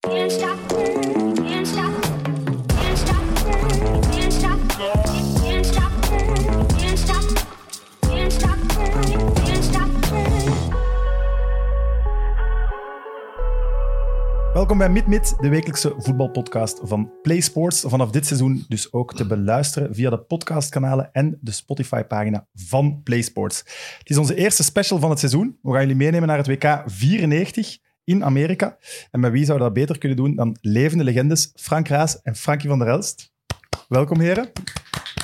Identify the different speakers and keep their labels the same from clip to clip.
Speaker 1: Can't stop, can't stop, can't stop, can't stop, can't stop, can't stop, can't stop, can't stop.
Speaker 2: Welkom bij MidMid, de wekelijkse voetbalpodcast van PlaySports. Vanaf dit seizoen dus ook te beluisteren via de podcastkanalen en de Spotify-pagina van PlaySports. Het is onze eerste special van het seizoen. We gaan jullie meenemen naar het WK 94 in Amerika. En met wie zou dat beter kunnen doen dan levende legendes Frank Raas en Frankie van der Elst. Welkom, heren.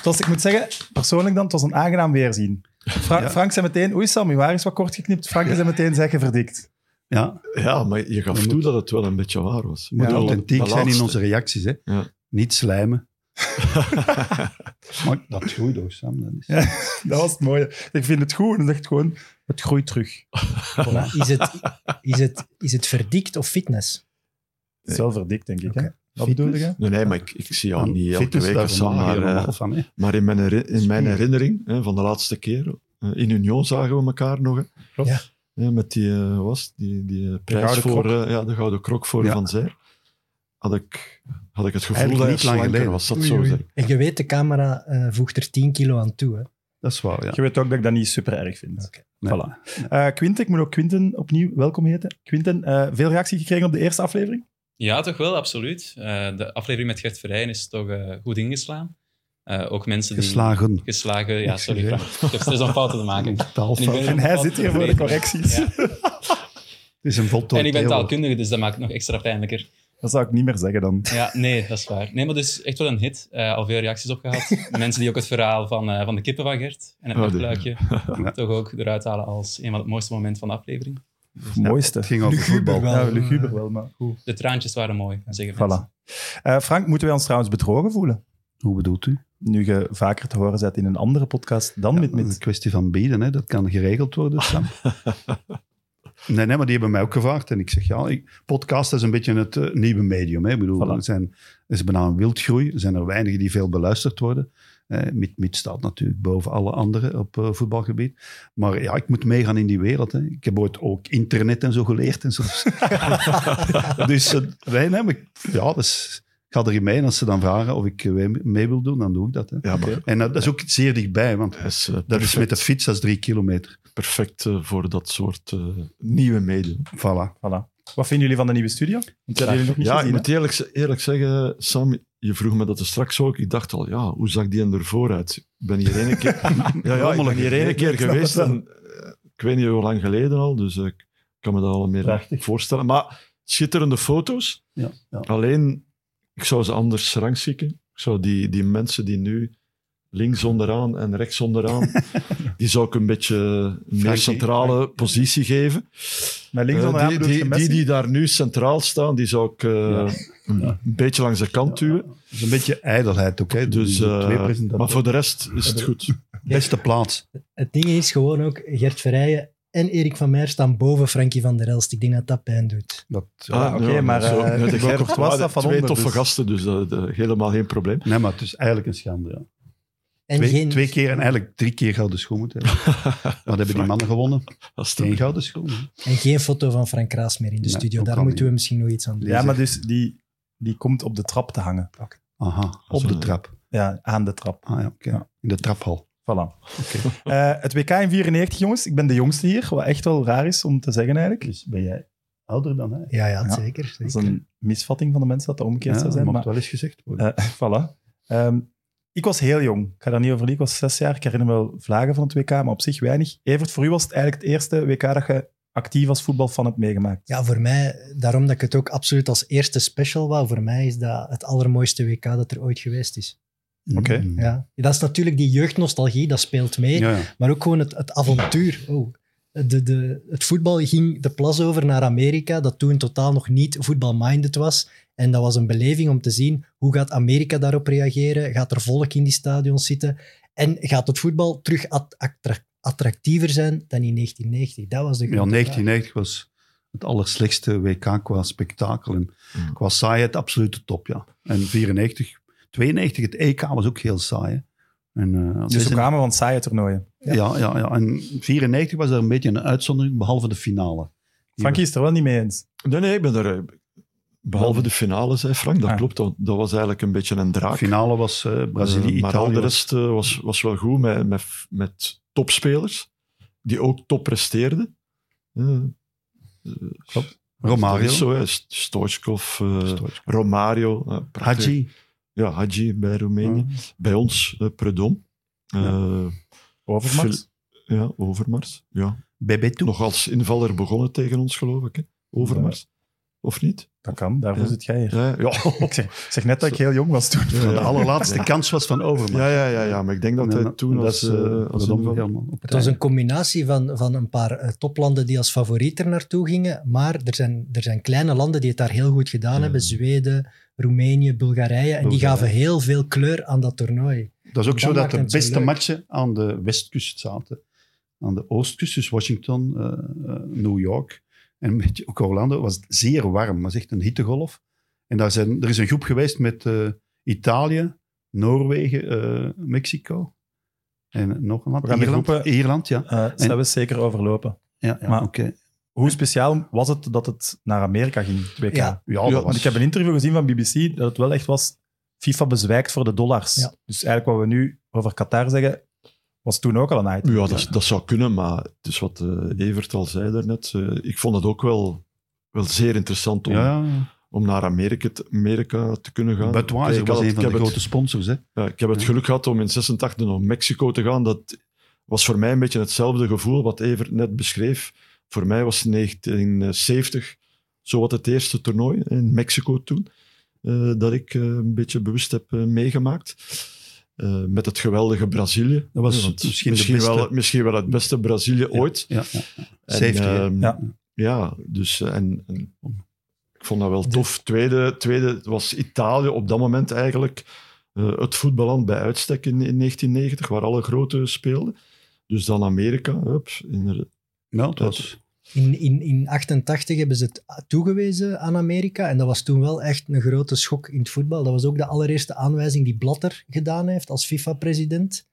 Speaker 2: Zoals ik moet zeggen, persoonlijk dan, het was een aangenaam weerzien. Fra-
Speaker 3: Ja.
Speaker 2: Frank zei meteen, oei Sammy, waar is wat kort geknipt? Frank zei meteen, zeg je verdikt.
Speaker 3: Ja,
Speaker 4: Ja, maar je gaf
Speaker 3: We
Speaker 4: toe dat het wel een beetje waar was.
Speaker 3: we moeten
Speaker 2: Ja,
Speaker 3: authentiek
Speaker 4: de
Speaker 3: zijn in
Speaker 4: laatste.
Speaker 3: onze reacties. Hè.
Speaker 4: Ja.
Speaker 3: Niet slijmen. maar dat groeit ook, Sam. Dat is...
Speaker 2: Dat was het mooie. Ik vind het goed en zegt gewoon, het groeit terug.
Speaker 5: Maar is het, is, het, is het verdikt of fitness?
Speaker 2: Het is wel verdikt, denk ik. Hè? Wat
Speaker 3: Fitness?
Speaker 2: bedoel je?
Speaker 4: Nee, nee, maar ik, ik zie jou
Speaker 3: Aan
Speaker 4: niet elke
Speaker 3: Ah, fitness,
Speaker 4: week.
Speaker 3: daar
Speaker 4: of zo,
Speaker 3: vermogen we
Speaker 4: maar, eh,
Speaker 3: helemaal van, hè.
Speaker 4: maar in mijn, heri- in mijn
Speaker 5: Spieren.
Speaker 4: herinnering hè, van de laatste keer, eh, in Union zagen we elkaar nog. hè.
Speaker 5: Klopt. Ja.
Speaker 4: Ja, met die, eh, wat was het? die, die eh, prijs
Speaker 2: gouden
Speaker 4: voor
Speaker 2: krok.
Speaker 4: eh, ja, de gouden krok voor
Speaker 3: Ja.
Speaker 4: Van Zij. Had ik, had ik het
Speaker 3: Eigenlijk
Speaker 4: gevoel dat
Speaker 3: niet
Speaker 4: hij
Speaker 3: lang
Speaker 4: slanker
Speaker 3: geleden.
Speaker 4: was. Dat
Speaker 2: Oei,
Speaker 4: zo
Speaker 2: oei.
Speaker 4: zeggen.
Speaker 5: En je weet, de camera eh, voegt er 10 kilo aan toe. Hè?
Speaker 3: Dat is waar, ja.
Speaker 2: Je weet ook dat ik dat niet super erg vind.
Speaker 5: Oké.
Speaker 3: Nee.
Speaker 2: Voilà. Eh, Quinten, ik moet ook Quinten opnieuw welkom heten. Quinten, eh, veel reactie gekregen op de eerste aflevering?
Speaker 6: Ja, toch wel, absoluut. Eh, de aflevering met Gert Verheyen is toch eh, goed ingeslaan. Eh, ook mensen die...
Speaker 3: Geslagen.
Speaker 6: Geslagen, ja, sorry.
Speaker 3: Excuseer.
Speaker 6: Frank. Ik heb steeds een fouten te maken. En ik ben
Speaker 3: Taalfout.
Speaker 6: er
Speaker 2: En
Speaker 6: ook
Speaker 2: eh, hij
Speaker 6: fout
Speaker 2: zit hier voor de
Speaker 6: vergeten.
Speaker 2: correcties.
Speaker 6: Ja.
Speaker 3: Het is een voltooid
Speaker 6: En ik ben
Speaker 3: deel.
Speaker 6: taalkundige, dus dat maakt het nog extra pijnlijker.
Speaker 2: Dat zou ik niet meer zeggen dan.
Speaker 6: Ja, nee, dat is waar. Nee, maar dus echt wel een hit. Eh, al veel reacties op gehad. Mensen die ook het verhaal van, eh, van de kippen van Gert en het
Speaker 4: Oh,
Speaker 6: nachtluikje
Speaker 3: Ja.
Speaker 6: toch ook eruit halen als een van het mooiste moment van de aflevering.
Speaker 2: Mooiste.
Speaker 3: Het ging over voetbal.
Speaker 2: Ja, luguber wel, maar goed.
Speaker 6: De traantjes waren mooi, zeggen mensen.
Speaker 2: Voilà. Eh, Frank, moeten wij ons trouwens bedrogen voelen?
Speaker 3: Hoe bedoelt u?
Speaker 2: Nu je vaker te horen bent in een andere podcast dan met
Speaker 3: Dat is
Speaker 2: met.
Speaker 3: een kwestie van bieden, hè. dat kan geregeld worden, Sam. Nee, nee, maar die hebben mij ook gevraagd. En ik zeg, ja, ik, podcast is een beetje het eh, nieuwe medium. Hè. Ik bedoel,
Speaker 2: Voilà.
Speaker 3: er zijn, er is bijna een wildgroei. Er zijn er weinigen die veel beluisterd worden. Eh, Mit, Mit staat natuurlijk boven alle anderen op eh, voetbalgebied. Maar ja, ik moet meegaan in die wereld. Hè. Ik heb ooit ook internet en zo geleerd. En zo. dus eh, nee, nee, maar ik- ja, dus, ik ga erin mee. En als ze dan vragen of ik eh, mee wil doen, dan doe ik dat. Hè.
Speaker 4: Ja, maar
Speaker 3: En eh, dat, dat is ook zeer dichtbij, want
Speaker 4: hij is eh,
Speaker 3: dat is
Speaker 4: perfect,
Speaker 3: met de fiets, dat is drie kilometer.
Speaker 4: perfect eh, voor dat soort eh, nieuwe media.
Speaker 3: Voilà.
Speaker 2: Voilà. Wat vinden jullie van de nieuwe studio? Want dat hebben jullie nog niet
Speaker 4: Ja, ik
Speaker 2: gezien. hè?
Speaker 4: moet eerlijk, ze- eerlijk zeggen, Sam, je vroeg me dat er straks ook. Ik dacht al, ja, hoe zag die er ervoor uit? Ik ben hier één keer, ja, ja, ik ben hier één keer
Speaker 2: snap
Speaker 4: geweest.
Speaker 2: het wel.
Speaker 4: En, eh, ik weet niet hoe lang geleden al, dus eh, ik kan me dat al meer
Speaker 2: Prachtig.
Speaker 4: voorstellen. Maar schitterende foto's.
Speaker 3: Ja, ja.
Speaker 4: Alleen, ik zou ze anders rangschikken. Ik zou die, die mensen die nu links onderaan en rechts onderaan, die zou ik een beetje een meer
Speaker 3: Frankie,
Speaker 4: centrale
Speaker 3: Frank-
Speaker 4: positie geven.
Speaker 2: Met links
Speaker 4: Eh,
Speaker 2: onderaan
Speaker 4: die,
Speaker 2: bedoel je
Speaker 4: die,
Speaker 2: Messi?
Speaker 4: die die daar nu centraal staan, die zou ik eh, een
Speaker 3: Ja.
Speaker 4: beetje langs de kant duwen.
Speaker 3: Dat is een beetje ijdelheid, oké?
Speaker 4: Dus,
Speaker 3: Dus,
Speaker 4: eh,
Speaker 3: twee presentatoren. Ah,
Speaker 4: maar voor de rest is het goed.
Speaker 3: Beste plaats.
Speaker 5: Het ding is gewoon ook, Gert Verheyen en Erik van Meijer staan boven Frankie van der Elst. Ik denk dat dat pijn doet.
Speaker 3: Dat,
Speaker 2: Ah, oké, maar,
Speaker 4: zo.
Speaker 2: eh,
Speaker 4: Ja, de
Speaker 2: Thibaut
Speaker 4: Gerrit
Speaker 2: Courtois
Speaker 4: Courtois,
Speaker 2: staat van
Speaker 4: Twee
Speaker 2: onder,
Speaker 4: toffe
Speaker 2: dus.
Speaker 4: gasten, dus dat- dat- helemaal geen probleem.
Speaker 3: Nee, maar het is eigenlijk een schande. Ja.
Speaker 5: En
Speaker 3: Twee,
Speaker 5: geen,
Speaker 3: twee keer en eigenlijk drie keer gouden schoen moeten hebben. Wat hebben die mannen gewonnen?
Speaker 4: Als het-
Speaker 3: Geen gouden schoen. hè.
Speaker 5: en geen foto van Frank Raas meer in de
Speaker 3: Nee,
Speaker 5: studio.
Speaker 3: ook
Speaker 5: Daar
Speaker 3: al
Speaker 5: moeten
Speaker 3: niet.
Speaker 5: we misschien nog iets aan doen.
Speaker 2: Ja, maar dus die, die komt op de trap te hangen.
Speaker 3: Aha, op
Speaker 4: Zo,
Speaker 3: de
Speaker 4: ja.
Speaker 3: trap.
Speaker 2: Ja, aan de trap.
Speaker 3: Ah ja, oké.
Speaker 2: Ja.
Speaker 3: In de traphal.
Speaker 2: Voilà. Eh, het WK in 94, jongens. Ik ben de jongste hier, wat echt wel raar is om te zeggen eigenlijk.
Speaker 3: Dus ben jij ouder dan hij?
Speaker 5: Ja, ja,
Speaker 2: Ja.
Speaker 5: zeker. zeker.
Speaker 2: Dat is een misvatting van de mensen dat dat omgekeerd
Speaker 3: Ja,
Speaker 2: zou
Speaker 3: dat
Speaker 2: zijn.
Speaker 3: mag
Speaker 2: Maar,
Speaker 3: wel eens gezegd worden.
Speaker 2: eh, voilà. Ehm, ik was heel jong. Ik ga daar niet over liegen. Ik was zes jaar. Ik herinner me wel vlagen van het WK, maar op zich weinig. Evert, voor u was het eigenlijk het eerste WK dat je actief als voetbalfan hebt meegemaakt.
Speaker 5: Ja, voor mij, daarom dat ik het ook absoluut als eerste special wou, voor mij is dat het allermooiste WK dat er ooit geweest is.
Speaker 2: oké.
Speaker 3: Mm.
Speaker 5: Ja. Dat is natuurlijk die jeugdnostalgie, dat speelt mee.
Speaker 3: Ja, ja.
Speaker 5: Maar ook gewoon het, het avontuur. Oh. De, de, het voetbal ging de plas over naar Amerika, dat toen totaal nog niet voetbalminded was. En dat was een beleving om te zien hoe gaat Amerika daarop reageren. Gaat er volk in die stadions zitten? En gaat het voetbal terug at- attra- attractiever zijn dan in 1990? Dat was de
Speaker 3: Ja,
Speaker 5: grote vraag.
Speaker 3: 1990 was het allerslechtste WK qua spektakel. En
Speaker 4: Mm.
Speaker 3: qua saaiheid absolute top, ja. En 94, 92, het EK was ook heel saai. hè. En, eh,
Speaker 2: Dus we
Speaker 3: 96
Speaker 2: kwamen van saaie toernooien.
Speaker 3: ja. ja, ja, En 94 was er een beetje een uitzondering, behalve de finale.
Speaker 2: Frankie is het er wel niet mee eens.
Speaker 4: Nee, nee, ik ben er... eh, Behalve de finales, hè, Frank, dat
Speaker 2: Ah.
Speaker 4: klopt. Dat, dat was eigenlijk een beetje een draak.
Speaker 3: finale was eh, Brazilië,
Speaker 4: Eh, maar al
Speaker 3: Italië.
Speaker 4: de rest eh, was, was wel goed met, met, met topspelers, die ook top presteerden. Eh,
Speaker 3: Romario.
Speaker 4: Dat is zo, hè. St- Stoichkov, eh,
Speaker 3: Stoichkov.
Speaker 4: Romario. eh, prachtig.
Speaker 3: Hadji.
Speaker 4: Ja, Hadji bij Roemenië. Bij ons, eh, Predom. Eh,
Speaker 2: Overmars.
Speaker 4: Phil- ja, Overmars. Ja.
Speaker 3: Bebeto.
Speaker 4: Nog als invaller begonnen tegen ons, geloof ik. Hè? Overmars. Of niet?
Speaker 2: Dat kan, daarvoor
Speaker 4: Ja.
Speaker 2: zit jij hier.
Speaker 4: Ja, ja.
Speaker 2: Ik zeg, ik zeg net dat ik heel jong was toen.
Speaker 4: Ja,
Speaker 3: De
Speaker 4: ja.
Speaker 3: allerlaatste
Speaker 4: Ja.
Speaker 3: kans was van Overmars.
Speaker 4: Ja, ja, ja, ja, maar ik denk dat hij toen als,
Speaker 3: is, eh,
Speaker 4: eh, als
Speaker 3: verdomme
Speaker 4: invaller-
Speaker 3: helemaal op
Speaker 5: Het was een combinatie van, van een paar eh, toplanden die als favoriet er naartoe gingen. Maar er zijn, er zijn kleine landen die het daar heel goed gedaan
Speaker 4: Ja.
Speaker 5: hebben. Zweden, Roemenië, Bulgarije. En die
Speaker 3: Bulgarije.
Speaker 5: gaven heel veel kleur aan dat toernooi.
Speaker 3: Dat is ook
Speaker 5: Dat
Speaker 3: zo dat
Speaker 5: maakt
Speaker 3: de
Speaker 5: het zo
Speaker 3: beste
Speaker 5: leuk.
Speaker 3: matchen aan de westkust zaten. Aan de oostkust, dus Washington, eh, eh, New York en een beetje ook Orlando, was het zeer warm. Het was echt een hittegolf. En daar zijn, er is een groep geweest met eh, Italië, Noorwegen, eh, Mexico en nog een land.
Speaker 2: We gaan de
Speaker 3: Ierland,
Speaker 2: groepen-
Speaker 3: Ierland, ja.
Speaker 2: Eh dat hebben we zeker overlopen.
Speaker 3: ja, ja
Speaker 2: Maar-
Speaker 3: oké.
Speaker 2: Hoe speciaal was het dat het naar Amerika ging, het WK?
Speaker 5: Ja.
Speaker 3: Ja, dat
Speaker 4: Ja,
Speaker 2: Want
Speaker 3: was-
Speaker 2: ik heb een interview gezien van BBC dat het wel echt was FIFA bezwijkt voor de dollars.
Speaker 5: Ja.
Speaker 2: Dus eigenlijk wat we nu over Qatar zeggen, was toen ook al een item.
Speaker 4: Ja, dat, dat zou kunnen, maar het is wat eh, Evert al zei daarnet. eh ik vond het ook wel, wel zeer interessant om,
Speaker 3: ja, ja.
Speaker 4: om naar Amerika te, Amerika te kunnen gaan.
Speaker 3: Budweiser
Speaker 4: Ik
Speaker 3: was
Speaker 4: had
Speaker 3: een
Speaker 4: het-
Speaker 3: van de
Speaker 4: ik heb
Speaker 3: grote
Speaker 4: het,
Speaker 3: sponsors. Hè.
Speaker 4: ja, ik heb het
Speaker 3: Ja.
Speaker 4: geluk gehad om in 86 naar Mexico te gaan. Dat was voor mij een beetje hetzelfde gevoel wat Evert net beschreef. Voor mij was 1970 zowat het eerste toernooi in Mexico toen. eh, dat ik eh, een beetje bewust heb eh, meegemaakt. Eh, met het geweldige Brazilië.
Speaker 3: Dat was
Speaker 4: Ja, want
Speaker 3: misschien de beste-
Speaker 4: wel, misschien wel het beste Brazilië ooit.
Speaker 3: Ja, ja.
Speaker 4: En,
Speaker 3: 70, hè?
Speaker 4: ehm,
Speaker 2: Ja.
Speaker 4: ja. dus eh, en, en ik vond dat wel tof. Tweede, tweede was Italië op dat moment eigenlijk eh, het voetballand bij uitstek in, in 1990, waar alle grote speelden. Dus dan Amerika, hup, inderdaad.
Speaker 3: Ja, het was...
Speaker 5: In, in, in 88 hebben ze het toegewezen aan Amerika. En dat was toen wel echt een grote schok in het voetbal. Dat was ook de allereerste aanwijzing die Blatter gedaan heeft als FIFA-president.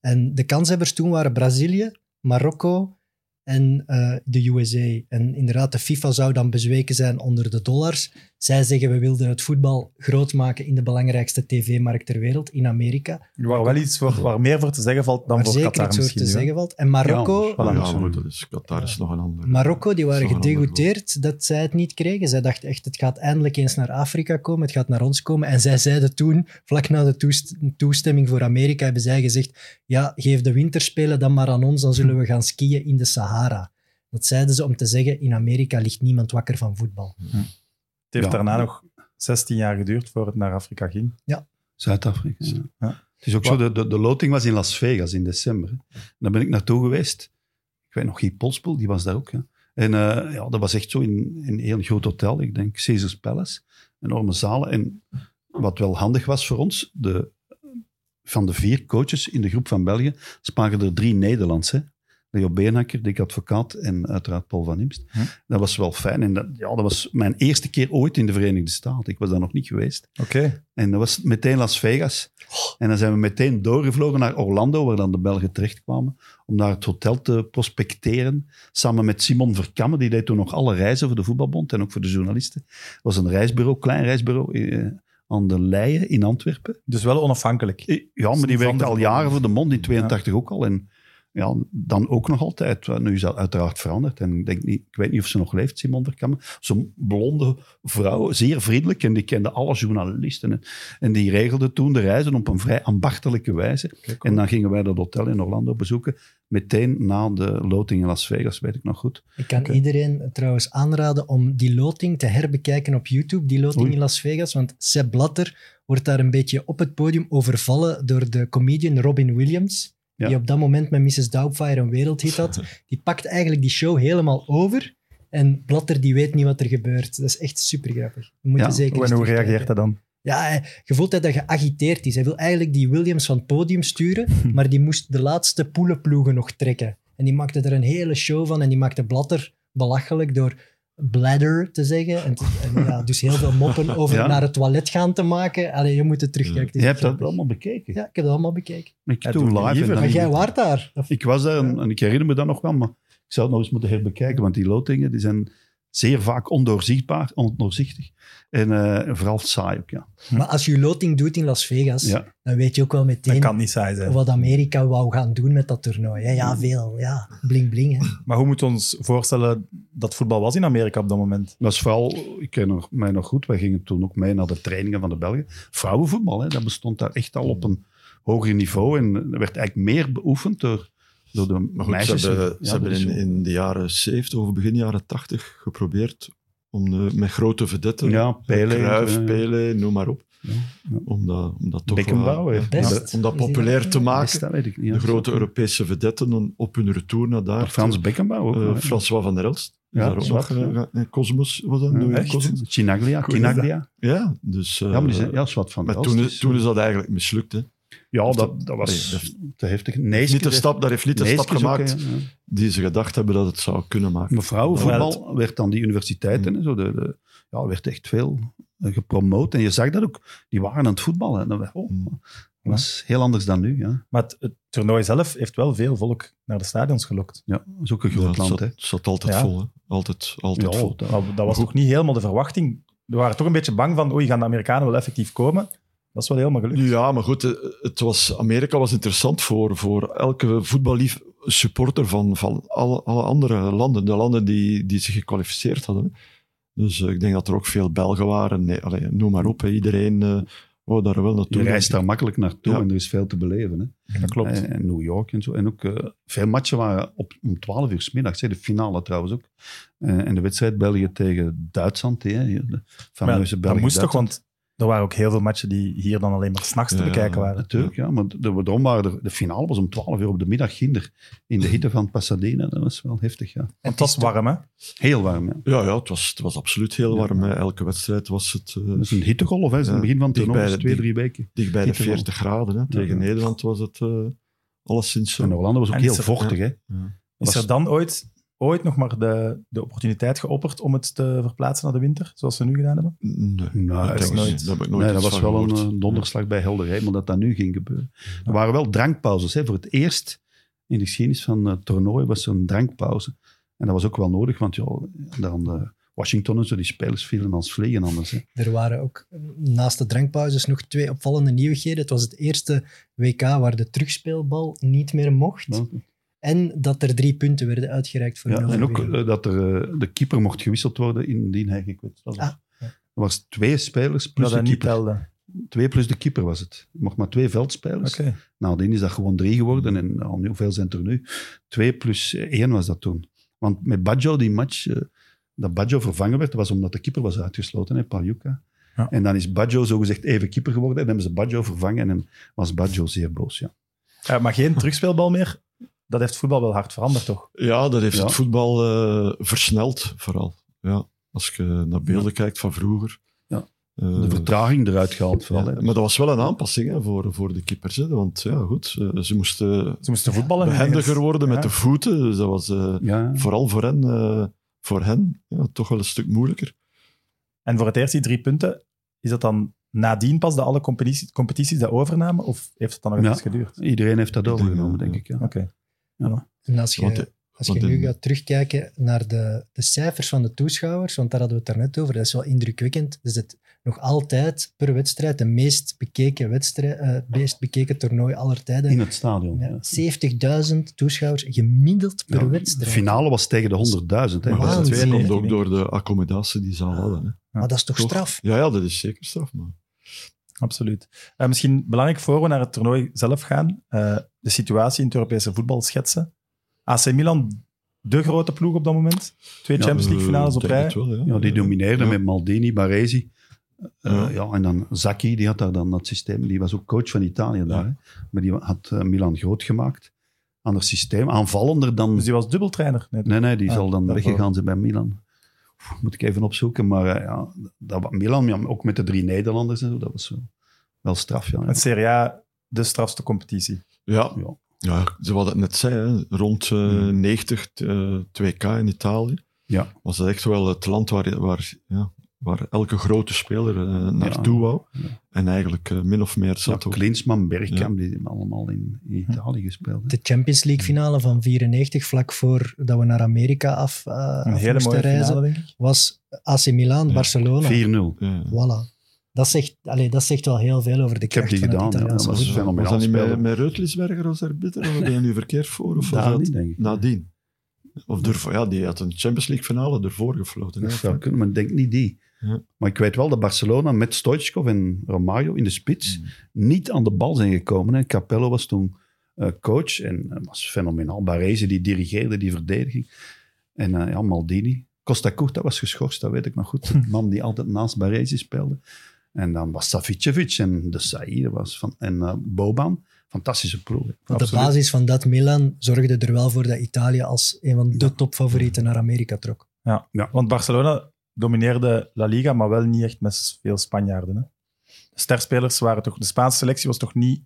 Speaker 5: En de kanshebbers toen waren Brazilië, Marokko en eh, de USA. En inderdaad, de FIFA zou dan bezweken zijn onder de dollars. Zij zeggen, we wilden het voetbal groot maken in de belangrijkste tv-markt ter wereld, in Amerika.
Speaker 2: Waar wel iets voor, waar meer voor te zeggen valt dan
Speaker 5: waar
Speaker 2: voor
Speaker 5: zeker
Speaker 2: Qatar
Speaker 5: iets over
Speaker 2: misschien.
Speaker 5: te
Speaker 2: nu, hè?
Speaker 5: zeggen valt. En Marokko,
Speaker 2: Voilà.
Speaker 4: ja, maar goed, dat is, Qatar is nog een ander.
Speaker 5: Marokko, die waren
Speaker 4: Zo'n ander
Speaker 5: gedegoûteerd dat zij het niet kregen. Zij dachten echt, het gaat eindelijk eens naar Afrika komen, het gaat naar ons komen. En zij zeiden toen, vlak na de toest- toestemming voor Amerika, hebben zij gezegd, ja, geef de winterspelen dan maar aan ons, dan zullen we gaan skiën in de Sahara. Dat zeiden ze om te zeggen, in Amerika ligt niemand wakker van voetbal.
Speaker 2: Het heeft
Speaker 3: Ja.
Speaker 2: daarna nog 16 jaar geduurd voor het naar Afrika ging.
Speaker 3: Zuid-Afrika. Ja.
Speaker 2: Ja.
Speaker 3: Het is ook zo, de, de, de loting was in Las Vegas in december. hè. En daar ben ik naartoe geweest. Ik weet nog, Guy Polspel, die was daar ook. Hè. En eh, ja, dat was echt zo in, in een heel groot hotel. Ik denk Caesars Palace. Enorme zalen. En wat wel handig was voor ons, de, van de vier coaches in de groep van België spraken er drie Nederlands. Hè. Leo Beenhakker, Dick Advocaat en uiteraard Paul van Imst.
Speaker 2: Hm.
Speaker 3: Dat was wel fijn. En dat, ja, dat was mijn eerste keer ooit in de Verenigde Staten. Ik was daar nog niet geweest.
Speaker 2: Oké.
Speaker 3: En dat was meteen Las Vegas. En dan zijn we meteen doorgevlogen naar Orlando, waar dan de Belgen terechtkwamen, om daar het hotel te prospecteren. Samen met Simon Verkamme, die deed toen nog alle reizen voor de voetbalbond en ook voor de journalisten. Het was een reisbureau, klein reisbureau, eh, aan de Leien in Antwerpen.
Speaker 2: Dus wel onafhankelijk.
Speaker 3: Eh, Ja, maar die
Speaker 2: Van
Speaker 3: werkte
Speaker 2: de
Speaker 3: al
Speaker 2: voetbal.
Speaker 3: jaren voor de mond, in 82 ook al. En ja, dan ook nog altijd. Nu is dat uiteraard veranderd. En ik, denk niet, ik weet niet of ze nog leeft, Simon Verkamme. Zo'n blonde vrouw, zeer vriendelijk. En die kende alle journalisten. En, en die regelde toen de reizen op een vrij ambachtelijke wijze. En dan gingen wij dat hotel in Orlando bezoeken. Meteen na de loting in Las Vegas, weet ik nog goed.
Speaker 5: Ik kan iedereen trouwens aanraden om die loting te herbekijken op YouTube, die loting
Speaker 3: Oei.
Speaker 5: in Las Vegas. Want Sepp Blatter wordt daar een beetje op het podium overvallen door de comedian Robin Williams.
Speaker 3: Ja.
Speaker 5: Die op dat moment met Mrs. Doubtfire een wereldhit had. Die pakt eigenlijk die show helemaal over. En Blatter die weet niet wat er gebeurt. Dat is echt super grappig. Moet
Speaker 3: Ja,
Speaker 5: je zeker eens
Speaker 2: En hoe
Speaker 5: terugkijken.
Speaker 2: reageert hij dan?
Speaker 5: Ja, hij- je voelt dat hij geagiteerd is. Hij wil eigenlijk die Williams van het podium sturen, maar die moest de laatste poelenploegen nog trekken. En die maakte er een hele show van en die maakte Blatter belachelijk door bladder te zeggen. En, te- en ja, dus heel veel moppen over
Speaker 3: Ja.
Speaker 5: naar het toilet gaan te maken. Allee, je moet het terugkijken. Het is
Speaker 3: Je hebt dat
Speaker 5: grappig.
Speaker 3: allemaal bekeken.
Speaker 5: Ja, ik heb dat allemaal bekeken.
Speaker 3: Ik
Speaker 2: Ja,
Speaker 3: toen
Speaker 2: doe
Speaker 3: live. en
Speaker 2: liever.
Speaker 3: dan
Speaker 5: Maar
Speaker 3: in
Speaker 5: jij
Speaker 3: de-
Speaker 5: waart daar. Of-
Speaker 3: Ik was daar en, en ik herinner me dat nog wel, maar ik zou het nog eens moeten herbekijken, want die lotingen die zijn Zeer vaak ondoorzichtbaar, ondoorzichtig. En eh, vooral saai ook, ja.
Speaker 5: Maar als je loting doet in Las Vegas,
Speaker 3: ja.
Speaker 5: dan weet je ook wel
Speaker 2: Dat
Speaker 5: meteen
Speaker 2: kan niet saai zijn.
Speaker 5: wat Amerika wou gaan doen met dat toernooi. Hè. Ja, veel. Ja, bling bling. Hè.
Speaker 2: Maar hoe moeten we ons voorstellen dat voetbal was in Amerika op dat moment?
Speaker 3: Dat is vooral, ik ken nog, mij nog goed, wij gingen toen ook mee naar de trainingen van de Belgen. Vrouwenvoetbal, hè, dat bestond daar echt al op een hoger niveau. En er werd eigenlijk meer beoefend door, door de
Speaker 4: Maar goed,
Speaker 3: meisjes.
Speaker 4: ze hebben,
Speaker 3: Ja, dus- dat
Speaker 4: ze hebben
Speaker 3: is
Speaker 4: in,
Speaker 3: zo.
Speaker 4: in de jaren 70 of begin jaren 80 geprobeerd om de, met grote vedetten,
Speaker 3: Ja, Pele,
Speaker 4: Cruijff,
Speaker 3: eh,
Speaker 4: Pele, noem maar op,
Speaker 3: Ja,
Speaker 4: om dat, om dat toch
Speaker 3: Beckenbauer,
Speaker 4: wel-
Speaker 3: hè.
Speaker 4: om
Speaker 5: Best.
Speaker 4: dat- om dat
Speaker 5: Is die
Speaker 4: populair
Speaker 5: dat?
Speaker 4: te
Speaker 3: Best,
Speaker 4: maken.
Speaker 3: dat weet ik niet.
Speaker 4: De
Speaker 3: Ja.
Speaker 4: grote Europese vedetten dan op hun retour naar daar.
Speaker 3: Maar Frans Beckenbauer ook.
Speaker 4: Eh,
Speaker 3: wel, hè.
Speaker 4: François van der Elst.
Speaker 3: Ja,
Speaker 4: Ja, daar ook nog.
Speaker 3: zwart, ja.
Speaker 4: eh, eh, Cosmos was dat?
Speaker 3: Ja,
Speaker 4: Louis
Speaker 3: echt?
Speaker 4: Cosmos.
Speaker 3: Chinaglia,
Speaker 2: Goed,
Speaker 3: Chinaglia.
Speaker 4: Ja, dus... eh,
Speaker 3: Ja, maar die zijn, ja, is wat van
Speaker 4: maar
Speaker 3: Elst
Speaker 4: toen,
Speaker 3: is-
Speaker 4: is, toen is dat eigenlijk mislukt. Hè.
Speaker 3: Ja, dat, dat was
Speaker 4: Nee, dat-
Speaker 3: te heftig. Nee,
Speaker 4: Niet de stap, daar heeft niet de stap gemaakt
Speaker 3: eh, ja.
Speaker 4: die ze gedacht hebben dat het zou kunnen maken.
Speaker 3: Maar vrouwenvoetbal werd Hmm. dan die universiteiten en zo. De, de- ja, werd echt veel eh, gepromoot. En je zag dat ook. Die waren aan het voetballen. En dat oh,
Speaker 4: Hmm.
Speaker 3: dat was heel anders dan nu. Ja,
Speaker 2: Maar het, het toernooi zelf heeft wel veel volk naar de stadions gelokt.
Speaker 3: ja dat is ook een
Speaker 4: Ja,
Speaker 3: groot
Speaker 4: het
Speaker 3: land.
Speaker 4: zat,
Speaker 3: Hè.
Speaker 4: het zat altijd
Speaker 2: Ja.
Speaker 4: vol. Hè. Altijd, altijd
Speaker 3: Ja,
Speaker 4: vol.
Speaker 3: dat-
Speaker 2: Maar dat was toch niet helemaal de verwachting. We waren toch een beetje bang van, oei, gaan de Amerikanen wel effectief komen? Dat is wel helemaal gelukt.
Speaker 4: Ja, maar goed, eh, het was, Amerika was interessant voor, voor elke voetballief supporter van, van alle, alle andere landen. De landen die, die zich gekwalificeerd hadden. Dus eh, ik denk dat er ook veel Belgen waren. Nee, allee, noem maar op, hè. iedereen eh, wou daar wel
Speaker 3: Je
Speaker 4: naartoe.
Speaker 3: reist daar makkelijk naartoe
Speaker 4: Ja.
Speaker 3: en er is veel te beleven. Hè.
Speaker 2: Dat klopt.
Speaker 3: En, en New York en zo. En ook eh, veel matchen waren op, om 12 uur 's middags. hè. De finale trouwens ook. Eh, en de wedstrijd België tegen Duitsland. Hè, hier, de
Speaker 2: Maar
Speaker 3: fameuze
Speaker 2: dat
Speaker 3: België.
Speaker 2: moest toch, want er waren ook heel veel matchen die hier dan alleen maar s'nachts te
Speaker 4: Ja.
Speaker 2: bekijken waren.
Speaker 3: Natuurlijk, ja. Maar de, daarom waren er- de finale was om 12 uur op de middag ginder. In de hitte van Pasadena. Dat was wel heftig, ja.
Speaker 2: Want dat was warm, hè?
Speaker 3: Heel warm, ja.
Speaker 4: Ja, ja het, was, het was absoluut heel warm. hè. Elke wedstrijd was het eh,
Speaker 3: Dat is een hittegolf, hè. Dat is
Speaker 4: Ja.
Speaker 3: het begin van het toernooi,
Speaker 4: Dichtbij
Speaker 3: dat is
Speaker 4: de-
Speaker 3: twee, drie weken.
Speaker 4: dicht bij de
Speaker 3: Hittegolf.
Speaker 4: 40 graden. Hè. Tegen
Speaker 3: Ja.
Speaker 4: Nederland was het eh alleszins eh, zo.
Speaker 3: En Orlando was ook
Speaker 2: En
Speaker 3: heel
Speaker 2: is er-
Speaker 3: vochtig, hè.
Speaker 2: Is
Speaker 3: Was-
Speaker 2: er dan ooit, ooit nog maar de, de opportuniteit geopperd om het te verplaatsen naar de winter, zoals ze nu gedaan hebben?
Speaker 4: Nee,
Speaker 3: Nou,
Speaker 4: dat,
Speaker 3: dat
Speaker 4: denk ik
Speaker 2: is
Speaker 4: niet.
Speaker 2: nooit-
Speaker 4: dat heb ik nooit
Speaker 3: Nee, dat
Speaker 4: iets
Speaker 3: was
Speaker 4: van
Speaker 3: wel
Speaker 4: gehoord.
Speaker 3: een eh, donderslag bij helderheid, maar dat dat nu ging gebeuren. Er waren wel drankpauzes, hè. Voor het eerst in de geschiedenis van het toernooi was er een drankpauze. En dat was ook wel nodig, want ja, dan eh, Washington en zo, die spelers vielen als vliegen anders, hè.
Speaker 5: Er waren ook eh, naast de drankpauzes nog twee opvallende nieuwigheden. Het was het eerste WK waar de terugspeelbal niet meer mocht.
Speaker 3: Ja.
Speaker 5: En dat er drie punten werden uitgereikt voor een
Speaker 3: Ja, en ook
Speaker 5: overwinning.
Speaker 3: eh, dat er, eh, de keeper mocht gewisseld worden indien hij gekwetst was.
Speaker 5: Ah, ja.
Speaker 3: Er was twee spelers plus
Speaker 2: Dat Nou, dat
Speaker 3: de
Speaker 2: niet
Speaker 3: keeper.
Speaker 2: telde.
Speaker 3: Twee plus de keeper was het. Je mocht maar twee veldspelers.
Speaker 2: Oké.
Speaker 3: Nadien is dat gewoon drie geworden. En al nu- hoeveel zijn er nu? Twee plus eh, één was dat toen. Want met Baggio, die match, eh, dat Baggio vervangen werd, was omdat de keeper was uitgesloten, hè, Paljuka.
Speaker 2: Ja.
Speaker 3: En dan is Baggio zogezegd even keeper geworden. En hebben ze Baggio vervangen. En was Baggio zeer boos, ja.
Speaker 2: Eh, maar geen terugspeelbal meer? Dat heeft voetbal wel hard veranderd, toch?
Speaker 4: Ja, dat heeft
Speaker 3: Ja.
Speaker 4: het voetbal eh, versneld, vooral. Ja, als je naar beelden kijkt van vroeger.
Speaker 3: Ja.
Speaker 4: Eh,
Speaker 3: De vertraging eruit gehaald vooral.
Speaker 4: ja,
Speaker 3: hè. dus.
Speaker 4: maar dat was wel een aanpassing hè, voor, voor de keepers. Hè, want ja, goed, eh, ze moesten
Speaker 2: Ze moesten voetballen.
Speaker 4: behendiger worden met
Speaker 2: Ja.
Speaker 4: de voeten. Dus dat was eh,
Speaker 3: Ja.
Speaker 4: vooral voor hen, eh, voor hen ja, toch wel een stuk moeilijker.
Speaker 2: En voor het eerst die drie punten, is dat dan nadien pas dat alle competities, competities dat overnamen? Of heeft het dan nog
Speaker 3: Ja.
Speaker 2: eens geduurd?
Speaker 3: Iedereen heeft dat
Speaker 4: Ik denk,
Speaker 3: overgenomen,
Speaker 4: ja,
Speaker 3: denk
Speaker 4: ja.
Speaker 3: ik. Ja.
Speaker 2: Oké.
Speaker 5: En als je,
Speaker 4: Want, eh,
Speaker 5: als je
Speaker 4: want
Speaker 5: nu
Speaker 4: in-
Speaker 5: gaat terugkijken naar de, de cijfers van de toeschouwers, want daar hadden we het daarnet over, dat is wel indrukwekkend. Dus het nog altijd per wedstrijd de meest bekeken, wedstrijd, eh, meest bekeken toernooi aller tijden.
Speaker 3: In het stadion.
Speaker 5: Ja,
Speaker 3: ja.
Speaker 5: 70.000 toeschouwers gemiddeld per
Speaker 3: Ja,
Speaker 5: wedstrijd.
Speaker 3: De finale was tegen de 100.000. hè.
Speaker 4: Maar
Speaker 5: Waanzin,
Speaker 4: dat
Speaker 5: Waanzinnig.
Speaker 4: komt
Speaker 2: Ik
Speaker 4: ook
Speaker 2: denk
Speaker 4: door de accommodatie die ze al hadden. Hè.
Speaker 5: Maar dat is toch,
Speaker 4: Toch?
Speaker 5: straf?
Speaker 4: Ja, ja, dat is zeker straf. Maar.
Speaker 2: Absoluut. Eh, misschien belangrijk voor we naar het toernooi zelf gaan, eh, de situatie in het Europese voetbal schetsen. AC Milan, de grote ploeg op dat moment. Twee
Speaker 3: Ja,
Speaker 2: Champions League finales
Speaker 4: Eh,
Speaker 2: op
Speaker 4: ik denk
Speaker 2: rij.
Speaker 4: het wel, ja.
Speaker 3: Ja, die domineerden
Speaker 4: Ja.
Speaker 3: met Maldini, Baresi. Eh,
Speaker 4: Ja.
Speaker 3: ja. en dan Zacchi, die had daar dan dat systeem. Die was ook coach van Italië daar. Hè? Maar die had eh, Milan groot gemaakt. Ander systeem, aanvallender dan...
Speaker 2: Dus die was dubbeltrainer. Nee,
Speaker 3: Nee, nee, die
Speaker 2: Ah,
Speaker 3: zal dan
Speaker 2: daarvoor.
Speaker 3: weggegaan zijn bij Milan. Oef, moet ik even opzoeken. Maar eh, ja, dat, wa- Milan, ja, ook met de drie Nederlanders en zo, dat was wel, wel straf. Ja, ja.
Speaker 2: Het Serie A, de strafste competitie.
Speaker 4: Ja,
Speaker 3: Ja.
Speaker 4: ja. ze wat het net zei, hè, rond eh, 90, eh 2K in Italië,
Speaker 3: Ja.
Speaker 4: was dat echt wel het land waar, waar ja, waar elke grote speler eh, naartoe wou. En eigenlijk eh, min of meer
Speaker 3: Zat
Speaker 4: hetzelfde. ook.
Speaker 3: Klinsman, Bergkamp, die hebben allemaal in, in Italië gespeeld. hè.
Speaker 5: De Champions League finale van 94, vlak voor dat we naar Amerika af, eh,
Speaker 2: Een
Speaker 5: af
Speaker 2: hele
Speaker 5: moesten
Speaker 2: mooie
Speaker 5: reizen,
Speaker 2: finale, denk ik.
Speaker 5: was AC Milan,
Speaker 4: Ja.
Speaker 5: Barcelona.
Speaker 3: 4-0.
Speaker 4: Ja.
Speaker 5: Voilà. Dat zegt, allee, dat zegt wel heel veel over de
Speaker 3: heb
Speaker 5: kracht
Speaker 3: die
Speaker 5: van
Speaker 3: gedaan,
Speaker 5: het
Speaker 3: ja,
Speaker 5: Italiaanse
Speaker 3: dat was
Speaker 5: voetbal.
Speaker 3: fenomenaal.
Speaker 4: Was dat niet
Speaker 3: spelen.
Speaker 4: met, met Reutlisberger als arbiter? Of ben je nu verkeerd voor? Of was
Speaker 3: Daar
Speaker 4: dat
Speaker 3: niet, denk ik.
Speaker 4: nadien? Of durf, ja, die had een Champions League finale ervoor gefloten. hè,
Speaker 3: Dat
Speaker 4: of
Speaker 3: zou
Speaker 4: niet?
Speaker 3: kunnen, maar ik denk niet die.
Speaker 4: Ja.
Speaker 3: Maar ik weet wel dat Barcelona met Stoichkov en Romario in de spits niet aan de bal zijn gekomen. Hè. Capello was toen eh, coach en eh, was fenomenaal. Barese die dirigeerde die verdediging. En eh, ja, Maldini. Costa Curta was geschorst, dat weet ik nog goed. De man die altijd naast Barese speelde. En dan was Savicevic en De Saïde was van, en eh, Boban. Fantastische ploeg. hè.
Speaker 5: Want de
Speaker 3: Absoluut.
Speaker 5: basis van dat Milan zorgde er wel voor dat Italië als een van de topfavorieten naar Amerika trok.
Speaker 2: Want Barcelona domineerde La Liga, maar wel niet echt met veel Spanjaarden. Hè? De sterspelers waren toch... De Spaanse selectie was toch niet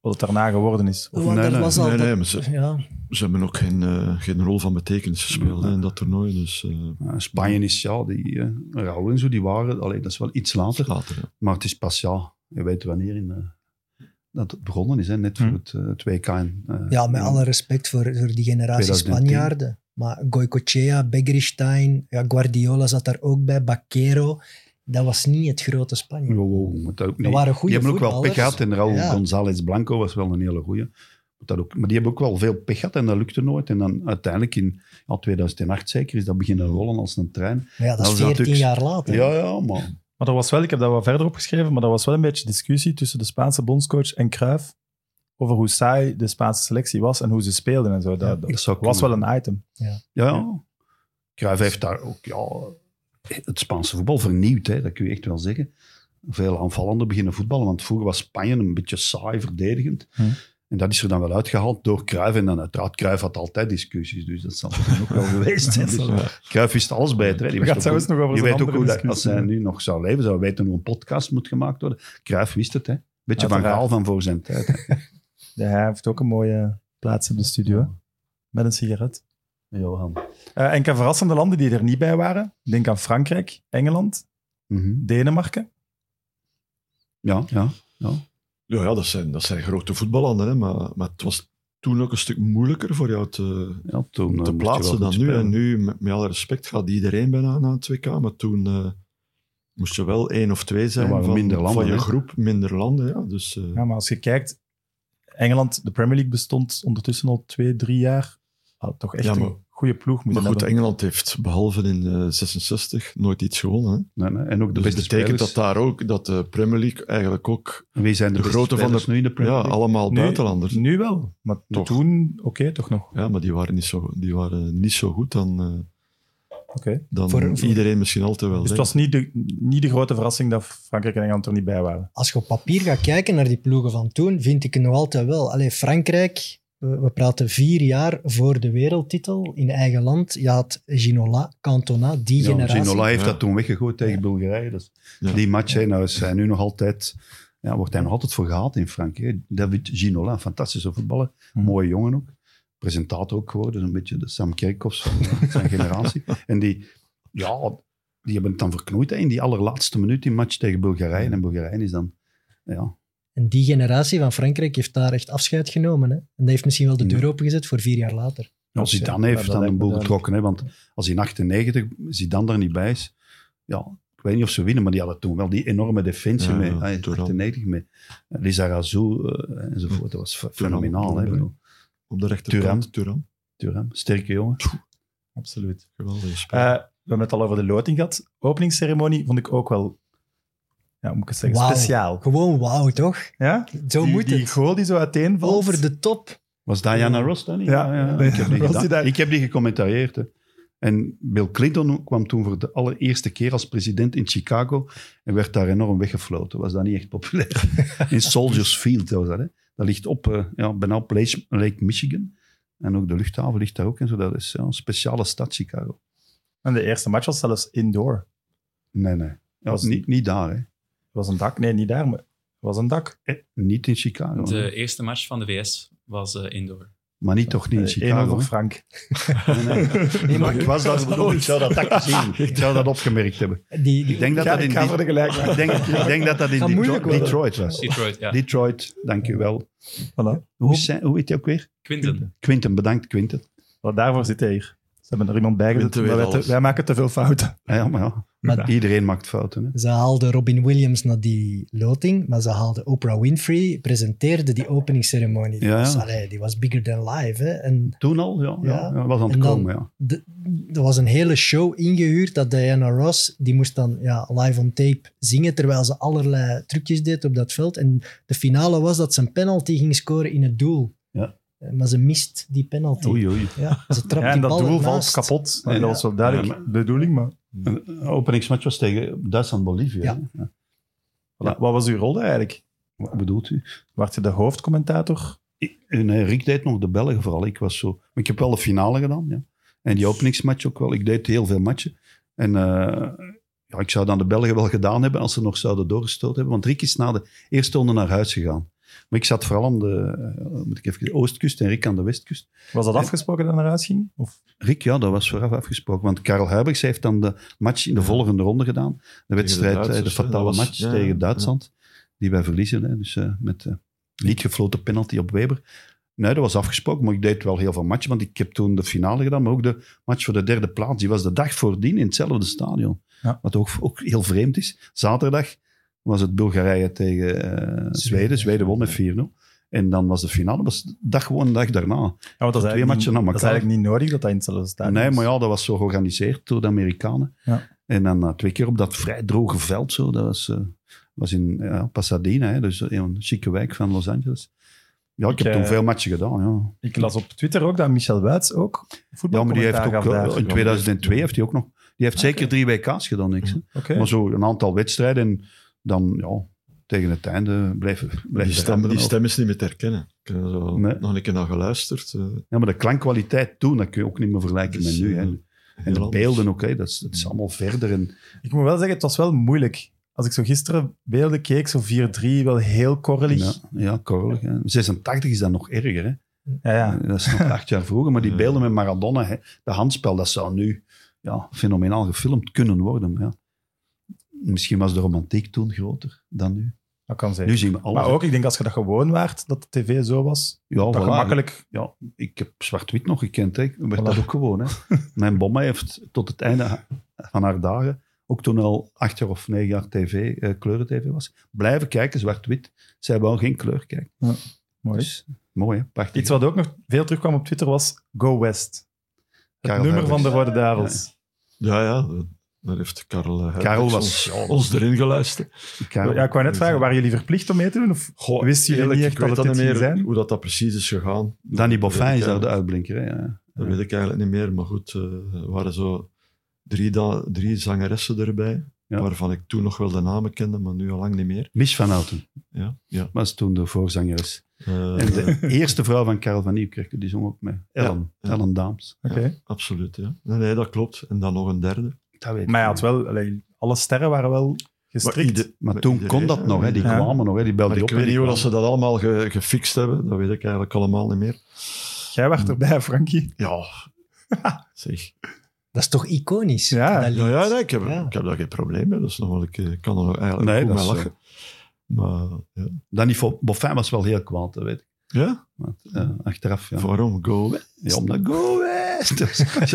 Speaker 2: wat het daarna geworden is? Of-
Speaker 5: Want
Speaker 3: Oh, nee,
Speaker 5: er
Speaker 3: nee,
Speaker 5: was al
Speaker 4: nee,
Speaker 5: dat-
Speaker 4: nee, maar ze,
Speaker 5: ja,
Speaker 4: ze hebben ook geen, eh, geen rol van betekenis gespeeld hè, in dat toernooi. Dus eh,
Speaker 3: Eh, Spanje is, ja, die eh Raul en zo, die waren, alleen dat is wel iets later.
Speaker 4: later. hè.
Speaker 3: Maar het is pas, ja, je weet wanneer in, eh, dat het begonnen is, hè? net voor
Speaker 2: Hm.
Speaker 3: het, eh, het WK. in, eh,
Speaker 5: ja, met
Speaker 3: in-
Speaker 5: alle respect voor, voor die generatie
Speaker 3: 2010.
Speaker 5: Spanjaarden. Maar Goicochea, Begristein, ja, Guardiola zat daar ook bij, Baquero. Dat was niet het grote Spanje.
Speaker 3: Wow, wow, moet dat ook niet.
Speaker 5: Dat waren
Speaker 3: die
Speaker 5: goede
Speaker 3: hebben ook wel pech
Speaker 5: voetballers.
Speaker 3: gehad en Raul
Speaker 5: Ja.
Speaker 3: González Blanco was wel een hele goeie. Moet Dat ook, maar die hebben ook wel veel pech gehad en dat lukte nooit. En dan uiteindelijk in ja, 2008 zeker is dat beginnen rollen als een trein.
Speaker 5: Maar ja, dat
Speaker 3: Dat
Speaker 5: is
Speaker 3: was
Speaker 5: 14
Speaker 3: natuurlijk-
Speaker 5: jaar later.
Speaker 3: Ja, ja, maar
Speaker 2: Maar er was wel, ik heb dat wel verder opgeschreven, maar er was wel een beetje discussie tussen de Spaanse bondscoach en Cruijff over hoe saai de Spaanse selectie was en hoe ze speelden en zo. Dat, dat
Speaker 3: dat zou
Speaker 2: was wel
Speaker 3: kunnen.
Speaker 2: een item.
Speaker 3: Ja, ja. Cruijff heeft daar ook ja, het Spaanse voetbal vernieuwd, hè, dat kun je echt wel zeggen. Veel aanvallender beginnen voetballen, want vroeger was Spanje een beetje saai verdedigend.
Speaker 2: Hm.
Speaker 3: En dat is er dan wel uitgehaald door Cruijff. En dan uiteraard, Cruijff had altijd discussies, dus dat zal er ook wel geweest zijn.
Speaker 2: Dat zal wel.
Speaker 3: Cruijff wist alles beter. Hè. Die
Speaker 2: We
Speaker 3: wist
Speaker 2: gaan
Speaker 3: ook
Speaker 2: het zo
Speaker 3: hoe-
Speaker 2: eens nog over
Speaker 3: je
Speaker 2: zo'n
Speaker 3: weet ook
Speaker 2: andere
Speaker 3: hoe dat, als
Speaker 2: discussie
Speaker 3: hij
Speaker 2: hebben.
Speaker 3: nu nog zou leven, zou weten hoe een podcast moet gemaakt worden. Cruijff wist het, hè. Beetje van
Speaker 2: Uiteraard.
Speaker 3: Gaal van voor zijn tijd. hè.
Speaker 2: Ja, hij heeft ook een mooie plaats in de studio, hè? met een sigaret.
Speaker 3: Johan.
Speaker 2: Eh enkele verrassende landen die er niet bij waren. Denk aan Frankrijk, Engeland,
Speaker 3: Mhm.
Speaker 2: Denemarken.
Speaker 3: Ja, ja.
Speaker 4: Ja, ja dat, zijn, dat zijn grote voetballanden, hè, maar, maar het was toen ook een stuk moeilijker voor jou te,
Speaker 3: ja toen, eh,
Speaker 4: om
Speaker 3: moest
Speaker 4: te
Speaker 3: je wel
Speaker 4: plaatsen dan
Speaker 3: goed
Speaker 4: nu.
Speaker 3: spelen.
Speaker 4: En nu, met, met alle respect, gaat iedereen bijna naar het WK. Maar toen eh, moest je wel één of twee zijn
Speaker 3: waren
Speaker 4: van,
Speaker 3: minder landen,
Speaker 4: van je
Speaker 3: hè?
Speaker 4: groep, minder landen. Ja. Dus, eh,
Speaker 2: Ja, maar als je kijkt, Engeland, de Premier League bestond ondertussen al twee, drie jaar. Had toch echt
Speaker 4: Ja, maar-
Speaker 2: een goede ploeg moeten
Speaker 4: maar goed,
Speaker 2: hebben.
Speaker 4: Engeland heeft behalve in eh, 66 nooit iets gewonnen. Hè.
Speaker 3: Nee, nee. En ook de
Speaker 4: Dus
Speaker 3: beste
Speaker 4: dat betekent
Speaker 3: spelers.
Speaker 4: dat daar ook, dat de Premier League eigenlijk ook,
Speaker 3: Wie zijn de,
Speaker 4: De
Speaker 3: beste
Speaker 4: grote van
Speaker 3: spelers
Speaker 4: de-
Speaker 3: nu in de Premier
Speaker 4: ja,
Speaker 3: League?
Speaker 4: allemaal
Speaker 2: Nu-
Speaker 4: buitenlanders.
Speaker 2: Nu wel, maar
Speaker 4: Toch.
Speaker 2: toen, oké, toch nog.
Speaker 4: Ja, maar die waren niet zo, die waren niet zo goed dan, eh,
Speaker 2: Oké.
Speaker 4: dan
Speaker 5: Voor- voor-
Speaker 4: iedereen misschien altijd wel
Speaker 2: Dus het
Speaker 4: denkt.
Speaker 2: was niet de, niet de grote verrassing dat Frankrijk en Engeland er niet bij waren.
Speaker 5: als je op papier gaat kijken naar die ploegen van toen, vind ik het nog altijd wel. Allee, Frankrijk, we, we praten vier jaar voor de wereldtitel in eigen land. Je had Ginola, Cantona, die
Speaker 3: Ja,
Speaker 5: generatie.
Speaker 3: Ginola heeft
Speaker 4: Ja.
Speaker 3: dat toen weggegooid tegen Bulgarije. Dus
Speaker 4: Ja.
Speaker 3: Die match, hè, nou is hij nu nog altijd, ja, wordt hij nog altijd voor gehaald in Frankrijk. hè. David Ginola, een fantastische voetballer.
Speaker 2: Hm.
Speaker 3: Mooie jongen ook. Presentator ook geworden. Dus een beetje de Sam Kerkhoffs van zijn generatie. En die, ja, die hebben het dan verknoeid hè, in die allerlaatste minuut in match tegen Bulgarije. En Bulgarije is dan, ja,
Speaker 5: En die generatie van Frankrijk heeft daar echt afscheid genomen. Hè? En dat heeft misschien wel de deur opengezet voor vier jaar later.
Speaker 3: Ja,
Speaker 2: Dus,
Speaker 3: Zidane
Speaker 2: ja,
Speaker 3: heeft
Speaker 2: dat
Speaker 3: dan
Speaker 2: lijkt
Speaker 3: een
Speaker 2: me
Speaker 3: boel
Speaker 2: duidelijk.
Speaker 3: getrokken. Hè, want als in 98 Zidane er niet bij is... Ja, ik weet niet of ze winnen, maar die hadden toen wel die enorme defensie
Speaker 4: Ja,
Speaker 3: mee.
Speaker 4: ja,
Speaker 3: ah, in
Speaker 4: toen al.
Speaker 3: 98 met Lizarazu eh, enzovoort. Dat was f- fenomenaal.
Speaker 4: toen
Speaker 3: Hè,
Speaker 4: al.
Speaker 3: bedoel.
Speaker 4: op de rechterkant. Turan.
Speaker 3: Thuram, sterke jongen.
Speaker 2: Absoluut. Eh,
Speaker 4: Geweldige speler.
Speaker 2: we hebben het al over de loting gehad. Openingsceremonie vond ik ook wel, ja, hoe moet ik het zeggen,
Speaker 5: Wauw.
Speaker 2: speciaal.
Speaker 5: Gewoon wauw, toch?
Speaker 2: Ja?
Speaker 5: Zo
Speaker 2: die,
Speaker 5: moet
Speaker 2: die
Speaker 5: het.
Speaker 2: goal die zo uiteenvalt.
Speaker 5: Over de top.
Speaker 3: Was Diana Ross dan niet? Ah,
Speaker 2: Ja,
Speaker 3: Ik, heb
Speaker 2: Diana
Speaker 3: die
Speaker 2: Ross
Speaker 3: gedaan.
Speaker 2: die daar-
Speaker 3: ik heb die gecommentarieerd. Hè. En Bill Clinton kwam toen voor de allereerste keer als president in Chicago en werd daar enorm weggefloten. Was dat niet echt populair? in Soldiers Field was dat. Hè. Dat ligt op eh, ja, bijna op Lake Lake Michigan. En ook de luchthaven ligt daar ook. En zo. Dat is ja, een speciale stad, Chicago.
Speaker 2: En de eerste match was zelfs indoor. Het
Speaker 3: Nee, nee. Ja,
Speaker 2: Was-
Speaker 3: niet, niet daar, hè.
Speaker 2: was een dak. Nee, niet daar, maar het was een dak.
Speaker 3: Eh, Niet in Chicago.
Speaker 6: De eerste match van de VS was eh, indoor.
Speaker 3: Maar niet toch niet in
Speaker 2: Eén
Speaker 3: Chicago.
Speaker 2: voor
Speaker 3: hè?
Speaker 2: Frank.
Speaker 3: Nee, nee. Nee, maar ik was daar bedoeld. Ik zou dat tactisch zien. Ik zou dat opgemerkt hebben.
Speaker 5: Die,
Speaker 3: Ik denk dat dat in,
Speaker 2: ik ga voor de
Speaker 3: Detroit-
Speaker 2: gelijk.
Speaker 3: ik denk, ik denk dat dat in
Speaker 5: Gaat moeilijk
Speaker 3: Detroit,
Speaker 5: worden.
Speaker 3: Detroit was.
Speaker 6: Detroit, ja.
Speaker 3: Detroit, dankjewel.
Speaker 2: Voilà.
Speaker 3: Hoe, is zijn- hoe heet hij ook weer?
Speaker 6: Quinten.
Speaker 3: Quinten, bedankt Quinten.
Speaker 2: Want daarvoor zit hij hier. Ze hebben er iemand bij gezet.
Speaker 4: Quinten weet
Speaker 2: maar Wij, te-
Speaker 4: alles.
Speaker 2: wij maken te veel fouten.
Speaker 3: Ja, maar ja.
Speaker 5: Maar-
Speaker 3: Iedereen maakt fouten. Hè?
Speaker 5: Ze haalden Robin Williams naar die loting, maar ze haalden Oprah Winfrey, presenteerde die openingsceremonie. Die,
Speaker 3: Ja, ja.
Speaker 5: was, allee, die was bigger than live. Hè? En
Speaker 3: Toen al, ja. ja.
Speaker 5: Ja.
Speaker 3: ja, was aan het
Speaker 5: En dan-
Speaker 3: komen, ja.
Speaker 5: de- er was een hele show ingehuurd dat Diana Ross, die moest dan ja, live on tape zingen, terwijl ze allerlei trucjes deed op dat veld. En de finale was dat ze een penalty ging scoren in het doel.
Speaker 3: Ja.
Speaker 5: Eh, Maar ze mist die penalty.
Speaker 3: Oei, oei.
Speaker 5: Ja, ze trapt
Speaker 2: Ja, en
Speaker 5: die
Speaker 2: dat
Speaker 5: bal
Speaker 2: doel valt
Speaker 5: ernaast.
Speaker 2: kapot.
Speaker 3: Ja.
Speaker 2: En dat was wel duidelijk
Speaker 3: Ja,
Speaker 2: de bedoeling. Maar...
Speaker 3: Een openingsmatch was tegen Duitsland-Bolivia.
Speaker 5: Ja.
Speaker 3: hè? Ja.
Speaker 2: Ja, Wat was uw rol daar eigenlijk?
Speaker 3: Wat bedoelt u?
Speaker 2: Werd je de hoofdcommentator?
Speaker 3: Ik- en, eh, Rick deed nog de Belgen vooral. Ik was zo... maar Ik heb wel de finale gedaan, ja. En die openingsmatch ook wel. Ik deed heel veel matchen. En eh, ja, ik zou dan de Belgen wel gedaan hebben als ze nog zouden doorgestoot hebben. Want Rick is na de eerste ronde naar huis gegaan. Maar ik zat vooral aan de, eh, moet ik even, de oostkust en Rick aan de westkust.
Speaker 2: Was dat
Speaker 3: Ja.
Speaker 2: afgesproken dat hij naar huis ging? Of?
Speaker 3: Rick, ja, dat was vooraf afgesproken. Want Karel Huibers heeft dan de match in de volgende ronde gedaan. De wedstrijd, eh, de,
Speaker 4: Duitsers, hè,
Speaker 3: fatale
Speaker 4: dat was-
Speaker 3: match
Speaker 4: ja, ja,
Speaker 3: tegen Duitsland. Die wij verliezen. Hè. Dus eh, met eh niet gefloten penalty op Weber. Nee, dat was afgesproken. Maar ik deed wel heel veel matchen. Want ik heb toen de finale gedaan. Maar ook de match voor de derde plaats. Die was de dag voordien in hetzelfde stadion.
Speaker 2: Ja.
Speaker 3: Wat ook, ook heel vreemd is. Zaterdag was het Bulgarije tegen eh, Zweden. Zweden won met 4-0. En dan was de finale. was de dag gewoon de dag daarna.
Speaker 2: Ja, want dat is,
Speaker 3: Twee
Speaker 2: eigenlijk
Speaker 3: matchen
Speaker 2: niet,
Speaker 3: na
Speaker 2: dat is
Speaker 3: elkaar.
Speaker 2: eigenlijk niet nodig dat hij in hetzelfde stadion
Speaker 3: Nee,
Speaker 2: is.
Speaker 3: maar ja, dat was zo georganiseerd door de Amerikanen.
Speaker 2: Ja.
Speaker 3: En dan eh, twee keer op dat vrij droge veld zo. Dat was, eh, was in ja, Pasadena, hè, dus een chique wijk van Los Angeles. Ja, ik
Speaker 2: Ik,
Speaker 3: heb toen
Speaker 2: eh,
Speaker 3: veel matchen gedaan, ja.
Speaker 2: Ik las op Twitter ook dat Michel Wuits ook
Speaker 3: Ja, maar die
Speaker 2: voetbalcommentaar
Speaker 3: heeft ook, eh,
Speaker 2: gaf daar.
Speaker 3: in 2002 heeft hij ook nog... Die heeft zeker drie WK's gedaan, niks. hè.
Speaker 2: Oké.
Speaker 3: Maar zo een aantal wedstrijden en dan, ja, tegen het einde blijven...
Speaker 4: Die,
Speaker 3: blijven
Speaker 4: stem, die stem is niet meer te herkennen. Ik heb er zo
Speaker 3: Nee.
Speaker 4: nog een keer naar geluisterd. eh,
Speaker 3: Ja, maar de klankkwaliteit toen, dat kun je ook niet meer vergelijken
Speaker 4: Dus,
Speaker 3: met nu.
Speaker 4: eh,
Speaker 3: Hè.
Speaker 4: heel
Speaker 3: En de
Speaker 4: anders.
Speaker 3: beelden ook, hè. Dat, is, dat is allemaal verder. En,
Speaker 2: Ik moet wel zeggen, het was wel moeilijk. Als ik zo gisteren beelden keek, zo 4-3, wel heel korrelig.
Speaker 3: ja,
Speaker 2: Ja,
Speaker 3: ja, korrelig. Hè. 86 is dan nog erger, hè.
Speaker 2: ja.
Speaker 3: Dat is nog acht jaar vroeger. Maar die
Speaker 4: Ja.
Speaker 3: beelden met Maradona, hè, de handspel, dat zou nu ja, fenomenaal gefilmd kunnen worden. Maar ja. Misschien was de romantiek toen groter dan nu.
Speaker 2: dat kan zijn.
Speaker 3: Nu zien we alles.
Speaker 2: maar
Speaker 3: hè.
Speaker 2: ook, ik denk als je dat gewoon waart, dat de tv zo was,
Speaker 3: ja,
Speaker 2: dat
Speaker 3: Oh, voilà.
Speaker 2: je makkelijk...
Speaker 3: Ja, ik heb zwart-wit nog gekend. Hè. Ik werd
Speaker 2: Voilà.
Speaker 3: dat ook gewoon. Hè. Mijn bomma heeft tot het einde ha- van haar dagen, ook toen al acht jaar of negen jaar tv, eh, kleuren-tv was, blijven kijken, zwart-wit. Zij wou geen kleur kijken.
Speaker 2: Mooi.
Speaker 3: Dus, mooi, hè? prachtig.
Speaker 2: Iets wat ook nog veel terugkwam op Twitter was Go West. Het
Speaker 3: Karel
Speaker 2: nummer
Speaker 3: Huibers.
Speaker 2: van de Rode Duivels.
Speaker 4: Ja, ja. eh, Daar heeft Karel, eh,
Speaker 3: Karel
Speaker 4: Hendricks
Speaker 3: was... Ja,
Speaker 4: ons, ons erin geluisterd.
Speaker 3: Karel-
Speaker 2: Ja, ik wou net vragen, waren jullie verplicht om mee te doen? Of
Speaker 4: Goh,
Speaker 2: wisten jullie
Speaker 4: eerlijk,
Speaker 2: niet echt
Speaker 4: ik weet
Speaker 2: dat het dit
Speaker 4: niet
Speaker 2: ging
Speaker 4: meer
Speaker 2: zijn?
Speaker 4: hoe dat, dat precies is gegaan.
Speaker 3: Danny
Speaker 4: Dat weet
Speaker 3: Boffin
Speaker 4: ik
Speaker 3: is daar
Speaker 4: eigenlijk-
Speaker 3: de uitblinker. Hè? ja.
Speaker 4: Dat weet ik eigenlijk niet meer. Maar goed, eh, er waren zo drie, da- drie zangeressen erbij.
Speaker 3: Ja.
Speaker 4: Waarvan ik toen nog wel de namen kende, maar nu al lang niet meer.
Speaker 3: Mich van Houten
Speaker 4: Ja, ja.
Speaker 3: was toen de voorzangeres.
Speaker 4: Eh,
Speaker 3: En de eerste vrouw van Karel van Nieuwkerk, die zong ook mee. Ellen,
Speaker 4: Ja.
Speaker 3: Ellen Daams.
Speaker 2: Oké.
Speaker 4: Eh, Absoluut, ja. Nee, nee, dat klopt. En dan nog een derde.
Speaker 3: Dat weet ik
Speaker 2: Maar ja,
Speaker 3: niet.
Speaker 2: het wel, allee, alle sterren waren wel gestrikt.
Speaker 4: ieder-
Speaker 3: maar toen
Speaker 4: iedereen,
Speaker 3: kon dat nog, hè. die
Speaker 2: Ja.
Speaker 3: kwamen nog, hè. die belden
Speaker 4: Maar ik
Speaker 3: op.
Speaker 4: weet niet hoe dat
Speaker 3: was
Speaker 4: ze dat allemaal ge- gefixt hebben. Dat weet ik eigenlijk allemaal niet meer.
Speaker 2: Jij werd erbij, Frankie.
Speaker 4: Ja, zeg.
Speaker 5: Dat is toch iconisch?
Speaker 2: Ja.
Speaker 5: dat lied.
Speaker 4: Ja, ja nee, ik, heb,
Speaker 5: Ja.
Speaker 4: ik heb daar geen probleem mee. Dat is nog wel, ik eh, kan er nog eigenlijk
Speaker 3: Nee,
Speaker 4: goed
Speaker 3: dat
Speaker 4: mee
Speaker 3: is,
Speaker 4: lachen. Maar ja.
Speaker 3: Danny Fo- Boffin was wel heel kwaad, dat weet ik.
Speaker 4: Ja?
Speaker 3: Want, eh, achteraf, ja.
Speaker 4: waarom? Go weg.
Speaker 3: ja omdat Go West! Dat was-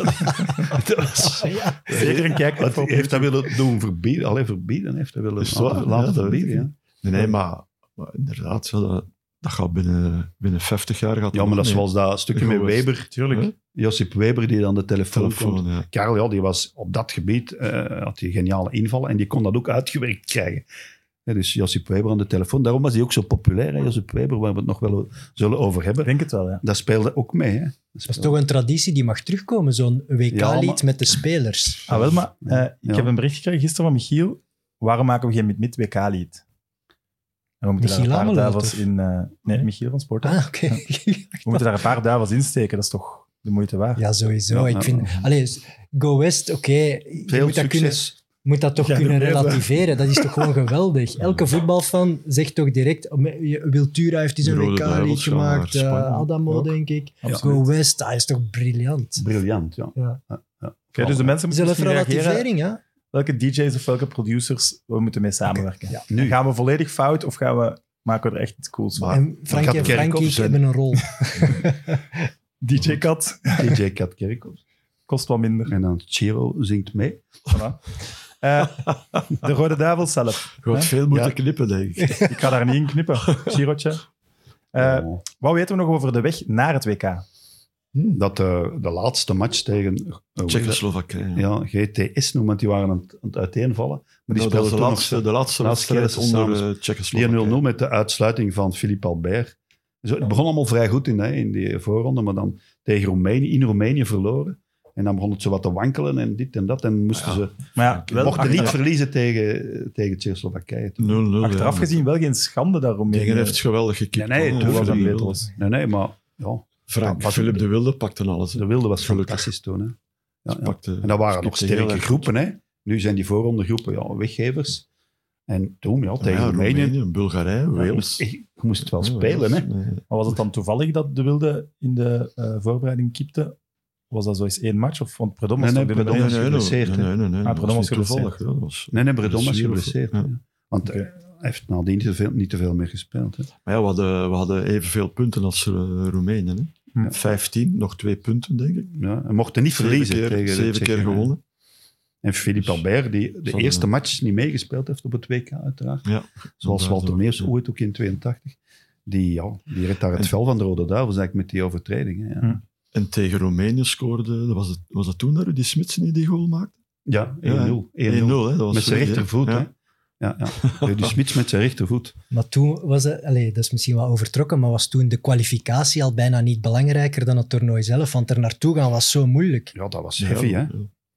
Speaker 3: dat was-
Speaker 5: Ja.
Speaker 2: Zeker een kijkje
Speaker 3: Wat
Speaker 2: op.
Speaker 3: heeft dat willen doen verbieden? Alleen verbieden heeft dat willen
Speaker 4: Is het waar?
Speaker 3: laten-
Speaker 4: Ja,
Speaker 3: laten
Speaker 4: dat weet
Speaker 3: verbieden.
Speaker 4: ik
Speaker 3: Ja.
Speaker 4: Nee, nee, maar, maar inderdaad, zo, dat, dat gaat binnen, binnen 50 jaar. Gaat
Speaker 3: ja, maar dat is zoals dat stukje
Speaker 4: Go
Speaker 3: met
Speaker 4: West.
Speaker 3: Weber.
Speaker 4: Tuurlijk.
Speaker 3: Josip Weber die dan de telefoon, telefoon
Speaker 4: Telefoon, ja.
Speaker 3: Karel, ja, die was op dat gebied, eh, had die geniale invallen en die kon dat ook uitgewerkt krijgen. Ja, dus Josip Weber aan de telefoon. Daarom was hij ook zo populair, hè, Josip Weber, waar we het nog wel o- zullen over
Speaker 2: Ik
Speaker 3: hebben.
Speaker 2: denk het wel, ja.
Speaker 3: Dat speelde ook mee. Hè.
Speaker 5: Dat is toch een traditie die mag terugkomen, zo'n WK-lied
Speaker 3: Ja, maar-
Speaker 5: met de spelers.
Speaker 2: Ah, wel, maar eh, ik
Speaker 3: Ja.
Speaker 2: heb een bericht gekregen gisteren van Michiel. Waarom maken we geen mid-WK-lied? En we moeten
Speaker 5: Michiel
Speaker 2: daar een paar
Speaker 5: Ameland,
Speaker 2: duivels
Speaker 5: of?
Speaker 2: in... eh, nee, Michiel van Sporta.
Speaker 5: Ah, oké.
Speaker 2: We moeten daar een paar duivels in steken. Dat is toch de moeite waard?
Speaker 5: Ja, sowieso.
Speaker 3: Ja,
Speaker 5: ik
Speaker 3: ja.
Speaker 5: vind... Allee, Go West, oké. je
Speaker 3: Veel
Speaker 5: moet dat kunnen-
Speaker 3: succes.
Speaker 5: moet dat toch
Speaker 2: Ja,
Speaker 5: kunnen
Speaker 2: dat weet ik.
Speaker 5: relativeren. Dat is toch gewoon geweldig. Elke voetbalfan zegt toch direct... oh, Wiltura heeft die
Speaker 4: Die
Speaker 5: zo'n
Speaker 4: rode
Speaker 5: WK-lied
Speaker 4: duivels gaan naar
Speaker 5: gemaakt. eh,
Speaker 4: Spanje.
Speaker 5: Adamo,
Speaker 4: Ook.
Speaker 5: denk ik.
Speaker 2: Absoluut.
Speaker 5: Go West, dat is toch briljant.
Speaker 3: Briljant, ja.
Speaker 5: Ja.
Speaker 2: Oké, dus de mensen moeten
Speaker 5: Zelf
Speaker 2: misschien reageren
Speaker 5: relativering, ja.
Speaker 2: welke DJ's of welke producers we moeten mee samenwerken.
Speaker 5: Ja.
Speaker 3: Nu.
Speaker 2: Gaan we volledig fout of gaan we, maken we er echt iets cools van?
Speaker 3: Maar-
Speaker 5: En
Speaker 3: gaat
Speaker 5: Frankie en
Speaker 3: Kerkhoff
Speaker 5: Frankie
Speaker 3: zijn.
Speaker 5: hebben een rol.
Speaker 2: DJ Kat
Speaker 3: DJ Kat Kerkhoff.
Speaker 2: kost wat minder.
Speaker 3: En dan Chiro zingt mee.
Speaker 2: Voilà. Eh, de Rode Duivel zelf.
Speaker 4: Je gaat
Speaker 2: Hè?
Speaker 4: veel moeten
Speaker 3: Ja.
Speaker 4: knippen, denk ik.
Speaker 2: Ik ga daar niet in knippen. Chirotje. Eh,
Speaker 3: Oh.
Speaker 2: Wat weten we nog over de weg naar het WK?
Speaker 3: Dat eh, de laatste match tegen eh,
Speaker 4: Tsjechoslowakije. Ja.
Speaker 3: ja, GTS noemen, want die waren aan het, aan het uiteenvallen. Maar die
Speaker 4: Nou, dat is
Speaker 3: speelden
Speaker 4: de
Speaker 3: toen
Speaker 4: laatste,
Speaker 3: nog
Speaker 4: de laatste
Speaker 3: laatste keer
Speaker 4: wedstrijd
Speaker 3: dat ze
Speaker 4: onder
Speaker 3: samen-
Speaker 4: eh,
Speaker 3: steeds 4-0
Speaker 4: Tsjechoslowakije.
Speaker 3: met de uitsluiting van Philippe Albert. Zo, het begon allemaal vrij goed in, hè, in die voorronde, maar dan tegen Roemenië, in Roemenië verloren. En dan begon het zo wat te wankelen en dit en dat. En moesten
Speaker 4: Ja,
Speaker 3: ze
Speaker 2: Maar ja, wel
Speaker 3: mochten
Speaker 2: achter-
Speaker 3: niet verliezen tegen, tegen Tsjechoslowakije.
Speaker 4: 0-0.
Speaker 2: achteraf
Speaker 4: ja.
Speaker 2: gezien wel geen schande daarom. eh,
Speaker 4: Tegen heeft geweldig gekipt.
Speaker 3: Nee, nee,
Speaker 4: hoor.
Speaker 3: toen
Speaker 4: Ja,
Speaker 3: was
Speaker 4: Philippe
Speaker 2: het
Speaker 4: de Wilde.
Speaker 2: beter.
Speaker 3: Nee, nee, maar ja,
Speaker 4: Frank,
Speaker 3: Ja, wat-
Speaker 4: Philip de Wilde pakte alles. hè.
Speaker 3: de wilde was
Speaker 4: Gelukkig.
Speaker 3: fantastisch toen. Hè. Ja,
Speaker 4: Ze
Speaker 3: ja.
Speaker 4: pakte-
Speaker 3: En dat waren
Speaker 4: ze
Speaker 3: nog
Speaker 4: pakte heel
Speaker 3: sterke
Speaker 4: erg
Speaker 3: groepen. Hè. Nu zijn die voorronde groepen ja, weggevers. En toen, ja,
Speaker 4: goed.
Speaker 3: tegen
Speaker 4: Ja,
Speaker 3: Roemenië.
Speaker 4: Bulgarije,
Speaker 3: Ja, je
Speaker 4: Wales.
Speaker 3: moest- Je moest het wel spelen, hè.
Speaker 2: Maar was het dan toevallig dat De Wilde in de eh, voorbereiding kipte? Was dat zo eens één match? Of, want Predom was
Speaker 3: Nee,
Speaker 2: er
Speaker 3: nee,
Speaker 2: binnen-
Speaker 3: Predom-
Speaker 4: Nee, nee, nee, nee,
Speaker 3: geblesseerd, hè?
Speaker 4: nee, nee, nee.
Speaker 2: Ah,
Speaker 4: Dat was
Speaker 2: Bredon was
Speaker 4: niet toevallig.
Speaker 2: geblesseerd.
Speaker 4: hè. Dat was-
Speaker 3: Nee, nee, Bredon was
Speaker 4: Blessure,
Speaker 3: geblesseerd.
Speaker 4: ja.
Speaker 3: ja. Want eh, hij heeft nadien niet te veel, niet te veel meer gespeeld. Hè.
Speaker 4: Maar ja, we hadden, we hadden evenveel punten als eh, Roemenen. Hè?
Speaker 2: Hm.
Speaker 4: 15, nog twee punten, denk ik.
Speaker 3: Ja, hij mocht er niet verliezen.
Speaker 4: zeven keer,
Speaker 3: tegen de
Speaker 4: zeven
Speaker 3: Tsjechen,
Speaker 4: keer
Speaker 3: hè.
Speaker 4: gewonnen.
Speaker 3: En Philippe
Speaker 4: Dus-
Speaker 3: Albert, die de
Speaker 4: Zal-
Speaker 3: eerste match niet meegespeeld heeft op het WK, uiteraard.
Speaker 4: Ja.
Speaker 3: Zoals
Speaker 4: Inderdaad,
Speaker 3: Walter
Speaker 4: ja.
Speaker 3: Meers ooit ook in 82. Die, ja, die redt daar het
Speaker 4: En-
Speaker 3: vel van de Rode Duivels eigenlijk met die overtreding. Hè. Ja,
Speaker 2: Hm.
Speaker 4: En tegen Roemenië scoorde, was, het, was dat toen dat Rudy Smits niet die goal maakte?
Speaker 3: ja 1-0.
Speaker 4: 1-0, hè,
Speaker 3: 1-0.
Speaker 4: dat was
Speaker 3: Met zijn
Speaker 4: vreemd, hè.
Speaker 3: rechtervoet.
Speaker 4: Ja.
Speaker 3: Hè. Ja, ja. Rudy Smits met zijn rechtervoet.
Speaker 5: Maar toen was het, allee, dat is misschien wel overtrokken, maar was toen de kwalificatie al bijna niet belangrijker dan het toernooi zelf? Want er naartoe gaan was zo moeilijk.
Speaker 3: Ja, dat was
Speaker 4: Ja,
Speaker 3: heavy, hè.
Speaker 4: ja.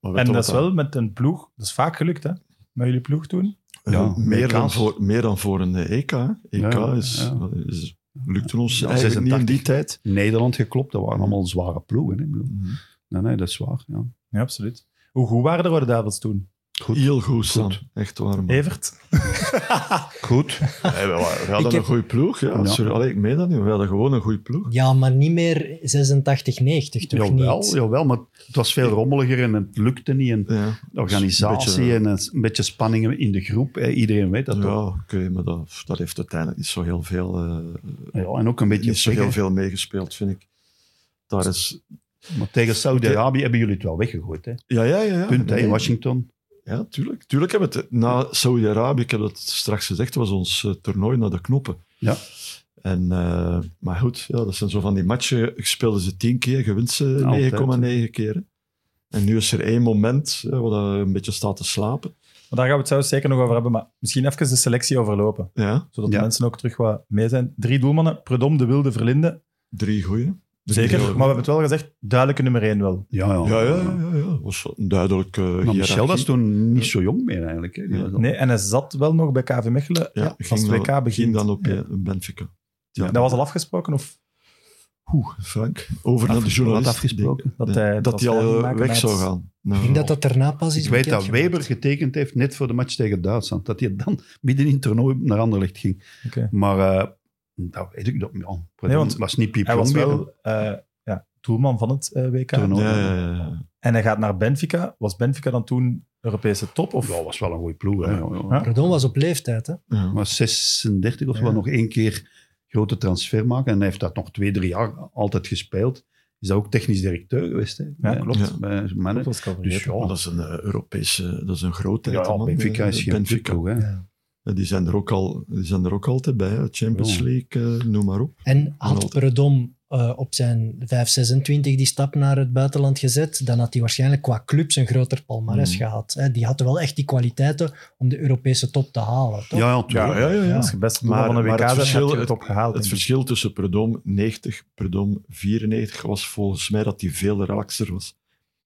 Speaker 4: Maar weet
Speaker 2: En
Speaker 4: je
Speaker 2: dat
Speaker 4: wat
Speaker 2: is wel met een ploeg. Dat is vaak gelukt, hè? Met jullie ploeg toen.
Speaker 3: Ja,
Speaker 4: meer, dan
Speaker 3: EK's.
Speaker 4: voor, meer dan voor een eh, EK. hè. EK
Speaker 3: Ja,
Speaker 4: is,
Speaker 3: ja.
Speaker 4: is, lukte ons
Speaker 3: Ja,
Speaker 4: eigenlijk niet in die
Speaker 3: 86.
Speaker 4: tijd.
Speaker 3: Nederland geklopt, dat waren allemaal zware ploegen. Hè. Ik bedoel, Nee, nee, dat is waar. Ja.
Speaker 2: Ja, absoluut. Hoe goed waren de Rode Duivels toen?
Speaker 3: Goed.
Speaker 4: Heel goed, Sam.
Speaker 3: Goed.
Speaker 4: Echt waar.
Speaker 3: Eh,
Speaker 4: man.
Speaker 2: Evert?
Speaker 3: Goed.
Speaker 4: Nee, we, we hadden
Speaker 5: Ik heb-
Speaker 4: een goede ploeg. Ja.
Speaker 3: Ja.
Speaker 4: Sorry, allee, ik meen dat niet. We hadden gewoon een goede ploeg.
Speaker 5: Ja, maar niet meer 86, 90, toch
Speaker 3: Jawel,
Speaker 5: niet?
Speaker 3: jawel, maar het was veel rommeliger en het lukte niet. En
Speaker 4: Ja,
Speaker 3: de organisatie
Speaker 4: Beetje-
Speaker 3: en een, een beetje spanningen in de groep. hè, Iedereen weet dat
Speaker 4: ja
Speaker 3: toch?
Speaker 4: oké, maar dat, dat heeft uiteindelijk niet zo heel veel, eh,
Speaker 3: Ja, en ook een beetje
Speaker 4: niet zo heel
Speaker 3: pech,
Speaker 4: veel meegespeeld, vind ik. Daar is,
Speaker 3: hè. Maar tegen Saudi-Arabië hebben jullie het wel weggegooid. Hè?
Speaker 4: ja, ja, ja. ja.
Speaker 3: Punt hè, in
Speaker 4: Nee.
Speaker 3: Washington.
Speaker 4: Ja, tuurlijk. Tuurlijk hebben we het. eh, Na Saudi-Arabië, ik heb dat straks gezegd, was ons eh, toernooi naar de knoppen.
Speaker 3: Ja.
Speaker 4: En, eh, maar goed, ja, dat zijn zo van die matchen. Ik speelde ze tien keer, gewint
Speaker 3: Altijd.
Speaker 4: ze 9,9 keer. hè. En nu is er één moment eh, waar dat een beetje staat te slapen.
Speaker 2: Maar daar gaan we het zo zeker nog over hebben. Maar misschien even de selectie overlopen.
Speaker 4: Ja,
Speaker 2: Zodat
Speaker 3: Ja.
Speaker 2: de mensen ook terug wat mee zijn. Drie doelmannen. Predom, De Wilde, Verlinde.
Speaker 4: drie goeie. Drie
Speaker 2: Zeker. Maar
Speaker 4: heel
Speaker 2: we
Speaker 4: goeie.
Speaker 2: hebben het wel gezegd. Duidelijke nummer één wel.
Speaker 3: Ja, ja.
Speaker 4: Ja, ja, ja. ja, ja. was een duidelijk. eh
Speaker 3: Maar Michel
Speaker 4: hiërarchie.
Speaker 3: was toen niet zo jong meer eigenlijk. Hè? Die
Speaker 4: Ja.
Speaker 3: was al-
Speaker 2: Nee, en hij zat wel nog bij KV Mechelen.
Speaker 4: Ja, ging
Speaker 2: als het
Speaker 4: dan-
Speaker 2: WK begint.
Speaker 4: Ging dan op
Speaker 2: Ja.
Speaker 4: eh, Benfica.
Speaker 2: Dat was al afgesproken? Of
Speaker 4: Oeh, Frank. Over naar de
Speaker 3: Afgesproken,
Speaker 4: journalist.
Speaker 3: wat afgesproken.
Speaker 4: Dat,
Speaker 2: dat hij,
Speaker 4: dat hij al eh,
Speaker 2: maken
Speaker 4: weg
Speaker 2: uit-
Speaker 4: zou gaan.
Speaker 5: Ik denk dat dat daarna pas is
Speaker 3: dus Ik weet dat
Speaker 5: bekendgemaakt.
Speaker 3: Weber getekend heeft net voor de match tegen Duitsland. Dat hij dan midden in het toernooi naar Anderlecht ging.
Speaker 2: Oké.
Speaker 3: Maar eh, dat weet ik nog niet. Ja,
Speaker 2: Nee, want
Speaker 3: was niet Piep
Speaker 2: Hij was
Speaker 3: Jong meer.
Speaker 2: wel eh ja, doelman van het eh, WK.
Speaker 3: Toernooi.
Speaker 4: Ja, ja, ja, ja.
Speaker 2: En hij gaat naar Benfica. Was Benfica dan toen Europese top? Of
Speaker 3: Ja, was wel een goede ploeg. Hè? Ja, ja.
Speaker 2: Ja.
Speaker 5: Pardon was op leeftijd, hè?
Speaker 4: Ja.
Speaker 3: Maar 36 of
Speaker 2: Ja.
Speaker 3: wel nog één keer grote transfer maken. En hij heeft dat nog twee, drie jaar altijd gespeeld. Is dat ook technisch directeur geweest? Hè? Bij-
Speaker 2: klopt.
Speaker 4: Ja.
Speaker 3: Bij zijn
Speaker 2: dat
Speaker 3: mannen.
Speaker 2: was ik al
Speaker 3: Dus
Speaker 2: vergeten.
Speaker 3: ja,
Speaker 4: Maar Dat is een eh, Europese, dat is een grootheid.
Speaker 3: ja,
Speaker 4: hè, man.
Speaker 3: Benfica
Speaker 4: Eh,
Speaker 3: is geen
Speaker 4: Benfica.
Speaker 3: ploeg, hè.
Speaker 5: Ja.
Speaker 4: Eh, Die zijn, er ook al, die zijn er ook altijd bij. hè. Champions
Speaker 3: Ja.
Speaker 4: League, eh, noem maar op.
Speaker 5: En had
Speaker 4: Wel.
Speaker 5: Predom eh, op zijn 5,26 die stap naar het buitenland gezet, dan had hij waarschijnlijk qua clubs een groter palmares
Speaker 3: Hmm.
Speaker 4: Mm.
Speaker 5: gehad. Hè? Die had wel echt die kwaliteiten om de Europese top te halen, toch?
Speaker 3: Ja, ja, tuurlijk.
Speaker 4: ja, ja, ja.
Speaker 2: Als je best
Speaker 4: Maar-
Speaker 2: maar, van een
Speaker 4: maar
Speaker 2: WK
Speaker 4: het
Speaker 2: bent, heb
Speaker 4: verschil-
Speaker 2: je het opgehaald.
Speaker 4: Het
Speaker 2: denk ik.
Speaker 4: verschil tussen Predom 90, Predom 94 was volgens mij dat hij veel relaxer was.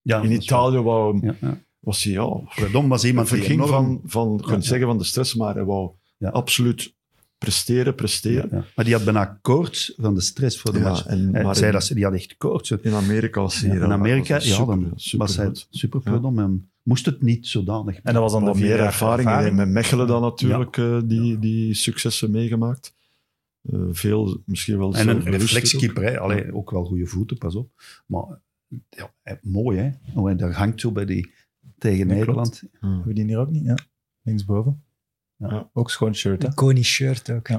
Speaker 3: Ja,
Speaker 4: In
Speaker 3: dat is waar.
Speaker 4: Italië wou hem-
Speaker 3: Ja, ja.
Speaker 4: was hij, ja,
Speaker 3: Predom was iemand die
Speaker 4: verging
Speaker 3: enorm...
Speaker 4: van, van ik kan
Speaker 3: Ja.
Speaker 4: zeggen van de stress, maar hij wou
Speaker 3: Ja.
Speaker 4: absoluut presteren, presteren.
Speaker 3: Ja. Maar die had bijna koorts van de stress voor de
Speaker 4: Ja,
Speaker 3: match.
Speaker 4: en-
Speaker 3: Eh,
Speaker 4: maar
Speaker 3: zei
Speaker 4: in-
Speaker 3: dat ze, die had echt koorts.
Speaker 4: In Amerika was
Speaker 3: Ja,
Speaker 4: hier
Speaker 3: in Amerika ja, dan was hij
Speaker 4: super
Speaker 3: super
Speaker 4: Ja.
Speaker 3: prudom en moest het niet zodanig.
Speaker 2: En dat was dan de
Speaker 4: Wat
Speaker 2: vier
Speaker 4: meer
Speaker 2: jaar
Speaker 4: ervaring.
Speaker 2: ervaring.
Speaker 4: Met Mechelen dan natuurlijk eh, die, die successen meegemaakt. Eh, veel, misschien wel
Speaker 3: En een
Speaker 4: zelfbewuster ook.
Speaker 3: reflexkeeper, hè. Allee, ook wel goede voeten, pas op. Maar ja, eh, mooi, hè? Oh, en daar hangt zo bij die tegen
Speaker 2: Ja,
Speaker 3: Nederland.
Speaker 4: Ja.
Speaker 2: Hebben we die hier ook niet? Ja. Linksboven. Ja.
Speaker 4: Ja.
Speaker 2: Ook schoon shirt. Hè?
Speaker 5: Iconisch shirt ook.
Speaker 2: Eh,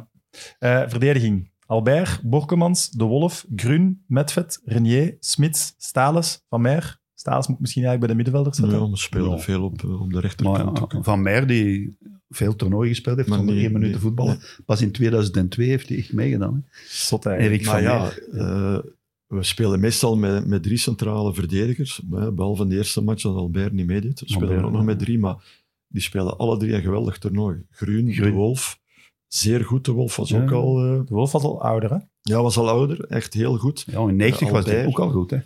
Speaker 2: verdediging. Albert, Borkemans, De Wolf, Grun, Medved, Renier, Smits, Stales, Van Meer. Stales moet ik misschien eigenlijk bij de middenvelders zetten.
Speaker 4: Ja, we speelden
Speaker 3: Ja.
Speaker 4: veel op, eh, op de
Speaker 3: Maar
Speaker 4: rechterkant.
Speaker 3: ja,
Speaker 4: ook, hè.
Speaker 3: Van Meer, die veel toernooien gespeeld heeft,
Speaker 4: Maar
Speaker 3: zonder
Speaker 4: nee,
Speaker 3: één minuut te
Speaker 4: nee,
Speaker 3: voetballen. Pas in 2002 heeft hij echt meegedaan. hè.
Speaker 2: Zot eigenlijk.
Speaker 3: Erik
Speaker 4: Maar
Speaker 3: van
Speaker 4: ja,
Speaker 3: Meer.
Speaker 4: eh, we spelen meestal met, met drie centrale verdedigers. hè, Behalve de eerste match dat Albert niet meedeed. We spelen
Speaker 3: Albert,
Speaker 4: we ook nog met drie, maar die spelen alle drie een geweldig toernooi. Groen,
Speaker 3: Groen.
Speaker 4: De Wolf. Zeer goed, De Wolf was
Speaker 3: Ja.
Speaker 4: ook al... eh,
Speaker 2: De Wolf was al ouder, hè?
Speaker 4: ja, was al ouder. Echt heel goed.
Speaker 3: Ja, in 90 was hij
Speaker 4: Albert.
Speaker 3: ook al goed. Hè?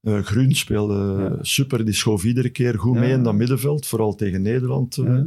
Speaker 4: Eh, Groen speelde
Speaker 3: Ja.
Speaker 4: super, die schoof iedere keer goed
Speaker 3: Ja.
Speaker 4: mee in dat middenveld. Vooral tegen Nederland eh,
Speaker 3: Ja.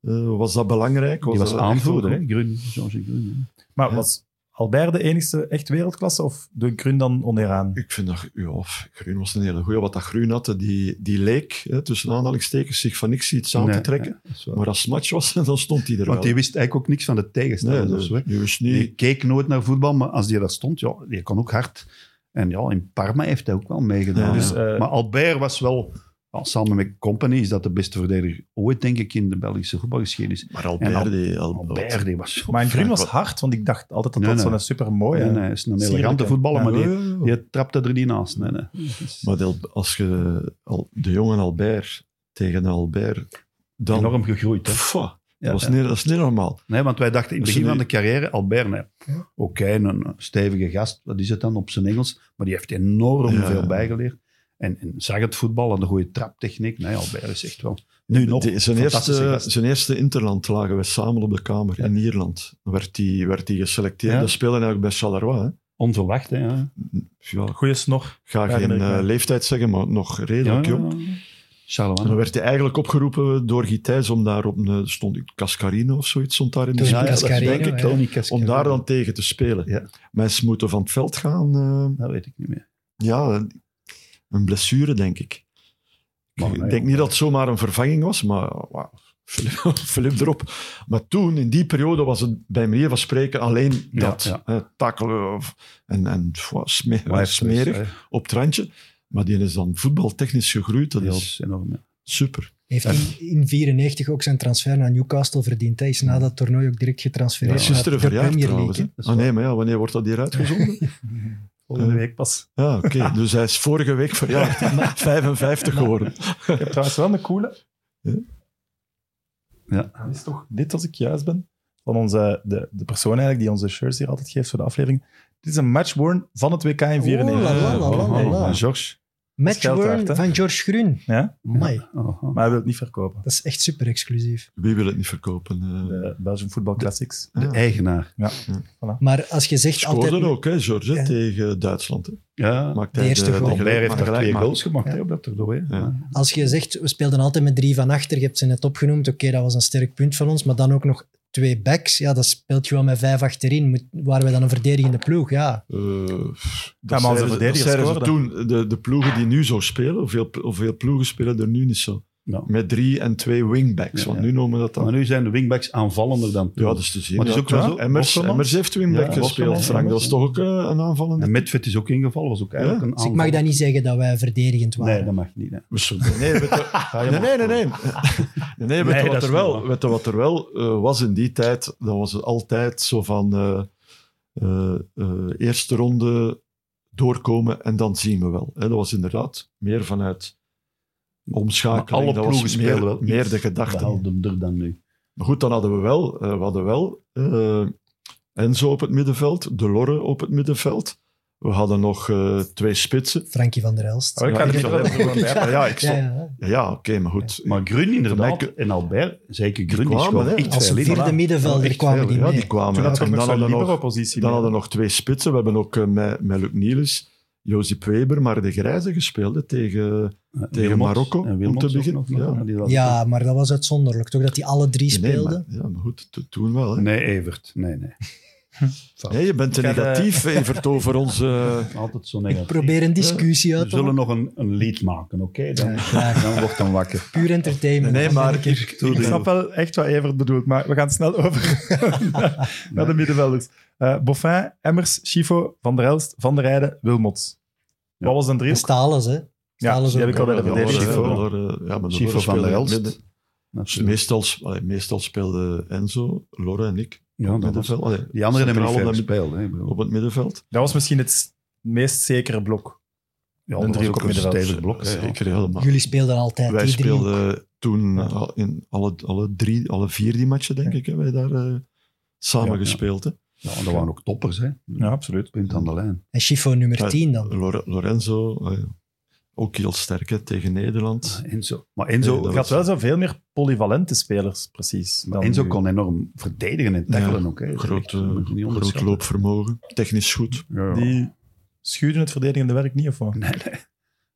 Speaker 4: eh, was dat belangrijk.
Speaker 3: Die was
Speaker 4: dat echt
Speaker 3: aanvoerder,
Speaker 4: wel
Speaker 3: hè? Grun, Jean-Jacques Grun. hè.
Speaker 2: Maar
Speaker 4: Ja.
Speaker 2: was Albert de enigste echt wereldklasse of de Grun dan onderaan?
Speaker 4: goed? Ik vind dat ja, of, Groen was een hele goeie. Wat dat Groen had, die, die leek hè, tussen aanhalingstekens zich van niks iets aan te
Speaker 3: Nee,
Speaker 4: trekken.
Speaker 3: ja, dat is waar.
Speaker 4: Maar als het match was, dan stond hij er
Speaker 3: Want die
Speaker 4: wel.
Speaker 3: wist eigenlijk ook niks van de tegenstander.
Speaker 4: nee,
Speaker 3: dus, hè.
Speaker 4: dat nu is
Speaker 3: Die
Speaker 4: niet...
Speaker 3: keek nooit naar voetbal, maar als die daar stond, ja, die kon ook hard. En ja, in Parma heeft hij ook wel meegedaan.
Speaker 4: Ja,
Speaker 2: Dus,
Speaker 4: ja.
Speaker 2: eh,
Speaker 3: Maar Albert was wel, ja, samen met Company, is dat de beste verdediger ooit, denk ik, in de Belgische voetbalgeschiedenis.
Speaker 4: Maar
Speaker 3: En
Speaker 4: Albert,
Speaker 3: Al-
Speaker 4: die, Al-
Speaker 3: Albert, die was zo...
Speaker 2: maar Grun was
Speaker 4: wat-
Speaker 2: hard, want ik dacht altijd dat
Speaker 3: Nee,
Speaker 2: dat
Speaker 3: nee.
Speaker 2: zo'n supermooie...
Speaker 3: nee, nee, hij is een
Speaker 2: Sierlijk,
Speaker 3: elegante
Speaker 2: hè.
Speaker 3: voetballer,
Speaker 2: Ja.
Speaker 3: maar die,
Speaker 4: Ja, ja, ja.
Speaker 3: die trapte er niet naast. Nee, nee.
Speaker 4: Maar die- als je al, de jonge Albert tegen Albert, dan...
Speaker 3: Enorm gegroeid, hè.
Speaker 4: Pff, dat,
Speaker 3: Ja,
Speaker 4: was
Speaker 3: ja.
Speaker 4: Niet, dat is niet normaal.
Speaker 3: Nee, want wij dachten in het
Speaker 4: Dus
Speaker 3: begin van
Speaker 4: nu-
Speaker 3: de carrière, Albert, nee. oké, een een stevige gast, wat is het dan op zijn Engels, maar die heeft enorm
Speaker 4: Ja.
Speaker 3: veel bijgeleerd. En, en zag het voetbal en de goede traptechniek. Nee, Albert is echt wel... Nu nog.
Speaker 4: Die- zijn,
Speaker 3: fantastische
Speaker 4: eerste,
Speaker 3: gast.
Speaker 4: zijn eerste interland lagen we samen op de kamer in Ierland. Werd die, werd die geselecteerd.
Speaker 3: Ja.
Speaker 4: Dat speelde eigenlijk bij Charleroi. Hè.
Speaker 3: Onverwacht, hè. ja.
Speaker 4: Ja, ik
Speaker 2: Goeie snor.
Speaker 4: ga
Speaker 2: Ja,
Speaker 4: geen
Speaker 2: herinner ik
Speaker 4: eh,
Speaker 2: me.
Speaker 4: leeftijd zeggen, maar nog redelijk jong. En dan
Speaker 3: Charlemagne.
Speaker 4: werd hij eigenlijk opgeroepen door Gijs om daar op een, stond Cascarino of zoiets stond daar in de
Speaker 5: Tony
Speaker 4: spits,
Speaker 5: Cascarino,
Speaker 4: denk ik,
Speaker 5: ja.
Speaker 3: Tony Cascarino.
Speaker 4: om daar dan tegen te spelen.
Speaker 3: Ja.
Speaker 4: Mensen moeten van het veld gaan. eh,
Speaker 3: Dat weet ik niet meer.
Speaker 4: ja, een blessure, denk ik.
Speaker 3: Maar,
Speaker 4: ik
Speaker 3: nee,
Speaker 4: denk
Speaker 3: ja.
Speaker 4: niet dat het zomaar een vervanging was, maar wauw, Filip, Filip erop. Maar toen, in die periode, was het bij manier van spreken alleen
Speaker 3: Ja,
Speaker 4: dat.
Speaker 3: ja.
Speaker 4: hè, tackelen of, en, en wauw, sme-
Speaker 3: Maar hij heeft
Speaker 4: smerig
Speaker 3: dus,
Speaker 4: op het randje. Maar die is dan voetbaltechnisch gegroeid.
Speaker 3: hè,
Speaker 4: Dat
Speaker 3: heel
Speaker 4: is
Speaker 3: enorm. ja.
Speaker 4: super.
Speaker 5: Heeft in 1994 ook zijn transfer naar Newcastle verdiend. Hij is na dat toernooi ook direct
Speaker 4: Ja,
Speaker 5: getransfereerd naar de
Speaker 4: gisteren verjaard
Speaker 5: Premier
Speaker 4: trouwens.
Speaker 5: League.
Speaker 4: hè. Ah nee, maar ja, wanneer wordt dat hier uitgezonden?
Speaker 2: Volgende
Speaker 4: Eh.
Speaker 2: week pas.
Speaker 4: ja, oké. Dus hij is vorige week verjaard. 55 geworden.
Speaker 2: Ik heb trouwens wel een coole.
Speaker 4: Ja.
Speaker 3: Ja.
Speaker 2: Dat is toch dit, als ik juist ben, van onze, de, de persoon eigenlijk die onze shirts hier altijd geeft voor de aflevering. Dit is een matchborn van het WK in
Speaker 5: Oh, la, la,
Speaker 2: 94.
Speaker 5: la, la, la, la.
Speaker 3: En George.
Speaker 2: Geldwaard, hè?
Speaker 5: Matchburn van George Grun.
Speaker 2: Ja?
Speaker 5: Mai,
Speaker 3: Oh, oh.
Speaker 2: Maar hij wil het niet verkopen.
Speaker 5: dat is echt super exclusief.
Speaker 4: Wie wil het niet verkopen? eh?
Speaker 2: De Belgian Football Classics.
Speaker 3: De eigenaar.
Speaker 5: Maar als je zegt
Speaker 4: Scoorde
Speaker 5: altijd...
Speaker 4: ook, hè, George, hè,
Speaker 5: Ja.
Speaker 4: tegen Duitsland. Hè.
Speaker 3: Ja.
Speaker 4: Maakt
Speaker 5: De
Speaker 4: hij
Speaker 5: eerste goal.
Speaker 4: gelijk-
Speaker 3: Albert heeft
Speaker 4: maar
Speaker 3: daar twee
Speaker 4: gelijk
Speaker 3: goals
Speaker 4: maakt.
Speaker 3: gemaakt hè, op dat toernooi. hè.
Speaker 4: Ja.
Speaker 3: Ja.
Speaker 5: Als je zegt, we speelden altijd met drie van achter, je hebt ze net opgenoemd, oké, dat was een sterk punt van ons, maar dan ook nog twee backs, ja, dat speelt je wel met vijf achterin, Moet, waren we dan een verdedigende ploeg, ja. Dus
Speaker 4: Eh,
Speaker 2: Ja,
Speaker 4: dat
Speaker 2: maar onze
Speaker 4: zeiden ze- dat
Speaker 2: verdedigers
Speaker 4: zeiden ze
Speaker 2: scoorden.
Speaker 4: toen, de, de ploegen die nu zo spelen, hoeveel, hoeveel ploegen spelen er nu niet zo?
Speaker 3: Nou.
Speaker 4: Met drie en twee wingbacks,
Speaker 3: Ja,
Speaker 4: want
Speaker 3: ja.
Speaker 4: nu noemen we dat
Speaker 3: Maar
Speaker 4: dan.
Speaker 3: nu zijn de wingbacks aanvallender dan
Speaker 4: Ja,
Speaker 3: toen.
Speaker 4: dat is te zien.
Speaker 3: Maar het is
Speaker 4: ja.
Speaker 3: ook wel zo,
Speaker 4: Emmers,
Speaker 3: Bosselmans-
Speaker 4: Emmers heeft
Speaker 3: Ja,
Speaker 4: wingback gespeeld,
Speaker 3: Bosselmans,
Speaker 4: Frank. Dat is toch ook eh, een aanvallende?
Speaker 3: En Medved is ook ingevallen, was ook eigenlijk een
Speaker 5: Dus
Speaker 3: aanval.
Speaker 5: ik mag dat niet zeggen dat wij verdedigend waren.
Speaker 3: Nee, dat mag niet. hè.
Speaker 4: Nee, weet je- nee, Ah, nee, nee. Nee, nee, weet je
Speaker 3: Nee, dat
Speaker 4: wat,
Speaker 3: is
Speaker 4: er
Speaker 3: niet
Speaker 4: wel,
Speaker 3: waar.
Speaker 4: weet je wat er wel eh, was in die tijd? Dat was het altijd zo van eh, eh, eh, eerste ronde doorkomen en dan zien we wel. Hè, dat was inderdaad meer vanuit
Speaker 3: Maar
Speaker 4: omschakeling.
Speaker 3: alle
Speaker 4: dat
Speaker 3: ploegen
Speaker 4: was meer,
Speaker 3: spelen wel iets
Speaker 4: meer de gedachte.
Speaker 3: Behalve hem er dan nu.
Speaker 4: Maar goed, dan hadden we wel, eh, we hadden wel eh, Enzo op het middenveld, De Lorre op het middenveld. We hadden nog eh, twee spitsen.
Speaker 5: Frankie van der Elst.
Speaker 2: Oh, ik
Speaker 4: Ja,
Speaker 2: ga er
Speaker 4: ik
Speaker 2: niet
Speaker 4: zal
Speaker 2: wel
Speaker 4: even
Speaker 2: even bij.
Speaker 4: Ja, ja, ik
Speaker 5: ja,
Speaker 4: stond-
Speaker 5: ja.
Speaker 4: ja, oké, maar goed.
Speaker 3: Maar Grun inderdaad,
Speaker 4: Van mij-
Speaker 3: en Albert, zeker Grun, die
Speaker 4: kwamen, hè.
Speaker 3: scoorde echt
Speaker 5: Als
Speaker 3: veel in.
Speaker 5: vierde middenvelder
Speaker 3: echt
Speaker 5: kwamen
Speaker 3: veel,
Speaker 5: die
Speaker 4: ja,
Speaker 5: mee.
Speaker 4: die kwamen.
Speaker 2: Toen
Speaker 4: hè.
Speaker 2: had je ook
Speaker 4: en
Speaker 2: nog
Speaker 4: dan
Speaker 2: zo'n
Speaker 4: hadden we nog,
Speaker 2: libero-positie.
Speaker 4: dan hadden we nog twee spitsen. We hebben ook eh, met, met Luc Nielis Jozip Weber, maar de Grijze gespeeld hè, tegen,
Speaker 3: Eh,
Speaker 4: tegen
Speaker 3: Wilmots
Speaker 4: Marokko,
Speaker 3: en
Speaker 4: om
Speaker 3: Wilmots
Speaker 4: te
Speaker 3: ook
Speaker 4: beginnen,
Speaker 3: nog,
Speaker 4: ja.
Speaker 3: maar die was-
Speaker 5: Ja, maar dat was uitzonderlijk, toch? Dat die alle drie
Speaker 4: Nee,
Speaker 5: speelden.
Speaker 4: maar, ja, maar goed, to- toen wel. Hè. Nee.
Speaker 3: Nee, Evert. Nee, nee.
Speaker 4: je bent te
Speaker 2: Ik had, eh,
Speaker 4: negatief, Evert, over onze...
Speaker 3: Altijd zo
Speaker 5: Ik
Speaker 3: negatief.
Speaker 5: probeer een discussie
Speaker 3: We
Speaker 5: uit te
Speaker 3: zullen
Speaker 5: maken.
Speaker 3: nog een, een lied maken, oké? Dan,
Speaker 5: Ja, graag.
Speaker 3: dan wordt dan wakker.
Speaker 5: Puur entertainment.
Speaker 4: Nee,
Speaker 5: Dat ben
Speaker 4: maar
Speaker 5: ik.
Speaker 4: ik,
Speaker 2: Ik snap wel echt wat Evert bedoelt, maar we gaan snel over naar de middenvelders. Eh, Boffin, Emmers, Schifo, Van der Elst, Van der Rijden, Wilmots. Wat was een
Speaker 5: En
Speaker 2: driehoek?
Speaker 5: Stalens, hè? Stalens
Speaker 2: die
Speaker 5: ook.
Speaker 2: heb ik al bij de
Speaker 3: Ja,
Speaker 4: Ja,
Speaker 2: verdediging.
Speaker 3: Schifo.
Speaker 4: Schifo. Lor- eh, ja, maar
Speaker 3: Schifo
Speaker 4: Lor
Speaker 3: van der
Speaker 4: speelde
Speaker 3: Elst.
Speaker 4: midden. Dus
Speaker 3: Natuurlijk.
Speaker 4: meestal, sp- allee, meestal speelde Enzo, Laura en ik
Speaker 3: Ja,
Speaker 4: op het
Speaker 3: dat was,
Speaker 4: middenveld. Allee,
Speaker 3: die anderen hebben niet
Speaker 4: centraal
Speaker 3: veel
Speaker 4: op, dat mid-
Speaker 3: gespeeld. Hè, ik bedoel.
Speaker 4: op het middenveld.
Speaker 2: Dat was misschien het meest zekere blok.
Speaker 3: Ja,
Speaker 2: Een
Speaker 3: dat was
Speaker 2: driehoek
Speaker 3: ook
Speaker 2: op
Speaker 3: een
Speaker 2: middenveld.
Speaker 3: stevig blok. hè, ja.
Speaker 4: Zeker helemaal.
Speaker 5: Jullie speelden altijd
Speaker 4: Wij
Speaker 5: die drie.
Speaker 4: speelden toen al- in alle, alle, drie, alle vier die matchen, denk ik, hebben wij daar eh, samen
Speaker 3: Ja, ja.
Speaker 4: gespeeld. Hè?
Speaker 3: Ja, en dat waren ook toppers, hè?
Speaker 2: absoluut.
Speaker 3: Punt aan de lijn.
Speaker 5: En Schifo nummer
Speaker 4: Ja.
Speaker 5: 10 dan.
Speaker 4: Lore- Lorenzo, eh, ook heel sterk hè, tegen Nederland.
Speaker 3: Enzo. Maar
Speaker 4: Nee,
Speaker 3: Enzo,
Speaker 4: dat
Speaker 2: Je had wel zo veel meer polyvalente spelers, precies.
Speaker 3: maar
Speaker 2: dan
Speaker 3: Enzo
Speaker 2: nu.
Speaker 3: kon enorm verdedigen en tackelen
Speaker 4: Ja,
Speaker 3: ook. Hè.
Speaker 4: Groot,
Speaker 3: Dat
Speaker 4: eh,
Speaker 3: moet je niet
Speaker 4: groot
Speaker 3: onderschatten.
Speaker 4: loopvermogen, technisch goed.
Speaker 3: Ja, ja.
Speaker 2: Die schuurden het verdedigende werk niet, of wat?
Speaker 3: Nee, nee.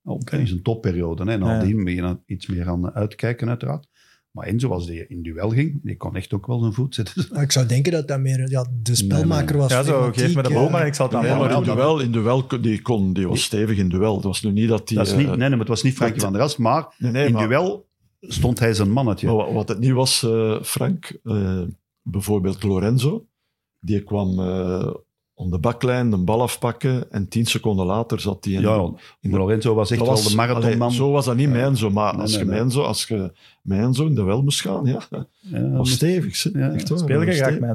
Speaker 3: Ook in zijn topperiode. Hè. Nadien ben je dan iets meer aan uitkijken, uiteraard. Maar Enzo, als die in duel ging, die kon echt ook wel zijn voet zetten.
Speaker 5: Maar Ah, Ik zou denken dat dat meer ja, de
Speaker 3: Nee,
Speaker 5: spelmaker
Speaker 3: nee.
Speaker 5: was.
Speaker 2: Ja, zo,
Speaker 5: Flegmatiek,
Speaker 2: geef me de bal,
Speaker 5: eh,
Speaker 2: maar ik zal het aan
Speaker 4: Nee,
Speaker 2: jou
Speaker 4: maar in
Speaker 2: laten.
Speaker 4: duel, in duel kon- die, kon, die was stevig in duel. Het was nu niet dat die...
Speaker 3: Dat is niet,
Speaker 4: eh,
Speaker 3: nee, nee, maar het was niet Frankie van der Elst, maar
Speaker 4: nee, nee,
Speaker 3: in
Speaker 4: maar-
Speaker 3: duel stond hij zijn mannetje.
Speaker 4: Maar wa- wat het niet was, eh, Frank, eh, bijvoorbeeld Lorenzo, die kwam eh om de baklijn de bal afpakken en tien seconden later zat hij in.
Speaker 3: ja,
Speaker 4: de- in de-
Speaker 3: Lorenzo was echt
Speaker 4: Dat
Speaker 3: wel
Speaker 4: was-
Speaker 3: de marathonman.
Speaker 4: allee, zo was dat niet
Speaker 3: Ja.
Speaker 4: mijn zo, maar
Speaker 3: Nee,
Speaker 4: als,
Speaker 3: nee,
Speaker 4: je
Speaker 3: nee.
Speaker 4: Mijn zo, als je mijn zo in de wel moest gaan, ja. Dat
Speaker 3: Ja,
Speaker 4: was
Speaker 3: maar-
Speaker 4: stevig. hè.
Speaker 3: Ja.
Speaker 4: Echt waar,
Speaker 2: Speel
Speaker 4: dat
Speaker 2: je
Speaker 4: was
Speaker 2: graag
Speaker 4: stevig.
Speaker 2: met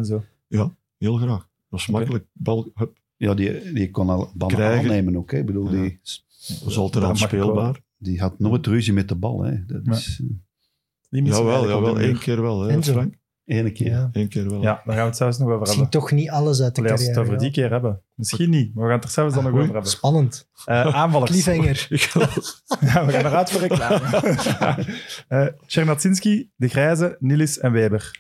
Speaker 2: Enzo?
Speaker 4: Heel graag. Dat was
Speaker 2: Oké.
Speaker 4: makkelijk. Bal hup,
Speaker 3: ja, die, die kon al ballen
Speaker 4: Krijgen.
Speaker 3: aannemen ook. Hè. Ik bedoel,
Speaker 4: Ja.
Speaker 3: die,
Speaker 4: was
Speaker 2: Dat
Speaker 4: altijd
Speaker 2: mag
Speaker 4: aanspeelbaar.
Speaker 3: die had nooit ruzie met de bal. Hè. Dat
Speaker 2: Ja.
Speaker 3: is eh,
Speaker 2: Die missen we
Speaker 4: Jawel,
Speaker 2: eigenlijk op de
Speaker 4: jawel.
Speaker 2: muur.
Speaker 4: Eén keer wel, hè,
Speaker 5: Enzo.
Speaker 4: Frank.
Speaker 3: ene keer.
Speaker 5: Ja.
Speaker 4: Eén keer wel.
Speaker 2: Ja, daar gaan we het zelfs nog over
Speaker 5: Misschien
Speaker 2: hebben.
Speaker 5: toch niet alles uit de
Speaker 2: Allee, als we het
Speaker 5: carrière.
Speaker 2: over die
Speaker 5: ja.
Speaker 2: keer hebben. Misschien niet, maar we gaan het er zelfs dan nog
Speaker 4: Oei.
Speaker 2: over hebben.
Speaker 5: Spannend.
Speaker 2: Eh, aanvallers.
Speaker 5: Cliffhanger.
Speaker 4: Ik
Speaker 2: Ja, we gaan eruit voor reclame. Eh Czernatsinski, De Grijze, Nilis en Weber.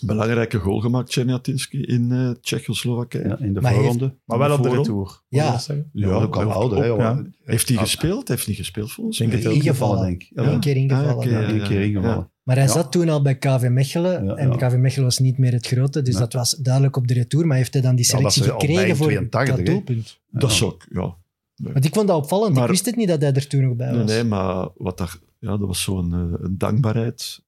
Speaker 4: Belangrijke goal gemaakt, Czerniatinski, in eh, Tsjechoslowakije.
Speaker 3: Ja, in de
Speaker 5: Maar heeft-
Speaker 3: voorronde.
Speaker 2: Maar wel op de
Speaker 4: Voorom.
Speaker 2: retour.
Speaker 5: Ja.
Speaker 3: Ja, dat ook al
Speaker 4: ook-
Speaker 3: ouder. hè,
Speaker 2: ook, ja.
Speaker 3: joh.
Speaker 4: Heeft hij
Speaker 3: Ja.
Speaker 4: gespeeld? Heeft niet gespeeld volgens mij.
Speaker 3: Ik denk het ook
Speaker 5: Ingevallen.
Speaker 3: ingevallen, denk ik. Ja,
Speaker 5: Eén keer ingevallen.
Speaker 4: Ah, oké,
Speaker 3: ja,
Speaker 5: ja.
Speaker 3: één keer ingevallen.
Speaker 5: Maar hij
Speaker 3: Ja.
Speaker 5: zat toen al bij KV Mechelen.
Speaker 3: Ja,
Speaker 5: en
Speaker 3: ja.
Speaker 5: KV Mechelen was niet meer het grote. Dus
Speaker 3: Nee.
Speaker 5: dat was duidelijk op de retour. Maar heeft hij dan die
Speaker 3: Ja, dat
Speaker 5: selectie
Speaker 3: is al bij
Speaker 5: gekregen
Speaker 3: in
Speaker 5: voor
Speaker 3: 82,
Speaker 5: dat
Speaker 3: hè.
Speaker 5: doelpunt?
Speaker 4: Dat is ook, ja.
Speaker 5: Want ik vond dat opvallend. ik
Speaker 4: Maar-
Speaker 5: wist het niet dat hij er toen nog bij
Speaker 4: Nee,
Speaker 5: was.
Speaker 4: nee, maar wat daar, ja, dat was zo'n eh, een dankbaarheid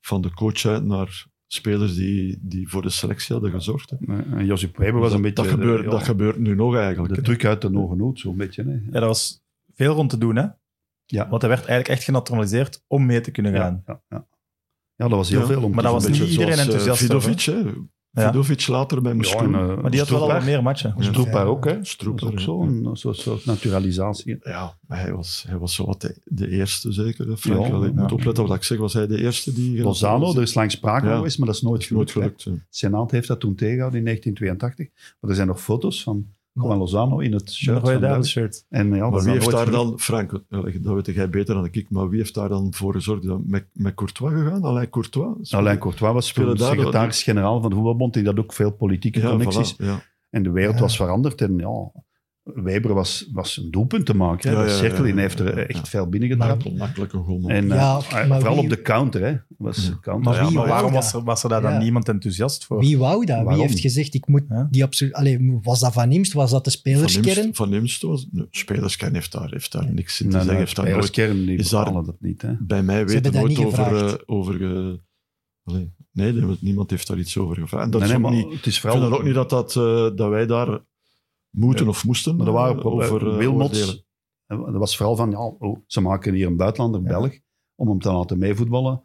Speaker 4: van de coach uit naar spelers die, die voor de selectie hadden gezorgd. hè.
Speaker 3: En Josip Weber was een
Speaker 4: dat,
Speaker 3: beetje... de-
Speaker 4: gebeurt,
Speaker 3: ja,
Speaker 4: dat gebeurt nu nog eigenlijk.
Speaker 3: De
Speaker 4: hè.
Speaker 3: truc uit de nogenoot, zo'n beetje. Hè.
Speaker 2: Ja, dat was veel rond te doen, hè?
Speaker 3: Ja.
Speaker 2: Want hij werd eigenlijk echt genaturaliseerd om mee te kunnen gaan.
Speaker 3: Ja, ja, ja. ja, dat was heel
Speaker 4: Ja,
Speaker 3: veel om
Speaker 2: maar
Speaker 3: te
Speaker 2: dat was
Speaker 3: doen.
Speaker 2: niet
Speaker 3: Beetje
Speaker 2: iedereen
Speaker 4: Zoals, eh,
Speaker 2: enthousiast
Speaker 4: Vidovic, hè.
Speaker 2: Ja.
Speaker 4: Vidovic later bij
Speaker 3: zoals- Ja, en,
Speaker 4: Moeskroen.
Speaker 3: eh,
Speaker 2: Maar die had wel
Speaker 3: Stroepaar.
Speaker 2: al meer matchen.
Speaker 4: Ja.
Speaker 3: Stroepaar ook, hè?
Speaker 4: Stroepaar,
Speaker 3: Dat is ook
Speaker 4: ja.
Speaker 3: zo'n een soort, soort naturalisatie.
Speaker 4: Ja, maar hij was, hij was zo wat de, de eerste zeker. hè, Frank,
Speaker 3: Ja,
Speaker 4: Allee, ik
Speaker 3: ja.
Speaker 4: moet opletten wat ik zeg. Was hij de eerste die...
Speaker 3: Lozano, er is lang sprake
Speaker 4: Ja.
Speaker 3: geweest, maar dat is nooit
Speaker 4: is nooit
Speaker 3: gelukt. hè.
Speaker 4: gelukt. hè.
Speaker 3: Het Senaat heeft dat toen tegengehouden in 1982. Maar er zijn nog foto's van Juan Lozano in het
Speaker 2: Een
Speaker 3: shirt
Speaker 2: rode
Speaker 3: van België.
Speaker 2: duivelshirt.
Speaker 3: En ja, dat
Speaker 4: Maar
Speaker 3: is
Speaker 4: wie
Speaker 3: dan
Speaker 4: heeft
Speaker 3: nooit
Speaker 4: daar
Speaker 3: gelukt.
Speaker 4: dan, Frank, eh, dat weet jij beter dan ik, maar wie heeft daar dan voor gezorgd? Dat Met, met Courtois gegaan? Alain Courtois?
Speaker 3: Alain Courtois was
Speaker 4: Spelen
Speaker 3: toen
Speaker 4: daar-
Speaker 3: secretaris-generaal van de voetbalbond. Die had ook veel politieke
Speaker 4: Ja,
Speaker 3: connecties.
Speaker 4: voilà, ja.
Speaker 3: En de wereld
Speaker 5: Ja.
Speaker 3: was veranderd. En ja, Weber was, was een doelpunt te maken. Hè.
Speaker 4: Ja,
Speaker 3: dat
Speaker 4: ja, ja,
Speaker 3: cirkel in
Speaker 4: ja,
Speaker 3: heeft er
Speaker 4: ja,
Speaker 3: echt
Speaker 4: ja.
Speaker 3: veel
Speaker 4: Ja,
Speaker 3: binnengetrapt.
Speaker 4: een makkelijke goal. man.
Speaker 3: En eh,
Speaker 5: Ja,
Speaker 3: eh,
Speaker 5: maar
Speaker 3: vooral
Speaker 5: wie-
Speaker 3: op de counter. Hè. Was
Speaker 4: Ja.
Speaker 3: counter. Nou,
Speaker 2: Maar,
Speaker 4: Ja,
Speaker 2: wie-
Speaker 4: maar
Speaker 2: waarom
Speaker 5: waarom
Speaker 2: was er, was er daar dan
Speaker 5: Ja.
Speaker 2: niemand enthousiast voor?
Speaker 5: Wie wou dat?
Speaker 3: Waarom?
Speaker 5: Wie heeft gezegd, ik moet
Speaker 2: Ja.
Speaker 5: die absoluut... Allee, was dat Van Imst? Was dat de
Speaker 4: Van Imst-
Speaker 5: spelerskern?
Speaker 4: Van Imst was... nee, spelerskern heeft daar, heeft daar niks in te
Speaker 3: Nee,
Speaker 4: zeggen.
Speaker 3: nee,
Speaker 4: Heeft daar nooit,
Speaker 3: spelerskern, nou, die
Speaker 4: is daar-
Speaker 3: bepalen dat niet. Hè.
Speaker 4: bij mij
Speaker 5: hebben
Speaker 4: weten
Speaker 5: daar
Speaker 4: nooit
Speaker 5: niet
Speaker 4: over...
Speaker 5: gevraagd.
Speaker 4: eh, over ge- Allee, nee, er- niemand heeft daar iets over gevraagd. En Dat
Speaker 3: Nee,
Speaker 4: is
Speaker 3: nee,
Speaker 4: ook
Speaker 3: maar
Speaker 4: niet,
Speaker 3: het is
Speaker 4: ik vind
Speaker 3: vooral...
Speaker 4: dan ook niet dat, dat, eh, dat wij daar moeten
Speaker 3: Ja.
Speaker 4: of moesten
Speaker 3: Maar er waren
Speaker 4: eh,
Speaker 3: over,
Speaker 4: over eh, oordelen.
Speaker 3: Wilmots. eh, Dat was vooral van, ja, oh, ze maken hier een buitenlander, Belg, om hem te laten meevoetballen.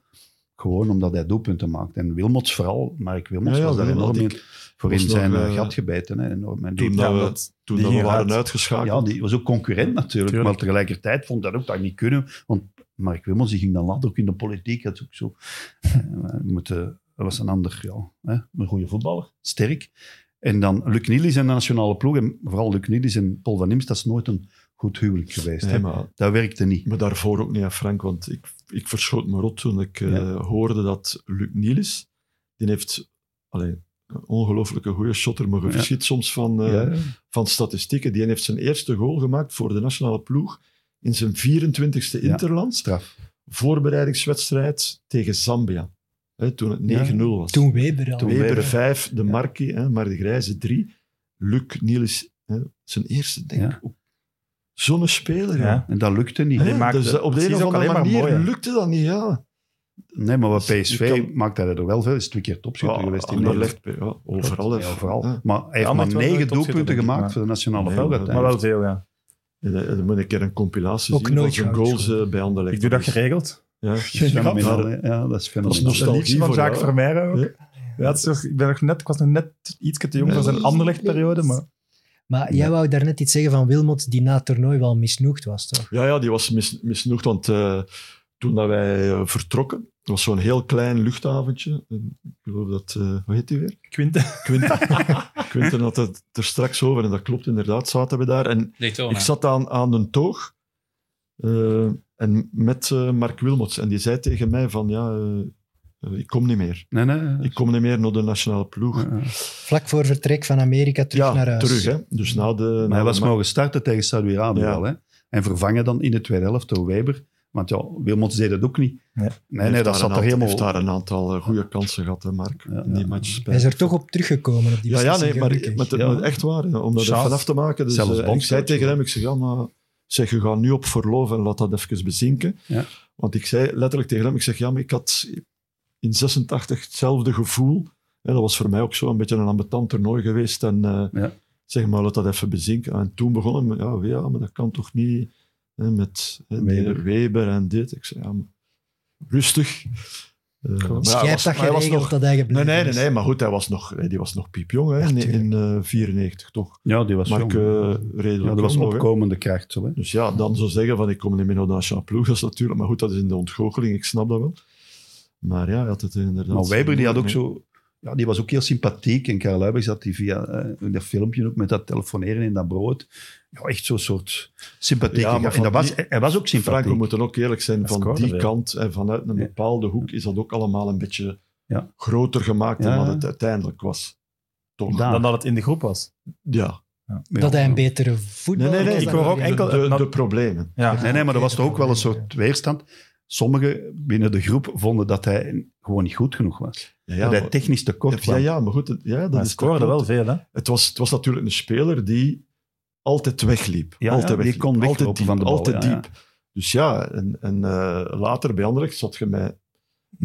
Speaker 3: Gewoon omdat hij doelpunten maakt. En Wilmots vooral, Mark Wilmots
Speaker 4: Ja, ja,
Speaker 3: was daar
Speaker 4: Wilmot,
Speaker 3: enorm in,
Speaker 4: ik-
Speaker 3: voor in
Speaker 4: was nog,
Speaker 3: zijn eh,
Speaker 4: eh,
Speaker 3: gat gebeten. Hè, enorm. En die-
Speaker 4: Toen,
Speaker 2: Ja,
Speaker 4: dat we,
Speaker 2: dat-
Speaker 4: toen
Speaker 2: die
Speaker 4: dat we
Speaker 2: ging
Speaker 4: waren
Speaker 2: uit.
Speaker 4: uitgeschakeld.
Speaker 3: Ja, die was ook concurrent natuurlijk.
Speaker 2: Tuurlijk.
Speaker 3: Maar tegelijkertijd vond dat ook dat niet kunnen. Want Mark Wimmels die ging dan later ook in de politiek. Dat is ook zo. Eh, we moeten, dat was een ander, ja, hè, een goede voetballer. Sterk. En dan Luc Nielis en de nationale ploeg. En vooral Luc Nielis en Paul van Imst, dat is nooit een goed huwelijk geweest.
Speaker 4: Nee,
Speaker 3: hè.
Speaker 4: maar
Speaker 3: Dat werkte niet.
Speaker 4: Maar daarvoor ook niet, aan Frank, want ik, ik verschoot me rot toen ik eh,
Speaker 3: Ja.
Speaker 4: hoorde dat Luc Nielis, die heeft allee, een ongelooflijke goede shotter, maar je
Speaker 3: Ja.
Speaker 4: verschiet soms van, eh,
Speaker 3: Ja,
Speaker 4: van statistieken. Die heeft zijn eerste goal gemaakt voor de nationale ploeg in zijn 24e
Speaker 3: Ja.
Speaker 4: Interland.
Speaker 3: straf.
Speaker 4: Voorbereidingswedstrijd tegen Zambia. Hè, toen het 9-0 was.
Speaker 5: Toen Weber al.
Speaker 3: Toen
Speaker 4: Weber
Speaker 3: Weber.
Speaker 4: 5, de Markie, hè, maar de Grijze 3. Luc Niels, hè, zijn eerste, denk ik.
Speaker 3: Ja.
Speaker 4: ook. Zo'n speler, ja.
Speaker 2: Ja.
Speaker 3: En dat lukte niet.
Speaker 4: Hè,
Speaker 2: Die maakte
Speaker 4: dus op de een
Speaker 2: precies
Speaker 4: of
Speaker 2: ook
Speaker 4: andere
Speaker 2: alleen maar
Speaker 4: manier
Speaker 2: mooi, hè.
Speaker 4: lukte dat niet, ja.
Speaker 3: Nee, maar wat
Speaker 4: Dus
Speaker 3: PSV
Speaker 4: je kan-
Speaker 3: maakt hij er wel veel. Is twee keer topschutter
Speaker 4: Ja,
Speaker 3: geweest in Nederland.
Speaker 4: Anderlecht, ja, overal. hè.
Speaker 3: Ja, overal.
Speaker 4: Ja.
Speaker 3: Maar hij
Speaker 2: Ja,
Speaker 3: heeft
Speaker 2: maar
Speaker 3: maar
Speaker 2: het was wel
Speaker 3: negen
Speaker 2: een topschutter,
Speaker 3: doelpunten
Speaker 2: denk ik,
Speaker 3: gemaakt
Speaker 2: maar-
Speaker 3: voor de nationale
Speaker 4: Nee,
Speaker 3: veldwedstrijd.
Speaker 2: Maar wel veel, ja.
Speaker 4: Ja, dat- dat moet ik een keer een compilatie
Speaker 5: Ook
Speaker 4: zien van
Speaker 5: nooit
Speaker 4: zijn
Speaker 5: goud
Speaker 4: goals eh, bij Anderlecht.
Speaker 2: Ik doe dat geregeld.
Speaker 4: Ja.
Speaker 3: Dat is
Speaker 2: Geen grap.
Speaker 3: fenomenaal, hè. Ja, dat is
Speaker 4: Dat is
Speaker 3: fenomenaal.
Speaker 2: De liefste
Speaker 4: nostalgie
Speaker 2: van
Speaker 4: voor
Speaker 2: Jacques
Speaker 4: jou.
Speaker 2: Vermeijren ook.
Speaker 4: Ja.
Speaker 2: Ja. het is toch- ik, ben nog net, ik was nog net iets te jong
Speaker 4: Ja,
Speaker 2: voor
Speaker 4: dat
Speaker 2: zijn Anderlecht-periode, maar...
Speaker 5: Maar jij
Speaker 3: Ja.
Speaker 5: wou daarnet iets zeggen van Wilmot, die na het toernooi wel misnoegd was, toch?
Speaker 4: Ja, ja, die was mis, misnoegd, want eh, toen dat wij eh, vertrokken, het was zo'n heel klein luchthaventje. En Ik geloof dat, eh hoe heet die weer?
Speaker 2: Quinten.
Speaker 4: Quinten. Quinten had het er straks over en dat klopt inderdaad, zaten we daar. En
Speaker 6: Daytona.
Speaker 4: ik zat aan, aan een toog eh, en met eh, Mark Wilmots en die zei tegen mij van ja, eh, eh, ik kom niet meer.
Speaker 3: Nee, nee.
Speaker 4: Ik kom niet meer naar de nationale ploeg.
Speaker 3: Ja, ja.
Speaker 5: Vlak voor vertrek van Amerika terug
Speaker 4: ja,
Speaker 5: naar huis.
Speaker 4: terug hè. Dus na de... na
Speaker 3: Maar hij
Speaker 4: de
Speaker 3: was
Speaker 4: ma-
Speaker 3: mogen starten tegen Saudi-Arabië
Speaker 4: Ja.
Speaker 3: al, hè. En vervangen dan in de tweede helft door Weber. Want ja, Wilmots deed dat ook niet.
Speaker 2: Nee.
Speaker 3: Nee, nee,
Speaker 4: heeft
Speaker 3: dat
Speaker 4: daar een
Speaker 3: zat er
Speaker 4: aantal-
Speaker 3: helemaal...
Speaker 4: heeft daar een aantal eh, goede kansen gehad, hè, Mark,
Speaker 3: Ja,
Speaker 4: in die
Speaker 3: ja.
Speaker 4: match.
Speaker 5: Hij is er toch op teruggekomen op die
Speaker 4: Ja, ja,
Speaker 5: beslissing,
Speaker 4: nee, maar
Speaker 5: gelukkig.
Speaker 4: met,
Speaker 3: Ja.
Speaker 4: met echt waar. ja, Om dat
Speaker 2: Charles.
Speaker 4: even af te maken. Dus,
Speaker 3: Zelfs
Speaker 4: eh, ik
Speaker 3: Bondscoach,
Speaker 4: zei tegen
Speaker 3: ja.
Speaker 4: hem, ik zeg, ja, maar zeg, je gaat nu op verlof en laat dat even bezinken.
Speaker 3: Ja.
Speaker 4: Want ik zei letterlijk tegen hem, ik zeg, ja, maar ik had in 86 hetzelfde gevoel. En dat was voor mij ook zo een beetje een ambetant toernooi geweest. En eh,
Speaker 3: Ja.
Speaker 4: zeg maar, laat dat even bezinken. En toen begon hem, ja, ja maar dat kan toch niet hè, met hè, die
Speaker 3: Weber.
Speaker 4: Weber. en dit. Ik zei, ja, maar rustig. Eh, maar
Speaker 5: Dus
Speaker 4: hij
Speaker 5: jij
Speaker 4: was-
Speaker 5: hebt dat
Speaker 4: maar hij was
Speaker 5: geregeld
Speaker 4: nog-
Speaker 5: dat hij gebleven
Speaker 4: Nee, nee, nee,
Speaker 5: is.
Speaker 4: nee, maar goed, hij was nog, eh, die was nog piepjong hè, in, in eh, 94, toch?
Speaker 3: Ja, die was
Speaker 4: Maar
Speaker 3: jong.
Speaker 4: ik, eh, redelijk
Speaker 3: ja, dat was
Speaker 4: jong nog, hè.
Speaker 3: opkomende kracht. Zo, hè.
Speaker 4: Dus ja, dan zo zeggen van ik kom niet meer naar de nationale ploeg, dat is natuurlijk... Maar goed, dat is in de ontgoocheling, ik snap dat wel. Maar ja, hij had het inderdaad...
Speaker 3: Maar Weber die had ook zo... Ja, die was ook heel sympathiek. En Karel Luijbach zat die via eh, in dat filmpje ook met dat telefoneren in dat brood. Ja, echt zo'n soort sympathieke...
Speaker 4: Ja, maar
Speaker 3: gast.
Speaker 4: van
Speaker 3: en dat was,
Speaker 4: die-
Speaker 3: hij- hij was ook
Speaker 4: Frank, we
Speaker 3: sympathiek.
Speaker 4: moeten ook eerlijk zijn,
Speaker 2: Dat
Speaker 4: van
Speaker 2: scoorde
Speaker 4: die
Speaker 2: weer.
Speaker 4: kant en vanuit een
Speaker 3: Ja.
Speaker 4: bepaalde hoek is dat ook allemaal een beetje
Speaker 3: Ja.
Speaker 4: groter gemaakt dan
Speaker 3: Ja.
Speaker 4: wat het uiteindelijk was. Toch?
Speaker 3: Ja.
Speaker 2: Dan dat het in de groep was.
Speaker 4: Ja.
Speaker 5: Dat hij een betere voetbal
Speaker 4: Nee, nee, nee,
Speaker 5: was
Speaker 4: ik
Speaker 5: dan
Speaker 2: hoor ook
Speaker 5: Amerika.
Speaker 2: enkel-
Speaker 4: De,
Speaker 2: dat-
Speaker 4: de problemen.
Speaker 2: Ja.
Speaker 3: Nee, nee, maar er was
Speaker 5: Oké,
Speaker 3: toch ook wel een
Speaker 5: dat
Speaker 3: soort weerstand. Sommigen binnen de groep vonden dat hij gewoon niet goed genoeg was.
Speaker 4: Ja, ja,
Speaker 3: dat hij
Speaker 4: maar-
Speaker 3: technisch tekort
Speaker 4: ja,
Speaker 3: kwam.
Speaker 4: ja, maar goed, het- ja, dat
Speaker 2: Maar hij
Speaker 4: is
Speaker 2: scoorde
Speaker 4: dat
Speaker 2: wel
Speaker 4: klopt.
Speaker 2: veel, hè?
Speaker 4: Het was, het was natuurlijk een speler die altijd wegliep.
Speaker 3: Ja,
Speaker 4: altijd
Speaker 3: ja, die
Speaker 4: wegliep.
Speaker 3: kon weglopen
Speaker 4: altijd diep,
Speaker 3: van de bal,
Speaker 4: Altijd
Speaker 3: ja, ja.
Speaker 4: diep. Dus ja, en, en eh, later bij Anderlecht zat je met, met,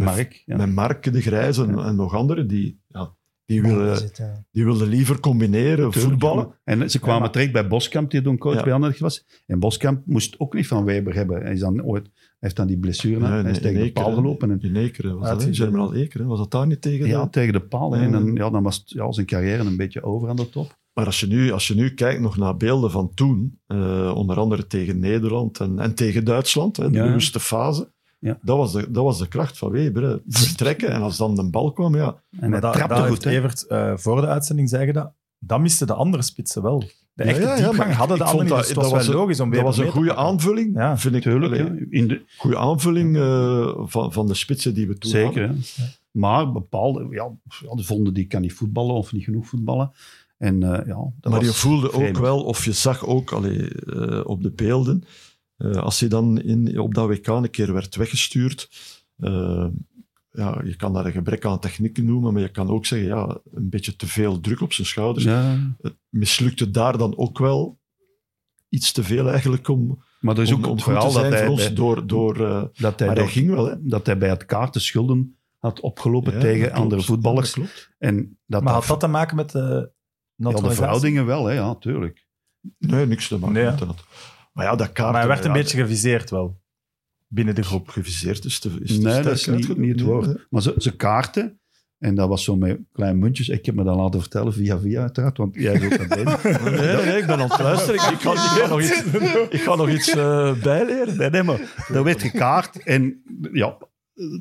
Speaker 3: Mark. Ja.
Speaker 4: met Mark de Grijze en,
Speaker 3: Ja.
Speaker 4: en nog anderen die, ja, die,
Speaker 5: Ja, dat
Speaker 4: willen,
Speaker 5: is het, ja.
Speaker 4: die wilden liever combineren,
Speaker 3: Tuurlijk,
Speaker 4: voetballen.
Speaker 3: ja. En ze kwamen
Speaker 2: Ja, maar-
Speaker 3: terecht bij Boskamp, die toen coach
Speaker 4: Ja.
Speaker 3: bij Anderlecht was. En Boskamp moest ook niet van Weber hebben. Hij, is dan ooit, hij heeft dan die blessure,
Speaker 4: Ja,
Speaker 3: hij is
Speaker 4: in
Speaker 3: tegen de
Speaker 4: Ekeren,
Speaker 3: paal gelopen. En,
Speaker 4: In Ekeren was dat, hè?
Speaker 2: Uitgezien.
Speaker 4: Germinal Ekeren, was dat daar niet tegen?
Speaker 3: ja,
Speaker 4: dan?
Speaker 3: tegen de paal. hè.
Speaker 4: Ja.
Speaker 3: En dan, ja, dan was het, ja, zijn carrière een beetje over aan de top.
Speaker 4: Maar als je, nu, als je nu kijkt nog naar beelden van toen, eh, onder andere tegen Nederland en, en tegen Duitsland, hè, de
Speaker 3: Ja.
Speaker 4: bewuste fase,
Speaker 3: Ja.
Speaker 4: dat, was de, dat was de kracht van Weber. hè. Vertrekken en als dan de bal kwam, ja.
Speaker 3: En
Speaker 2: Maar
Speaker 3: hij
Speaker 2: dat,
Speaker 3: trapte
Speaker 2: dat
Speaker 3: goed.
Speaker 2: heeft
Speaker 3: hè.
Speaker 2: Evert eh, voor de uitzending zeggen dat. Dat misten de andere spitsen wel. De
Speaker 4: Ja,
Speaker 2: echte
Speaker 4: ja, ja,
Speaker 2: diepgang
Speaker 4: maar ik-
Speaker 2: hadden de
Speaker 4: ik vond
Speaker 2: anderen niet.
Speaker 4: dat-
Speaker 2: Dus het was
Speaker 4: dat was
Speaker 2: wel
Speaker 4: een-
Speaker 2: logisch om
Speaker 4: Dat
Speaker 2: weer
Speaker 4: was een
Speaker 2: mee te
Speaker 4: goede
Speaker 2: pakken.
Speaker 4: aanvulling,
Speaker 2: Ja.
Speaker 4: vind ik.
Speaker 3: Tuurlijk,
Speaker 4: Allee,
Speaker 3: ja. In de,
Speaker 4: Goede aanvulling eh, van, van de spitsen die we toen
Speaker 3: Zeker,
Speaker 4: hadden.
Speaker 3: hè. Maar bepaalde, ja, ja, die vonden die kan niet voetballen of niet genoeg voetballen. En eh, ja, dat
Speaker 4: maar
Speaker 3: was
Speaker 4: je voelde
Speaker 3: vreemd.
Speaker 4: ook wel, of je zag ook allee, eh, op de beelden, eh, als hij dan in, op dat WK een keer werd weggestuurd. eh, ja, je kan daar een gebrek aan technieken noemen, maar je kan ook zeggen, ja, een beetje te veel druk op zijn schouders.
Speaker 3: Ja,
Speaker 4: Mislukte daar dan ook wel iets te veel eigenlijk om,
Speaker 3: maar er is
Speaker 4: om,
Speaker 3: ook
Speaker 4: om
Speaker 3: het
Speaker 4: goed te
Speaker 3: verhaal dat
Speaker 4: zijn
Speaker 3: hij,
Speaker 4: voor ons.
Speaker 3: bij-
Speaker 4: door, door, eh,
Speaker 3: dat, hij
Speaker 4: maar dat
Speaker 3: door-
Speaker 4: ging wel, hè.
Speaker 3: dat hij bij het kaarten schulden had opgelopen
Speaker 4: Ja,
Speaker 3: tegen
Speaker 4: dat klopt.
Speaker 3: andere voetballers.
Speaker 4: Dat klopt.
Speaker 3: En dat
Speaker 2: Maar
Speaker 3: dat-
Speaker 2: had dat te maken met de
Speaker 3: ja, de
Speaker 2: naturalisatie?
Speaker 3: verhoudingen wel, hè, ja, tuurlijk.
Speaker 4: Nee, niks te maken
Speaker 2: Nee, ja.
Speaker 4: met dat. Maar ja, dat kaart...
Speaker 2: Maar hij werd een
Speaker 4: ja,
Speaker 2: beetje geviseerd wel. Binnen de groep.
Speaker 4: geviseerd is te, is te
Speaker 3: Nee,
Speaker 4: sterk
Speaker 3: dat is niet,
Speaker 4: uitgedrukt.
Speaker 3: niet het
Speaker 4: Nee,
Speaker 3: woord. Maar ze, ze kaarten, en dat was zo met kleine muntjes. Ik heb me dat laten vertellen via via uiteraard, want jij zult dat weten.
Speaker 4: Nee, nee, nee, ik ben aan het luisteren. Ik, ik, ga, ik ga nog iets, ik ga nog iets eh, bijleren.
Speaker 3: Nee, nee, maar dat werd gekaart en ja,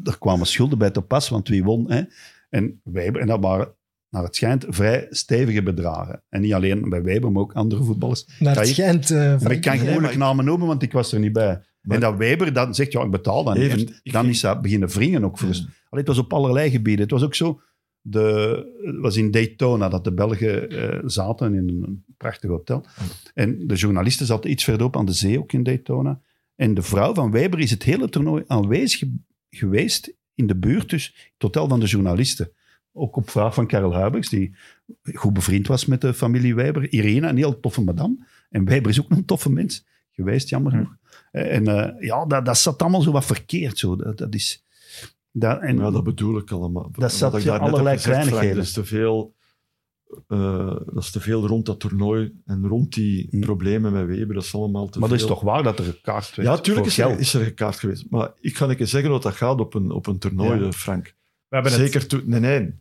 Speaker 3: er kwamen schulden bij te pas, want wie won? Hè? En, Weber, en dat waren, naar het schijnt, vrij stevige bedragen. En niet alleen bij Weber, maar ook andere voetballers.
Speaker 5: Naar het
Speaker 3: Ja, je-
Speaker 5: schijnt... eh,
Speaker 3: Maar ik kan
Speaker 5: Frank-
Speaker 3: moeilijk namen noemen, want ik was er niet bij.
Speaker 4: Maar-
Speaker 3: en dat Weber dan zegt, ja, ik betaal dan niet.
Speaker 4: Evert,
Speaker 3: En
Speaker 4: ik
Speaker 3: dan
Speaker 4: ging-
Speaker 3: is dat beginnen wringen ook. Voor
Speaker 4: Ja.
Speaker 3: ons. Allee, het was op allerlei gebieden. Het was ook zo, de, het was in Daytona dat de Belgen eh, zaten in een prachtig hotel. En de journalisten zaten iets verderop aan de zee, ook in Daytona. En de vrouw van Weber is het hele toernooi aanwezig ge- geweest in de buurt, dus het hotel van de journalisten. Ook op vraag van Karel Huibers, die goed bevriend was met de familie Weber. Irene, een heel toffe madame. En Weber is ook een toffe mens geweest, jammer
Speaker 4: Hm.
Speaker 3: genoeg. En eh, ja, dat, dat zat allemaal zo wat verkeerd. Zo. Dat, dat is... Dat, en,
Speaker 4: Ja, dat bedoel ik allemaal.
Speaker 3: Dat zat
Speaker 4: ik
Speaker 3: je
Speaker 4: daarnet heb
Speaker 3: allerlei
Speaker 4: gezegd, Frank,
Speaker 3: kleinigheden.
Speaker 4: Dat is te veel... eh, dat is te veel rond dat toernooi en rond die
Speaker 3: Hmm.
Speaker 4: problemen met Weber. Dat is allemaal te
Speaker 3: maar dat
Speaker 4: veel.
Speaker 3: is toch waar dat er gekaart werd?
Speaker 4: Ja, natuurlijk
Speaker 3: voor
Speaker 4: is er,
Speaker 3: geld.
Speaker 4: is er gekaart geweest. Maar ik ga een keer zeggen dat dat gaat op een, op een toernooi,
Speaker 3: Ja.
Speaker 4: eh, Frank.
Speaker 2: We hebben het-
Speaker 4: Zeker toen... Nee, nee.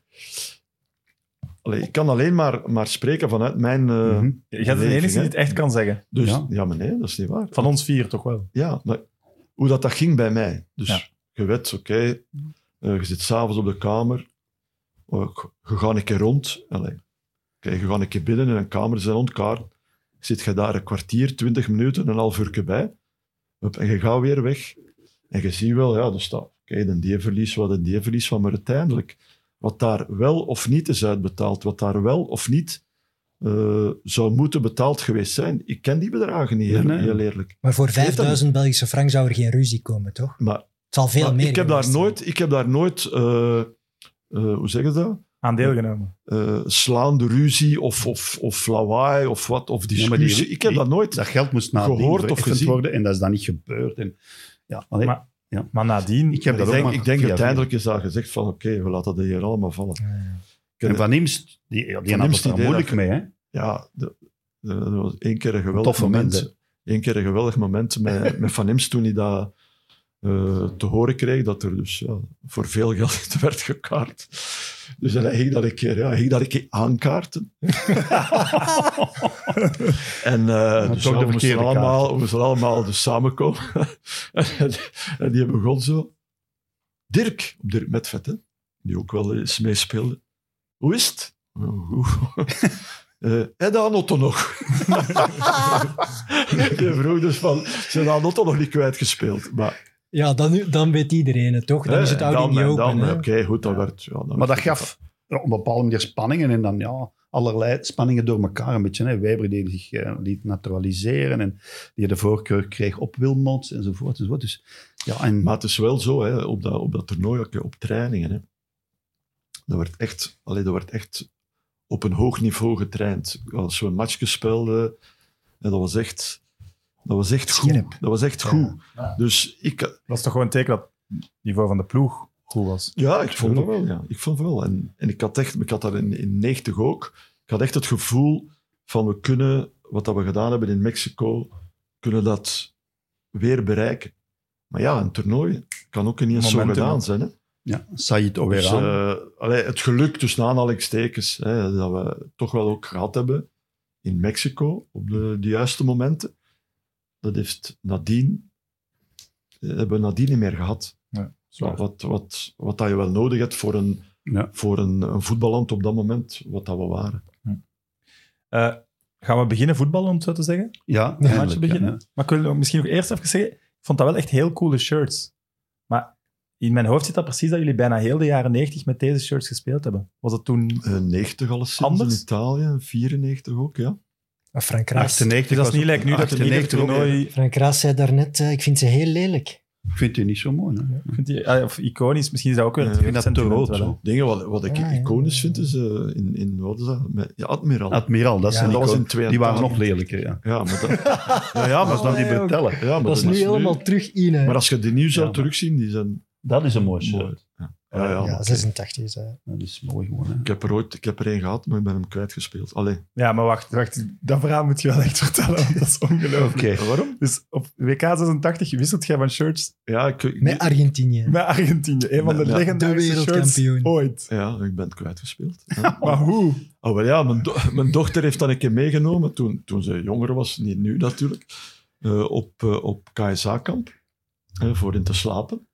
Speaker 4: Allee, ik kan alleen maar, maar spreken vanuit mijn... eh,
Speaker 3: Mhm.
Speaker 2: Jij bent de
Speaker 4: beleving,
Speaker 2: enige die
Speaker 4: hè.
Speaker 2: het echt kan zeggen.
Speaker 4: Dus
Speaker 3: Ja.
Speaker 4: ja. maar nee, dat is niet waar.
Speaker 2: Van ons vier toch wel.
Speaker 4: Ja, maar hoe dat, dat ging bij mij. Dus
Speaker 2: Ja.
Speaker 4: je weet, oké, eh, je zit s'avonds op de kamer, eh, je gaat een keer rond, allee, oké, je gaat een keer binnen in een kamer, zijn ontkaart, zit je daar een kwartier, twintig minuten, een half uur bij, Hup, en je gaat weer weg. En je ziet wel, ja, er staat, oké, dan die verlies, wat een die verlies, van maar uiteindelijk, wat daar wel of niet is uitbetaald, wat daar wel of niet eh, zou moeten betaald geweest zijn, ik ken die bedragen niet, heel,
Speaker 3: Nee, nee.
Speaker 4: heel eerlijk.
Speaker 5: Maar voor
Speaker 4: dat
Speaker 5: 5000 Belgische frank zou er geen ruzie komen, toch?
Speaker 4: Maar
Speaker 5: Het zal veel
Speaker 4: Maar
Speaker 5: meer
Speaker 4: ik, heb daar
Speaker 5: geweest zijn.
Speaker 4: nooit, ik heb daar nooit, eh, eh, hoe zeg je dat?
Speaker 2: Aan deelgenomen.
Speaker 4: Eh, slaande ruzie of, of, of lawaai of wat, of
Speaker 3: Ja, maar die-
Speaker 4: discussie. ik heb
Speaker 3: die-
Speaker 4: dat nooit.
Speaker 3: Dat geld moest na het ding
Speaker 4: Gehoord of
Speaker 3: vereffend
Speaker 4: gezien.
Speaker 3: worden en dat is dan niet gebeurd. En, ja, allee,
Speaker 2: Maar- Maar nadien...
Speaker 3: ik heb
Speaker 4: ik
Speaker 3: dat
Speaker 4: denk,
Speaker 3: ook maar
Speaker 4: ik denk
Speaker 3: via-
Speaker 4: uiteindelijk is daar gezegd van oké, we laten dat hier allemaal vallen.
Speaker 3: En Van Imst, die, die had
Speaker 4: Imst
Speaker 3: het
Speaker 4: die
Speaker 3: daar
Speaker 4: deed
Speaker 3: moeilijk
Speaker 4: dat-
Speaker 3: mee. Hè?
Speaker 4: Ja, de- de- dat was één keer een geweldig
Speaker 3: Toffe
Speaker 4: moment.
Speaker 3: moment,
Speaker 4: Eén keer een geweldig moment met, met Van Imst toen hij dat eh, te horen kreeg, dat er dus ja, voor veel geld werd gekaart. Dus en hij ging dat een keer, ja, hij ging dat een keer aankaarten. en eh dus
Speaker 3: toch
Speaker 4: ja,
Speaker 3: de
Speaker 4: we, moesten
Speaker 3: verkeerde
Speaker 4: allemaal, we moesten allemaal dus samenkomen. en, en die begon zo. Dirk, Dirk Metvet, hè, die ook wel eens meespeelde. Hoe is het? Oh, goed. Eh, en de Anotto nog. Je vroeg dus van, zijn de Anotto nog niet kwijtgespeeld? Maar,
Speaker 5: Ja, dan, dan weet iedereen het, toch? Dan is het
Speaker 4: eh,
Speaker 5: oude niet
Speaker 4: dan,
Speaker 5: open.
Speaker 4: dan,
Speaker 5: hè?
Speaker 4: Oké, goed, dat werd... Ja, dan
Speaker 3: Maar
Speaker 4: werd-
Speaker 3: dat gaf ja, op een bepaalde manier spanningen en dan ja, allerlei spanningen door elkaar een beetje. Hè. Weber die zich eh, liet naturaliseren en die de voorkeur kreeg op Wilmots enzovoort. enzovoort. Dus, ja, en,
Speaker 4: Maar het is wel zo, hè, op, dat, op dat toernooi, ook, hè, op trainingen. Hè. Dat, werd echt, allee, dat werd echt op een hoog niveau getraind. Als we een match speelden, hè, dat was echt... Dat was echt goed.
Speaker 3: Scherp.
Speaker 4: Dat was echt goed. Dus ik,
Speaker 2: Dat is toch gewoon een teken dat het niveau van de ploeg goed was.
Speaker 4: Ja, ik vond het wel. Ja. Ik vond het wel. En, en ik had echt, ik had dat in, in 90 ook. Ik had echt het gevoel van we kunnen wat dat we gedaan hebben in Mexico, kunnen dat weer bereiken. Maar ja, een toernooi kan ook ineens zo
Speaker 2: Momentum,
Speaker 4: gedaan
Speaker 2: hè.
Speaker 4: zijn. Hè?
Speaker 3: ja, Said
Speaker 4: Dus,
Speaker 3: Oweran.
Speaker 4: eh, allee, het geluk tussen aanhalingstekens hè, dat we toch wel ook gehad hebben in Mexico op de, de juiste momenten, dat heeft nadien, eh, hebben we nadien niet meer gehad. Wat, wat, wat, wat dat je wel nodig hebt voor een,
Speaker 3: Ja.
Speaker 4: voor een, een voetballand op dat moment, wat dat we waren.
Speaker 2: Eh, gaan we beginnen voetballen, om het zo te zeggen?
Speaker 3: ja,
Speaker 2: Een
Speaker 3: eindelijk,
Speaker 2: match beginnen?
Speaker 3: ja.
Speaker 2: Maar ik wil nog misschien nog eerst even zeggen, ik vond dat wel echt heel coole shirts. Maar in mijn hoofd zit dat precies dat jullie bijna heel de jaren 90 met deze shirts gespeeld hebben. Was dat toen...
Speaker 4: Eh, 90 alleszins
Speaker 2: Anders?
Speaker 4: in Italië, 94 ook, ja.
Speaker 5: Maar Frank Raas,
Speaker 3: 98
Speaker 2: dat is
Speaker 3: was
Speaker 2: niet
Speaker 3: ook-
Speaker 2: lijkt nu dat er niet een
Speaker 3: 98 ook, hè.
Speaker 2: toernooi...
Speaker 5: Frank Raas zei daarnet, eh, ik vind ze heel lelijk.
Speaker 3: Ik vind die niet zo mooi. Hè?
Speaker 2: Ik vind die- ah, Of iconisch, misschien is dat ook weer
Speaker 4: Ja,
Speaker 2: het
Speaker 4: ik
Speaker 3: vind dat te
Speaker 2: sentiment
Speaker 3: rood,
Speaker 2: wel, hè.
Speaker 3: zo.
Speaker 4: Dingen wat, wat ik
Speaker 5: Ah, Ja, ja.
Speaker 4: iconisch vind is eh, in, in, wat is dat? Met, ja, Admiral.
Speaker 3: Admiraal, dat,
Speaker 5: Ja,
Speaker 3: zijn
Speaker 4: dat was
Speaker 3: iconen.
Speaker 4: in 82.
Speaker 3: Die waren nog lelijker, ja.
Speaker 4: ja, maar dat, ja, ja, maar
Speaker 3: Dat is dan die Bertellen.
Speaker 4: Ja, maar
Speaker 5: Oh, dat is nu helemaal terug in. hè.
Speaker 4: Maar als je die nu zou
Speaker 3: Ja, maar-
Speaker 4: terugzien, die zijn...
Speaker 3: Dat is een mooi
Speaker 4: Mooi.
Speaker 3: shirt.
Speaker 4: Ja, ja,
Speaker 5: ja,
Speaker 4: maar-
Speaker 5: 86 is dat.
Speaker 3: Dat is mooi gewoon. Hè.
Speaker 4: ik heb er ooit ik heb er één gehad, maar ik ben hem kwijtgespeeld. Allee,
Speaker 2: Ja, maar wacht, wacht, dat verhaal moet je wel echt vertellen, want dat is ongelooflijk.
Speaker 4: waarom?
Speaker 2: Dus op WK 86 wisselt jij van shirts
Speaker 4: Ja, ik, ik-
Speaker 5: Met Argentinië.
Speaker 2: met Argentinië. Een van de
Speaker 4: Ja.
Speaker 2: legendarische
Speaker 5: De
Speaker 2: shirts
Speaker 5: wereldkampioen.
Speaker 2: ooit.
Speaker 4: ja, ik ben het kwijtgespeeld. Ja.
Speaker 2: Maar hoe?
Speaker 4: Oh, wel ja, mijn, do- mijn dochter heeft dat een keer meegenomen toen, toen ze jonger was, niet nu natuurlijk, eh, op, eh, op KSA-kamp eh, voor in te slapen.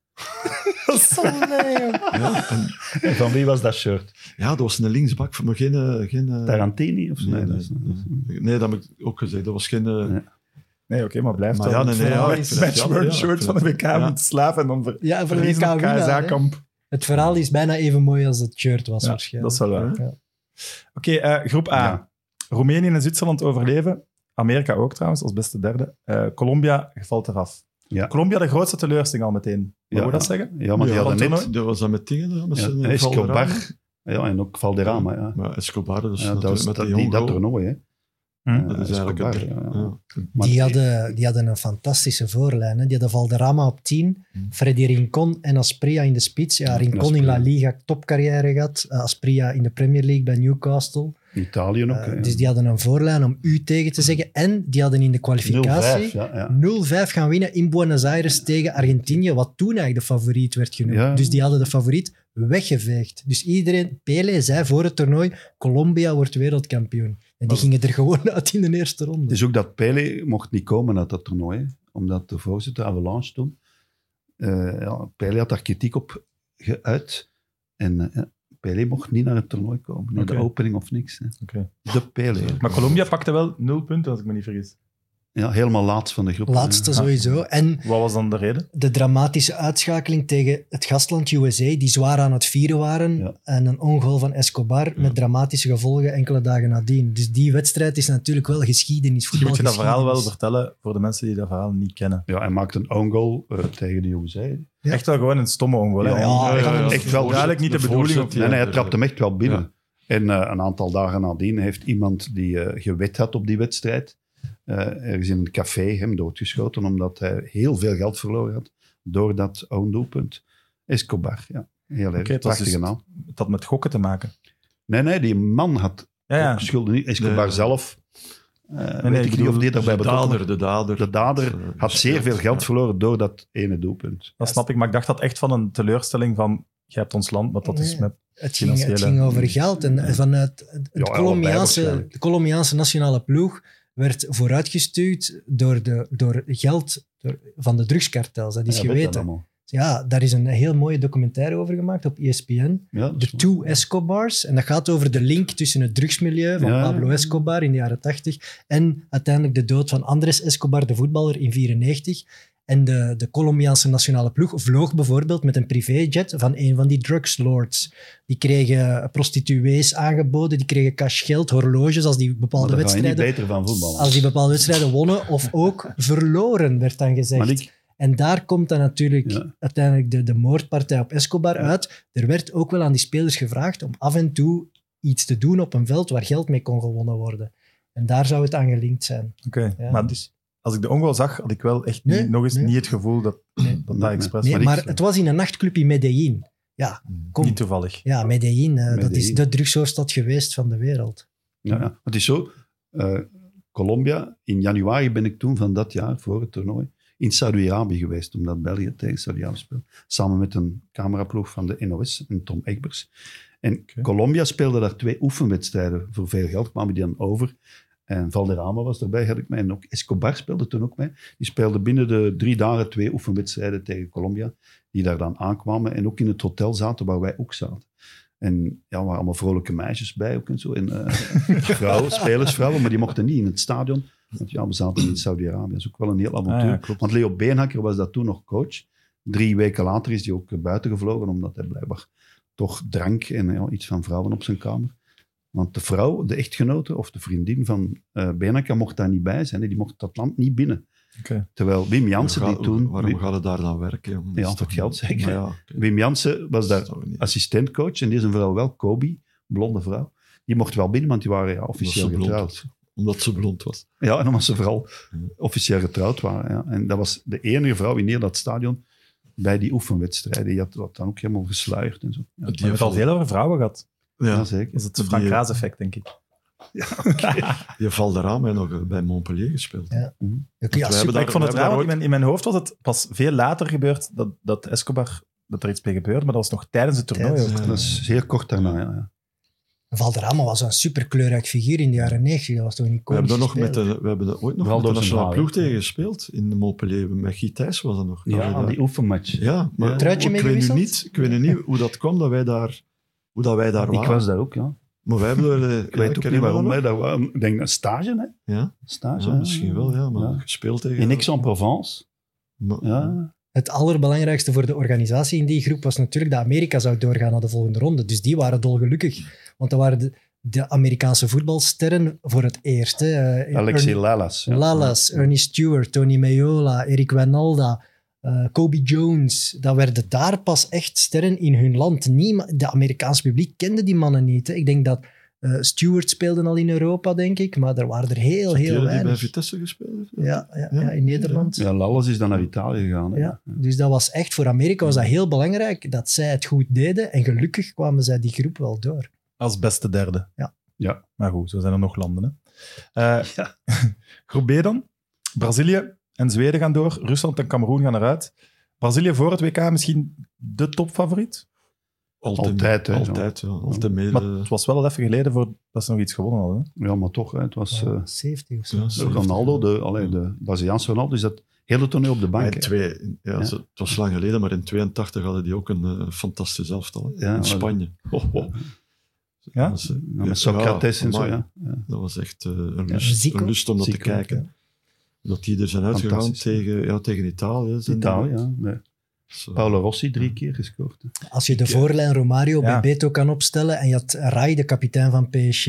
Speaker 5: Oh, nee, joh.
Speaker 4: Ja, en,
Speaker 3: En van wie was dat shirt?
Speaker 4: ja, dat was een linksbak van me, geen... eh, geen eh,
Speaker 3: Tarantini of zo? Nee,
Speaker 4: nee,
Speaker 3: dat
Speaker 4: nee,
Speaker 3: is-
Speaker 4: nee. Nee, dat heb ik ook gezegd. Dat was geen... eh,
Speaker 3: Nee.
Speaker 2: Nee, oké, maar blijf
Speaker 4: Maar
Speaker 2: dan.
Speaker 4: ja, nee, nee,
Speaker 2: Van
Speaker 4: ja,
Speaker 2: een
Speaker 4: ik vind het
Speaker 2: matchworn
Speaker 4: jammer, ja.
Speaker 2: shirt van de WK
Speaker 4: Ja.
Speaker 2: moet slaven en dan ver-
Speaker 5: Ja, voor de
Speaker 2: verliezen op
Speaker 5: WK winnaar, hè.
Speaker 2: KSA-kamp.
Speaker 5: Het verhaal is bijna even mooi als het shirt was
Speaker 2: Ja,
Speaker 5: waarschijnlijk.
Speaker 2: dat is wel waar,
Speaker 5: Ja.
Speaker 2: Oké, eh, groep A.
Speaker 3: Ja.
Speaker 2: Roemenië en Zwitserland overleven. Amerika ook trouwens, als beste derde. Eh, Colombia valt eraf.
Speaker 3: Ja.
Speaker 2: Colombia de grootste teleurstelling al meteen. Wat
Speaker 3: Ja.
Speaker 2: moet dat zeggen?
Speaker 3: Ja, maar die
Speaker 4: Ja,
Speaker 3: hadden
Speaker 2: want
Speaker 3: net...
Speaker 2: toen-
Speaker 4: Dat was dat met eh, dingen, dat was
Speaker 3: Ja,
Speaker 4: een Valderrama.
Speaker 3: Escobar. Ja, en ook Valderrama. Ja.
Speaker 4: Maar Escobar, dus
Speaker 3: Ja, dat
Speaker 4: natuurlijk
Speaker 3: was
Speaker 4: met
Speaker 3: dat,
Speaker 4: die
Speaker 3: die, dat
Speaker 4: hongo.
Speaker 3: toernooi, hè.
Speaker 2: Hm?
Speaker 4: Dat is
Speaker 3: Ja,
Speaker 4: eigenlijk het- Hm.
Speaker 3: Escobar, ja, Ah, ja.
Speaker 4: Ja.
Speaker 3: Maar-
Speaker 5: Die, hadden, die hadden een fantastische voorlijn. Hè. Die hadden Valderrama op 10,
Speaker 4: Hmm.
Speaker 5: Freddy Rincon en Aspria in de spits. Ja, Rincon in La
Speaker 3: Aspria.
Speaker 5: Liga topcarrière gehad, eh, Aspria in de Premier League bij Newcastle.
Speaker 3: Italië ook.
Speaker 5: Eh,
Speaker 3: hè, ja.
Speaker 5: Dus die hadden een voorlijn om u tegen te zeggen. En die hadden in de
Speaker 3: 0-5,
Speaker 5: kwalificatie Hm. 0-5
Speaker 3: ja, ja.
Speaker 5: gaan winnen in Buenos Aires tegen Argentinië, wat toen eigenlijk de favoriet werd genoemd.
Speaker 3: Ja.
Speaker 5: Dus die hadden de favoriet weggeveegd. Dus iedereen, Pele zei voor het toernooi, Colombia wordt wereldkampioen. En die gingen er gewoon uit in de eerste ronde.
Speaker 3: Het is ook dat Pele mocht niet komen uit dat toernooi, hè, omdat de voorzitter Avalanche toen. eh, ja, Pele had daar kritiek op geuit. En eh, ja, Pele mocht niet naar het toernooi komen, naar
Speaker 2: Oké.
Speaker 3: de opening of niks. Hè.
Speaker 2: Oké.
Speaker 3: De Pele.
Speaker 2: Maar Colombia pakte wel nul punten, als ik me niet vergis.
Speaker 3: Ja, helemaal laatst van de groep.
Speaker 5: Laatste
Speaker 3: Ja.
Speaker 5: sowieso. En
Speaker 2: Wat was dan de reden?
Speaker 5: de dramatische uitschakeling tegen het gastland USA, die zwaar aan het vieren waren.
Speaker 3: Ja.
Speaker 5: En een ongoal van Escobar met dramatische gevolgen enkele dagen nadien. Dus die wedstrijd is natuurlijk wel geschiedenis.
Speaker 2: Misschien moet je dat verhaal wel
Speaker 5: voetbalgeschiedenis.
Speaker 2: vertellen voor de mensen die dat verhaal niet kennen.
Speaker 3: Ja, hij maakte een own goal eh, tegen de USA.
Speaker 5: Ja.
Speaker 2: Echt wel gewoon een stomme ongeluk.
Speaker 3: Ja,
Speaker 5: Ja, ja, ja.
Speaker 3: echt wel.
Speaker 2: Duidelijk niet de bedoeling op-
Speaker 3: Nee, nee, hij trapte
Speaker 2: eh,
Speaker 3: hem echt wel binnen. En eh, een aantal dagen nadien heeft iemand die eh, gewet had op die wedstrijd, eh, ergens in een café hem doodgeschoten, omdat hij heel veel geld verloren had door dat own doelpunt. Escobar, ja. Heel erg.
Speaker 2: Oké, het was
Speaker 3: Prachtige
Speaker 2: dus-
Speaker 3: naam.
Speaker 2: Het had met gokken te maken.
Speaker 3: Nee, nee, die man had
Speaker 2: Ja, Ah, ja.
Speaker 3: ook schulden niet. Escobar
Speaker 4: Nee.
Speaker 3: zelf, eh
Speaker 2: nee,
Speaker 3: weet ik
Speaker 2: ik
Speaker 3: niet of
Speaker 2: bedoel,
Speaker 3: die daarbij
Speaker 4: de
Speaker 3: betrokken
Speaker 4: dader, de dader.
Speaker 3: De dader
Speaker 4: Eh,
Speaker 3: had zeer veel geld verloren door dat ene doelpunt.
Speaker 2: Dat snap ik, maar ik dacht dat echt van een teleurstelling van... Je hebt ons land, maar dat is
Speaker 5: Nee.
Speaker 2: met...
Speaker 5: Het ging, het
Speaker 2: Financiële-
Speaker 5: ging over geld. En vanuit het
Speaker 3: Ja, allebei
Speaker 5: Colombiaanse,
Speaker 3: waarschijnlijk.
Speaker 5: de Colombiaanse nationale ploeg werd vooruitgestuurd door, de, door geld door- van de drugskartels. Dat is
Speaker 3: Ja, weet dat
Speaker 5: geweten.
Speaker 3: allemaal.
Speaker 5: Ja, daar is een heel mooie documentaire over gemaakt op E ESPN.
Speaker 3: Ja, dus- dat is
Speaker 5: De Two Escobars. En dat gaat over de link tussen het drugsmilieu van
Speaker 3: Ja.
Speaker 5: Pablo Escobar in de jaren 80 en uiteindelijk de dood van Andres Escobar, de voetballer, in 94. En de, de Colombiaanse nationale ploeg vloog bijvoorbeeld met een privéjet van een van die drugslords. Die kregen prostituees aangeboden, die kregen cash geld, horloges als die
Speaker 3: Maar daar
Speaker 5: bepaalde
Speaker 3: ga je niet
Speaker 5: wedstrijden...
Speaker 3: beter van voetballen.
Speaker 5: Als die bepaalde wedstrijden wonnen of ook verloren, werd dan gezegd.
Speaker 3: maar ik,
Speaker 5: En daar komt dan natuurlijk
Speaker 3: Ja.
Speaker 5: uiteindelijk de, de moordpartij op Escobar uit. Er werd ook wel aan die spelers gevraagd om af en toe iets te doen op een veld waar geld mee kon gewonnen worden. En daar zou het aan gelinkt zijn.
Speaker 2: Oké,
Speaker 5: Ja,
Speaker 2: maar
Speaker 5: dus,
Speaker 2: als ik de ongoal zag, had ik wel echt
Speaker 5: Nee,
Speaker 2: niet, nog eens
Speaker 5: nee.
Speaker 2: niet het gevoel dat
Speaker 5: nee,
Speaker 2: dat,
Speaker 3: Nee,
Speaker 2: dat expres
Speaker 5: nee,
Speaker 2: maar
Speaker 5: maar,
Speaker 2: ik-
Speaker 5: het was in een nachtclub in Medellin. Ja,
Speaker 4: Mm.
Speaker 5: kom.
Speaker 2: niet toevallig.
Speaker 5: Ja, Medellin, eh, dat is
Speaker 3: Medellin.
Speaker 5: de drugshoofdstad geweest van de wereld.
Speaker 3: ja, ja. Het is zo, eh, Colombia, in januari ben ik toen van dat jaar, voor het toernooi, in Saudi-Arabië geweest, omdat België tegen Saudi-Arabië speelde. Samen met een cameraploeg van de NOS, en Tom Egbers. En Colombia speelde daar twee oefenwedstrijden voor veel geld, kwamen die dan over. En Valderrama was erbij, had ik mij. En ook Escobar speelde toen ook mee. Die speelde binnen de drie dagen twee oefenwedstrijden tegen Colombia, die daar dan aankwamen en ook in het hotel zaten waar wij ook zaten. En ja, er waren allemaal vrolijke meisjes bij ook en zo. En eh, vrouwen, spelersvrouwen, maar die mochten niet in het stadion. Want ja, we zaten in Saudi-Arabië. Dat is ook wel een heel avontuur.
Speaker 2: Ah, ja, klopt.
Speaker 3: Want Leo Beenhakker was dat toen nog coach. Drie weken later is hij ook eh, buiten gevlogen, omdat hij blijkbaar toch drank en ja, iets van vrouwen op zijn kamer. Want de vrouw, de echtgenote of de vriendin van eh Beenhakker mocht daar niet bij zijn. Die mocht dat land niet binnen.
Speaker 2: Oké.
Speaker 3: Terwijl Wim Jansen, die
Speaker 4: Waarom ga-
Speaker 3: toen...
Speaker 4: Waarom gaat het daar dan werken? jongen? Dat
Speaker 3: Ja, voor
Speaker 4: is toch
Speaker 3: het geld
Speaker 4: niet-
Speaker 3: zeker.
Speaker 4: Maar ja, oké,
Speaker 3: Wim Jansen was
Speaker 4: dat
Speaker 3: daar
Speaker 4: is toch niet-
Speaker 3: assistentcoach. En die is een vrouw wel, Kobe, blonde vrouw. Die mocht wel binnen, want die waren ja, officieel
Speaker 4: Omdat ze blond
Speaker 3: getrouwd.
Speaker 4: Omdat ze blond was.
Speaker 3: Ja, en omdat ze vooral
Speaker 4: Hmm.
Speaker 3: officieel getrouwd waren. Ja. En dat was de enige vrouw in heel dat stadion bij die oefenwedstrijden. Die had wat dan ook helemaal gesluierd en zo. Ja,
Speaker 2: Je hebt al veel over vrouwen gehad.
Speaker 3: ja,
Speaker 4: Ja,
Speaker 3: zeker.
Speaker 2: Dat is het
Speaker 4: Die-
Speaker 2: Frank Raas effect, denk ik.
Speaker 4: je valt eraan en nog bij Montpellier gespeeld.
Speaker 5: Ja.
Speaker 4: wij
Speaker 5: Ja,
Speaker 4: hebben
Speaker 5: super.
Speaker 4: daar-
Speaker 2: ik vond het
Speaker 4: we hebben
Speaker 2: raar,
Speaker 4: daar
Speaker 2: want in mijn, in mijn hoofd was het pas veel later gebeurd dat, dat Escobar, dat er iets mee gebeurde, maar dat was nog tijdens het toernooi.
Speaker 5: Tijdens-
Speaker 4: Eh,
Speaker 2: ook.
Speaker 3: Dat is zeer kort daarna, ja. ja.
Speaker 5: Valderrama was een superkleurrijk figuur in de jaren 90. Dat was toch niet
Speaker 4: We hebben,
Speaker 5: komisch
Speaker 4: daar nog met de, we hebben daar ooit nog
Speaker 3: Vooral
Speaker 4: met de
Speaker 3: door zijn
Speaker 4: nationale
Speaker 3: haar,
Speaker 4: ploeg
Speaker 3: hè.
Speaker 4: tegen gespeeld in Montpellier. Met Guy Thijs was dat nog. Dat we daar-
Speaker 3: oefenmatch.
Speaker 4: ja, maar
Speaker 3: Ja.
Speaker 5: Truitje
Speaker 4: ik, weet nu
Speaker 5: meegewisseld?
Speaker 4: niet, ik weet nu niet hoe dat kwam dat wij daar, hoe dat wij daar
Speaker 3: Ik
Speaker 4: waren.
Speaker 3: was daar ook, ja.
Speaker 4: Maar wij hebben er... eh,
Speaker 3: Ik weet ook
Speaker 4: ken
Speaker 3: niet
Speaker 4: je
Speaker 3: waarom
Speaker 4: dat
Speaker 3: wij daar waren. Ik denk een stage, hè.
Speaker 4: nog? Ja,
Speaker 3: Stage,
Speaker 4: ja,
Speaker 3: hè.
Speaker 4: misschien wel, ja. Maar
Speaker 3: Ja.
Speaker 4: gespeeld tegen...
Speaker 3: In Aix-en-Provence.
Speaker 4: Maar-
Speaker 3: Ja.
Speaker 5: het allerbelangrijkste voor de organisatie in die groep was natuurlijk dat Amerika zou doorgaan naar de volgende ronde. Dus die waren dolgelukkig. Want dat waren de, de Amerikaanse voetbalsterren voor het eerst. hè. Eh,
Speaker 3: Alexi
Speaker 5: Ernie-
Speaker 3: Lalas. ja.
Speaker 5: Lalas, Ernie Stewart, Tony Meola, Eric Wijnalda, eh, Kobe Jones. Dat werden daar pas echt sterren in hun land. Niem- de Amerikaanse publiek kende die mannen niet. Hè. Ik denk dat eh, Stewart speelde al in Europa, denk ik. Maar er waren er heel,
Speaker 4: Kerel
Speaker 5: heel
Speaker 4: die bij
Speaker 5: weinig.
Speaker 4: Vitesse gespeeld heeft.
Speaker 5: Ja, ja,
Speaker 4: Ja,
Speaker 5: ja, in Nederland.
Speaker 3: Ja, Lalas is dan naar Italië gegaan. hè.
Speaker 5: Ja, dus dat was echt voor Amerika was dat heel belangrijk dat zij het goed deden. En gelukkig kwamen zij die groep wel door.
Speaker 2: Als beste derde.
Speaker 5: Ja.
Speaker 3: Ja.
Speaker 2: Maar goed, zo zijn er nog landen. Hè. Eh, Groep B dan. Brazilië en Zweden gaan door. Rusland en Cameroen gaan eruit. Brazilië voor het WK misschien de topfavoriet.
Speaker 4: Altijd,
Speaker 3: Altijd, hè,
Speaker 4: Altijd, ja. Altijd eh, mede.
Speaker 2: Maar het was wel even geleden voor dat ze nog iets gewonnen hadden. hè.
Speaker 3: Ja, maar toch, hè, het was eh,
Speaker 5: 70 of zo.
Speaker 4: ja, zeker.
Speaker 3: Ronaldo, de, allee, de Braziliaanse Ronaldo, is dat hele toneel op de
Speaker 4: Maar
Speaker 3: bank.
Speaker 4: in
Speaker 3: hè.
Speaker 4: twee, in- ja,
Speaker 3: Ja.
Speaker 4: ze- Het was lang geleden, maar in 82 hadden die ook een eh, fantastisch elftal. hè.
Speaker 3: Ja,
Speaker 4: in
Speaker 3: maar-
Speaker 4: Spanje. Oh, oh.
Speaker 2: Ja?
Speaker 4: Dat, was, eh,
Speaker 3: Ja, met Socrates en zo,
Speaker 4: amai.
Speaker 3: ja. Ja.
Speaker 4: dat was echt eh, een,
Speaker 3: Ja,
Speaker 4: lust,
Speaker 5: Zico.
Speaker 4: een lust om dat
Speaker 3: Zico,
Speaker 4: te kijken. Dat die er zijn uitgegaan
Speaker 3: Fantastisch.
Speaker 4: tegen, ja, tegen Italië. zijn die-
Speaker 3: Italië, ja. Nee.
Speaker 4: Zo.
Speaker 3: Paolo Rossi drie keer gescoord. hè.
Speaker 5: Als je de voorlijn Romario
Speaker 2: Ja.
Speaker 5: Bebeto kan opstellen en je had Rai, de kapitein van PSG.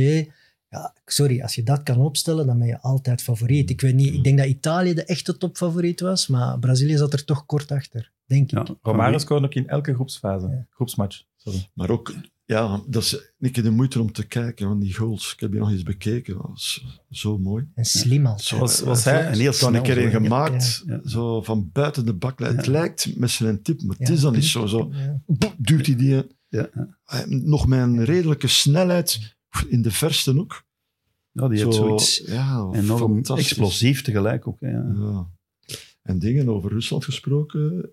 Speaker 5: Ja, sorry, als je dat kan opstellen, dan ben je altijd favoriet. Ik weet niet, ik denk dat Italië de echte topfavoriet was, maar Brazilië zat er toch kort achter, denk ik.
Speaker 3: Ja,
Speaker 2: Romario Dus
Speaker 3: van
Speaker 2: scoorde ook in elke groepsfase. Groepsmatch. Sorry.
Speaker 4: Maar ook, ja, dat is een keer de moeite om te kijken, want die goals, ik heb die nog eens bekeken, dat was zo mooi.
Speaker 5: En slim altijd.
Speaker 4: Zo,
Speaker 2: Was-
Speaker 4: eh,
Speaker 2: was
Speaker 4: eh,
Speaker 2: hij
Speaker 4: en heel snel een keer
Speaker 2: snel,
Speaker 4: een
Speaker 2: zo, ja.
Speaker 4: gemaakt,
Speaker 3: Ja, ja.
Speaker 4: zo van buiten de baklijn. Het
Speaker 3: Ja.
Speaker 4: lijkt met zijn tip, maar het
Speaker 5: Ja.
Speaker 4: is dan niet zo. zo
Speaker 5: Ja.
Speaker 4: boep, duwt hij die,
Speaker 3: Ja,
Speaker 4: eh, nog met een redelijke snelheid, in de verste ook.
Speaker 3: Ja, die heeft
Speaker 4: Zo,
Speaker 3: zoiets
Speaker 4: ja,
Speaker 3: enorm
Speaker 4: fantastisch.
Speaker 3: explosief tegelijk ook. hè, Ja.
Speaker 4: Ja. En dingen over Rusland gesproken,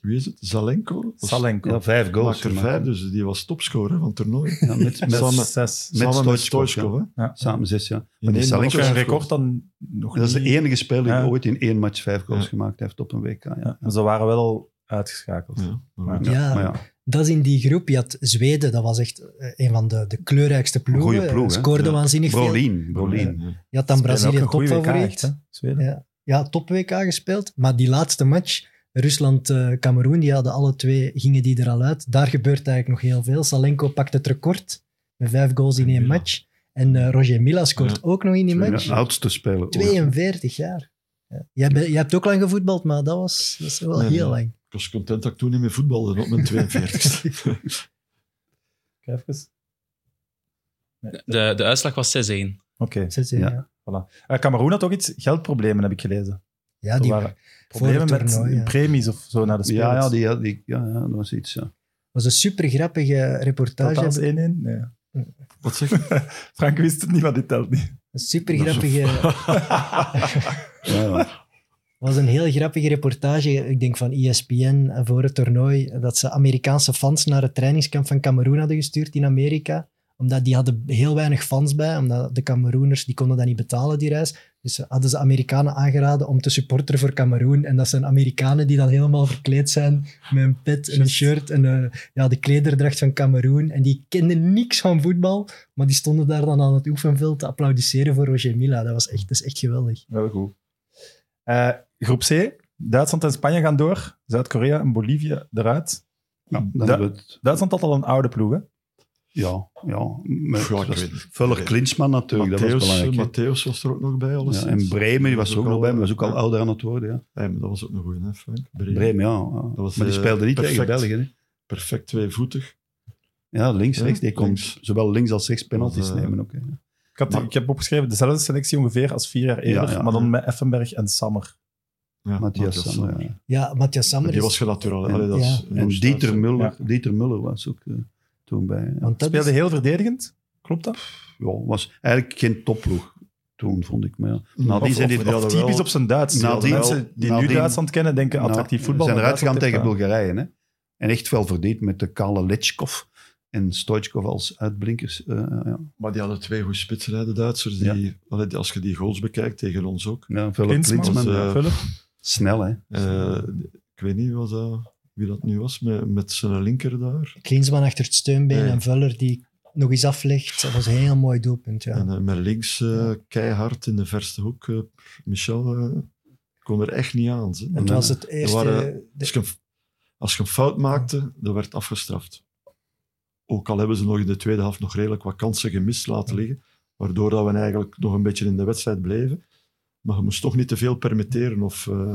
Speaker 4: wie is het? Zalenko? Was-
Speaker 2: Salenko.
Speaker 3: Ja, vijf goals.
Speaker 4: Maakte er
Speaker 3: gemaakt,
Speaker 4: vijf,
Speaker 3: hè.
Speaker 4: dus die was topscorer van het toernooi.
Speaker 3: Ja, met, met,
Speaker 4: Samen-
Speaker 2: Zes.
Speaker 3: Met
Speaker 4: Samen met
Speaker 3: Stoichkov,
Speaker 4: Stoichkov, hè?
Speaker 3: samen zes, ja.
Speaker 4: In
Speaker 3: die
Speaker 4: één
Speaker 2: Ik
Speaker 3: Salenko
Speaker 4: match
Speaker 2: heb een
Speaker 4: gescoord.
Speaker 2: record dan nog
Speaker 3: Dat is de
Speaker 2: niet-
Speaker 3: enige speler die
Speaker 2: Ja.
Speaker 3: ooit in één match vijf goals
Speaker 4: Ja.
Speaker 3: gemaakt heeft op een WK. Ja.
Speaker 2: Ja, maar ze waren wel al uitgeschakeld.
Speaker 4: Ja, maar
Speaker 2: Ja.
Speaker 4: goed.
Speaker 5: Ja.
Speaker 3: Maar ja,
Speaker 5: Dat is in die groep. Je had Zweden, dat was echt eh, een van de, de kleurrijkste ploegen.
Speaker 3: Goeie ploeg, hè?
Speaker 5: Scoorde
Speaker 4: Ja.
Speaker 5: waanzinnig veel.
Speaker 3: Brolin, Brolin.
Speaker 4: Ja.
Speaker 5: Je had dan Brazilië
Speaker 2: Spelen ook een goeie WK, echt,
Speaker 5: topfavoriet.
Speaker 2: hè, Zweden.
Speaker 5: Ja. Ja, top-WK gespeeld. Maar die laatste match, Rusland-Cameroen, die hadden alle twee, gingen die er al uit. Daar gebeurt eigenlijk nog heel veel. Salenko pakt het record met vijf goals in één
Speaker 4: Mila.
Speaker 5: match. En eh, Roger Mila scoort
Speaker 4: Ja.
Speaker 5: ook nog in die match.
Speaker 3: Ja, oudste speler. ooit.
Speaker 5: 42 jaar. Ja. Jij, bent- jij hebt ook lang gevoetbald, maar dat was, dat is wel
Speaker 4: Nee,
Speaker 5: heel
Speaker 4: nee.
Speaker 5: lang.
Speaker 4: Ik was content dat ik toen niet meer voetbalde op mijn 42
Speaker 2: Kijk even. Nee.
Speaker 7: De, de uitslag was 6-1.
Speaker 2: Oké. Eh
Speaker 5: Zes jaar,
Speaker 3: Ja.
Speaker 5: ja.
Speaker 2: Cameroen had ook iets geldproblemen, heb ik gelezen.
Speaker 5: Ja,
Speaker 2: Er
Speaker 5: die
Speaker 2: waren problemen
Speaker 5: het
Speaker 2: met
Speaker 5: toernooi, ja.
Speaker 2: premies of zo naar de spelers.
Speaker 3: Ja, ja, die, had- die, ja, ja, dat was iets. Ja.
Speaker 5: was een super grappige
Speaker 2: Telt
Speaker 5: reportage.
Speaker 2: dat als 1-1? Nee.
Speaker 4: Wat zeg je?
Speaker 2: Frank wist het niet, maar dit telt niet.
Speaker 5: Een super grappige.
Speaker 3: Ja, ja.
Speaker 5: was een heel grappige reportage, ik denk van ESPN eh, voor het toernooi, dat ze Amerikaanse fans naar het trainingskamp van Cameroen hadden gestuurd in Amerika. Omdat die hadden heel weinig fans bij, omdat de Cameroeners, die konden dat niet betalen, die reis. Dus ze- hadden ze Amerikanen aangeraden om te supporteren voor Cameroen. En dat zijn Amerikanen die dan helemaal verkleed zijn met een pet en een shirt en eh, ja, de klederdracht van Cameroen. En die kenden niks van voetbal, maar die stonden daar dan aan het oefenveld te applaudisseren voor Roger Mila. Dat was echt, dat is echt geweldig.
Speaker 2: Wel goed. Eh, groep C. Duitsland en Spanje gaan door. Zuid-Korea en Bolivia eruit.
Speaker 3: Ja, dan
Speaker 2: Du-
Speaker 3: hebben we het.
Speaker 2: Duitsland had al een oude ploeg, hè?
Speaker 3: Ja, ja. Met,
Speaker 4: Pff, ja, ik
Speaker 3: was
Speaker 4: weet niet.
Speaker 3: Vuller Klinsman natuurlijk, dat was
Speaker 4: Matthäus,
Speaker 3: belangrijk. hè.
Speaker 4: Matthäus was er ook nog bij, alles.
Speaker 3: Ja, en Bremen die was er ook nog bij, maar was ook al ouder aan het worden. Ja.
Speaker 4: dat was ook een goeie, hè, Frank? Bremen.
Speaker 3: Bremen, ja. ja.
Speaker 4: was,
Speaker 3: maar die
Speaker 4: eh,
Speaker 3: speelde niet tegen
Speaker 4: perfect.
Speaker 3: België. Hè.
Speaker 4: Perfect tweevoetig.
Speaker 3: Ja, links,
Speaker 4: Ja,
Speaker 3: rechts. Die kon
Speaker 4: links.
Speaker 3: zowel links als rechts penalties
Speaker 4: Dat was, eh,
Speaker 3: nemen ook. hè.
Speaker 2: Ik, had,
Speaker 4: Maar-
Speaker 2: ik heb opgeschreven dezelfde selectie ongeveer als vier jaar eerder,
Speaker 3: Ja, ja.
Speaker 2: maar dan met Effenberg en Sammer.
Speaker 4: Ja,
Speaker 3: Matthias Sammer, ja.
Speaker 5: Ja, Matthias
Speaker 4: Maar
Speaker 5: Sammer
Speaker 4: die
Speaker 5: is-
Speaker 4: was genaturaal.
Speaker 3: En-
Speaker 4: Allee, dat is-
Speaker 3: En
Speaker 4: Oost-
Speaker 3: Dieter Muller,
Speaker 2: Ja.
Speaker 3: Dieter Muller was ook eh, toen bij. Ja.
Speaker 5: want dat
Speaker 2: Speelde
Speaker 5: is-
Speaker 2: heel verdedigend, klopt dat?
Speaker 3: Ja, was eigenlijk geen topploeg toen, vond ik. Maar ja.
Speaker 4: Nou,
Speaker 3: Nadien
Speaker 2: Of,
Speaker 3: zijn die
Speaker 2: of-
Speaker 4: die
Speaker 2: of
Speaker 4: hadden
Speaker 2: typisch
Speaker 4: wel-
Speaker 2: op zijn Duits.
Speaker 3: die hadden
Speaker 2: mensen
Speaker 3: wel-
Speaker 2: die nu
Speaker 3: nadien-
Speaker 2: Duitsland kennen denken
Speaker 3: nou,
Speaker 2: attractief voetbal.
Speaker 3: zijn
Speaker 2: maar
Speaker 3: eruit gegaan
Speaker 2: Duitsland
Speaker 3: tegen
Speaker 2: heeft
Speaker 3: Bulgarije. Hè? En echt wel verdiend met de kale Letchkov en Stoichkov als uitblinkers. eh, ja.
Speaker 4: Maar die hadden twee goede spitsen, hè, de Duitsers. Die, allee, die- als je die goals bekijkt, tegen ons ook.
Speaker 3: Ja, Vuller
Speaker 2: Klinsmann,
Speaker 3: Klinsmann,
Speaker 4: was,
Speaker 3: ja.
Speaker 4: eh,
Speaker 2: Vullen.
Speaker 3: Snel, hè.
Speaker 4: Eh, ik weet niet wat dat, wie dat nu was, met, met zijn linker daar.
Speaker 5: Klinsman achter het steunbeen
Speaker 4: Nee.
Speaker 5: en Vuller die nog eens aflegt. Dat was een heel mooi doelpunt, ja.
Speaker 4: En eh, met links eh, keihard in de verste hoek, eh, Michel. eh, kon er echt niet aan. ze.
Speaker 5: Het
Speaker 4: En,
Speaker 5: was het
Speaker 4: er
Speaker 5: eerste...
Speaker 4: waren-
Speaker 5: de-
Speaker 4: Als je, een- als je een fout maakte, dan werd afgestraft. Ook al hebben ze nog in de tweede helft nog redelijk wat kansen gemist laten liggen, waardoor dat we eigenlijk nog een beetje in de wedstrijd bleven. Maar je moest toch niet te veel permitteren of eh,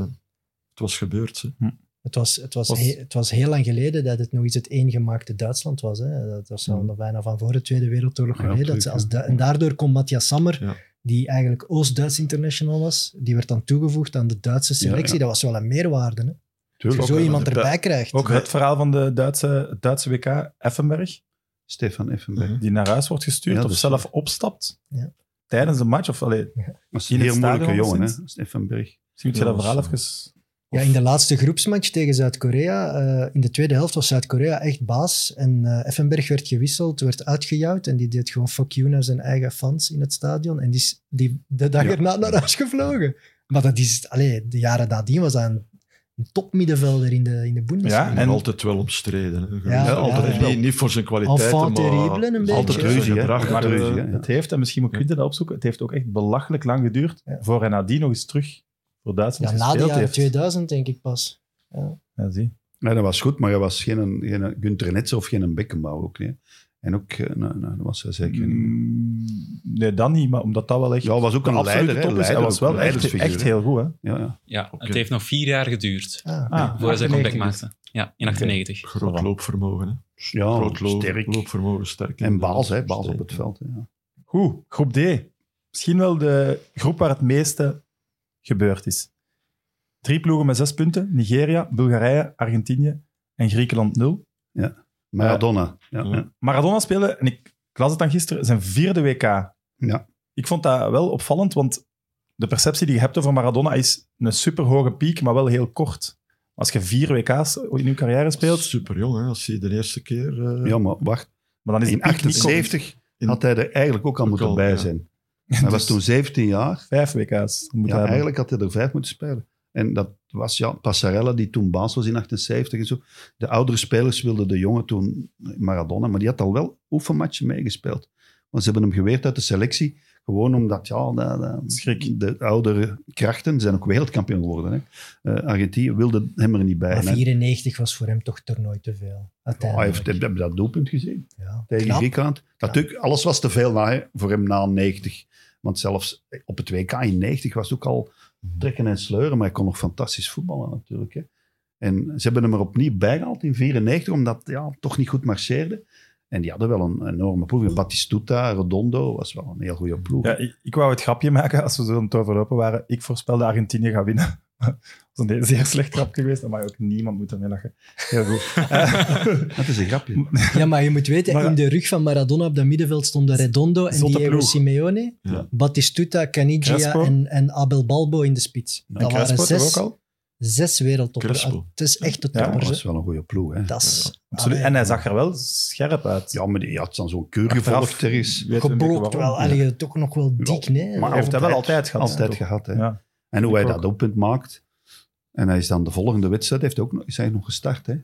Speaker 4: het was gebeurd. hè.
Speaker 5: Het was, het, was
Speaker 2: Was-
Speaker 5: he- het was heel lang geleden dat het nog eens het eengemaakte Duitsland was. Hè. Dat was al bijna van voor de Tweede Wereldoorlog
Speaker 3: Ja,
Speaker 5: geleden. Dat
Speaker 3: terug,
Speaker 5: ze als
Speaker 3: ja.
Speaker 5: Du- en daardoor kon Matthias Sammer,
Speaker 4: Ja.
Speaker 5: die eigenlijk Oost-Duits international was, die werd dan toegevoegd aan de Duitse selectie.
Speaker 3: ja.
Speaker 5: Dat was wel een meerwaarde. Hè. Als je
Speaker 3: Tuurlijk.
Speaker 5: zo iemand
Speaker 2: dat-
Speaker 5: erbij krijgt.
Speaker 2: Ook het verhaal van de Duitse, het Duitse WK, Effenberg,
Speaker 3: Stefan Effenberg.
Speaker 4: Mhm.
Speaker 2: die naar huis wordt gestuurd
Speaker 3: Ja,
Speaker 2: of
Speaker 3: dus-
Speaker 2: zelf opstapt
Speaker 5: Ja.
Speaker 2: tijdens een match. Of, allee,
Speaker 3: Dat is
Speaker 2: In
Speaker 3: een
Speaker 2: het
Speaker 3: heel moeilijke
Speaker 2: stadion
Speaker 3: jongen,
Speaker 2: sinds-
Speaker 3: hè, Stefenberg.
Speaker 2: misschien moet je
Speaker 4: Ja,
Speaker 2: dat verhaal
Speaker 4: dat
Speaker 2: even...
Speaker 5: Ja, in de laatste groepsmatch tegen Zuid-Korea, eh, in de tweede helft was Zuid-Korea echt baas. En eh, Effenberg werd gewisseld, werd uitgejouwd en die deed gewoon fuck you naar zijn eigen fans in het stadion. En die is die, de dag
Speaker 3: Ja.
Speaker 5: erna naar huis gevlogen. Maar dat is, allee, de jaren nadien was hij een, een topmiddenvelder in de, in de Bundesliga.
Speaker 2: Ja,
Speaker 4: En,
Speaker 2: en-
Speaker 4: altijd wel omstreden. hè.
Speaker 5: Ja,
Speaker 4: Ja,
Speaker 5: ja,
Speaker 4: altijd,
Speaker 5: ja.
Speaker 4: Niet, niet voor zijn kwaliteiten,
Speaker 5: Enfant
Speaker 4: maar
Speaker 5: terrible een beetje.
Speaker 4: altijd
Speaker 5: Altijd
Speaker 4: ruzie.
Speaker 3: ruzie, hè.
Speaker 4: gebracht.
Speaker 3: Maar,
Speaker 4: eh,
Speaker 3: ruzie, hè.
Speaker 2: Het heeft, en misschien moet Quinten dat opzoeken, het heeft ook echt belachelijk lang geduurd
Speaker 5: Ja.
Speaker 2: voor hij nadien nog eens terug voor
Speaker 5: Ja,
Speaker 2: Duitsland
Speaker 5: na de
Speaker 2: gespeeld
Speaker 5: jaren
Speaker 2: heeft.
Speaker 5: 2000 denk ik pas.
Speaker 2: Ja, zie.
Speaker 3: Nee, dat was goed, maar hij was geen, geen Gunther Netze of geen Beckenbauer ook. Nee. En ook, eh, nou, nou, dat was hij zeker niet.
Speaker 2: Mm, Nee, dan niet, maar omdat dat wel echt...
Speaker 3: Ja, hij was ook
Speaker 2: de
Speaker 3: een
Speaker 2: absolute
Speaker 3: leider. hè,
Speaker 2: top is. Hij
Speaker 3: leider,
Speaker 2: was
Speaker 3: ook
Speaker 2: wel
Speaker 3: een
Speaker 2: echt,
Speaker 3: leidersfiguur,
Speaker 2: echt
Speaker 3: hè.
Speaker 2: heel goed, hè.
Speaker 3: Ja, ja.
Speaker 6: Ja,
Speaker 4: Oké.
Speaker 6: het heeft nog vier jaar geduurd
Speaker 5: Ah,
Speaker 2: Ah,
Speaker 6: voordat hij
Speaker 2: 98.
Speaker 6: comeback maakte. Ja, in 98.
Speaker 4: Groot loopvermogen. Hè.
Speaker 3: ja
Speaker 4: Groot loop,
Speaker 3: sterk.
Speaker 4: loopvermogen, sterk.
Speaker 3: En baas, hè, baas op het veld. hè, Ja.
Speaker 2: Goed, groep D. Misschien wel de groep waar het meeste gebeurd is. Drie ploegen met zes punten. Nigeria, Bulgarije, Argentinië en Griekenland nul.
Speaker 3: Maradona. Ja,
Speaker 4: Ja.
Speaker 3: ja.
Speaker 2: Maradona spelen, en ik, ik las het dan gisteren, zijn vierde WK.
Speaker 3: Ja.
Speaker 2: Ik vond dat wel opvallend, want de perceptie die je hebt over Maradona is een superhoge piek, maar wel heel kort. Als je vier WK's in je carrière speelt,
Speaker 4: Super jong, hè, als hij de eerste keer. eh,
Speaker 3: Ja, maar wacht.
Speaker 2: maar dan is
Speaker 3: In
Speaker 2: de piek niet kort.
Speaker 3: 78
Speaker 4: In-
Speaker 3: had hij er eigenlijk ook al
Speaker 4: Ook
Speaker 3: moeten
Speaker 4: al,
Speaker 3: bij
Speaker 4: ja.
Speaker 3: zijn. Hij
Speaker 2: Dus-
Speaker 3: was toen 17 jaar.
Speaker 2: Vijf WK's. Moet
Speaker 3: Ja,
Speaker 2: hebben.
Speaker 3: eigenlijk had hij er vijf moeten spelen. En dat was ja, Passarella, die toen baas was in 78 en zo. De oudere spelers wilden de jongen toen Maradona, maar die had al wel oefenmatchen meegespeeld. Want ze hebben hem geweerd uit de selectie, gewoon omdat ja, de, de-
Speaker 2: Schrik.
Speaker 3: de oudere krachten ze zijn ook wereldkampioen geworden. Hè. Eh, Argentinië wilde hem er niet bij.
Speaker 5: maar
Speaker 3: En hij-
Speaker 5: 94 was voor hem toch toernooi te veel.
Speaker 3: Oh, hij heeft
Speaker 5: Uiteindelijk.
Speaker 3: hij heeft dat doelpunt gezien
Speaker 5: Ja.
Speaker 3: tegen
Speaker 5: Knap.
Speaker 3: Griekenland. Natuurlijk, alles was te veel na, hè, voor hem na 90. Want zelfs op het WK in 90 was het ook al
Speaker 2: Mhm.
Speaker 3: trekken en sleuren, maar hij kon nog fantastisch voetballen natuurlijk. Hè. En ze hebben hem er opnieuw bijgehaald in 94, omdat ja, het toch niet goed marcheerde. En die hadden wel een enorme ploeg. Batistuta, Redondo was wel een heel goede ploeg.
Speaker 2: Ja, ik, ik wou het grapje maken als we zo aan het overlopen waren. Ik voorspelde Argentinië gaat winnen. Dat is een zeer slecht grapje geweest. Daar mag ook niemand moeten mee lachen. Heel goed. Eh,
Speaker 3: Dat is een grapje.
Speaker 5: Ja, maar je moet weten,
Speaker 2: Maar-
Speaker 5: in de rug van Maradona op dat middenveld stonden Redondo en
Speaker 2: Zotte
Speaker 5: Diego
Speaker 2: ploeg.
Speaker 5: Simeone,
Speaker 4: Ja.
Speaker 5: Batistuta, Canigia
Speaker 2: Crespo.
Speaker 5: en, en Abel Balbo in de spits.
Speaker 2: en
Speaker 5: Dat waren
Speaker 2: Crespo toch
Speaker 5: zes,
Speaker 2: ook al?
Speaker 5: zes wereldtoppers. Ah,
Speaker 4: Crespo.
Speaker 5: Het is echt de
Speaker 2: Ja,
Speaker 3: dat
Speaker 5: toppers.
Speaker 3: was
Speaker 5: hè.
Speaker 3: wel een goede ploeg. Hè.
Speaker 5: dat is...
Speaker 2: Absoluut.
Speaker 5: Allee,
Speaker 2: En hij zag er wel scherp uit.
Speaker 3: Ja, maar die had dan zo'n keur
Speaker 2: Achteraf
Speaker 3: gevolgd er is.
Speaker 2: weten we een beetje
Speaker 5: geblokt wel.
Speaker 2: waarom.
Speaker 5: Allee, toch nog wel dik, nee.
Speaker 2: Maar hij heeft dat wel altijd gehad.
Speaker 3: Altijd
Speaker 2: toch?
Speaker 3: gehad, hè.
Speaker 2: Ja.
Speaker 3: En hoe hij
Speaker 2: Ik
Speaker 3: dat doelpunt maakt. En hij is dan de volgende wedstrijd, heeft ook nog, is hij nog gestart. Hè? Eh,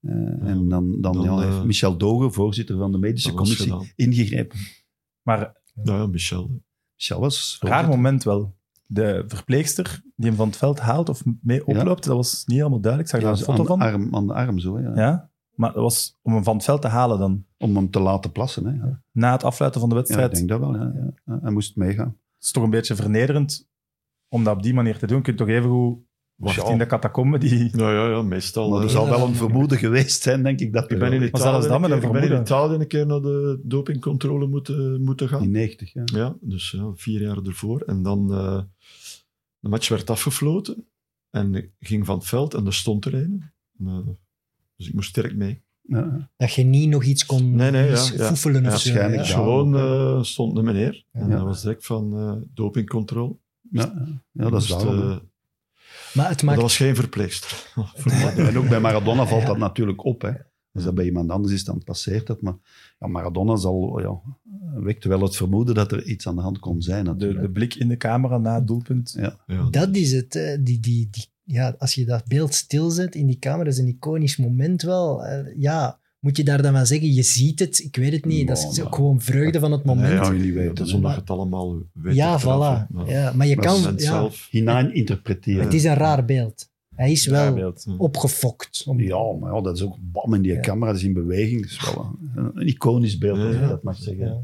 Speaker 3: en dan, dan,
Speaker 4: Dan,
Speaker 3: ja, heeft
Speaker 4: eh,
Speaker 3: Michel Dogen, voorzitter van de medische
Speaker 4: Dat was
Speaker 3: commissie,
Speaker 4: gedaan.
Speaker 3: ingegrepen.
Speaker 2: Maar
Speaker 4: Nou ja, Michel.
Speaker 3: Michel was...
Speaker 2: raar
Speaker 3: voorzitter.
Speaker 2: moment wel. De verpleegster die hem van het veld haalt of mee
Speaker 3: Ja.
Speaker 2: oploopt, dat was niet helemaal duidelijk. Ik
Speaker 3: Ja,
Speaker 2: zag daar
Speaker 3: zo
Speaker 2: een foto
Speaker 3: aan, de
Speaker 2: van.
Speaker 3: arm, aan de arm zo, hè, ja.
Speaker 2: Ja? Maar dat was om hem van het veld te halen dan.
Speaker 3: om hem te laten plassen. Hè, ja. Ja,
Speaker 2: Na het afluiten van de
Speaker 3: ik
Speaker 2: wedstrijd.
Speaker 3: denk dat wel. Ja, ja. Ja, Hij moest meegaan.
Speaker 2: Het is toch een beetje vernederend om dat op die manier te doen. Je kunt toch even goed wachten
Speaker 4: Ja.
Speaker 2: in de catacombe die...
Speaker 4: Nou ja, ja meestal.
Speaker 3: Maar dus
Speaker 4: eh,
Speaker 3: er zal wel een vermoeden geweest zijn, denk ik. Dat
Speaker 4: Ik ben in
Speaker 2: Maar zelfs
Speaker 4: Italië,
Speaker 2: dan
Speaker 4: een
Speaker 2: met een
Speaker 4: keer, ik ben in
Speaker 2: vermoeden.
Speaker 4: Italië een keer naar de dopingcontrole moeten, moeten gaan.
Speaker 3: in 90, ja.
Speaker 4: Ja, dus ja, vier jaar ervoor. En dan, eh, de match werd afgefloten. En ik ging van het veld en er stond er een. En, eh, dus ik moest sterk mee.
Speaker 3: Ja.
Speaker 5: Dat je niet nog iets kon
Speaker 4: Nee, nee, ja,
Speaker 5: mis-
Speaker 4: ja.
Speaker 5: foefelen
Speaker 4: Ja,
Speaker 5: of zo.
Speaker 3: waarschijnlijk
Speaker 5: ja.
Speaker 3: ja.
Speaker 4: Gewoon eh, stond de meneer. En
Speaker 3: Ja.
Speaker 4: dat was direct van eh, dopingcontrole.
Speaker 3: Ja. Ja, dat is
Speaker 4: Moest,
Speaker 3: daarom,
Speaker 4: eh,
Speaker 3: hè.
Speaker 5: Maar het
Speaker 4: maar dat
Speaker 5: maakt...
Speaker 4: was geen verpleegster.
Speaker 3: En ook bij Maradona valt
Speaker 5: Ja.
Speaker 3: dat natuurlijk op. Hè. Als dat bij iemand anders is, dan passeert dat. Maar ja, Maradona zal, ja, wekt wel het vermoeden dat er iets aan de hand kon zijn.
Speaker 2: De,
Speaker 3: Natuurlijk.
Speaker 2: de blik in de camera na het doelpunt.
Speaker 4: Ja,
Speaker 5: Dat is het. hè. Die, die, die, ja, als je dat beeld stilzet in die camera, is een iconisch moment wel. Eh, Ja, Moet je daar dan van zeggen, je ziet het, ik weet het niet. Dat
Speaker 3: Maar,
Speaker 5: is ook
Speaker 3: maar-
Speaker 5: gewoon vreugde van het moment.
Speaker 3: Nee,
Speaker 5: ja,
Speaker 3: ja, niet weten,
Speaker 4: Dat is
Speaker 3: hè.
Speaker 4: omdat je het allemaal weet. te
Speaker 5: voilà.
Speaker 4: treffen, maar-
Speaker 5: Ja, maar je
Speaker 4: maar
Speaker 5: kan...
Speaker 4: het
Speaker 5: ja,
Speaker 4: zelf.
Speaker 3: Hinein interpreteren.
Speaker 5: Het is een raar beeld. Hij is wel
Speaker 4: Bijbeeld, hè.
Speaker 5: opgefokt. Om-
Speaker 3: Ja, maar ja, dat is ook bam in die
Speaker 5: Ja.
Speaker 3: camera, dat is in beweging. Dat is wel een, een iconisch beeld, als je
Speaker 4: Ja.
Speaker 3: dat mag zeggen. Ja,
Speaker 5: Ja.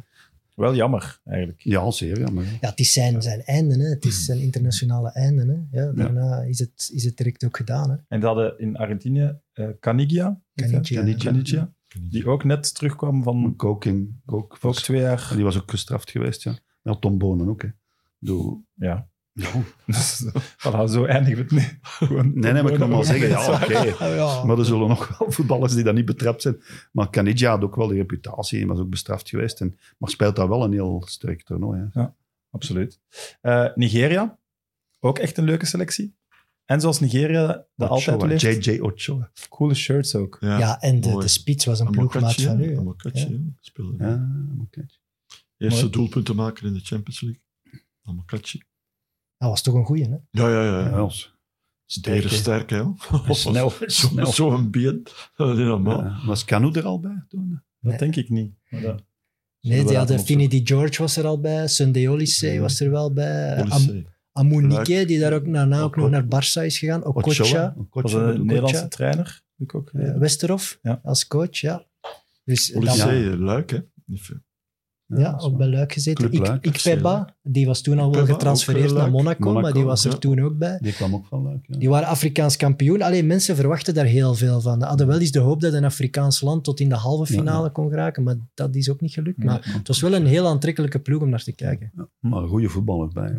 Speaker 2: Wel jammer, eigenlijk.
Speaker 3: zeer jammer. hè.
Speaker 5: Ja, het is zijn, zijn einde, hè. het is zijn internationale einde. Hè. Ja, daarna Is, het, is het direct ook gedaan. Hè.
Speaker 2: En dat hadden in Argentinië eh Canigia,
Speaker 5: Kan niet, ja.
Speaker 3: Canidia.
Speaker 2: Canigia, die ook net terugkwam van
Speaker 3: Koking, ook,
Speaker 2: ook twee jaar.
Speaker 3: Die was ook gestraft geweest, ja. Ja, Tom Bonen ook, hè. Doe,
Speaker 2: Ja.
Speaker 3: ja.
Speaker 2: voilà, zo eindigen we het nu. Gewoon-
Speaker 3: Nee, nee, maar ik kan wel zeggen, ja, oké.
Speaker 5: Ah, ja.
Speaker 3: Maar er zullen nog wel voetballers die dat niet betrapt zijn. Maar Canidia had ook wel die reputatie, maar is ook bestraft geweest. En, maar speelt daar wel een heel sterk toernooi. Hè.
Speaker 2: Absoluut. Eh, Nigeria, ook echt een leuke selectie. En zoals Nigeria dat altijd
Speaker 3: Ochoa,
Speaker 2: leeft,
Speaker 3: J.J. Ochoa.
Speaker 2: coole shirts ook.
Speaker 4: Ja.
Speaker 5: Ja, en de,
Speaker 4: Mooi.
Speaker 5: de spits was een ploegmaat
Speaker 4: Amokachi,
Speaker 5: van
Speaker 4: hè.
Speaker 5: u. hè.
Speaker 4: Amokachi,
Speaker 5: Ja.
Speaker 4: hè, speelde.
Speaker 3: Ja, oké.
Speaker 4: Eerste
Speaker 2: Mooi.
Speaker 4: doelpunten maken in de Champions League. Amokachi.
Speaker 5: Dat was toch een goeie, hè?
Speaker 4: Ja, ja, ja.
Speaker 3: Ja,
Speaker 4: ja.
Speaker 3: als-
Speaker 4: Sterk, sterk, hè.
Speaker 3: Snel,
Speaker 4: Zo'n
Speaker 3: snel.
Speaker 4: zo been. Dat is normaal.
Speaker 3: Ja, was Canu er al bij toen?
Speaker 2: Dat
Speaker 5: Nee.
Speaker 2: denk ik niet. Maar dat-
Speaker 5: Nee,
Speaker 2: we
Speaker 5: die
Speaker 2: laten
Speaker 5: hadden
Speaker 2: opzoeken.
Speaker 5: Finidi George was er al bij, Sunday Olise
Speaker 4: Ja.
Speaker 5: was er wel bij, eh, Am
Speaker 4: Olysee.
Speaker 5: Amunike,
Speaker 4: Luik.
Speaker 5: die daar ook, daarna ook
Speaker 3: Oco-
Speaker 5: nog naar Barça is gegaan, Okocha,
Speaker 3: Ochoa.
Speaker 2: was
Speaker 3: Okocha.
Speaker 2: een
Speaker 3: bedoel ik.
Speaker 2: Nederlandse trainer. heb Ik ook
Speaker 5: eh,
Speaker 2: gelezen.
Speaker 5: Westerhof
Speaker 2: Ja.
Speaker 5: als coach, ja. Dus eh, dan-
Speaker 4: Olysee, Luik, hè. Niet veel.
Speaker 5: ja,
Speaker 3: dat is
Speaker 5: ook
Speaker 3: waar.
Speaker 5: bij Luik gezeten.
Speaker 3: Club Luik,
Speaker 5: Ik, ik Peba, die was toen al wel
Speaker 4: Peba,
Speaker 5: getransfereerd
Speaker 4: ook, eh,
Speaker 5: naar
Speaker 4: Luik.
Speaker 5: Monaco, maar
Speaker 3: Monaco,
Speaker 5: die was er
Speaker 4: ja.
Speaker 5: toen ook bij.
Speaker 3: Die kwam ook van Luik. Ja.
Speaker 5: Die waren Afrikaans kampioen. Alleen mensen verwachten daar heel veel van. Ze hadden wel eens de hoop dat een Afrikaans land tot in de halve
Speaker 3: Ja, ja.
Speaker 5: finale kon geraken, maar dat is ook niet gelukt.
Speaker 2: Nee.
Speaker 5: Maar het was wel een heel aantrekkelijke ploeg om naar te kijken.
Speaker 3: Maar een goede voetballer bij. hè.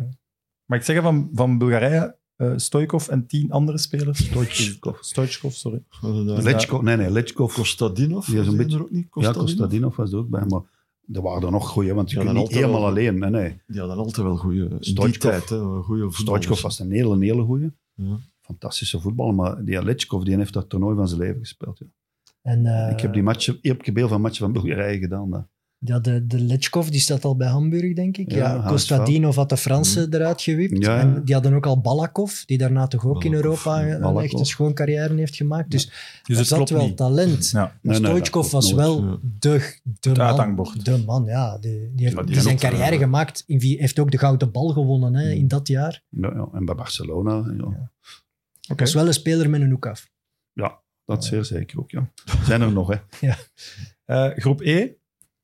Speaker 2: Maar ik zeg van, van Bulgarije, eh Stoikov en tien andere spelers.
Speaker 3: Stoichkov.
Speaker 2: Stoichkov, sorry.
Speaker 4: Hadden daar-
Speaker 3: Lechkov, nee, nee, Lechkov.
Speaker 4: Kostadinov.
Speaker 3: Die is een
Speaker 4: was die
Speaker 3: beetje-
Speaker 4: er ook niet.
Speaker 3: Ja, Kostadinov was er ook bij. Maar er waren er nog goeie, want je
Speaker 4: Ja,
Speaker 3: kunt
Speaker 4: dan
Speaker 3: niet
Speaker 4: altijd
Speaker 3: helemaal
Speaker 4: wel.
Speaker 3: alleen. Nee, nee.
Speaker 4: Ja, dan altijd wel goede. In die
Speaker 3: Stoichkov.
Speaker 4: tijd, hè. Goede
Speaker 3: Stoichkov was een hele, hele goeie.
Speaker 4: Ja.
Speaker 3: Fantastische voetballer, maar die Lechkov die heeft dat toernooi van zijn leven gespeeld. Ja.
Speaker 5: En, eh,
Speaker 3: ik heb die matchen, ik heb beeld van matchen van Bulgarije gedaan. eh, daar.
Speaker 5: ja, de, de Lechkov, die staat al bij Hamburg, denk ik.
Speaker 3: Ja,
Speaker 5: Ja,
Speaker 3: HSV. Mhm.
Speaker 5: Kostadinov had de Fransen eruit gewipt.
Speaker 3: Ja, ja.
Speaker 5: En die hadden ook al Balakov, die daarna toch ook in
Speaker 4: Balakov,
Speaker 5: Europa
Speaker 4: ja.
Speaker 5: een
Speaker 3: Balakov.
Speaker 5: echt een schoon carrière heeft gemaakt. Dus
Speaker 2: Dus
Speaker 5: er
Speaker 2: het
Speaker 5: zat
Speaker 2: klopt
Speaker 5: wel
Speaker 2: niet.
Speaker 5: talent.
Speaker 2: Ja.
Speaker 3: Nee,
Speaker 5: Maar
Speaker 3: nee, dat
Speaker 5: Stoichkov
Speaker 3: klopt
Speaker 5: was
Speaker 3: nooit.
Speaker 5: wel
Speaker 4: ja.
Speaker 5: de, de man.
Speaker 2: uithangbord.
Speaker 5: De man, ja. Die, die heeft,
Speaker 3: Ja, die
Speaker 5: die
Speaker 3: kan
Speaker 5: zijn
Speaker 3: ook,
Speaker 5: carrière
Speaker 3: eh, Hmm.
Speaker 5: gemaakt. In, wie- heeft ook de gouden bal gewonnen hè, in dat jaar.
Speaker 3: Ja, ja. En bij Barcelona, ja.
Speaker 2: Oké.
Speaker 5: Dat is wel een speler met een hoek af.
Speaker 3: dat zeer zeker ook. Ja. Zijn er nog, hè?
Speaker 2: Eh, groep E,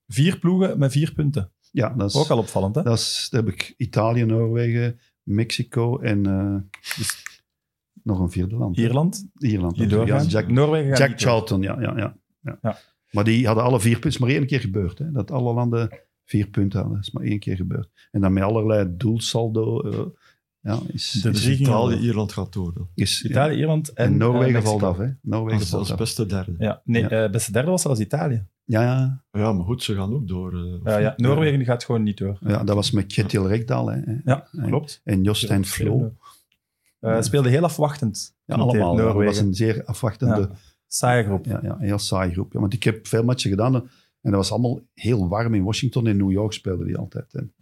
Speaker 2: vier ploegen met vier punten.
Speaker 3: Ja, dat is,
Speaker 2: Ook al opvallend, hè?
Speaker 3: Dat is, daar heb ik Italië, Noorwegen, Mexico en eh, dus nog een vierde land.
Speaker 2: Ierland,
Speaker 3: Ierland.
Speaker 2: die
Speaker 3: natuurlijk. Ja,
Speaker 2: doorgaan.
Speaker 3: Jack,
Speaker 2: Noorwegen gaat
Speaker 3: Jack
Speaker 2: niet door.
Speaker 3: Charlton, ja, ja, ja, ja.
Speaker 2: Ja.
Speaker 3: Maar die hadden alle vier punten. is maar één keer gebeurd. Hè, dat alle landen vier punten hadden. is maar één keer gebeurd. En dan met allerlei doelsaldo. eh, ja, is,
Speaker 2: De
Speaker 3: is,
Speaker 2: drie gingen al.
Speaker 4: Italië, Ierland gaat door. dan.
Speaker 3: is- ja.
Speaker 2: Italië, Ierland en,
Speaker 3: En, Noorwegen
Speaker 2: eh, Mexico.
Speaker 3: valt af. Hè. Noorwegen
Speaker 4: Als,
Speaker 3: valt
Speaker 4: als
Speaker 3: af.
Speaker 4: beste derde.
Speaker 2: Ja, nee,
Speaker 3: Ja.
Speaker 2: eh, beste derde was zelfs Italië.
Speaker 3: Ja, ja,
Speaker 4: Ja, maar goed, ze gaan ook door. eh, of
Speaker 2: Ja, ja,
Speaker 4: niet?
Speaker 2: Noorwegen die gaat gewoon niet door.
Speaker 3: ja, dat was met Kjetil Rekdal hè, hè,
Speaker 2: Ja,
Speaker 3: Nee.
Speaker 2: klopt.
Speaker 3: en Jostijn Flo.
Speaker 2: Eh, speelde heel afwachtend.
Speaker 3: Ja, allemaal. ja, Dat was
Speaker 2: Noorwegen.
Speaker 3: een zeer afwachtende
Speaker 2: Ja. Saaie groep.
Speaker 3: Ja, ja, een heel saai groep. Ja, want ik heb veel matchen gedaan en dat was allemaal heel warm in Washington. In New York speelden die altijd. En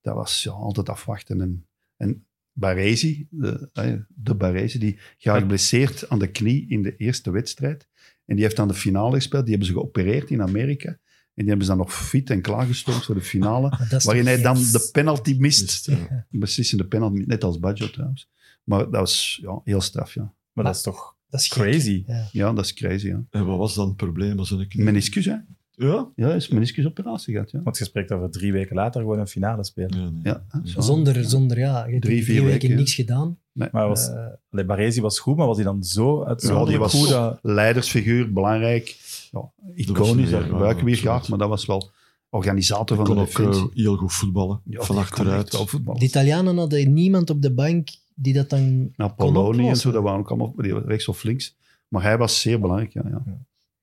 Speaker 3: dat was ja, altijd afwachten. En, en Baresi, de, eh, de Baresi, die gaat geblesseerd aan de knie in de eerste wedstrijd. En die heeft aan de finale gespeeld. Die hebben ze geopereerd in Amerika. En die hebben ze dan nog fit en klaargestoomd voor de finale.
Speaker 5: Maar dat is
Speaker 3: Waarin
Speaker 5: toch
Speaker 3: hij dan
Speaker 5: geks.
Speaker 3: de penalty mist.
Speaker 4: Mist, ja.
Speaker 3: Een Beslissende penalty, net als Baggio trouwens. Maar dat was ja, heel straf, ja.
Speaker 2: Maar dat is toch
Speaker 5: Dat is gek.
Speaker 2: crazy.
Speaker 5: Ja.
Speaker 3: Ja, dat is crazy, ja.
Speaker 4: En wat was dan het probleem? Was een knie?
Speaker 3: Meniscus, hè?
Speaker 4: Ja?
Speaker 3: Ja, is meniscusoperatie gehad, ja.
Speaker 2: Want je spreekt over drie weken later gewoon een finale spelen.
Speaker 4: Ja, nee.
Speaker 3: Ja, hè, zo.
Speaker 5: Zonder, zonder, ja. Je hebt
Speaker 3: Drie,
Speaker 5: drie,
Speaker 3: vier
Speaker 5: weken,
Speaker 3: weken,
Speaker 5: niks gedaan.
Speaker 2: Maar was,
Speaker 5: Eh,
Speaker 2: allee, Baresi was goed, maar was hij dan zo
Speaker 3: Ja, die
Speaker 2: uitzonderlijk
Speaker 3: was-
Speaker 2: goed? dat-
Speaker 3: Leidersfiguur, belangrijk. Ja, iconisch,
Speaker 4: een-
Speaker 3: daar gebruiken we hier
Speaker 4: ja,
Speaker 3: graag, maar dat was wel organisator van de
Speaker 4: kon ook
Speaker 3: defensie.
Speaker 4: eh, heel goed voetballen.
Speaker 3: Ja,
Speaker 4: van
Speaker 3: die kon echt
Speaker 4: achteruit.
Speaker 3: wel voetballen.
Speaker 5: de Italianen hadden niemand op de bank die dat dan...
Speaker 3: Nou,
Speaker 5: kon
Speaker 3: Poloni en
Speaker 5: oplossen.
Speaker 3: zo, dat waren ook allemaal die waren rechts of links. Maar hij was zeer belangrijk, ja. ja. Maar ze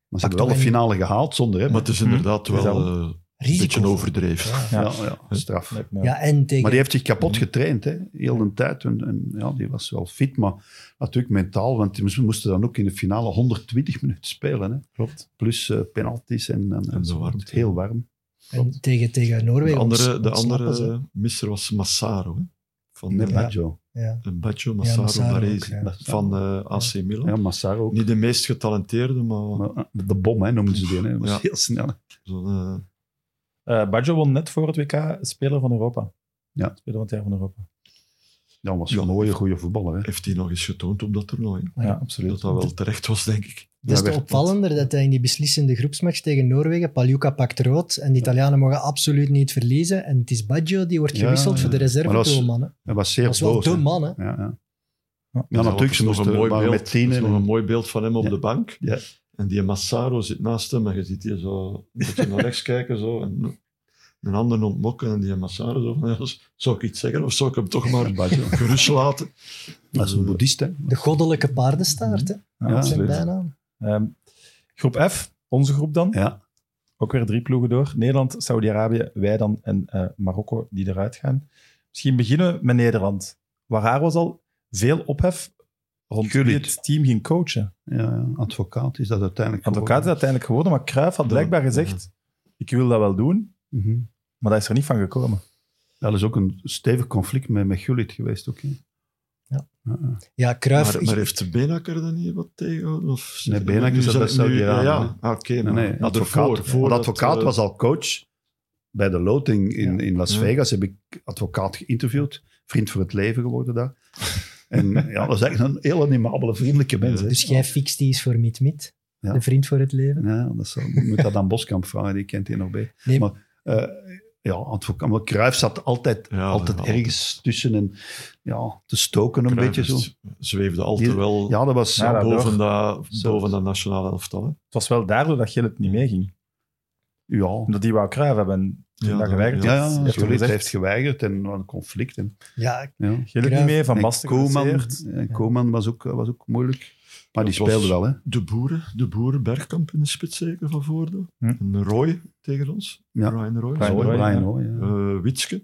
Speaker 5: Pak
Speaker 3: hebben wel
Speaker 5: toch
Speaker 3: de
Speaker 5: een-
Speaker 3: finale gehaald zonder hem.
Speaker 4: Maar het is inderdaad
Speaker 2: Hm?
Speaker 4: wel
Speaker 2: Is dat
Speaker 4: eh, een beetje
Speaker 5: Risico.
Speaker 4: overdreven.
Speaker 5: Ja.
Speaker 3: Ja, ja, straf.
Speaker 2: Nee, nee.
Speaker 5: Ja, en tegen...
Speaker 3: Maar die heeft zich kapot
Speaker 5: Mhm.
Speaker 3: getraind, hè. heel de tijd. En, en ja, die was wel fit, maar natuurlijk mentaal, want die moesten dan ook in de finale 120 minuten spelen. Hè.
Speaker 2: Klopt.
Speaker 3: Plus eh, penalties en, en,
Speaker 4: En de
Speaker 3: zo.
Speaker 4: warmte.
Speaker 3: Heel warm.
Speaker 5: en tegen, tegen
Speaker 4: De
Speaker 5: Noorwegen.
Speaker 4: andere, de
Speaker 5: ontsnappen ze.
Speaker 4: andere misser was Massaro. Hè? Van,
Speaker 3: Met
Speaker 4: eh,
Speaker 3: Baggio.
Speaker 5: Ja.
Speaker 4: Een Baggio, Massaro,
Speaker 5: Massaro ook,
Speaker 4: Baresi,
Speaker 5: ja.
Speaker 4: van eh, AC Milan.
Speaker 3: Ja, Massaro ook.
Speaker 4: Niet de meest getalenteerde, maar...
Speaker 3: Maar, eh, De bom, hè, noemden ze die. Hè. Dat was
Speaker 4: Ja.
Speaker 3: heel snel.
Speaker 4: zo'n, eh,
Speaker 2: Eh Baggio won net voor het WK Speler van Europa.
Speaker 3: Ja.
Speaker 2: Speler van het jaar van Europa.
Speaker 3: Ja, was gewoon
Speaker 4: Ja.
Speaker 3: een mooie, goede voetballer. Hè.
Speaker 4: heeft hij nog eens getoond op dat toernooi.
Speaker 2: Ja,
Speaker 4: Dat
Speaker 2: absoluut.
Speaker 4: dat wel terecht was, denk ik.
Speaker 3: Ja,
Speaker 5: Des te
Speaker 3: werd-
Speaker 5: opvallender dat hij in die beslissende groepsmatch tegen Noorwegen, Paljuka pakt rood en de Italianen mogen absoluut niet verliezen. En het is Baggio die wordt
Speaker 3: Ja,
Speaker 5: gewisseld
Speaker 3: ja.
Speaker 5: voor de reserve
Speaker 3: Maar dat is-
Speaker 5: doelman, hè.
Speaker 3: Hij was zeer
Speaker 5: Dat is wel
Speaker 3: boos. hè.
Speaker 5: de man, hè.
Speaker 3: Ja, ja.
Speaker 2: Ja,
Speaker 3: ja,
Speaker 4: Dat is
Speaker 3: natuurlijk, ze
Speaker 4: nog
Speaker 3: moesten
Speaker 4: mooi
Speaker 3: waren
Speaker 4: beeld.
Speaker 3: met tien.
Speaker 4: Er is nog
Speaker 3: en-
Speaker 4: een mooi beeld van hem op
Speaker 3: Ja.
Speaker 4: de bank.
Speaker 3: Ja.
Speaker 4: En die Massaro zit naast hem en je ziet die zo een beetje naar rechts kijken. Zo, en een ander ontmokken en die Massaro zo van, ja, zou ik iets zeggen of zou ik hem toch maar
Speaker 3: Baggio.
Speaker 4: gerust laten?
Speaker 3: Dat is een boeddhist, hè.
Speaker 5: De goddelijke paardenstaart, hè.
Speaker 2: Ja,
Speaker 3: Ja.
Speaker 5: Dat is zijn
Speaker 2: absoluut.
Speaker 5: bijnaam.
Speaker 2: Ehm, groep F, onze groep dan.
Speaker 3: Ja,
Speaker 2: Ook weer drie ploegen door. Nederland, Saudi-Arabië, wij dan en eh, Marokko die eruit gaan. Misschien beginnen we met Nederland. Waar haar was al veel ophef rond wie
Speaker 3: Gullit.
Speaker 2: het team ging coachen.
Speaker 3: ja, ja, advocaat is dat uiteindelijk
Speaker 2: Advocaat is
Speaker 3: geworden.
Speaker 2: uiteindelijk geworden, maar Cruijff had
Speaker 4: Ja.
Speaker 2: blijkbaar gezegd ik wil dat wel doen,
Speaker 3: Mhm.
Speaker 2: maar dat is er niet van gekomen.
Speaker 3: Dat is ook een stevig conflict met, met Gullit geweest ook. hè.
Speaker 5: Ja.
Speaker 3: Ja, ja.
Speaker 5: Ja, Cruijff...
Speaker 4: Maar, maar heeft Benakker dan niet wat tegengehouden? Of,
Speaker 3: Nee, Benakker
Speaker 4: Nu
Speaker 3: zat bij
Speaker 4: nu-
Speaker 3: Saudi-Arabië,
Speaker 4: Ja, ah, oké.
Speaker 3: Nee,
Speaker 4: maar
Speaker 3: nee,
Speaker 4: ervoor,
Speaker 3: advocaat.
Speaker 4: voor
Speaker 3: Want
Speaker 4: dat,
Speaker 3: advocaat
Speaker 4: eh,
Speaker 3: was al coach bij de loting in, in Las
Speaker 4: Ja.
Speaker 3: Vegas. Heb ik advocaat geïnterviewd. Vriend voor het leven geworden daar. En ja, dat is echt een heel animabele, vriendelijke mens. hè.
Speaker 5: Dus jij fixt die is voor Miet Miet,
Speaker 3: Ja.
Speaker 5: de vriend voor het leven.
Speaker 3: Ja, dat zal, je moet dat aan Boskamp vragen, die kent hij nog bij.
Speaker 5: Nee.
Speaker 3: Maar, eh, ja, advocaat. Maar Cruijff zat altijd,
Speaker 4: Ja,
Speaker 3: altijd
Speaker 4: ja,
Speaker 3: ergens tussen en ja, te stoken een
Speaker 4: Cruijff
Speaker 3: beetje zo.
Speaker 4: is- Zweefde altijd
Speaker 3: Die-
Speaker 4: wel
Speaker 3: Ja, dat was...
Speaker 2: Ja, dat-
Speaker 4: boven, dat,
Speaker 3: Zo.
Speaker 4: boven dat nationale elftal. hè.
Speaker 2: Het was wel daardoor dat Gillet niet meeging.
Speaker 3: ja.
Speaker 2: Omdat die wou Cruijff hebben en toen
Speaker 4: Ja,
Speaker 2: dat
Speaker 4: dat-
Speaker 2: geweigerd
Speaker 3: Ja,
Speaker 2: werd,
Speaker 3: ja,
Speaker 2: heeft hij
Speaker 3: Gullit
Speaker 2: gezegd,
Speaker 3: heeft geweigerd en er was een conflict. En,
Speaker 5: Ja,
Speaker 3: ja.
Speaker 2: Gullit niet
Speaker 5: Cruijff
Speaker 2: mee, Van
Speaker 3: En
Speaker 2: Basten
Speaker 3: Koeman,
Speaker 2: geblesseerd.
Speaker 3: en Koeman was ook, was ook moeilijk. Maar die
Speaker 4: Dat was-
Speaker 3: speelde wel, hè?
Speaker 4: De boeren, de boeren Bergkamp in de spits zeker van Voorde.
Speaker 2: Hm.
Speaker 4: En Roy tegen ons.
Speaker 3: Ja.
Speaker 4: Ryan Roy.
Speaker 2: Brian
Speaker 3: Brian
Speaker 2: Roy,
Speaker 3: Roy,
Speaker 2: ja.
Speaker 3: ja.
Speaker 4: Eh, Witske.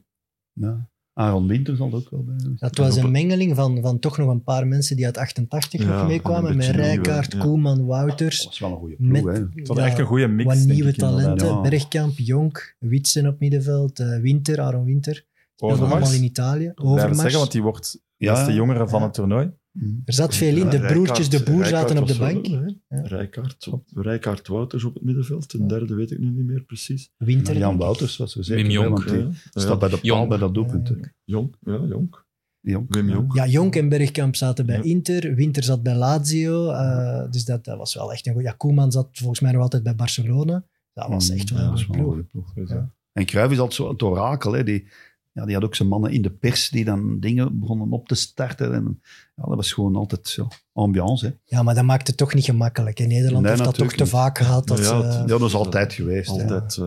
Speaker 3: Ja. Aaron Winter zal er ook wel bij zijn.
Speaker 5: dat was
Speaker 4: En op-
Speaker 5: een mengeling van, van toch nog een paar mensen die uit 88 nog
Speaker 4: Ja,
Speaker 5: meekwamen.
Speaker 4: een
Speaker 5: Met
Speaker 4: beetje
Speaker 5: Rijkaard,
Speaker 4: nieuwe, ja.
Speaker 5: Koeman,
Speaker 3: Dat
Speaker 5: Wouters.
Speaker 3: was wel een goede
Speaker 5: Met
Speaker 3: ploeg, hè?
Speaker 2: Het was echt een goede mix.
Speaker 5: wat
Speaker 2: denk
Speaker 5: nieuwe
Speaker 2: ik, inderdaad.
Speaker 5: talenten.
Speaker 3: Ja.
Speaker 5: Bergkamp, Jonk, Witsen op middenveld, eh, Winter, Aaron Winter. Dat
Speaker 2: Overmars.
Speaker 5: allemaal in Italië.
Speaker 2: Blijven
Speaker 5: Overmars.
Speaker 2: zeggen, want die wordt
Speaker 3: Ja.
Speaker 2: beste jongere van
Speaker 5: Ja.
Speaker 2: het toernooi.
Speaker 3: Mhm.
Speaker 5: Er zat veel in.
Speaker 4: Ja,
Speaker 5: De
Speaker 4: Rijkaard-
Speaker 5: broertjes de boer
Speaker 4: Rijkaard
Speaker 5: zaten op
Speaker 4: was
Speaker 5: de
Speaker 4: wel
Speaker 5: bank.
Speaker 4: wel, hè.
Speaker 5: Ja.
Speaker 4: Rijkaard, op- Rijkaard Wouters op het middenveld. Een derde weet ik nu niet meer precies.
Speaker 5: Winter.
Speaker 3: Jan Wouters was er zeker
Speaker 6: Wim
Speaker 3: bij,
Speaker 6: Jonk,
Speaker 3: want die
Speaker 4: Ja, ja.
Speaker 3: staat bij dat paal
Speaker 6: Jonk.
Speaker 3: bij dat doelpunt. hè.
Speaker 4: Jonk. Ja, Jonk.
Speaker 3: Jonk.
Speaker 4: Wim Jonk.
Speaker 5: Ja, Jonk en Bergkamp zaten bij
Speaker 4: Ja.
Speaker 5: Inter. Winter zat bij Lazio. eh, dus dat, dat was wel echt een goede. Ja, Koeman zat volgens mij nog altijd bij Barcelona. Dat was echt wel
Speaker 3: Mm, Ja,
Speaker 5: een
Speaker 3: dat is
Speaker 5: goede
Speaker 3: wel een
Speaker 5: ploeg.
Speaker 3: goede ploeg.
Speaker 4: eh,
Speaker 2: Sowieso.
Speaker 5: Ja.
Speaker 3: En Cruijff is altijd zo het orakel. Hè? Die, ja, die had ook zijn mannen in de pers die dan dingen begonnen op te starten. En, ja, dat was gewoon altijd zo, ambiance. Hè?
Speaker 5: Ja, maar dat maakt het toch niet gemakkelijk. In Nederland
Speaker 3: Nee,
Speaker 5: heeft dat toch
Speaker 3: natuurlijk
Speaker 5: te
Speaker 3: niet.
Speaker 5: vaak gehad. Dat,
Speaker 4: Ja,
Speaker 5: ze-
Speaker 4: het-
Speaker 3: Ja, dat is altijd geweest. hè.
Speaker 4: Altijd eh,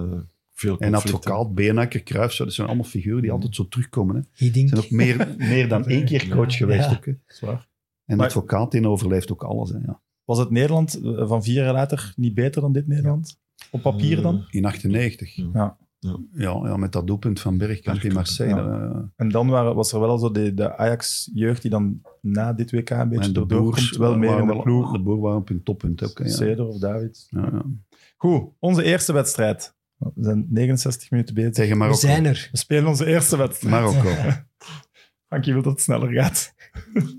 Speaker 4: veel
Speaker 3: En
Speaker 4: conflicten.
Speaker 3: advocaat, Beenakker, Cruijff, zo, dat zijn allemaal figuren die altijd zo terugkomen. Hè?
Speaker 5: ik denk-
Speaker 3: Zijn ook meer, meer dan één keer coach
Speaker 5: Ja.
Speaker 3: geweest.
Speaker 5: Ja.
Speaker 3: Ook, hè?
Speaker 2: Dat is waar.
Speaker 3: En
Speaker 2: Maar-
Speaker 3: advocaat, die overleeft ook alles. Hè? Ja.
Speaker 2: Was het Nederland eh, van vier jaar later niet beter dan dit Nederland? Op
Speaker 4: Eh,
Speaker 2: papier dan?
Speaker 3: In 98.
Speaker 2: Mm. Ja.
Speaker 3: Ja, ja, met dat doelpunt van Bergkamp in Marseille. eh,
Speaker 2: En dan waren, was er wel al zo de, de Ajax-jeugd die dan na dit WK een beetje
Speaker 3: en de
Speaker 2: doordoor
Speaker 3: boers
Speaker 2: komt. Wel meer in
Speaker 3: waren
Speaker 2: de
Speaker 3: wel-
Speaker 2: ploeg.
Speaker 3: De boer waren op hun toppunt. Ook, hè, ja.
Speaker 2: Ceder of David.
Speaker 3: Ja, ja.
Speaker 2: Goed, onze eerste wedstrijd. We zijn 69 minuten bezig.
Speaker 3: Tegen
Speaker 5: we
Speaker 3: Marokko.
Speaker 5: zijn er.
Speaker 2: We spelen onze eerste wedstrijd.
Speaker 3: Marokko.
Speaker 2: Frankie wil dat het sneller gaat.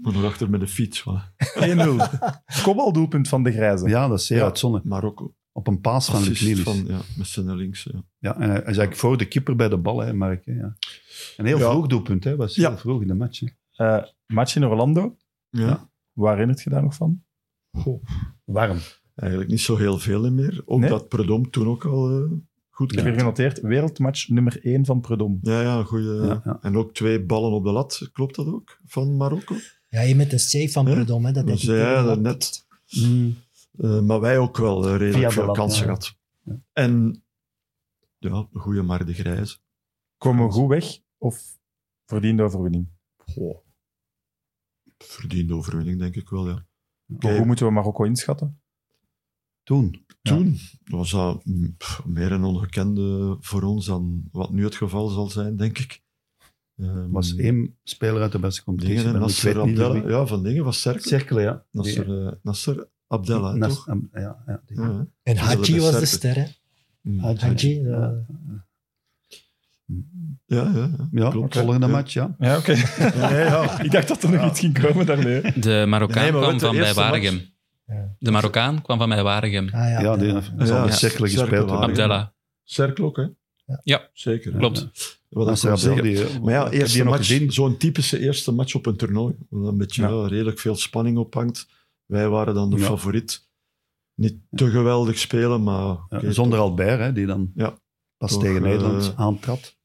Speaker 4: Maar nog achter met de fiets. voilà.
Speaker 2: 1-0. Kopbaldoelpunt van de Grijze.
Speaker 3: Ja, dat is zeer
Speaker 2: Ja.
Speaker 3: uitzonderlijk.
Speaker 4: Marokko.
Speaker 3: Op een paas van Luc
Speaker 4: Assist
Speaker 3: Nielis.
Speaker 4: van, ja, met zijn links. Ja.
Speaker 3: Ja, en hij is eigenlijk voor de keeper bij de bal, hè, Mark. Hè, ja. Een heel
Speaker 2: Ja.
Speaker 3: vroeg doelpunt, hè. was heel
Speaker 2: Ja.
Speaker 3: vroeg in de match. Hè.
Speaker 2: Eh match in Orlando.
Speaker 4: ja.
Speaker 2: Waar herinnert je daar nog van?
Speaker 3: Warm.
Speaker 4: Eigenlijk niet zo heel veel meer. Ook
Speaker 2: Nee?
Speaker 4: dat Predom toen ook al eh, goed
Speaker 2: Ik heb
Speaker 4: kreeg.
Speaker 2: hier genoteerd. Wereldmatch nummer 1 van Predom.
Speaker 4: Ja, ja, goeie. eh,
Speaker 3: Ja, ja.
Speaker 4: En ook twee ballen op de lat. Klopt dat ook? Van Marokko?
Speaker 5: Ja, je met een safe van
Speaker 4: Ja.
Speaker 5: Predom. Hè, dat
Speaker 4: Dat
Speaker 5: deed hij
Speaker 4: zei hij dat
Speaker 5: tegen de lat.
Speaker 4: net. Eh, maar wij ook wel eh,
Speaker 3: Via
Speaker 4: redelijk
Speaker 3: de
Speaker 4: veel
Speaker 3: lat,
Speaker 4: kansen
Speaker 3: ja.
Speaker 4: gehad. En ja, een goede maar de Grijze.
Speaker 2: Komen we goed weg of verdiende overwinning?
Speaker 4: Goh. Verdiende overwinning, denk ik wel, ja.
Speaker 2: Maar Hoe moeten we Marokko inschatten?
Speaker 3: Toen.
Speaker 4: Toen was dat mm, pff, meer een ongekende voor ons dan wat nu het geval zal zijn, denk ik. Ehm,
Speaker 3: Er was
Speaker 2: Mm.
Speaker 3: één speler uit de beste competitie.
Speaker 4: Dingen,
Speaker 3: maar ik
Speaker 4: Nasser
Speaker 3: weet niet
Speaker 4: Abdella.
Speaker 3: wie.
Speaker 4: Ja, van Dingen was Serkel.
Speaker 3: Cerkelen, ja.
Speaker 4: Nasser,
Speaker 3: Die-
Speaker 4: eh, Nasser Abdella,
Speaker 3: Nas-
Speaker 4: toch?
Speaker 3: Am- ja, ja, die-
Speaker 4: Ja, Mm.
Speaker 5: En
Speaker 4: Zullen we
Speaker 5: Haji was de
Speaker 4: starten?
Speaker 5: ster. Hè.
Speaker 4: hè.
Speaker 5: Haji.
Speaker 3: Ja.
Speaker 5: eh,
Speaker 4: Ja, ja, ja.
Speaker 3: Ja,
Speaker 4: Klopt.
Speaker 3: volgende
Speaker 4: Ja.
Speaker 3: match, ja.
Speaker 2: Ja, oké.
Speaker 3: Nee, ja.
Speaker 2: Ik dacht dat er nog
Speaker 3: Ja.
Speaker 2: iets ging komen daarmee.
Speaker 6: De Marokkaan
Speaker 4: Nee, maar
Speaker 6: kwam
Speaker 4: weet je,
Speaker 6: van bij
Speaker 4: eerste match-
Speaker 6: Waregem.
Speaker 5: Ja.
Speaker 6: De Marokkaan kwam van bij Waregem.
Speaker 5: Ah, ja,
Speaker 3: Ja, die
Speaker 5: ja.
Speaker 3: dat is al
Speaker 4: Ja,
Speaker 3: een cirkel
Speaker 4: cirkel
Speaker 3: gespeeld.
Speaker 4: waren.
Speaker 3: worden.
Speaker 6: Abdella.
Speaker 4: Sterk ook, hè?
Speaker 6: Ja.
Speaker 4: Zeker. hè.
Speaker 6: Klopt.
Speaker 4: Ja.
Speaker 3: Dat
Speaker 4: Wat
Speaker 3: is
Speaker 4: ik wil
Speaker 3: wel
Speaker 4: zeggen.
Speaker 3: die, eh,
Speaker 4: Maar ja,
Speaker 3: ik heb
Speaker 4: eerste
Speaker 3: die nog
Speaker 4: match,
Speaker 3: gezien.
Speaker 4: zo'n typische eerste match op een toernooi. Waar een beetje
Speaker 2: Ja.
Speaker 4: ja, redelijk veel spanning op hangt. Wij waren dan de
Speaker 3: Ja.
Speaker 4: favoriet. Niet te geweldig spelen, maar...
Speaker 3: Ja,
Speaker 4: oké,
Speaker 3: eh, zonder Albert, hè, die dan
Speaker 4: Ja.
Speaker 3: pas
Speaker 4: Toch,
Speaker 3: tegen
Speaker 4: eh,
Speaker 3: Nederland aantrad
Speaker 4: toch-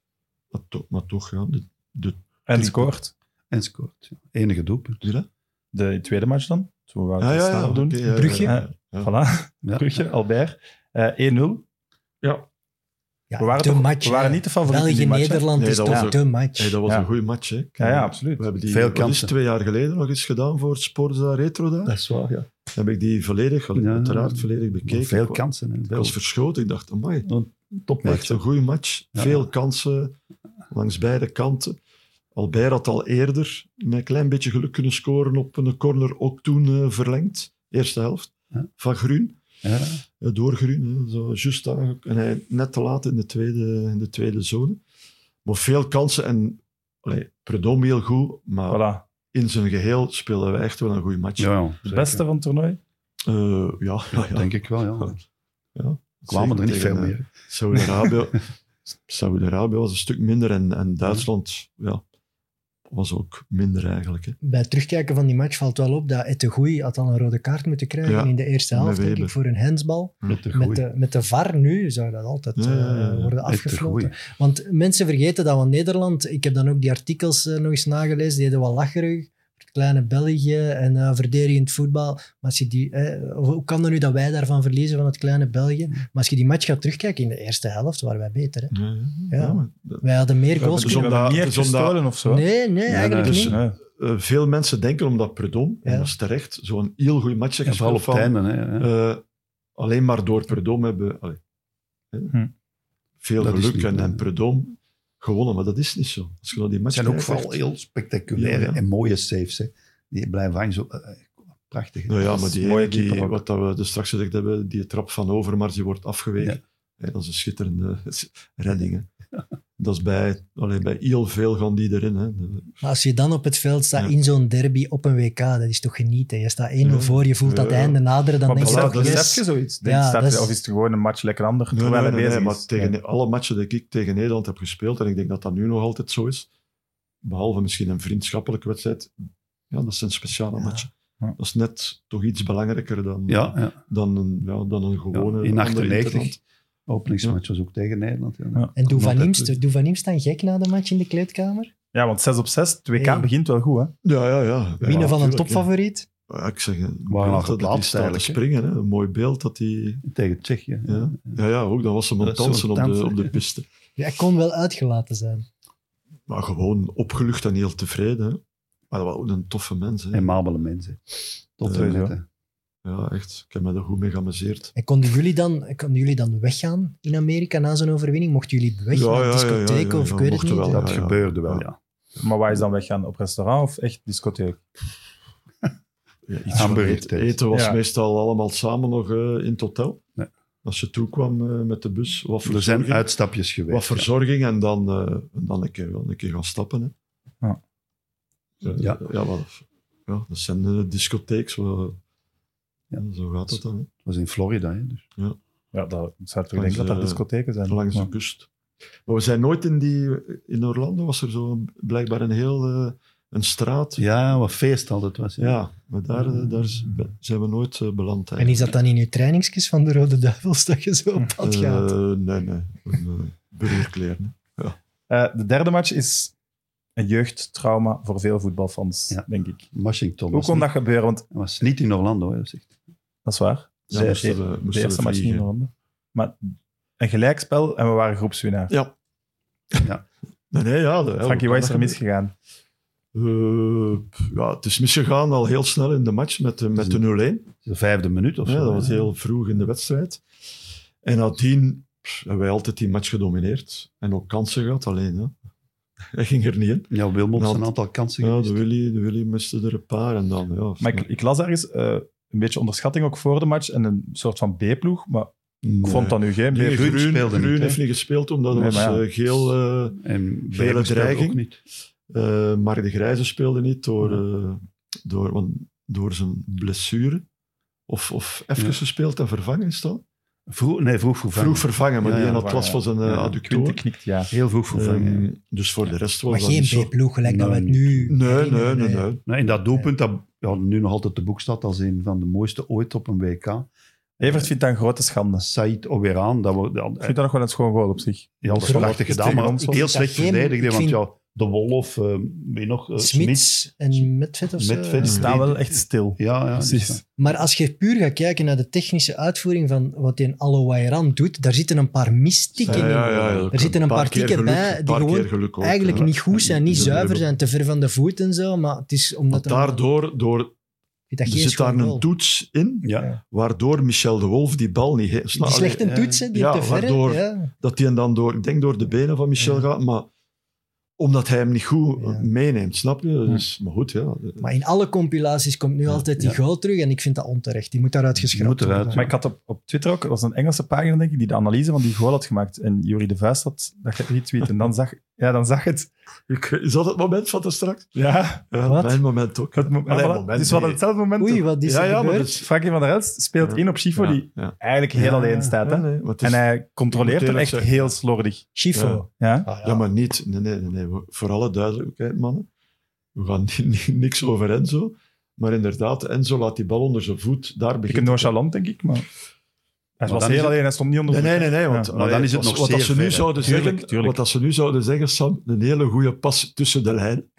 Speaker 4: Maar toch, maar toch ja, de, de,
Speaker 2: En scoort.
Speaker 3: en scoort. Ja. Enige doelpunt.
Speaker 4: doe je dat?
Speaker 2: De tweede match dan. Toen we het staan doen.
Speaker 4: oké, Ah, ja,
Speaker 5: Brugge.
Speaker 4: ja, ja. Ja.
Speaker 2: Voilà.
Speaker 3: Ja.
Speaker 2: Brugge, Albert. Eh, 1-0.
Speaker 5: Ja,
Speaker 2: We waren,
Speaker 5: de
Speaker 2: toch,
Speaker 5: match.
Speaker 2: we waren
Speaker 5: hè.
Speaker 2: niet de favoriet in die match. hè?
Speaker 5: België-Nederland
Speaker 4: Nee,
Speaker 5: is
Speaker 4: dat
Speaker 5: toch
Speaker 4: was ook-
Speaker 5: de match.
Speaker 4: Hey, dat was
Speaker 2: Ja.
Speaker 4: een goede match, hè?
Speaker 2: Ja, ja,
Speaker 4: We
Speaker 2: absoluut.
Speaker 4: hebben die
Speaker 3: Veel
Speaker 4: wat is
Speaker 3: kansen.
Speaker 4: het, twee jaar geleden nog eens gedaan voor het Sportza Retro daar.
Speaker 3: is waar, ja.
Speaker 4: Heb ik die volledig,
Speaker 3: Ja,
Speaker 4: uiteraard
Speaker 3: ja.
Speaker 4: volledig bekeken.
Speaker 3: Veel
Speaker 4: Ik wa-
Speaker 3: kansen. Hè.
Speaker 4: Ik
Speaker 3: Veel
Speaker 4: was verschoten. Ik dacht, amai, echt
Speaker 3: topmatch.
Speaker 4: een goede match.
Speaker 3: Ja.
Speaker 4: Veel kansen langs beide kanten. Albert had al eerder met een klein beetje geluk kunnen scoren op een corner, ook toen eh, verlengd. Eerste helft
Speaker 3: Ja.
Speaker 4: van Groen.
Speaker 3: Ja.
Speaker 4: Ja, door Groen, hè, zo juist daar. En hij net te laat in de tweede, in de tweede zone. Maar veel kansen en allee, Predom heel goed, maar
Speaker 2: Voilà.
Speaker 4: in zijn geheel spelen wij echt wel een goede match.
Speaker 3: Ja, ja,
Speaker 2: Het
Speaker 3: zeker.
Speaker 2: beste van het toernooi.
Speaker 4: Eh, ja, ja, ja.
Speaker 3: Denk ik wel, ja.
Speaker 4: Ja,
Speaker 3: Kwamen er
Speaker 4: zeker
Speaker 3: niet veel
Speaker 4: tegen, eh,
Speaker 3: meer.
Speaker 4: Saudi-Arabië Saudi-Arabië was een stuk minder en, en Duitsland ja, was ook minder eigenlijk. Hè.
Speaker 5: Bij het terugkijken van die match valt wel op dat Ettegouy had al een rode kaart moeten krijgen
Speaker 4: Ja,
Speaker 5: in de eerste
Speaker 4: met
Speaker 5: helft, denk ik,
Speaker 4: Weber.
Speaker 5: voor een handsbal.
Speaker 3: Met de
Speaker 5: Met
Speaker 3: goeie.
Speaker 5: de, met de VAR nu zou dat altijd
Speaker 4: Ja, ja, ja,
Speaker 5: eh,
Speaker 4: ja.
Speaker 5: worden
Speaker 3: Met de
Speaker 5: afgefloten.
Speaker 3: goeie.
Speaker 5: Want mensen vergeten dat, want Nederland, ik heb dan ook die artikels eh, nog eens nagelezen, die deden wat lacherig. Het kleine België en eh, verdedigend voetbal. Maar als je die, eh, hoe kan dat nu dat wij daarvan verliezen van het kleine België?
Speaker 4: Mm.
Speaker 5: Maar als je die match gaat terugkijken, in de eerste helft waren wij beter. Hè?
Speaker 4: Ja, ja,
Speaker 5: Ja.
Speaker 4: ja, maar eh, dat-
Speaker 5: Wij hadden meer
Speaker 4: hebben
Speaker 5: goals.
Speaker 4: dus
Speaker 5: kunnen-
Speaker 4: om dat-
Speaker 2: meer
Speaker 4: dus om dat-
Speaker 2: gestolen of zo.
Speaker 5: Nee, nee, eigenlijk
Speaker 4: dus-
Speaker 5: niet.
Speaker 2: Nee.
Speaker 4: eh, veel mensen denken omdat Predom,
Speaker 5: Ja.
Speaker 4: en dat is terecht, zo'n heel goede match heeft
Speaker 3: Ja, vooral op
Speaker 4: gespeeld van-
Speaker 3: tijden. Hè. Ja.
Speaker 4: Eh, alleen maar door Predom hebben we allee, hè,
Speaker 2: Hm.
Speaker 4: veel
Speaker 3: Dat is
Speaker 4: geluk
Speaker 3: niet,
Speaker 4: en,
Speaker 3: nee.
Speaker 4: en Predom gewonnen, maar dat is niet zo. Als je naar die
Speaker 3: Het
Speaker 4: match
Speaker 3: zijn ook
Speaker 4: kijkt,
Speaker 3: vooral
Speaker 4: echt-
Speaker 3: heel spectaculaire
Speaker 4: Ja, ja.
Speaker 3: en mooie saves. Hè. Die blijven hangen. Zo, eh, prachtig. hè.
Speaker 4: Nou ja,
Speaker 3: Dat
Speaker 4: maar
Speaker 3: is
Speaker 4: die,
Speaker 3: mooie
Speaker 4: ene die-
Speaker 3: keeper ook.
Speaker 4: wat dat we dus straks gezegd hebben, die trap van Overmars, die wordt afgeweken. Hè, dat is een schitterende redding. hè. Dat is bij, allee, bij heel veel gaan die erin. Hè.
Speaker 5: Maar als je dan op het veld staat
Speaker 4: Ja.
Speaker 5: in zo'n derby op een WK, dat is toch genieten. Je staat 1-0
Speaker 4: Ja.
Speaker 5: voor, je voelt dat
Speaker 4: Ja.
Speaker 5: einde naderen, dan
Speaker 2: Maar
Speaker 5: denk je
Speaker 2: besef,
Speaker 5: toch,
Speaker 4: dat
Speaker 2: besef
Speaker 5: yes.
Speaker 2: je zoiets?
Speaker 5: Ja,
Speaker 2: Denk, je, staat,
Speaker 5: dat is-
Speaker 2: Of is het gewoon een match lekker ander,
Speaker 4: Nee,
Speaker 2: terwijl
Speaker 4: nee,
Speaker 2: hij
Speaker 4: nee,
Speaker 2: bezig
Speaker 4: maar
Speaker 2: is?
Speaker 4: tegen
Speaker 2: Nee.
Speaker 4: alle matchen die ik tegen Nederland heb gespeeld, en ik denk dat dat nu nog altijd zo is, behalve misschien een vriendschappelijke wedstrijd, ja, dat zijn speciale
Speaker 5: Ja.
Speaker 4: matchen.
Speaker 2: Ja.
Speaker 4: Dat is net toch iets belangrijker dan,
Speaker 3: Ja, ja.
Speaker 4: dan, een, ja, dan een gewone...
Speaker 3: in
Speaker 4: ander
Speaker 3: 98.
Speaker 4: interland.
Speaker 3: Openingsmatch was ook tegen Nederland. Ja.
Speaker 2: Ja.
Speaker 5: En doe
Speaker 3: Nog
Speaker 5: van,
Speaker 3: altijd
Speaker 5: Imst,
Speaker 3: goed.
Speaker 5: doe van Imst dan gek na de match in de kleedkamer?
Speaker 2: Ja, want 6 op 6, het WK
Speaker 5: Nee.
Speaker 2: begint wel goed, hè?
Speaker 4: Ja, ja, ja.
Speaker 5: Winnen
Speaker 4: Ja,
Speaker 5: van een
Speaker 4: tuurlijk,
Speaker 5: topfavoriet?
Speaker 4: ja. Ja, Ik zeg, een
Speaker 3: al
Speaker 4: beeld dat hij
Speaker 3: geplaatst
Speaker 4: staat te
Speaker 3: eigenlijk, hè?
Speaker 4: springen. Hè. Een mooi beeld dat hij...
Speaker 3: Tegen Tsjechië.
Speaker 4: Ja. Ja, ja, ook. Dan was ze aan het
Speaker 3: Dat is
Speaker 4: dansen
Speaker 3: zo'n
Speaker 4: op de,
Speaker 3: dansen,
Speaker 4: op de
Speaker 3: ja.
Speaker 4: piste.
Speaker 5: Ja, hij kon wel uitgelaten zijn.
Speaker 4: Maar gewoon opgelucht en heel tevreden. hè. Maar dat was ook een toffe mens. Hè.
Speaker 3: En mabele mensen. Tot
Speaker 4: Eh,
Speaker 3: twee
Speaker 2: sowieso.
Speaker 3: netten.
Speaker 4: Ja, echt. Ik heb me daar goed mee geamuseerd.
Speaker 5: En konden jullie dan, konden jullie dan weggaan in Amerika na zo'n overwinning? Mochten jullie weg
Speaker 4: Ja,
Speaker 5: naar
Speaker 4: ja,
Speaker 5: een
Speaker 4: ja,
Speaker 5: discotheek
Speaker 4: ja, ja,
Speaker 5: of
Speaker 4: ja,
Speaker 5: ik weet het
Speaker 4: mochten
Speaker 5: niet?
Speaker 4: wel,
Speaker 5: hè?
Speaker 4: ja.
Speaker 3: Dat gebeurde wel, ja.
Speaker 2: Maar waar is dan weggaan? Op restaurant of echt discotheek?
Speaker 4: Ja, iets van
Speaker 3: Hamburger
Speaker 4: eten,
Speaker 3: tijd.
Speaker 4: eten was
Speaker 2: Ja.
Speaker 4: meestal allemaal samen nog eh, in het hotel.
Speaker 3: Ja.
Speaker 4: Als je toekwam eh, met de bus, wat
Speaker 3: Er zijn
Speaker 4: verzorging,
Speaker 3: uitstapjes
Speaker 4: wat
Speaker 3: geweest. ja.
Speaker 4: verzorging en dan, eh, en dan een, keer, wel een keer gaan stappen. Hè.
Speaker 2: Ja.
Speaker 4: Eh,
Speaker 3: Ja.
Speaker 4: ja. wat- ja, dat zijn eh, discotheeks. wat-
Speaker 3: Ja.
Speaker 4: ja, zo gaat dat dan. hè.
Speaker 3: Dat was in Florida. Hè, dus.
Speaker 2: Ja, dat ik zou toch
Speaker 4: Langs,
Speaker 2: denken dat dat
Speaker 4: eh,
Speaker 2: discotheken zijn.
Speaker 4: Langs
Speaker 2: Maar-
Speaker 4: de kust. Maar we zijn nooit in die... In Orlando was er zo blijkbaar een heel... eh, een straat. Ja,
Speaker 3: Ja, wat feest altijd was. Ja.
Speaker 4: maar daar, eh, daar is- zijn we nooit eh, beland.
Speaker 5: En is dat dan in je trainingskes van de Rode Duivels dat je zo op pad gaat?
Speaker 4: Eh, nee, nee. Een, eh, burgerkleren.
Speaker 2: Eh, de derde match is een jeugdtrauma voor veel voetbalfans,
Speaker 3: Ja.
Speaker 2: denk ik.
Speaker 3: Washington
Speaker 2: Hoe
Speaker 3: was,
Speaker 2: kon
Speaker 3: niet,
Speaker 2: dat gebeuren? Want
Speaker 3: was niet in Orlando. Hè, dat is echt-
Speaker 2: dat is waar.
Speaker 4: Ja,
Speaker 2: Zij-
Speaker 4: moesten
Speaker 2: de,
Speaker 4: we-
Speaker 2: de
Speaker 4: moesten
Speaker 2: eerste
Speaker 4: we
Speaker 2: match niet in
Speaker 4: vliegen.
Speaker 2: Londen. Maar een gelijkspel en we waren groepswinnaar.
Speaker 4: Ja.
Speaker 3: Ja.
Speaker 4: Nee, nee, ja. de-
Speaker 2: Frankie,
Speaker 4: ja,
Speaker 2: wat is er
Speaker 4: dat-
Speaker 2: misgegaan?
Speaker 4: Eh, ja, het is misgegaan al heel snel in de match met de, met de 0-1.
Speaker 3: De vijfde minuut of zo.
Speaker 4: Ja, dat
Speaker 3: hè.
Speaker 4: was heel vroeg in de wedstrijd. En nadien pff, hebben wij altijd die match gedomineerd. En ook kansen gehad, alleen. Ja. Hij ging er niet in.
Speaker 3: Ja, Wilmots
Speaker 4: Nou,
Speaker 3: een aantal kansen
Speaker 4: Ja,
Speaker 3: geweest.
Speaker 4: de Willy, de Willy miste er een paar. En dan, ja,
Speaker 2: Maar ik, ik las ergens eh, een beetje onderschatting ook voor de match en een soort van B-ploeg. Maar Ik vond dat nu geen
Speaker 4: Nee,
Speaker 2: meer.
Speaker 4: Groen,
Speaker 3: speelde
Speaker 4: Groen
Speaker 3: niet, hè?
Speaker 4: heeft niet gespeeld, omdat het
Speaker 2: Nee,
Speaker 4: was
Speaker 2: maar ja.
Speaker 4: eh, geel. eh,
Speaker 3: En
Speaker 4: Gele dreiging.
Speaker 3: ook niet.
Speaker 4: eh, maar de Grijze speelde niet door, eh, door, want door zijn blessure. Of, of even
Speaker 3: Ja.
Speaker 4: gespeeld en vervangen is dat?
Speaker 3: Vroeg, nee, vroeg vervangen.
Speaker 4: Vroeg vervangen, maar
Speaker 3: Ja,
Speaker 4: die
Speaker 3: ja,
Speaker 4: had last van zijn eh,
Speaker 3: Ja,
Speaker 4: adductor.
Speaker 2: Quinte knikt, ja.
Speaker 3: Heel vroeg vervangen. ja.
Speaker 4: Ehm, dus voor de rest was
Speaker 5: Maar
Speaker 4: dat
Speaker 5: geen
Speaker 4: niet zo.
Speaker 5: B-ploeg, gelijk dat we het
Speaker 3: Nee.
Speaker 5: nu...
Speaker 4: Nee, nee,
Speaker 5: herinneren,
Speaker 4: nee.
Speaker 5: hè.
Speaker 4: nee.
Speaker 3: Nou, in dat doelpunt, dat ja, nu nog altijd de boek staat als een van de mooiste ooit op een WK.
Speaker 2: Evert vindt dat een grote schande. Ik
Speaker 3: Said Oberaan, dat wordt dat, eh,
Speaker 2: vind dat nog wel een schoon goal op zich.
Speaker 3: ja, dat is
Speaker 5: Groot
Speaker 3: prachtig
Speaker 2: is
Speaker 3: gedaan, maar
Speaker 2: tegen ons,
Speaker 3: heel
Speaker 5: want-
Speaker 3: slecht
Speaker 5: Ik vind-
Speaker 3: verdedigd. hè,
Speaker 5: ik
Speaker 3: Want
Speaker 5: vind-
Speaker 3: ja, De Wolf, eh, wie nog? eh,
Speaker 5: Smits eh, en Medved of zo.
Speaker 3: Medved.
Speaker 2: Ze
Speaker 5: Ja.
Speaker 2: staan wel echt stil.
Speaker 3: Ja, ja,
Speaker 2: Precies.
Speaker 3: dus,
Speaker 5: Maar als je puur gaat kijken naar de technische uitvoering van wat die Alowairan doet, daar zitten een paar mistikken in.
Speaker 4: ook
Speaker 5: er zitten een paar,
Speaker 4: keer
Speaker 5: tikken
Speaker 4: geluk,
Speaker 5: bij
Speaker 4: een
Speaker 5: die
Speaker 4: paar keer
Speaker 5: gewoon
Speaker 4: geluk ook,
Speaker 5: eigenlijk
Speaker 4: ja.
Speaker 5: niet goed zijn, niet
Speaker 4: Ja,
Speaker 5: zuiver
Speaker 4: hebben-
Speaker 5: zijn, te ver van de voet en zo. Maar het is omdat
Speaker 4: Want daardoor door,
Speaker 5: er,
Speaker 4: er
Speaker 5: dat geen
Speaker 4: zit daar
Speaker 5: schoon
Speaker 4: een
Speaker 5: goal.
Speaker 4: toets in,
Speaker 3: ja.
Speaker 5: Ja.
Speaker 4: waardoor Michel de Wolf die bal niet heeft.
Speaker 5: Die slechte
Speaker 3: Allee, eh,
Speaker 5: toetsen, die
Speaker 4: ja,
Speaker 5: te ver.
Speaker 4: waardoor-
Speaker 5: Ja.
Speaker 4: Dat hij dan door, ik denk door de benen van Michel
Speaker 5: Ja.
Speaker 4: gaat, maar omdat hij hem niet goed eh,
Speaker 5: Ja.
Speaker 4: meeneemt, snap je? Dus, maar goed, ja.
Speaker 5: Maar in alle compilaties komt nu altijd die goal terug en ik vind dat onterecht. Die moet daaruit geschrapt
Speaker 3: moet eruit,
Speaker 5: worden.
Speaker 2: Maar ik had op, op Twitter ook, er was een Engelse pagina, denk ik, die de analyse van die goal had gemaakt. En Jury de Vuist had dat retweet. En dan zag, ja, dan zag het.
Speaker 4: Ik- is dat het moment van daar straks?
Speaker 2: Ja,
Speaker 4: Ja,
Speaker 5: Wat?
Speaker 4: Mijn moment ook.
Speaker 2: het, mo-
Speaker 4: Allee,
Speaker 2: voilà.
Speaker 4: moment,
Speaker 2: dus we hadden
Speaker 4: nee.
Speaker 2: hetzelfde moment.
Speaker 5: Oei, wat is
Speaker 4: ja,
Speaker 5: er
Speaker 4: ja, maar
Speaker 5: gebeurd?
Speaker 4: dat is...
Speaker 2: Frankie van der Elst speelt
Speaker 4: Ja.
Speaker 2: in op Schifo, die
Speaker 4: Ja, ja.
Speaker 2: eigenlijk heel
Speaker 3: Ja,
Speaker 2: alleen staat. Hè?
Speaker 4: Ja, nee, maar het is-
Speaker 2: En hij controleert
Speaker 4: Ik moet
Speaker 2: hem echt
Speaker 4: eerlijk zeggen.
Speaker 2: heel slordig.
Speaker 5: Schifo.
Speaker 4: Ja.
Speaker 2: Ja?
Speaker 5: Ah, ja.
Speaker 4: Ja, maar niet. Nee, nee, nee, nee. We- Voor alle duidelijkheid, mannen. We gaan ni- ni- niks over Enzo. Maar inderdaad, Enzo laat die bal onder zijn voet. Daar
Speaker 2: Ik heb
Speaker 4: begint
Speaker 2: nonchalant, denk ik, maar... Hij
Speaker 3: dan
Speaker 2: was
Speaker 3: is
Speaker 2: heel
Speaker 3: het-
Speaker 2: alleen, hij stond niet onder
Speaker 4: Nee, nee, nee, nee, want
Speaker 2: Ja,
Speaker 3: maar dan
Speaker 4: allee,
Speaker 3: is het
Speaker 4: als-
Speaker 3: nog
Speaker 4: wat
Speaker 3: zeer
Speaker 4: als ze nu
Speaker 3: ver, hè.
Speaker 4: zouden
Speaker 2: Tuurlijk,
Speaker 4: zeggen,
Speaker 2: tuurlijk.
Speaker 4: Wat als ze nu zouden zeggen, Sam, een hele goede pas tussen de lijnen.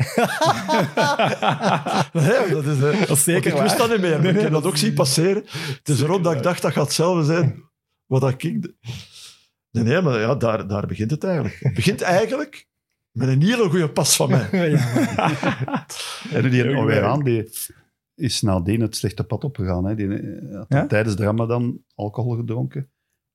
Speaker 4: Nee, dat is, eh,
Speaker 2: Dat is
Speaker 4: want
Speaker 2: zeker
Speaker 4: ik
Speaker 2: waar.
Speaker 4: wist dat niet meer, maar
Speaker 2: Nee,
Speaker 4: ik
Speaker 2: nee,
Speaker 4: heb dat
Speaker 2: dat
Speaker 4: ook zien passeren. Het is erop dat ik dacht, dat gaat hetzelfde zijn wat dat ik... Nee, nee, maar ja, daar, daar begint het eigenlijk. Het begint eigenlijk met een hele goede pas van mij.
Speaker 5: Ja, maar-
Speaker 3: En die
Speaker 2: Heel
Speaker 3: Oberaan, die is nadien het slechte pad opgegaan. Hè. Die eh, had
Speaker 2: Ja?
Speaker 3: dan tijdens de ramadan alcohol gedronken.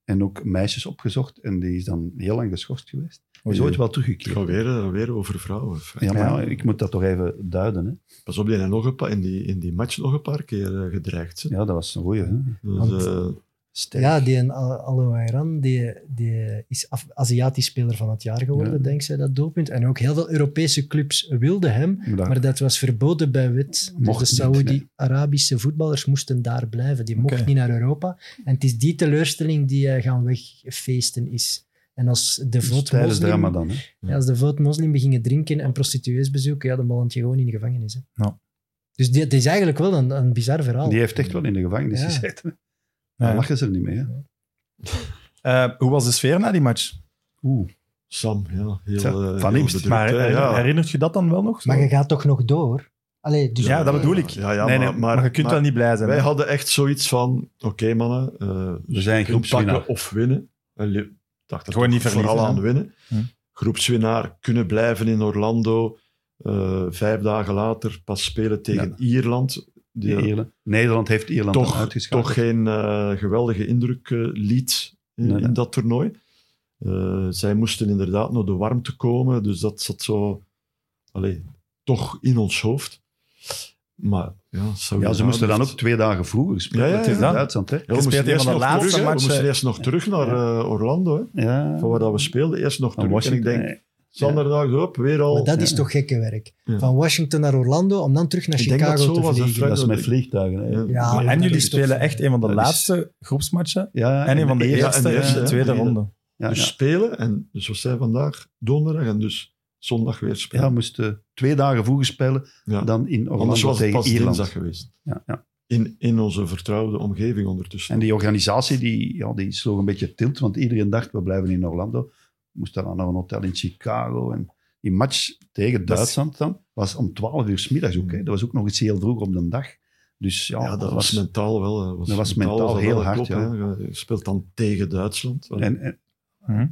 Speaker 3: En ook meisjes opgezocht. En die is dan heel lang geschorst geweest. Hij is ooit wel
Speaker 4: Ik
Speaker 3: teruggekeerd.
Speaker 4: ga weer, eh, weer over vrouwen.
Speaker 3: Ja, maar
Speaker 2: Ja.
Speaker 3: ja, ik moet dat toch even duiden. Hè.
Speaker 4: Pas op, die heeft nog een paar, in, die, in die match nog een paar keer eh, gedreigd. hè.
Speaker 3: Ja, dat was een goeie. Hè.
Speaker 4: Dus, eh,
Speaker 3: Sterk.
Speaker 5: ja die en Al- Alowairan, die, die is Af- Aziatisch speler van het jaar geworden,
Speaker 3: Ja.
Speaker 5: dankzij dat doelpunt. En ook heel veel Europese clubs wilden hem,
Speaker 3: Maar dat-
Speaker 5: maar dat was verboden bij wet. Dus
Speaker 3: Mocht
Speaker 5: de
Speaker 3: niet,
Speaker 5: Saoedi-Arabische voetballers moesten daar blijven. Die mochten
Speaker 2: Oké.
Speaker 5: niet naar Europa. En het is die teleurstelling die eh, gaan wegfeesten is. En als de
Speaker 3: Dus
Speaker 5: vlot
Speaker 3: tijdens de
Speaker 5: moslim,
Speaker 3: ramadan. Hè.
Speaker 5: ja, als de vlot moslim begingen drinken en prostituees bezoeken, ja, dan beland je gewoon in de gevangenis. Hè.
Speaker 2: Ja.
Speaker 5: Dus dit is eigenlijk wel een, een bizar verhaal.
Speaker 3: Die heeft echt wel in de gevangenis
Speaker 5: Ja.
Speaker 3: gezeten.
Speaker 2: Ja.
Speaker 3: Dan lachen ze er niet mee. Hè.
Speaker 2: Eh, hoe was de sfeer na die match?
Speaker 3: Oeh.
Speaker 4: Sam, ja. Heel,
Speaker 3: Tja,
Speaker 4: eh, heel
Speaker 3: Van Imst,
Speaker 4: bedrukt,
Speaker 2: Maar
Speaker 4: hè,
Speaker 2: her-
Speaker 4: eh, ja.
Speaker 2: herinnert je dat dan wel nog? Zo?
Speaker 5: Maar je gaat toch nog door? Allee, dus
Speaker 2: Ja, dat bedoel ik.
Speaker 4: Ja, ja,
Speaker 2: nee, nee,
Speaker 4: maar,
Speaker 2: maar, je kunt
Speaker 4: maar
Speaker 2: wel niet blij zijn.
Speaker 4: Wij
Speaker 2: hè?
Speaker 4: hadden echt zoiets van: oké, mannen, eh
Speaker 2: Dus
Speaker 3: We zijn groepswinnaar.
Speaker 4: pakken of winnen. En li- dacht dat
Speaker 2: Gewoon
Speaker 4: ook
Speaker 2: niet verliezen,
Speaker 4: Vooral
Speaker 2: hè?
Speaker 4: aan winnen.
Speaker 2: Hm.
Speaker 4: Groepswinnaar kunnen blijven in Orlando. Eh, vijf dagen later pas spelen tegen Ierland. Die
Speaker 3: Die Ierland. Nederland heeft Ierland
Speaker 4: toch,
Speaker 3: dan uitgeschakeld.
Speaker 4: toch geen eh, geweldige indruk eh, liet in,
Speaker 3: Nee, nee.
Speaker 4: in dat toernooi. Eh, zij moesten inderdaad naar de warmte komen, dus dat zat zo allee, toch in ons hoofd. Maar ja,
Speaker 3: ja, ze moesten dan ook
Speaker 4: Ja,
Speaker 3: twee dagen vroeger spelen.
Speaker 4: Ja, ja,
Speaker 3: Het is
Speaker 2: ja.
Speaker 3: Duitsland, hè?
Speaker 4: we
Speaker 2: Je
Speaker 4: moesten
Speaker 2: speelt een
Speaker 4: eerst
Speaker 2: van de
Speaker 4: nog
Speaker 2: laatste
Speaker 4: terug, hè. We
Speaker 2: matchen.
Speaker 4: moesten eerst nog terug naar eh, Orlando, hè,
Speaker 3: Ja.
Speaker 4: van waar dat we speelden. Eerst nog
Speaker 3: Dan
Speaker 4: terug. En ik
Speaker 3: Washington,
Speaker 4: denk, zanderdag op, weer
Speaker 5: Maar
Speaker 4: al.
Speaker 5: dat is
Speaker 3: Ja.
Speaker 5: toch gekke werk.
Speaker 4: Ja.
Speaker 5: Van Washington naar Orlando om dan terug naar
Speaker 4: Ik denk dat
Speaker 5: Chicago
Speaker 4: zo
Speaker 5: te
Speaker 4: was, hè,
Speaker 5: vliegen.
Speaker 4: Frank.
Speaker 3: Dat is met vliegtuigen. Hè.
Speaker 4: Ja.
Speaker 5: Ja,
Speaker 2: Maar
Speaker 5: maar
Speaker 2: en
Speaker 5: dat
Speaker 2: jullie
Speaker 5: is toch-
Speaker 2: spelen echt een van de
Speaker 3: dat is-
Speaker 2: laatste groepsmatchen
Speaker 3: Ja,
Speaker 2: en een van de
Speaker 4: en de
Speaker 2: eerste en de
Speaker 4: eerste, hè.
Speaker 2: tweede
Speaker 4: Tweede.
Speaker 2: ronde.
Speaker 3: Ja,
Speaker 4: dus
Speaker 3: ja.
Speaker 4: spelen, en dus we zijn vandaag donderdag en dus zondag weer spelen.
Speaker 3: Ja, moesten twee dagen vroeger spelen
Speaker 4: Ja.
Speaker 3: dan in
Speaker 4: Anders
Speaker 3: Orlando
Speaker 4: was het
Speaker 3: tegen
Speaker 4: pas dinsdag
Speaker 3: Ierland.
Speaker 4: geweest.
Speaker 3: Ja, ja.
Speaker 4: In, in onze vertrouwde omgeving ondertussen.
Speaker 3: En die organisatie die, ja, die sloeg een beetje tilt, want iedereen dacht we blijven in Orlando. Moest dan naar een hotel in Chicago. En die match tegen Duitsland dan was om 12 uur 's middags ook. Hè. Dat was ook nog eens heel vroeg op de dag. Dus ja,
Speaker 4: Hmm. ja, dat, was mentaal wel. eh, Was
Speaker 3: dat was mentaal
Speaker 4: wel
Speaker 3: heel
Speaker 4: een
Speaker 3: hard,
Speaker 4: klop,
Speaker 3: ja.
Speaker 4: hè. Je speelt dan tegen Duitsland.
Speaker 3: En, en,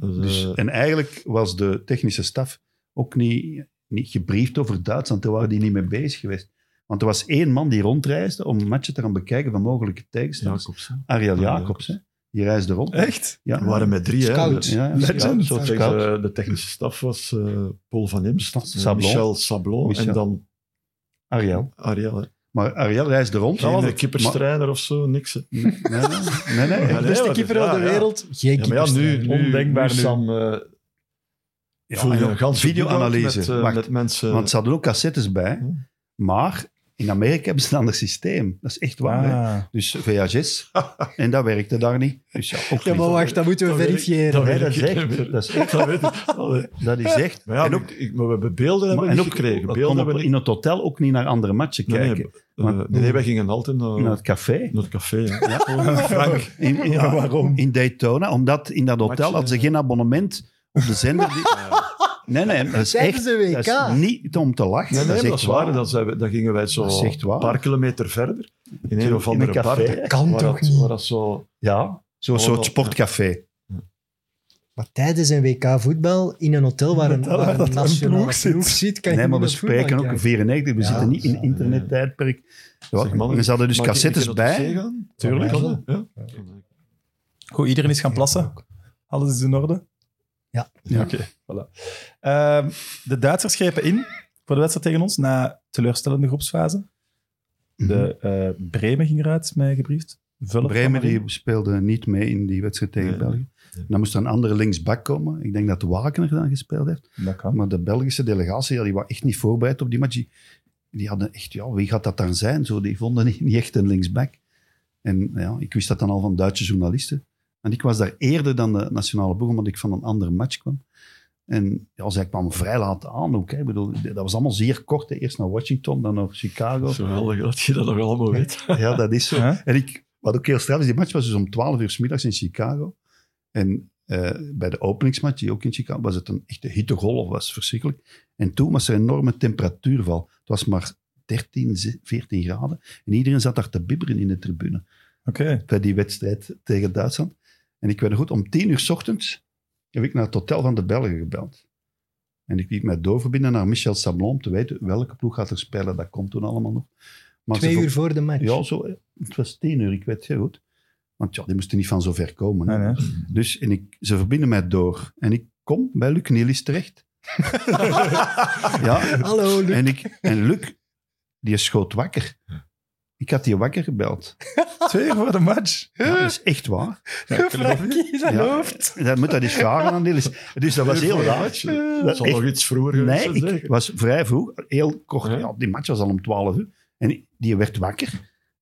Speaker 4: Dus, eh,
Speaker 3: dus, en eigenlijk was de technische staf ook niet, niet gebriefd over Duitsland. Daar waren die niet mee bezig geweest. Want er was één man die rondreisde om matchen te gaan bekijken van mogelijke tegenstanders.
Speaker 4: Jacobs, hè.
Speaker 3: Ariel
Speaker 4: Ariel
Speaker 3: Jacobs, hè. die reisde rond.
Speaker 2: Echt?
Speaker 3: Ja,
Speaker 4: We waren met drie. hè.
Speaker 5: Scout.
Speaker 4: De-
Speaker 3: Ja, ja.
Speaker 4: Ja,
Speaker 2: Legend.
Speaker 4: zo tegen,
Speaker 3: Scout.
Speaker 4: eh, de technische staf was eh, Paul van Imst,
Speaker 3: Sablon.
Speaker 4: Michel Sablon
Speaker 3: Michel.
Speaker 4: en dan
Speaker 3: Ariel.
Speaker 4: Ariel. hè.
Speaker 3: Maar Ariel reisde rond.
Speaker 4: Geen
Speaker 3: Maar-
Speaker 4: een kipperstrijder of zo, niks. hè.
Speaker 3: Nee, nee, nee.
Speaker 4: Ja, nee,
Speaker 5: Beste
Speaker 4: maar
Speaker 5: keeper
Speaker 4: dus, ja,
Speaker 5: van de
Speaker 4: ja.
Speaker 5: wereld, geen
Speaker 4: Ja, maar ja, nu,
Speaker 5: keeper.
Speaker 4: nu,
Speaker 2: Ondenkbaar
Speaker 4: nu,
Speaker 2: nu.
Speaker 4: Sam, eh,
Speaker 3: Ja,
Speaker 4: voel je
Speaker 3: en
Speaker 4: een
Speaker 3: ook
Speaker 4: ganse
Speaker 3: videoanalyse.
Speaker 4: boekhoud Met, eh,
Speaker 3: Wacht,
Speaker 4: met mensen.
Speaker 3: Want ze hadden ook cassettes bij. Maar in Amerika hebben ze een ander systeem. Dat is echt waar. hè.
Speaker 2: Ah.
Speaker 3: Dus VHS. en dat werkte daar niet. Dus ja, ook
Speaker 5: Ja,
Speaker 3: niet.
Speaker 5: maar wacht, dat moeten we
Speaker 4: Dat weet ik-
Speaker 5: verifiëren.
Speaker 3: Nee,
Speaker 4: weet
Speaker 3: dat
Speaker 4: ik
Speaker 3: is
Speaker 4: niet
Speaker 3: echt.
Speaker 4: meer.
Speaker 3: Dat is echt.
Speaker 4: Dat weet ik. Allee.
Speaker 3: Dat is echt.
Speaker 4: Maar, ja,
Speaker 3: en ook,
Speaker 4: ik- ik- maar we hebben
Speaker 3: maar-
Speaker 4: beelden hebben we
Speaker 3: en
Speaker 4: niet
Speaker 3: ook
Speaker 4: gekregen.
Speaker 3: dat
Speaker 4: Beelden
Speaker 3: kon
Speaker 4: hebben
Speaker 3: op,
Speaker 4: we
Speaker 3: in het hotel ook niet naar andere matchen
Speaker 4: Nee, nee,
Speaker 3: kijken.
Speaker 4: niet- eh,
Speaker 3: want-
Speaker 4: nee, nee, wij gingen altijd naar,
Speaker 3: Naar het café.
Speaker 4: naar het café. Ja.
Speaker 3: Ja. Frank. In, in-
Speaker 2: Ja, waarom?
Speaker 3: In Daytona. Omdat in dat hotel
Speaker 4: Matchen,
Speaker 3: hadden ze
Speaker 4: eh.
Speaker 3: geen abonnement op de zender. Die... Nee, nee. Dat is
Speaker 5: Tijdens
Speaker 3: echt.
Speaker 5: de WK.
Speaker 3: Dat is niet om te lachen.
Speaker 4: Nee, nee, maar
Speaker 3: dat is echt waar.
Speaker 4: Dan, zijn we, dan gingen wij zo
Speaker 3: Dat is echt waar.
Speaker 4: een paar kilometer verder. In een
Speaker 3: In
Speaker 4: of andere
Speaker 3: een café.
Speaker 4: bar.
Speaker 5: Kan
Speaker 4: Waar
Speaker 5: toch
Speaker 4: dat,
Speaker 5: niet?
Speaker 4: waar dat zo...
Speaker 3: Ja. Zo'n
Speaker 4: Allemaal,
Speaker 3: soort sportcafé.
Speaker 5: Maar tijdens een WK voetbal in een hotel waar een,
Speaker 2: Hotel
Speaker 5: waar
Speaker 2: waar
Speaker 5: een
Speaker 2: dat een
Speaker 5: nationale
Speaker 2: ploeg zit.
Speaker 5: ploeg zit, kan je
Speaker 3: Nee, maar
Speaker 5: niet
Speaker 3: we
Speaker 5: naar voetbal
Speaker 3: spreken ook
Speaker 5: kijken.
Speaker 3: 94. We
Speaker 5: Ja,
Speaker 3: zitten niet
Speaker 5: ja,
Speaker 3: in
Speaker 5: ja.
Speaker 3: internettijdperk. Ja,
Speaker 4: Zeg, mannen,
Speaker 3: en ze hadden dus
Speaker 4: mag ik-
Speaker 3: cassettes
Speaker 4: ik in het café
Speaker 3: bij.
Speaker 4: gaan?
Speaker 2: Tuurlijk.
Speaker 4: Kan dat? Ja.
Speaker 2: Goed, iedereen is gaan plassen. Alles is in orde?
Speaker 5: Ja.
Speaker 3: Ja.
Speaker 2: Oké, voilà. Ehm, de Duitsers grepen in voor de wedstrijd tegen ons na teleurstellende groepsfase.
Speaker 3: Mhm.
Speaker 2: De eh, Bremen ging eruit, mij gebriefd. Vullen
Speaker 3: Bremen die speelde niet mee in die wedstrijd tegen
Speaker 4: Nee.
Speaker 3: België.
Speaker 4: Nee.
Speaker 3: Dan moest er een andere linksback komen. Ik denk dat Wagener dan gespeeld heeft.
Speaker 2: Dat kan.
Speaker 3: Maar de Belgische delegatie ja, die was echt niet voorbereid op die match. Die, die hadden echt, ja, wie gaat dat dan zijn? Zo, die vonden niet, niet echt een linksback. En ja, ik wist dat dan al van Duitse journalisten. En ik was daar eerder dan de nationale ploeg, omdat ik van een andere match kwam. En ja, zij kwam vrij laat aan ook. Hè. Ik bedoel, dat was allemaal zeer kort. hè. Eerst naar Washington, dan naar Chicago.
Speaker 4: Dat is geweldig dat je dat nog allemaal weet.
Speaker 3: Ja, dat is zo.
Speaker 2: Huh?
Speaker 3: En ik, wat ook heel straf is, die match was dus om 12 uur 's middags in Chicago. En eh, bij de openingsmatch, die ook in Chicago, was het een echte hittegolf, was verschrikkelijk. En toen was er een enorme temperatuurval. Het was maar 13, ze- 14 graden. En iedereen zat daar te bibberen in de tribune
Speaker 2: Oké.
Speaker 3: bij die wedstrijd tegen Duitsland. En ik weet nog goed, om 10 uur 's ochtends heb ik naar het hotel van de Belgen gebeld. En ik liet mij doorverbinden naar Michel Sablon om te weten welke ploeg gaat er spelen. Dat komt toen allemaal nog. Maar ze
Speaker 5: Twee
Speaker 3: vond-
Speaker 5: uur voor de match.
Speaker 3: ja, zo, eh, het was tien uur, ik weet het heel goed. Want ja, die moesten niet van zo ver komen. hè.
Speaker 2: Nee, nee.
Speaker 3: Dus en ik, ze verbinden mij door. En ik kom bij Luc Nielis terecht. ja,
Speaker 5: Hallo, Luc.
Speaker 3: en, ik, en Luc, die schoot wakker. Ik had die wakker gebeld.
Speaker 2: Twee uur voor de match.
Speaker 3: Ja, dat is echt waar.
Speaker 5: Frankie, dat
Speaker 3: Ja.
Speaker 5: hoofd.
Speaker 3: Dat moet dat eens vragen aan Nielis. Dus dat was heel raar.
Speaker 4: Dat
Speaker 3: Dat
Speaker 4: zal
Speaker 3: echt-
Speaker 4: nog iets vroeger geweest
Speaker 3: Nee,
Speaker 4: zijn,
Speaker 3: ik
Speaker 4: zeker?
Speaker 3: was vrij vroeg, heel kort.
Speaker 4: Ja.
Speaker 3: Ja, die match was al om 12 uur. En ik- die werd wakker.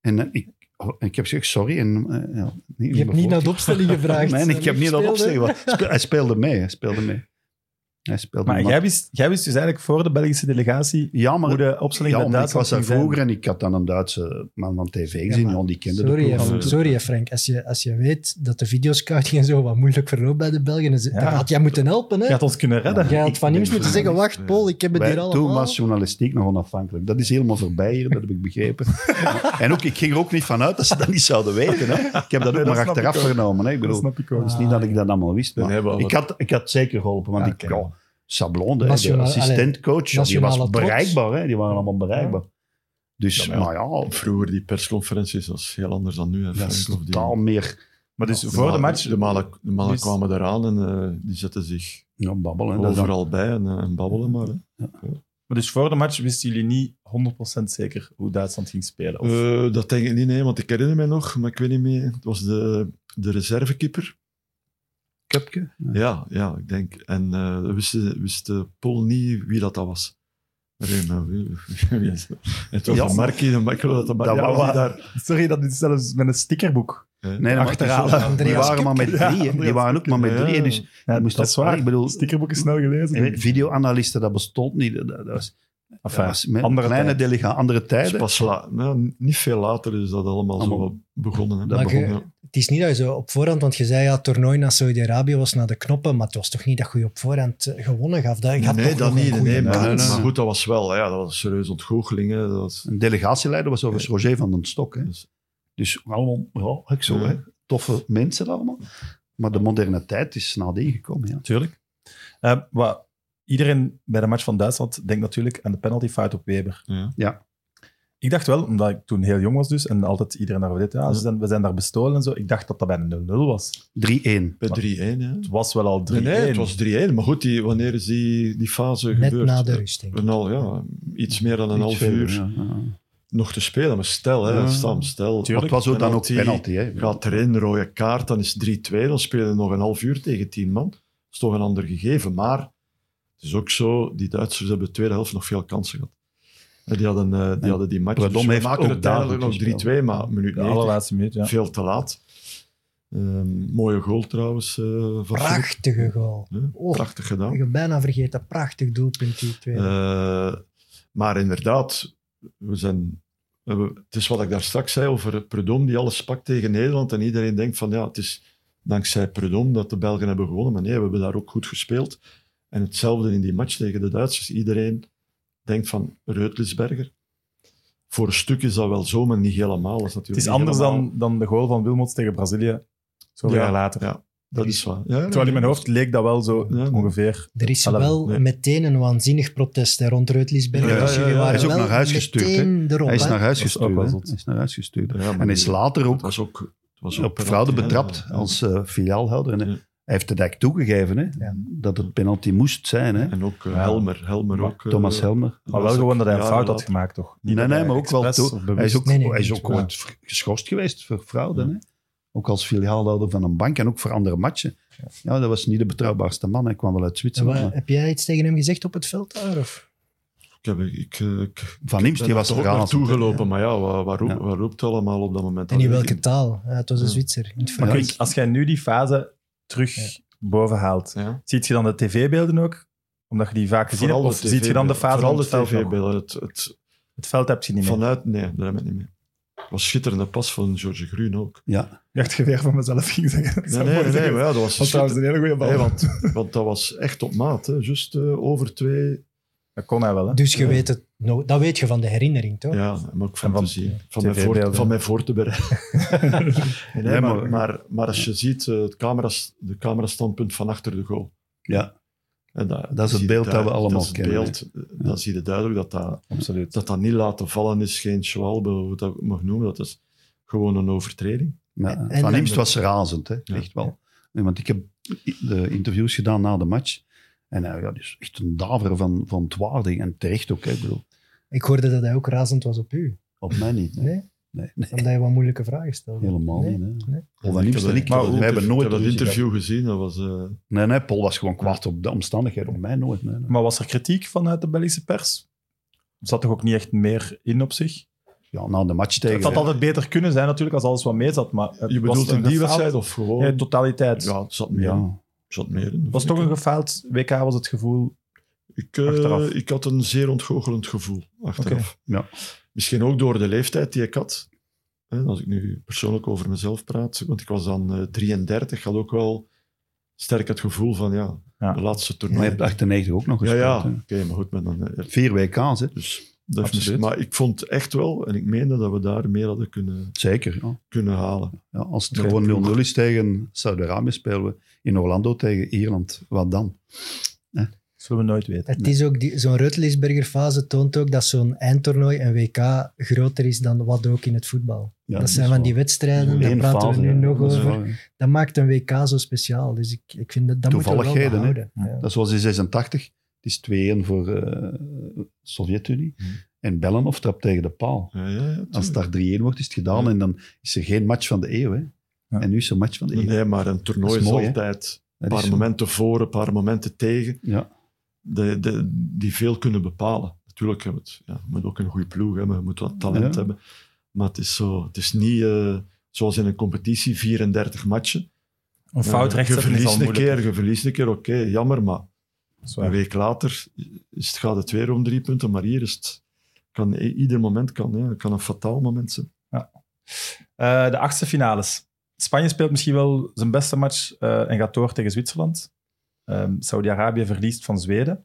Speaker 3: En eh, ik, oh, ik heb gezegd, sorry. En, eh, ja,
Speaker 5: Je hebt niet naar de opstelling gevraagd.
Speaker 3: Nee, ik heb niet dat
Speaker 5: opstelling.
Speaker 3: opzeggen. want spe- Hij speelde mee, hij speelde mee. Hij speelde
Speaker 2: Maar
Speaker 3: mee.
Speaker 2: jij wist, jij wist dus eigenlijk voor de Belgische delegatie
Speaker 3: ja, maar,
Speaker 2: hoe de opstelling
Speaker 3: ja,
Speaker 2: bij
Speaker 3: omdat
Speaker 2: Duitsland
Speaker 3: ik was daar
Speaker 2: ging zijn.
Speaker 3: vroeger en ik had dan een Duitse man van tv gezien.
Speaker 5: maar
Speaker 3: Ja, die kende
Speaker 5: Sorry,
Speaker 3: de
Speaker 5: hè,
Speaker 3: ploeg.
Speaker 4: ploeg.
Speaker 5: Frank. sorry hè, Frank. Als je, als je weet dat de videoscouting en zo wat moeilijk verloopt bij de Belgen, dan zit-
Speaker 2: Ja.
Speaker 5: dan had jij moeten helpen. Hè?
Speaker 2: Je had ons kunnen redden.
Speaker 5: Jij had
Speaker 3: ik
Speaker 5: van
Speaker 3: ben
Speaker 5: niets moeten zeggen,
Speaker 3: journalist,
Speaker 5: wacht Paul, ik heb het
Speaker 3: Wij-
Speaker 5: hier allemaal.
Speaker 3: toen was journalistiek nog onafhankelijk. Dat is helemaal voorbij hier, dat heb ik begrepen. en ook, ik ging er ook niet vanuit dat ze dat niet zouden weten. Hè. Ik heb dat
Speaker 2: Nee,
Speaker 3: ook
Speaker 2: dat
Speaker 3: maar
Speaker 2: snap
Speaker 3: achteraf
Speaker 2: ik ook.
Speaker 3: vernomen. Hè. Ik
Speaker 2: Dat
Speaker 3: bedoel,
Speaker 2: snap ik ook.
Speaker 3: het is niet dat ik dat allemaal wist.
Speaker 4: Nee,
Speaker 3: Maar
Speaker 4: maar
Speaker 3: ik,
Speaker 4: wat-
Speaker 3: had, ik had zeker geholpen, want
Speaker 5: Ah,
Speaker 2: Ja,
Speaker 3: ik...
Speaker 2: Ah, oké.
Speaker 3: Ja, Sablon, de, de
Speaker 5: Nationale-
Speaker 3: assistentcoach, ja, die was
Speaker 5: nationale trots.
Speaker 3: bereikbaar. Hè. Die waren allemaal bereikbaar. Dus,
Speaker 4: Ja, maar ja.
Speaker 3: maar ja,
Speaker 4: Vroeger, die persconferenties, dat is heel anders dan nu. Hè,
Speaker 3: Dat is
Speaker 4: Frank, of die-
Speaker 3: totaal meer
Speaker 2: Maar dus
Speaker 4: De
Speaker 2: voor de
Speaker 4: mannen-
Speaker 2: match...
Speaker 4: De mannen, de mannen
Speaker 2: Dus-
Speaker 4: kwamen eraan en eh, die zetten zich
Speaker 3: ja, babbelen. Dat is dan-
Speaker 4: overal bij en, eh, en babbelen maar. hè.
Speaker 2: Maar dus voor de match wisten jullie niet 100% zeker hoe Duitsland ging spelen. Of,
Speaker 4: Eh, dat denk ik niet, nee, want ik herinner me nog, maar ik weet niet meer. Het was de, de reservekeeper.
Speaker 3: Kupke?
Speaker 4: Ja, ja, ik denk. En eh, we wisten wist Paul niet wie dat, dat was. Maar ik weet niet, wie- Het was
Speaker 3: Ja.
Speaker 4: een Markie, een Markie, dat de Markie
Speaker 3: Dat
Speaker 4: ja,
Speaker 3: was-
Speaker 4: was die daar.
Speaker 2: sorry, dat is zelfs met een stickerboek.
Speaker 3: Nee, maar het is
Speaker 2: Achterhalen.
Speaker 3: zo- die
Speaker 5: Andreas
Speaker 3: waren maar met
Speaker 2: Kupke.
Speaker 3: drie. hè.
Speaker 2: Ja,
Speaker 3: die
Speaker 2: Andreas
Speaker 3: waren ook maar met
Speaker 4: Kupke.
Speaker 3: drie. hè. Dus
Speaker 4: Ja.
Speaker 2: Ja,
Speaker 3: je moest
Speaker 2: dat is waar.
Speaker 3: Ik bedoel,
Speaker 2: Stickerboek is snel gelezen.
Speaker 3: eh, videoanalisten, dat bestond niet. Dat, dat was, dat
Speaker 2: Enfin,
Speaker 3: was met
Speaker 2: andere
Speaker 3: kleine
Speaker 2: tijd.
Speaker 3: delega, andere
Speaker 4: Dus
Speaker 3: tijden.
Speaker 4: pas la- nou, niet veel later is dat allemaal
Speaker 3: Allemaal.
Speaker 4: zo begonnen. Hè.
Speaker 3: Dat
Speaker 5: Maar je-
Speaker 4: begon, ja.
Speaker 5: Het is niet dat je zo op voorhand, want je zei ja, het toernooi naar Saudi-Arabië was naar de knoppen, maar het was toch niet dat je je op voorhand eh, gewonnen gaf. Dat, je had
Speaker 4: Nee,
Speaker 5: toch
Speaker 4: dat
Speaker 5: nog een
Speaker 4: niet.
Speaker 5: goede
Speaker 4: Nee, maar,
Speaker 5: kans.
Speaker 3: nee, nee.
Speaker 4: maar goed, dat was wel. Ja, dat was een serieus ontgoocheling. Hè. Dat was,
Speaker 3: Een delegatieleider was overigens Roger van den Stok. Hè.
Speaker 4: Dus-
Speaker 3: Dus allemaal, ja, ik zo,
Speaker 4: Ja.
Speaker 3: hè. toffe mensen allemaal. Maar de moderne tijd is nadien gekomen. Ja.
Speaker 2: Tuurlijk. Eh, wat iedereen bij de match van Duitsland denkt natuurlijk aan de penaltyfout op Weber.
Speaker 4: Ja.
Speaker 3: Ja.
Speaker 2: Ik dacht wel, omdat ik toen heel jong was dus, en altijd iedereen daarover deed, ja, ze zijn, we zijn daar bestolen en zo. Ik dacht dat dat bij een 0-0 was.
Speaker 3: 3-1.
Speaker 4: bij 3-1. hè.
Speaker 2: Het was wel al 3-1.
Speaker 4: Nee, nee, het was 3-1. Maar goed, die, wanneer is die, die fase
Speaker 5: Net
Speaker 4: gebeurd?
Speaker 5: na de rusting.
Speaker 4: Een al, ja, iets meer dan een
Speaker 3: Iets
Speaker 4: half
Speaker 3: verder,
Speaker 4: uur.
Speaker 3: ja, ja.
Speaker 4: nog te spelen. Maar stel, hè,
Speaker 3: Ja.
Speaker 4: Sam, stel.
Speaker 3: Maar het was ook dan ook
Speaker 4: penalty
Speaker 3: penalty. Hè.
Speaker 4: Gaat erin, rode kaart, dan is 3-2. Dan spelen we nog een half uur tegen 10 man. Dat is toch een ander gegeven. Maar het is ook zo, die Duitsers hebben de tweede helft nog veel kansen gehad. En Die hadden, eh, die,
Speaker 3: En
Speaker 4: hadden die match.
Speaker 3: Predom
Speaker 4: we
Speaker 3: heeft
Speaker 4: maken
Speaker 3: ook
Speaker 4: uiteindelijk nog
Speaker 3: daarvoor
Speaker 4: 3-2, maar minuut
Speaker 2: De
Speaker 4: 90,
Speaker 2: allerlaatste minuut, ja.
Speaker 4: veel te laat. Ehm, mooie goal trouwens. eh, van Philips,
Speaker 5: Prachtige goal.
Speaker 4: hè.
Speaker 5: Oh.
Speaker 4: Prachtig gedaan.
Speaker 5: Ik heb bijna vergeten. Prachtig doelpunt die twee.
Speaker 4: Eh, maar inderdaad, we zijn, we hebben- het is wat ik daar straks zei over Predom die alles pakt tegen Nederland. En iedereen denkt van ja, het is dankzij Predom dat de Belgen hebben gewonnen. Maar nee, we hebben daar ook goed gespeeld. En hetzelfde in die match tegen de Duitsers. Iedereen denkt van Reutlisberger. Voor een stuk is dat wel zo, maar niet helemaal. Dat
Speaker 2: Het
Speaker 4: is natuurlijk
Speaker 2: is
Speaker 4: niet
Speaker 2: anders
Speaker 4: helemaal-
Speaker 2: dan, dan de goal van Wilmots tegen Brazilië, zoveel
Speaker 4: Ja,
Speaker 2: jaar later.
Speaker 4: ja. Dat is waar. Ja,
Speaker 2: Terwijl in mijn hoofd leek dat wel zo
Speaker 4: Ja.
Speaker 2: ongeveer.
Speaker 5: er is
Speaker 2: Allee,
Speaker 5: wel
Speaker 4: nee.
Speaker 5: meteen een waanzinnig protest hè, rond Reutlisberg.
Speaker 4: Ja, ja,
Speaker 5: dus jullie
Speaker 4: ja, ja.
Speaker 5: waren
Speaker 4: Hij
Speaker 3: is ook
Speaker 5: wel
Speaker 3: naar huis gestuurd, hè.
Speaker 5: meteen erop,
Speaker 3: Hij is
Speaker 5: hè.
Speaker 3: naar huis
Speaker 2: Dat is ook
Speaker 3: gestuurd.
Speaker 2: wel zot.
Speaker 3: hè. Hij is naar huis gestuurd.
Speaker 4: Ja, maar
Speaker 3: En is
Speaker 4: die-
Speaker 3: later
Speaker 4: Het
Speaker 3: ook
Speaker 4: was ook, het was ook
Speaker 3: op fraude
Speaker 4: penalty, hè.
Speaker 3: betrapt
Speaker 4: Ja.
Speaker 3: als eh, filiaalhouder. En, eh,
Speaker 4: Ja.
Speaker 3: Hij heeft het eigenlijk toegegeven hè,
Speaker 5: Ja.
Speaker 3: dat het penalty moest zijn. Hè.
Speaker 4: En ook eh,
Speaker 2: Ja.
Speaker 4: Helmer. Helmer ook, eh,
Speaker 3: Thomas Helmer.
Speaker 2: Maar wel gewoon dat hij een
Speaker 4: Ja,
Speaker 2: fout had
Speaker 4: inderdaad.
Speaker 2: gemaakt, toch?
Speaker 3: Nee, nee, maar ook wel toe- Hij is ook,
Speaker 5: Nee, nee,
Speaker 3: hij is
Speaker 5: niet
Speaker 3: ook
Speaker 2: waar.
Speaker 3: ooit ver- geschorst geweest voor fraude.
Speaker 4: Ja.
Speaker 3: Hè? Ook als filiaalhouder van een bank en ook voor andere matchen. Ja, dat was niet de betrouwbaarste man. Hij kwam wel uit
Speaker 5: En
Speaker 3: Zwitserland.
Speaker 5: wat-
Speaker 3: maar
Speaker 5: Heb jij iets tegen hem gezegd op het veld daar?
Speaker 3: Oh,
Speaker 5: Of?
Speaker 4: Ik heb, ik, eh, ik
Speaker 3: Van Imst, die
Speaker 4: ben
Speaker 3: was
Speaker 4: er
Speaker 3: er
Speaker 4: ook
Speaker 3: aan als-
Speaker 4: naartoe gelopen, maar ja, waar, waar, roep-
Speaker 3: Ja.
Speaker 4: waar roept het allemaal op dat moment?
Speaker 5: En in
Speaker 4: Dat weet
Speaker 5: welke
Speaker 4: ik
Speaker 5: taal? Ja, het was een
Speaker 4: Ja.
Speaker 5: Zwitser. In het
Speaker 2: Maar
Speaker 5: Frans.
Speaker 2: kijk, als jij nu die fase terug boven haalt,
Speaker 4: niet. Ja.
Speaker 2: ziet je dan de tv-beelden ook? Omdat je die vaak gezien hebt?
Speaker 4: Vooral
Speaker 2: Of
Speaker 4: de
Speaker 2: ziet je dan de
Speaker 4: TV-beelden.
Speaker 2: fase van het
Speaker 4: Vooral
Speaker 2: veld
Speaker 4: de
Speaker 2: nog?
Speaker 4: tv-beelden. Het, het,
Speaker 2: Het veld heb je niet meer.
Speaker 4: vanuit, nee, daar heb ik niet mee. Het was schitterende pas van George Groen ook.
Speaker 3: Ja,
Speaker 2: Ik dacht weer van mezelf ging zeggen. Dat
Speaker 4: Nee,
Speaker 2: zou
Speaker 4: nee,
Speaker 2: mooi
Speaker 4: nee,
Speaker 2: zeggen.
Speaker 4: maar ja, dat was
Speaker 2: Dat was
Speaker 4: schitterend.
Speaker 2: trouwens een hele goede bal.
Speaker 4: Nee, want, want dat was echt op maat. Hè. Just eh, over twee.
Speaker 2: Dat kon hij wel, hè?
Speaker 5: Dus je
Speaker 4: Ja.
Speaker 5: weet het, nou, dat weet je van de herinnering, toch?
Speaker 4: Ja, maar ook
Speaker 2: van
Speaker 4: fantasie. hè. Van, mij voor,
Speaker 2: TV-beelden.
Speaker 4: van mij voor te bereiden. nee,
Speaker 3: Nee,
Speaker 4: maar,
Speaker 3: maar-
Speaker 4: maar, maar als je ziet, eh, het camera's, de camerastandpunt van achter de goal.
Speaker 3: ja,
Speaker 4: En
Speaker 3: Dat is het
Speaker 4: zie-
Speaker 3: beeld dat we allemaal
Speaker 4: dat is het
Speaker 3: kennen,
Speaker 4: Beeld, eh, Dan zie je duidelijk dat dat,
Speaker 2: Absoluut.
Speaker 4: dat dat niet laten vallen is, geen schwalbe, hoe dat ook mag noemen. Dat is gewoon een overtreding.
Speaker 3: ja.
Speaker 5: En-
Speaker 3: Van
Speaker 5: en-
Speaker 3: Imst was razend. Hè.
Speaker 4: Ja.
Speaker 3: Echt wel. Nee, want ik heb de interviews gedaan na de match. En hij ja, dus echt een daver van, van ontwaarding. En terecht ook. Hè. Ik bedoel,
Speaker 5: Ik hoorde dat hij ook razend was op u.
Speaker 3: op mij niet. Nee,
Speaker 5: Nee?
Speaker 3: nee, nee,
Speaker 5: Omdat je wat moeilijke vragen stelde.
Speaker 3: helemaal
Speaker 5: Nee.
Speaker 3: niet. Hè.
Speaker 5: nee.
Speaker 3: Of Van Imst
Speaker 4: heb
Speaker 3: en
Speaker 4: dat-
Speaker 3: ik, we
Speaker 4: dat
Speaker 3: hebben
Speaker 4: interv-
Speaker 3: nooit
Speaker 4: ik heb dat
Speaker 3: ruzie
Speaker 4: interview gezien. Dat was, eh,
Speaker 3: Nee, nee, Paul was gewoon kwaad op de omstandigheden. Op mij nooit. Nee, nee.
Speaker 2: Maar was er kritiek vanuit de Belgische pers? Er zat toch ook niet echt meer in op zich?
Speaker 3: Ja, na de match tegen...
Speaker 2: Het had altijd beter kunnen zijn natuurlijk als alles wat mee zat, maar... het was
Speaker 4: je bedoelt
Speaker 2: een
Speaker 4: in die
Speaker 2: gefaald-
Speaker 4: wedstrijd of gewoon?
Speaker 2: Ja, in totaliteit.
Speaker 4: Ja, het zat meer. in.
Speaker 3: Ja.
Speaker 4: Het zat meer in,
Speaker 2: Het was
Speaker 4: vind
Speaker 2: toch
Speaker 4: ik.
Speaker 2: een gefaald WK, was het gevoel.
Speaker 4: Ik, eh,
Speaker 2: Achteraf.
Speaker 4: ik had een zeer ontgoochelend gevoel achteraf.
Speaker 3: Oké, ja.
Speaker 4: Misschien ook door de leeftijd die ik had. Hè, Als ik nu persoonlijk over mezelf praat, want ik was dan eh, 33, had ook wel sterk het gevoel van ja,
Speaker 2: Ja.
Speaker 4: de laatste
Speaker 3: Maar je
Speaker 4: toernooi.
Speaker 3: hebt 98 ook nog
Speaker 4: ja,
Speaker 3: gespeeld.
Speaker 4: ja.
Speaker 3: hè.
Speaker 4: Oké, maar goed, maar dan, eh,
Speaker 3: Vier WK's, hè?
Speaker 4: dus, dat heeft
Speaker 2: Absoluut.
Speaker 4: mis- maar ik vond echt wel, en ik meende dat we daar meer hadden kunnen,
Speaker 3: Zeker. Ja.
Speaker 4: kunnen halen.
Speaker 3: Ja, als het
Speaker 4: Oké,
Speaker 3: gewoon
Speaker 4: ploeg.
Speaker 3: 0-0 is tegen Saudi-Arabië, spelen we in Orlando tegen Ierland. Wat dan?
Speaker 2: Zullen we nooit weten.
Speaker 5: Het is ook die- zo'n Rutlisberger fase toont ook dat zo'n eindtoernooi en WK groter is dan wat ook in het voetbal.
Speaker 3: Ja,
Speaker 5: dat zijn van die wedstrijden, daar
Speaker 3: Eén
Speaker 5: praten
Speaker 3: fase,
Speaker 5: we nu
Speaker 3: ja.
Speaker 5: nog
Speaker 3: Dat is
Speaker 5: over.
Speaker 3: waar, hè.
Speaker 5: Dat maakt een WK zo speciaal. Dus ik, ik vind dat, dat moet je wel
Speaker 3: Toevalligheden, hè.
Speaker 5: behouden. Ja.
Speaker 3: Dat is zoals in 86. Het is 2-1 voor de Sovjet-Unie.
Speaker 4: Hm.
Speaker 3: En Bellenhof trapt tegen de paal.
Speaker 4: Ja, ja, ja,
Speaker 3: Als het
Speaker 4: tuurlijk.
Speaker 3: daar 3-1 wordt, is het gedaan.
Speaker 4: Ja.
Speaker 3: En dan is er geen match van de eeuw. Hè?
Speaker 2: Ja.
Speaker 3: En nu is er match van de eeuw.
Speaker 4: Nee, maar een toernooi
Speaker 3: Dat
Speaker 4: is,
Speaker 3: is mooi, hè?
Speaker 4: altijd
Speaker 3: Dat
Speaker 4: een
Speaker 3: is
Speaker 4: paar
Speaker 3: zo.
Speaker 4: momenten voor, een paar momenten tegen.
Speaker 3: Ja.
Speaker 4: de, de, die veel kunnen bepalen. Natuurlijk, je moet, ja, je moet ook een goede ploeg hebben, je moet wat talent
Speaker 3: Ja.
Speaker 4: hebben. Maar het is, zo, het is niet eh, zoals in een competitie, 34 matchen.
Speaker 2: Een fout
Speaker 4: Eh,
Speaker 2: rechtzetten
Speaker 4: je
Speaker 2: is al
Speaker 4: verliest een
Speaker 2: moeilijk.
Speaker 4: keer, je verliest een keer, oké, jammer, maar
Speaker 2: Dat is
Speaker 4: een
Speaker 2: waar.
Speaker 4: week later is het, gaat het weer om drie punten. Maar hier is het, kan, i- ieder moment kan, hè, kan een fataal moment zijn.
Speaker 2: Eh, de achtste finales. Spanje speelt misschien wel zijn beste match eh, en gaat door tegen Zwitserland. Ehm, Saudi-Arabië verliest van Zweden.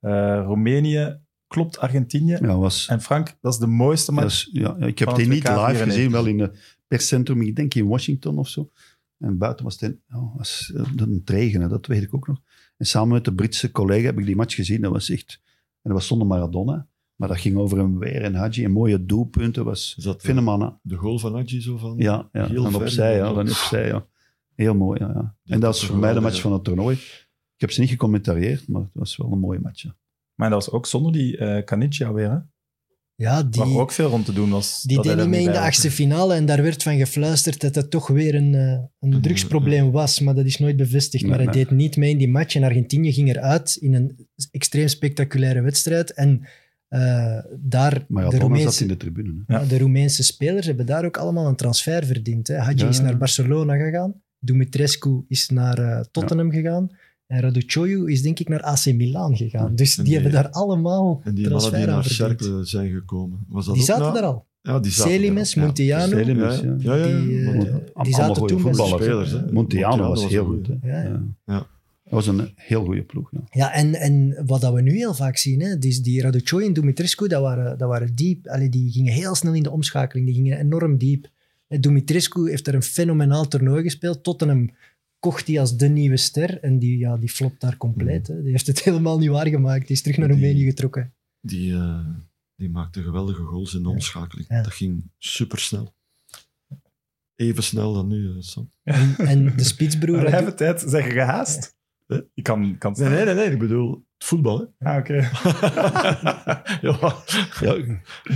Speaker 2: Eh, Roemenië klopt Argentinië.
Speaker 3: Ja, was,
Speaker 2: En Frank, dat is de mooiste match.
Speaker 3: Dat is- ja, ja, ik heb
Speaker 2: Van
Speaker 3: die
Speaker 2: het
Speaker 3: niet
Speaker 2: WK
Speaker 3: live
Speaker 2: 94.
Speaker 3: gezien, wel in een perscentrum, ik denk in Washington of zo. En buiten was het, in- ja, was eh, een regenen, dat weet ik ook nog. En samen met de Britse collega heb ik die match gezien. Dat was echt, en dat was zonder Maradona, maar dat ging over een weer en Hadji. En mooie doelpunten was
Speaker 4: Is Dus dat de,
Speaker 3: fenomenaal.
Speaker 4: de goal van Adji zo van?
Speaker 3: Ja, ja.
Speaker 4: Heel
Speaker 3: dan
Speaker 4: ver,
Speaker 3: opzij, ja,
Speaker 4: inderdaad.
Speaker 3: dan opzij, ja. Heel mooi, ja, ja.
Speaker 4: Ja,
Speaker 3: En dat
Speaker 4: dat
Speaker 3: is
Speaker 4: is
Speaker 3: voor mij de
Speaker 4: geweldig,
Speaker 3: match
Speaker 4: ja.
Speaker 3: van het toernooi. Ik heb ze niet gecommentarieerd, maar het was wel een mooie match. ja.
Speaker 2: Maar dat was ook zonder die eh Caniggia weer. Hè?
Speaker 5: Ja, die,
Speaker 2: Waar ook veel rond te doen was.
Speaker 5: die
Speaker 2: dat hij
Speaker 5: deed niet
Speaker 2: daar
Speaker 5: mee in de
Speaker 2: bij was.
Speaker 5: achtste finale en daar werd van gefluisterd dat het toch weer een, eh, een drugsprobleem was, maar dat is nooit bevestigd.
Speaker 3: Nee,
Speaker 5: maar hij
Speaker 3: nee.
Speaker 5: deed niet mee in die match en Argentinië ging eruit in een extreem spectaculaire wedstrijd en eh, daar
Speaker 3: Maar ja, Donna
Speaker 5: de,
Speaker 3: zat
Speaker 5: Roemeense,
Speaker 3: in
Speaker 5: Eh,
Speaker 3: de tribune. hè.
Speaker 2: Ja.
Speaker 5: de Roemeense spelers hebben daar ook allemaal een transfer verdiend. Hè. Hadji
Speaker 3: Ja.
Speaker 5: is naar Barcelona gegaan, Dumitrescu is naar eh, Tottenham gegaan en Raducioju is denk ik naar AC Milan gegaan. Dus die,
Speaker 4: En die-
Speaker 5: hebben daar allemaal
Speaker 4: En die mannen die
Speaker 5: transfer aan
Speaker 4: naar
Speaker 5: verdiend.
Speaker 4: Cercle zijn gekomen. Was dat
Speaker 5: Die
Speaker 4: ook
Speaker 5: zaten
Speaker 4: na-
Speaker 5: daar al.
Speaker 4: Ja, die zaten
Speaker 5: Celimes,
Speaker 4: daar al.
Speaker 5: Montiano.
Speaker 4: Ja,
Speaker 3: Celimes,
Speaker 4: ja.
Speaker 3: ja.
Speaker 4: Ja, ja, ja.
Speaker 5: Die, eh,
Speaker 4: Want-
Speaker 3: Allemaal
Speaker 5: zaten
Speaker 3: goede
Speaker 5: toen eh, best-
Speaker 3: voetballers, hè.
Speaker 4: Spelers, hè.
Speaker 3: Montiano
Speaker 4: Montiano
Speaker 3: was
Speaker 4: was
Speaker 3: heel
Speaker 4: een
Speaker 3: goed. hè.
Speaker 5: Ja, ja.
Speaker 3: Ja.
Speaker 4: Ja.
Speaker 3: Dat was een heel goede ploeg. Ja.
Speaker 5: Ja, en, en wat dat we nu heel vaak zien, hè, die, die Raducoi en Dumitrescu, dat waren, dat waren diep. Allee, die gingen heel snel in de omschakeling, die gingen enorm diep. En Dumitrescu heeft daar een fenomenaal toernooi gespeeld. Tottenham kocht die als de nieuwe ster en die, ja, die flopt daar compleet. Hè. Die heeft het helemaal niet waargemaakt. Die is terug naar
Speaker 4: Die-
Speaker 5: Roemenië getrokken.
Speaker 4: Die, eh, die maakte geweldige goals in de omschakeling.
Speaker 5: Ja.
Speaker 4: Dat ging supersnel. Even snel dan nu, eh, Sam.
Speaker 5: En de
Speaker 2: We
Speaker 5: spitsbroer...
Speaker 2: hebben tijd, zeg je gehaast? Ik kan, kan
Speaker 4: Nee, nee, nee, nee, ik bedoel het voetbal. Hè?
Speaker 2: Ah, oké.
Speaker 4: ja.
Speaker 3: Ja,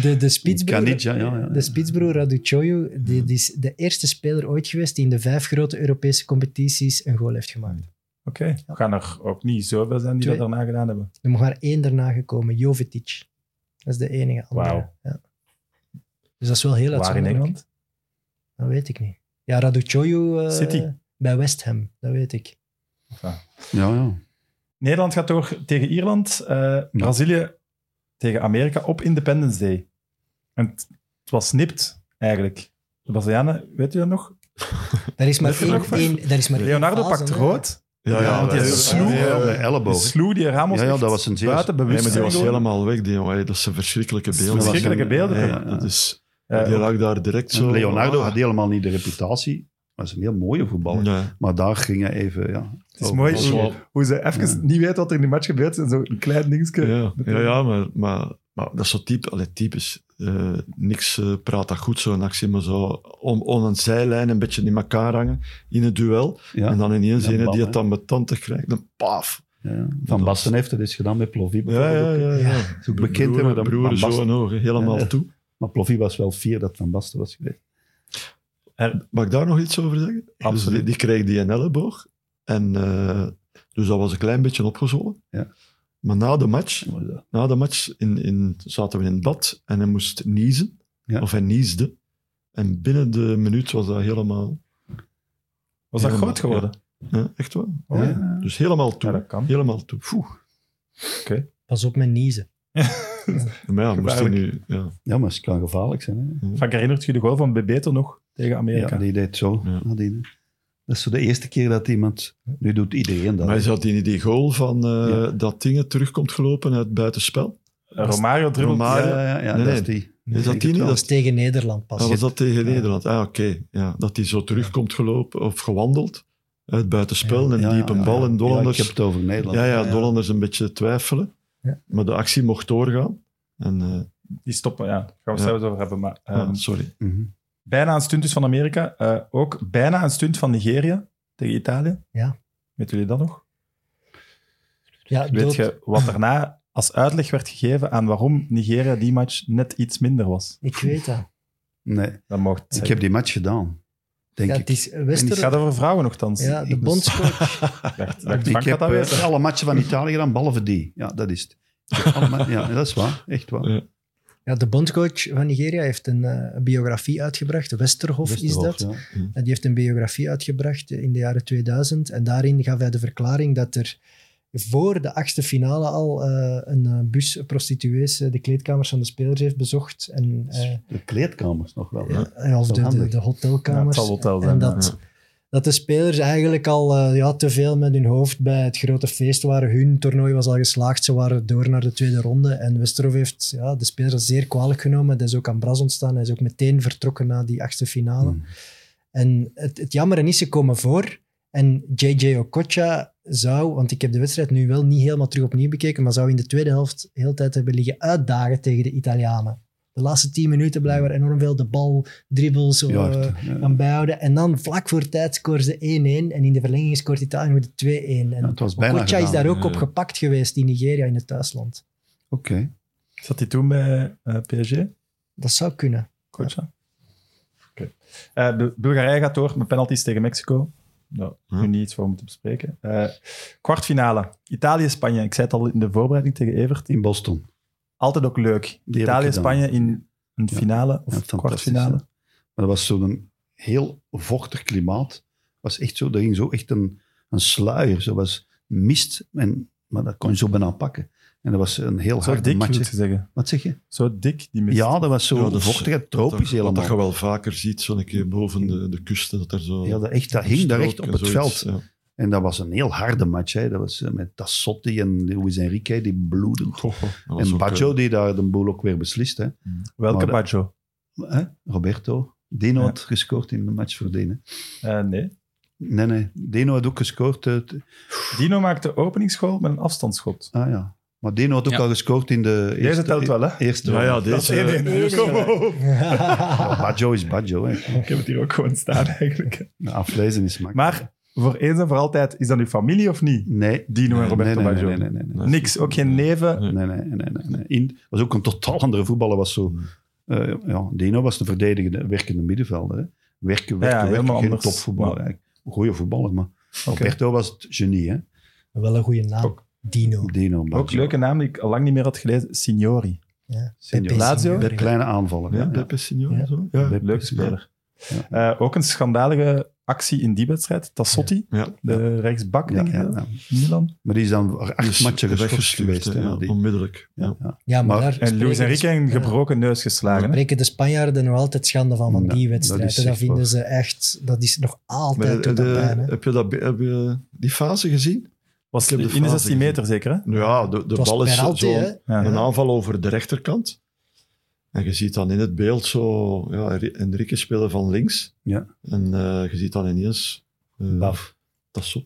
Speaker 5: De, de spitsbroer,
Speaker 3: Kan niet, ja, ja, ja.
Speaker 5: De spitsbroer Raducioju, die, die is de eerste speler ooit geweest die in de vijf grote Europese competities een goal heeft gemaakt.
Speaker 2: Oké. Er gaan er ook niet zoveel zijn die
Speaker 5: Twee.
Speaker 2: dat daarna gedaan hebben.
Speaker 5: Er mag maar één daarna gekomen, Jovetic. Dat is de enige andere.
Speaker 2: Wauw.
Speaker 5: Ja. Dus dat is wel heel
Speaker 2: Waar in
Speaker 5: uitzonderlijk.
Speaker 2: Engeland?
Speaker 5: Dat weet ik niet. Ja, Raducioju eh,
Speaker 2: City.
Speaker 5: bij West Ham, dat weet ik.
Speaker 3: ja, ja.
Speaker 2: Nederland gaat door tegen Ierland. eh, Brazilië tegen Amerika op Independence Day. En het het was nipt, eigenlijk. De Brazilianen, weet u dat nog?
Speaker 5: Daar is maar
Speaker 2: Dat is
Speaker 5: één...
Speaker 2: nog maar-
Speaker 5: één- daar is maar één
Speaker 2: Leonardo
Speaker 5: fase,
Speaker 2: pakt
Speaker 5: hè.
Speaker 2: rood.
Speaker 4: Ja, eh,
Speaker 2: Ja, want die
Speaker 4: wij-
Speaker 2: is sloeg.
Speaker 3: Ja, ja, ja,
Speaker 2: Die
Speaker 3: elleboog.
Speaker 2: sloeg die Ramos
Speaker 3: Ja, ja,
Speaker 2: echt
Speaker 3: dat was een zeer-
Speaker 2: buiten
Speaker 4: Nee, maar die
Speaker 2: bewustzijn.
Speaker 4: was
Speaker 2: gewoon.
Speaker 4: helemaal weg, die jongen. Hey, Dat zijn verschrikkelijke beelden.
Speaker 2: Verschrikkelijke beelden.
Speaker 4: Ja, dat is,
Speaker 2: Eh,
Speaker 4: die lag daar direct zo...
Speaker 3: Leonardo had helemaal niet de reputatie. Maar is een heel mooie voetballer.
Speaker 4: Ja.
Speaker 3: Maar daar ging hij even... Ja,
Speaker 2: het is mooi
Speaker 4: was wel-
Speaker 2: hoe, hoe ze even
Speaker 3: Ja.
Speaker 2: niet weten wat er in die match gebeurt. En zo'n klein dingetje.
Speaker 4: Ja, ja, ja, maar, maar, maar dat is zo typ, allee, typisch. Eh, niks eh, praat dat goed, zo'n actie, maar zo om, om een zijlijn een beetje in elkaar hangen in het duel.
Speaker 3: Ja,
Speaker 4: En dan ineens
Speaker 3: Ja,
Speaker 4: ene
Speaker 3: bam,
Speaker 4: die
Speaker 3: hè.
Speaker 4: het dan met tanden krijgt, dan paf.
Speaker 3: ja, ja. Van Basten heeft dat eens gedaan met Plovy.
Speaker 4: Ja, ja,
Speaker 3: bijvoorbeeld.
Speaker 4: ja. ja.
Speaker 3: Is ook bekend, hè, maar dan-
Speaker 4: broer
Speaker 3: maar
Speaker 4: zo
Speaker 3: Basten-
Speaker 4: en ogen, helemaal
Speaker 3: Ja.
Speaker 4: toe.
Speaker 3: Maar Plovy was wel fier dat Van Basten was geweest.
Speaker 4: Mag ik daar nog iets over zeggen? Dus
Speaker 2: Absoluut.
Speaker 4: die, die kreeg die een elleboog. En, eh, dus dat was een klein beetje opgezwollen.
Speaker 3: Ja.
Speaker 4: Maar na de match,
Speaker 3: Maar dat-
Speaker 4: na de match in, in, zaten we in het bad en hij moest niezen.
Speaker 3: Ja.
Speaker 4: Of hij niesde. En binnen de minuut was dat helemaal...
Speaker 2: Was dat
Speaker 4: helemaal-
Speaker 2: groot geworden?
Speaker 4: Ja, echt wel.
Speaker 2: Oh, ja.
Speaker 3: ja.
Speaker 4: Dus helemaal toe.
Speaker 2: Ja, dat kan.
Speaker 4: Helemaal toe.
Speaker 5: Pas op met niezen.
Speaker 4: Maar ja, moest hij
Speaker 2: Gevaarlijk.
Speaker 4: nu... Ja.
Speaker 3: Ja, maar het kan gevaarlijk zijn. Hè.
Speaker 2: Vaak herinnert je de goal van Bebeto nog tegen Amerika.
Speaker 3: Ja, die deed zo.
Speaker 4: Ja.
Speaker 3: nadien, hè. Dat is zo de eerste keer dat iemand... Nu doet iedereen dat.
Speaker 4: Maar
Speaker 3: hè.
Speaker 4: is dat die, die goal van eh,
Speaker 3: Ja.
Speaker 4: dat dingen terugkomt gelopen uit buitenspel?
Speaker 2: Eh, Romario dribbelt.
Speaker 4: Romario.
Speaker 3: ja, ja, ja, ja,
Speaker 4: Nee,
Speaker 3: dat
Speaker 4: nee.
Speaker 3: is die.
Speaker 4: Is dat
Speaker 3: Ik
Speaker 4: die niet?
Speaker 3: wel.
Speaker 5: Dat is tegen Nederland pas.
Speaker 4: Ah, was dat tegen
Speaker 5: Ja.
Speaker 4: Nederland? Ah, oké. Ja, dat hij zo terugkomt gelopen of gewandeld uit buitenspel en
Speaker 3: Ja,
Speaker 4: diep een
Speaker 3: ja,
Speaker 4: bal
Speaker 3: ja.
Speaker 4: en
Speaker 3: Ja,
Speaker 4: Dollanders...
Speaker 3: ik heb het over Nederland.
Speaker 4: Ja, ja, Dollanders een beetje twijfelen.
Speaker 5: Ja.
Speaker 4: Maar de actie mocht doorgaan. En, eh,
Speaker 2: Die stoppen, ja. Daar gaan we het
Speaker 4: Ja.
Speaker 2: zelfs over hebben. Maar, ehm,
Speaker 4: ah, sorry.
Speaker 3: Mhm.
Speaker 2: Bijna een stunt dus van Amerika. Eh, ook bijna een stunt van Nigeria tegen Italië.
Speaker 5: Ja.
Speaker 2: Weet jullie dat nog?
Speaker 5: Ja,
Speaker 2: Weet
Speaker 5: dood-
Speaker 2: je wat daarna als uitleg werd gegeven aan waarom Nigeria die match net iets minder was?
Speaker 5: Ik weet dat.
Speaker 3: Nee,
Speaker 2: Dat mocht
Speaker 3: ik heb die match gedaan. Denk
Speaker 5: Ja,
Speaker 3: ik.
Speaker 5: het is
Speaker 2: Het gaat
Speaker 5: Westerlo.
Speaker 2: over vrouwen nogthans.
Speaker 5: Ja, de
Speaker 3: Ik moest-
Speaker 5: bondscoach.
Speaker 2: Ik dacht, dacht
Speaker 3: Ik
Speaker 2: Frank had
Speaker 3: heb
Speaker 2: dat
Speaker 3: eh,
Speaker 2: weten.
Speaker 3: alle matchen van Italië gedaan, behalve die. Ja, dat is het. Ik heb alle ma- ja, dat is waar. Echt waar.
Speaker 5: Ja, de bondscoach van Nigeria heeft een eh, biografie uitgebracht. Westerhof, is dat.
Speaker 3: Ja.
Speaker 5: En die heeft een biografie uitgebracht eh, in de jaren 2000. En daarin gaf hij de verklaring dat er voor de achtste finale al eh, een eh, bus prostituees eh, de kleedkamers van de spelers heeft bezocht. En, eh,
Speaker 3: De kleedkamers nog wel. hè.
Speaker 5: eh,
Speaker 3: wel
Speaker 5: of de, de,
Speaker 3: handig.
Speaker 5: de
Speaker 2: Ja, het
Speaker 5: hotelkamers.
Speaker 2: zal hotel
Speaker 5: en
Speaker 2: zijn.
Speaker 5: dat,
Speaker 2: ja.
Speaker 5: dat de spelers eigenlijk al eh, ja, te veel met hun hoofd bij het grote feest waren. Hun toernooi was al geslaagd, ze waren door naar de tweede ronde. En Westerhof heeft ja, de spelers zeer kwalijk genomen. Dat is ook aan Bras ontstaan. Hij is ook meteen vertrokken na die achtste finale.
Speaker 3: Hmm.
Speaker 5: En het, het jammere is, ze komen voor. En JJ Okocha zou, want ik heb de wedstrijd nu wel niet helemaal terug opnieuw bekeken, maar zou in de tweede helft heel de tijd hebben liggen uitdagen tegen de Italianen. De laatste tien minuten blijkbaar enorm veel de bal, dribbels,
Speaker 3: Ja,
Speaker 5: eh,
Speaker 3: echt, ja.
Speaker 5: aan bijhouden. En dan vlak voor tijd scoren ze 1-1. En in de verlenging scoort Italië met 2-1. En
Speaker 3: Ja, het was bijna
Speaker 5: Okocha is
Speaker 3: gedaan.
Speaker 5: daar ook
Speaker 4: Ja.
Speaker 5: op gepakt geweest in Nigeria, in het thuisland.
Speaker 3: Oké.
Speaker 2: Zat hij toen bij eh, PSG?
Speaker 5: Dat zou kunnen.
Speaker 2: Coach, hè? Oké. Eh, Bul- Bulgarije gaat door met penalties tegen Mexico. Nou,
Speaker 3: Hm.
Speaker 4: Ja.
Speaker 2: nu niet iets voor moeten bespreken. Eh, kwartfinale. Italië-Spanje. Ik zei het al in de voorbereiding tegen Evert.
Speaker 3: in Boston.
Speaker 2: Altijd ook leuk.
Speaker 3: heb ik
Speaker 2: Italië-Spanje
Speaker 3: gedaan.
Speaker 2: in een
Speaker 3: Ja.
Speaker 2: finale
Speaker 3: Ja,
Speaker 2: of
Speaker 3: fantastisch,
Speaker 2: kwartfinale.
Speaker 3: hè. Maar dat was zo'n heel vochtig klimaat. Was echt zo, er ging zo echt een, een sluier. Zo was mist, en, maar dat kon je zo bijna pakken. En dat was een heel
Speaker 2: Zo
Speaker 3: harde
Speaker 2: dik, moet je
Speaker 3: match.
Speaker 2: zeggen.
Speaker 3: Wat zeg je?
Speaker 2: Zo dik, die mist.
Speaker 3: Ja, dat was zo
Speaker 4: Ja, dat is-
Speaker 3: vochtig, en
Speaker 4: Wat
Speaker 3: tropisch
Speaker 4: dat-
Speaker 3: helemaal.
Speaker 4: Wat dat je wel vaker ziet, zo'n keer boven de, de kust. Dat er zo
Speaker 3: ja, dat, echt, dat hing daar echt
Speaker 4: strook
Speaker 3: op
Speaker 4: en
Speaker 3: het
Speaker 4: zoiets, eh.
Speaker 3: veld.
Speaker 4: ja.
Speaker 3: En dat was een heel harde match. Hè. Dat was eh, met Tassotti en Luis Enrique, die bloedend.
Speaker 4: Goh, goh, dat was
Speaker 3: En
Speaker 4: ook,
Speaker 3: Baggio,
Speaker 4: eh,
Speaker 3: die daar de boel ook weer beslist. Hè.
Speaker 2: Welke
Speaker 3: Maar dat-
Speaker 2: Baggio?
Speaker 3: Hè? Roberto. Dino
Speaker 2: Ja.
Speaker 3: had gescoord in de match voor Denen.
Speaker 2: Eh, nee.
Speaker 3: Nee, nee. Dino had ook gescoord. eh, t-
Speaker 2: Dino maakte openingsgoal met een afstandsschot.
Speaker 3: ah ja. Maar Dino had ook
Speaker 6: Ja.
Speaker 3: al gescoord in de
Speaker 2: Deze
Speaker 3: eerste...
Speaker 2: telt wel, hè?
Speaker 3: Eerste.
Speaker 4: Ja, ja,
Speaker 2: Dat is
Speaker 4: deze.
Speaker 2: één-één. Kom op.
Speaker 3: Ja, Baggio is Baggio. Hè.
Speaker 2: Ik heb het hier ook gewoon staan, eigenlijk.
Speaker 3: Nou, Aflezen is makkelijk.
Speaker 2: Maar voor eens en voor altijd, is dat uw familie of niet?
Speaker 3: Nee.
Speaker 2: Dino en Roberto
Speaker 3: nee, nee,
Speaker 2: Baggio.
Speaker 3: nee, nee, nee, nee.
Speaker 4: nee.
Speaker 2: Niks, ook geen neven.
Speaker 4: Nee.
Speaker 3: Nee, nee, nee, nee, nee. In- was ook een totaal andere voetballer. Was zo,
Speaker 2: Hmm.
Speaker 3: eh, ja, Dino was de verdedigende, werkende middenvelder. Hè. Werken, werken,
Speaker 2: Ja, ja,
Speaker 3: werken.
Speaker 2: helemaal
Speaker 3: Geen
Speaker 2: anders.
Speaker 3: topvoetballer.
Speaker 2: Ja.
Speaker 3: eigenlijk. Goeie voetballer, maar
Speaker 2: Oké.
Speaker 3: Roberto was het genie. Hè.
Speaker 5: Wel een goede naam.
Speaker 2: Ook.
Speaker 5: Dino.
Speaker 3: Dino Baggio.
Speaker 2: Ook een leuke naam die ik al lang niet meer had gelezen. Signori.
Speaker 5: Ja.
Speaker 3: Signor.
Speaker 5: Pepe
Speaker 2: Lazio?
Speaker 5: Signori.
Speaker 3: Bij kleine aanvallen.
Speaker 4: Ja,
Speaker 3: Ja, ja.
Speaker 4: Beppe Signor.
Speaker 5: Ja.
Speaker 4: Zo. Ja.
Speaker 3: Beppe
Speaker 2: Leuke
Speaker 3: Signori.
Speaker 2: speler. Eh, ook een schandalige actie in die wedstrijd. Tassotti,
Speaker 4: Ja.
Speaker 2: de rechtsbak,
Speaker 3: Ja,
Speaker 2: denk ik,
Speaker 3: ja,
Speaker 2: hè,
Speaker 3: ja.
Speaker 2: Milan.
Speaker 3: Maar die is dan acht
Speaker 4: Dus
Speaker 3: matchen geschorst
Speaker 4: weggestuurd,
Speaker 3: geweest.
Speaker 4: hè,
Speaker 3: Hè,
Speaker 4: ja,
Speaker 3: die-
Speaker 4: Onmiddellijk. Ja.
Speaker 3: ja, ja.
Speaker 5: Ja, maar,
Speaker 3: Maar-
Speaker 5: daar
Speaker 2: En Luis
Speaker 5: spreken de
Speaker 2: Enrique een
Speaker 5: Sp- ja.
Speaker 2: gebroken neus geslagen. hè.
Speaker 5: spreken de Spanjaarden nog altijd schande van, van
Speaker 3: Ja,
Speaker 5: die
Speaker 3: dat
Speaker 5: wedstrijd.
Speaker 3: is
Speaker 5: Dat,
Speaker 3: echt
Speaker 5: vinden
Speaker 3: waar.
Speaker 5: ze echt, dat is nog
Speaker 4: Maar
Speaker 5: altijd
Speaker 4: de-
Speaker 5: tot
Speaker 4: de-
Speaker 5: aan pijn. hè.
Speaker 4: heb, je dat, be- heb je die fase gezien?
Speaker 2: Was
Speaker 4: Ik heb
Speaker 2: in
Speaker 4: de
Speaker 2: de
Speaker 4: fase
Speaker 2: 16 meter zeker, hè?
Speaker 4: Nou Ja, de, de
Speaker 5: Het was
Speaker 4: bal is
Speaker 5: penalty,
Speaker 4: zo,
Speaker 5: hè?
Speaker 2: Ja.
Speaker 4: een aanval over de rechterkant. En je ziet dan in het beeld zo ja, Ri- Enrique spelen van links.
Speaker 3: Ja.
Speaker 4: En eh, je ziet dan ineens... eh,
Speaker 3: Baf.
Speaker 4: Dat is zo...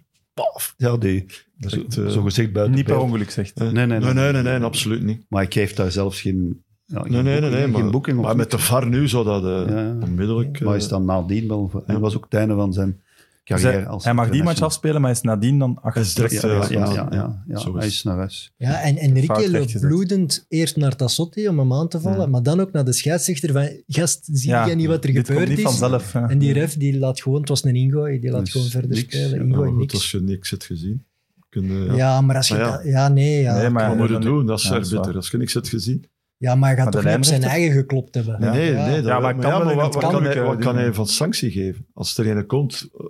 Speaker 3: Ja, die zo,
Speaker 4: direct, eh,
Speaker 3: zo gezegd buiten
Speaker 2: Niet per
Speaker 3: beeld.
Speaker 2: ongeluk, zegt.
Speaker 4: eh,
Speaker 3: nee, nee,
Speaker 4: nee,
Speaker 3: nee.
Speaker 4: nee, nee, nee, absoluut niet.
Speaker 3: Maar ik geef daar zelfs geen, ja, geen
Speaker 4: Nee, nee, nee,
Speaker 3: boeking,
Speaker 4: nee,
Speaker 3: geen
Speaker 4: maar,
Speaker 3: boeking op.
Speaker 4: maar met de VAR nu zou dat eh,
Speaker 3: Ja, ja.
Speaker 4: onmiddellijk...
Speaker 3: Maar
Speaker 4: eh,
Speaker 3: is dan nadien wel... Hij
Speaker 4: Ja.
Speaker 3: was ook het einde van zijn
Speaker 2: Dus
Speaker 3: Eh, carrière
Speaker 2: hij-
Speaker 3: als
Speaker 2: hij mag die match
Speaker 3: international.
Speaker 2: afspelen, maar is nadien dan
Speaker 4: Hij is direct,
Speaker 2: achter.
Speaker 4: eh,
Speaker 3: Ja, ja,
Speaker 4: afspelen.
Speaker 3: ja, ja, ja.
Speaker 4: Zo is
Speaker 3: hij
Speaker 4: het.
Speaker 3: is naar huis.
Speaker 5: Ja, en Enrique
Speaker 2: Fout
Speaker 5: loopt
Speaker 2: rechtgezet.
Speaker 5: bloedend eerst naar Tassotti om hem aan te vallen,
Speaker 4: Ja.
Speaker 5: maar dan ook naar de scheidsrechter van gast, zie
Speaker 2: Ja,
Speaker 5: jij niet wat
Speaker 2: Dit
Speaker 5: er
Speaker 2: komt
Speaker 5: gebeurd
Speaker 2: niet
Speaker 5: is?
Speaker 2: vanzelf. hè.
Speaker 5: En die ref, die laat gewoon, het was een ingooi, die laat
Speaker 3: Dus
Speaker 5: gewoon verder
Speaker 3: niks, ja.
Speaker 5: spelen.
Speaker 4: ja, maar
Speaker 5: Ingooi,
Speaker 4: goed,
Speaker 5: niks.
Speaker 4: als je niks hebt gezien... Kunnen,
Speaker 5: ja. maar als je
Speaker 4: Maar ja.
Speaker 5: dat... Ja, nee, ja.
Speaker 2: Nee, maar-
Speaker 4: Wat moet je
Speaker 2: dan-
Speaker 4: doen? Dat is
Speaker 2: ja, dat is
Speaker 4: arbiter.
Speaker 2: waar.
Speaker 4: Als je niks hebt gezien...
Speaker 5: ja, maar hij gaat
Speaker 2: Maar de
Speaker 5: toch niet op zijn
Speaker 2: lijnrechter-
Speaker 5: eigen geklopt hebben.
Speaker 4: Nee, nee,
Speaker 5: Ja.
Speaker 4: nee.
Speaker 2: Ja, maar
Speaker 4: dat-
Speaker 2: het kan wel
Speaker 4: maar
Speaker 2: in
Speaker 4: wat,
Speaker 2: het
Speaker 4: wat kan
Speaker 2: katholieke
Speaker 4: hij, wat kan
Speaker 2: ding.
Speaker 4: hij van sanctie geven? Als er een komt eh,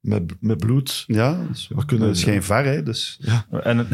Speaker 4: met, met bloed.
Speaker 3: Ja, dat is,
Speaker 4: We kunnen-
Speaker 3: dat is geen var, hè. Dus,
Speaker 2: En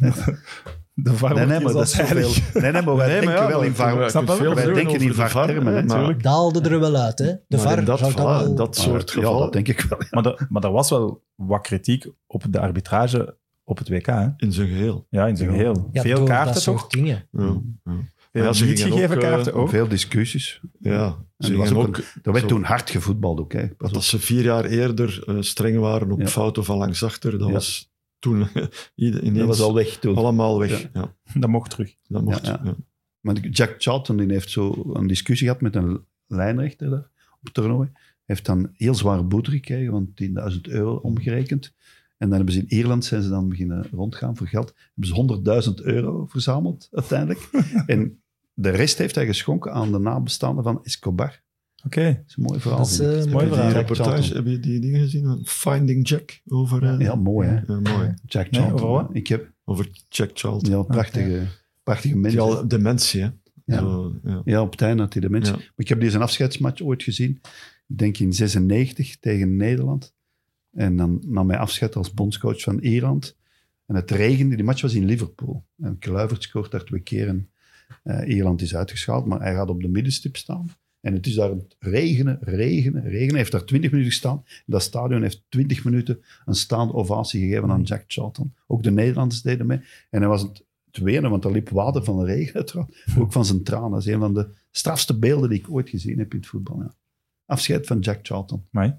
Speaker 2: de VAR wordt
Speaker 3: nee, nee,
Speaker 2: hier
Speaker 3: maar dat
Speaker 2: als
Speaker 3: is zoveel...
Speaker 2: heilig.
Speaker 3: Nee, nee, maar wij denken wel in var.
Speaker 2: snap wel,
Speaker 3: wij denken in var termen, hè.
Speaker 4: natuurlijk.
Speaker 5: Het Daalde er wel uit, hè. De VAR
Speaker 4: dat,
Speaker 5: zou dat
Speaker 4: geval-
Speaker 5: wel...
Speaker 4: dat soort
Speaker 3: Ah, Ja,
Speaker 4: gevallen
Speaker 3: dat denk ik wel. ja.
Speaker 2: Maar, er- maar er was wel wat kritiek op de arbitrage op het WK. Hè?
Speaker 4: in zijn geheel.
Speaker 2: Ja, in zijn
Speaker 3: Ja.
Speaker 2: geheel.
Speaker 5: ja,
Speaker 2: Veel
Speaker 5: door
Speaker 2: kaarten
Speaker 5: dat
Speaker 2: toch?
Speaker 5: soort dingen.
Speaker 4: Ja,
Speaker 3: Mm.
Speaker 4: ja.
Speaker 2: Veel
Speaker 4: Ja, ze
Speaker 2: niet
Speaker 4: gingen
Speaker 2: gegeven
Speaker 4: ook, eh,
Speaker 2: kaarten ook.
Speaker 3: Veel discussies.
Speaker 4: ja. Ze
Speaker 3: er Oh. was
Speaker 4: gingen
Speaker 3: ook
Speaker 4: ook,
Speaker 3: Er werd
Speaker 4: Zo.
Speaker 3: toen hard gevoetbald ook, hè.
Speaker 4: want als ze vier jaar eerder eh, streng waren op
Speaker 3: Ja.
Speaker 4: fouten van langsachter, dat
Speaker 3: Ja.
Speaker 4: was toen ieder- ineens
Speaker 3: Dat was al weg toen.
Speaker 4: allemaal weg.
Speaker 3: Ja.
Speaker 4: Ja.
Speaker 2: Dat mocht terug.
Speaker 4: dat mocht.
Speaker 3: Ja,
Speaker 4: Ja,
Speaker 3: ja. Maar Jack Charlton die heeft zo een discussie gehad met een lijnrechter daar op het toernooi. Heeft dan heel zware boete gekregen, want 10.000 euro omgerekend. En dan hebben ze in Ierland zijn ze dan beginnen rondgaan voor geld. Hebben ze 100.000 euro verzameld uiteindelijk. en de rest heeft hij geschonken aan de nabestaanden van Escobar.
Speaker 2: Oké.
Speaker 3: Dat is een mooi verhaal.
Speaker 5: Dat is
Speaker 3: vind ik.
Speaker 5: eh,
Speaker 2: Mooi
Speaker 5: mooi.
Speaker 4: Heb je die
Speaker 2: verhaal.
Speaker 4: reportage,
Speaker 3: Charlton.
Speaker 4: heb je die dingen gezien? Finding Jack over... eh,
Speaker 3: ja, mooi hè.
Speaker 4: ja, mooi.
Speaker 3: Jack
Speaker 2: Nee,
Speaker 3: Charlton.
Speaker 2: over wat?
Speaker 3: ik heb
Speaker 4: Over Jack Charlton.
Speaker 3: ja, prachtige, prachtige mensen.
Speaker 4: Die al dementie, hè?
Speaker 3: Ja.
Speaker 4: Zo, ja.
Speaker 3: Ja, op het einde had hij de mensen.
Speaker 4: Ja.
Speaker 3: Maar ik heb die zijn afscheidsmatch ooit gezien. Ik denk in 96 tegen Nederland. En dan nam hij afscheid als bondscoach van Ierland. En het regende. Die match was in Liverpool. En Kluivert scoort daar twee keer. En eh, Ierland is uitgeschaald. Maar hij gaat op de middenstip staan. En het is daar aan het regenen, regenen, regenen. Hij heeft daar 20 minuten gestaan. Dat stadion heeft 20 minuten een staande ovatie gegeven aan Jack Charlton. Ook de Nederlanders deden mee. En hij was het wenen, want er liep water van de regen uit. Ook van zijn tranen. Dat is een van de strafste beelden die ik ooit gezien heb in het voetbal. Ja. Afscheid van Jack Charlton.
Speaker 2: Amai.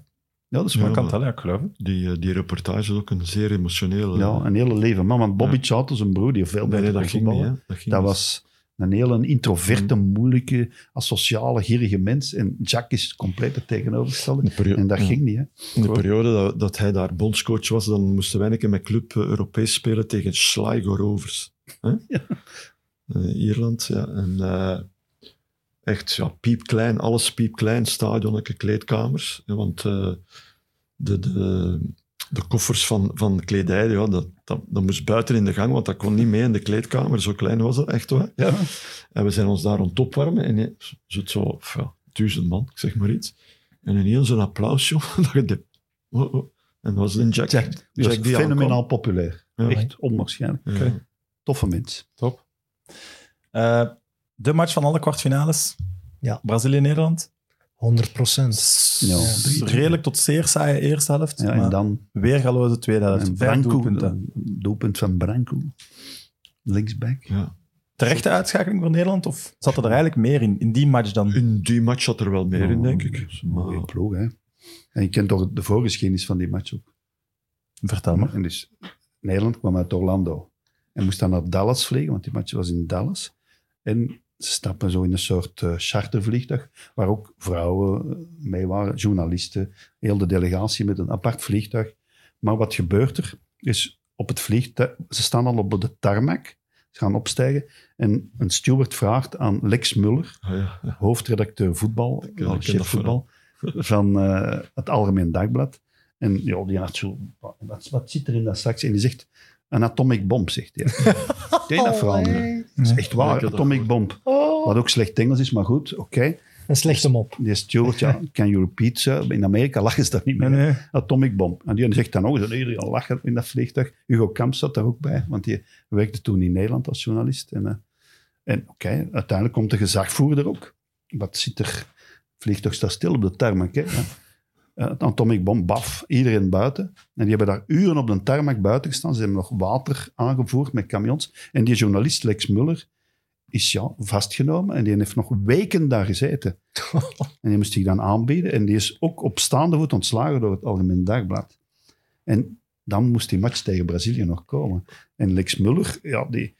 Speaker 3: Ja, dat is
Speaker 2: Maar
Speaker 3: waar.
Speaker 2: ik
Speaker 4: Ja.
Speaker 2: kan het wel, ja, ik geloof het.
Speaker 4: Die, eh, die reportage is ook een zeer emotionele.
Speaker 3: Ja, een hele leven. man. want Bobby
Speaker 4: Ja.
Speaker 3: Charlton, zijn broer, die veel
Speaker 4: nee,
Speaker 3: beter
Speaker 4: nee,
Speaker 3: kon
Speaker 4: dat ging niet.
Speaker 3: voetballen.
Speaker 4: Hè. Dat, ging
Speaker 3: Dat
Speaker 4: niet. Mm.
Speaker 3: was een hele introverte, moeilijke, asociale, gierige mens. En Jack is compleet het tegenovergestelde.
Speaker 4: In de perio-
Speaker 3: En dat
Speaker 4: ja.
Speaker 3: ging niet, hè.
Speaker 4: In de periode dat, dat hij daar bondscoach was, dan moesten wij een keer met club eh, Europees spelen tegen Sligo Rovers. Hè?
Speaker 3: Ja.
Speaker 4: eh, Ierland. Ja. En eh, echt ja, piepklein, alles piepklein, stadionnetje, kleedkamers. Ja, Want eh, de, de, de koffers van, van kledij, ja, dat, dat, dat moest buiten in de gang, want dat kon niet mee in de kleedkamer. Zo klein was dat, echt waar.
Speaker 3: Ja.
Speaker 4: En we zijn ons daar aan het opwarmen. En je zit zo, pff, ja, duizend man, ik zeg maar iets. En ineens een applaus, joh. Dat je denkt, oh, oh. En dat was een Jack.
Speaker 3: Jack, dus
Speaker 4: Jack die
Speaker 3: fenomenaal
Speaker 4: aankwam.
Speaker 3: populair.
Speaker 4: Ja.
Speaker 3: Echt onwaarschijnlijk.
Speaker 4: Ja.
Speaker 2: Oké.
Speaker 3: Toffe mens.
Speaker 2: Top. Eh, de match van alle kwartfinales.
Speaker 5: Ja.
Speaker 2: Brazilië-Nederland.
Speaker 5: 100 procent.
Speaker 2: S-
Speaker 3: Ja.
Speaker 2: s- Redelijk tot zeer saaie eerste helft.
Speaker 3: Ja, en
Speaker 2: maar
Speaker 3: dan
Speaker 2: weer galoze tweede helft.
Speaker 3: en
Speaker 2: Vijf
Speaker 3: Branco,
Speaker 2: doelpunten.
Speaker 3: doelpunt van Branco. Linksback.
Speaker 4: Ja.
Speaker 2: Terechte uitschakeling voor Nederland? Of zat er, er eigenlijk meer in, in die match dan?
Speaker 4: In die match zat er wel meer in, denk
Speaker 3: Ja, dus, dat
Speaker 4: ik.
Speaker 3: is een mooie
Speaker 4: Maar-
Speaker 3: ploeg, hè. En je kent toch de voorgeschiedenis van die match ook.
Speaker 2: Vertel maar.
Speaker 3: En dus Nederland kwam uit Orlando en moest dan naar Dallas vliegen, want die match was in Dallas. En ze stappen zo in een soort eh, chartervliegtuig, waar ook vrouwen eh, mee waren, journalisten, heel de delegatie met een apart vliegtuig. Maar wat gebeurt er? Is op het vliegtuig, ze staan al op de tarmac, ze gaan opstijgen. En een steward vraagt aan Lex Muller,
Speaker 4: Ah, ja. ja.
Speaker 3: hoofdredacteur voetbal,
Speaker 4: ken- dat
Speaker 3: al
Speaker 4: ken ik
Speaker 3: voetbal, van eh, het Algemeen Dagblad. En ja, die had zo, wat, wat zit er in dat straks? En die zegt, een atomic bomb, zegt hij. Teen dat veranderen. Dat is echt
Speaker 4: Oh, Ja,
Speaker 3: waar,
Speaker 4: ik heb dat
Speaker 3: atomic
Speaker 4: gehoord.
Speaker 3: bomb. Wat ook slecht Engels is, maar goed, oké.
Speaker 5: Een slechte mop.
Speaker 3: Die steward, ja, can you repeat, sir? In Amerika lachen ze daar niet meer.
Speaker 2: Nee, nee.
Speaker 3: Atomic bomb. En die zegt dan ook, dat iedereen al lachen in dat vliegtuig. Hugo Kamp zat daar ook bij, want die werkte toen in Nederland als journalist. En, eh, en oké, uiteindelijk komt de gezagvoerder ook. Wat zit er? Het vliegtuig staat stil op de tarmac. Hè? Ja. Eh, Het atomic bomb, baf, iedereen buiten. En die hebben daar uren op de tarmac buiten gestaan. Ze hebben nog water aangevoerd met camions. En die journalist Lex Muller is ja, vastgenomen en die heeft nog weken daar gezeten. En die moest zich dan aanbieden. En die is ook op staande voet ontslagen door het Algemeen Dagblad. En dan moest die match tegen Brazilië nog komen. En Lex Muller, ja, die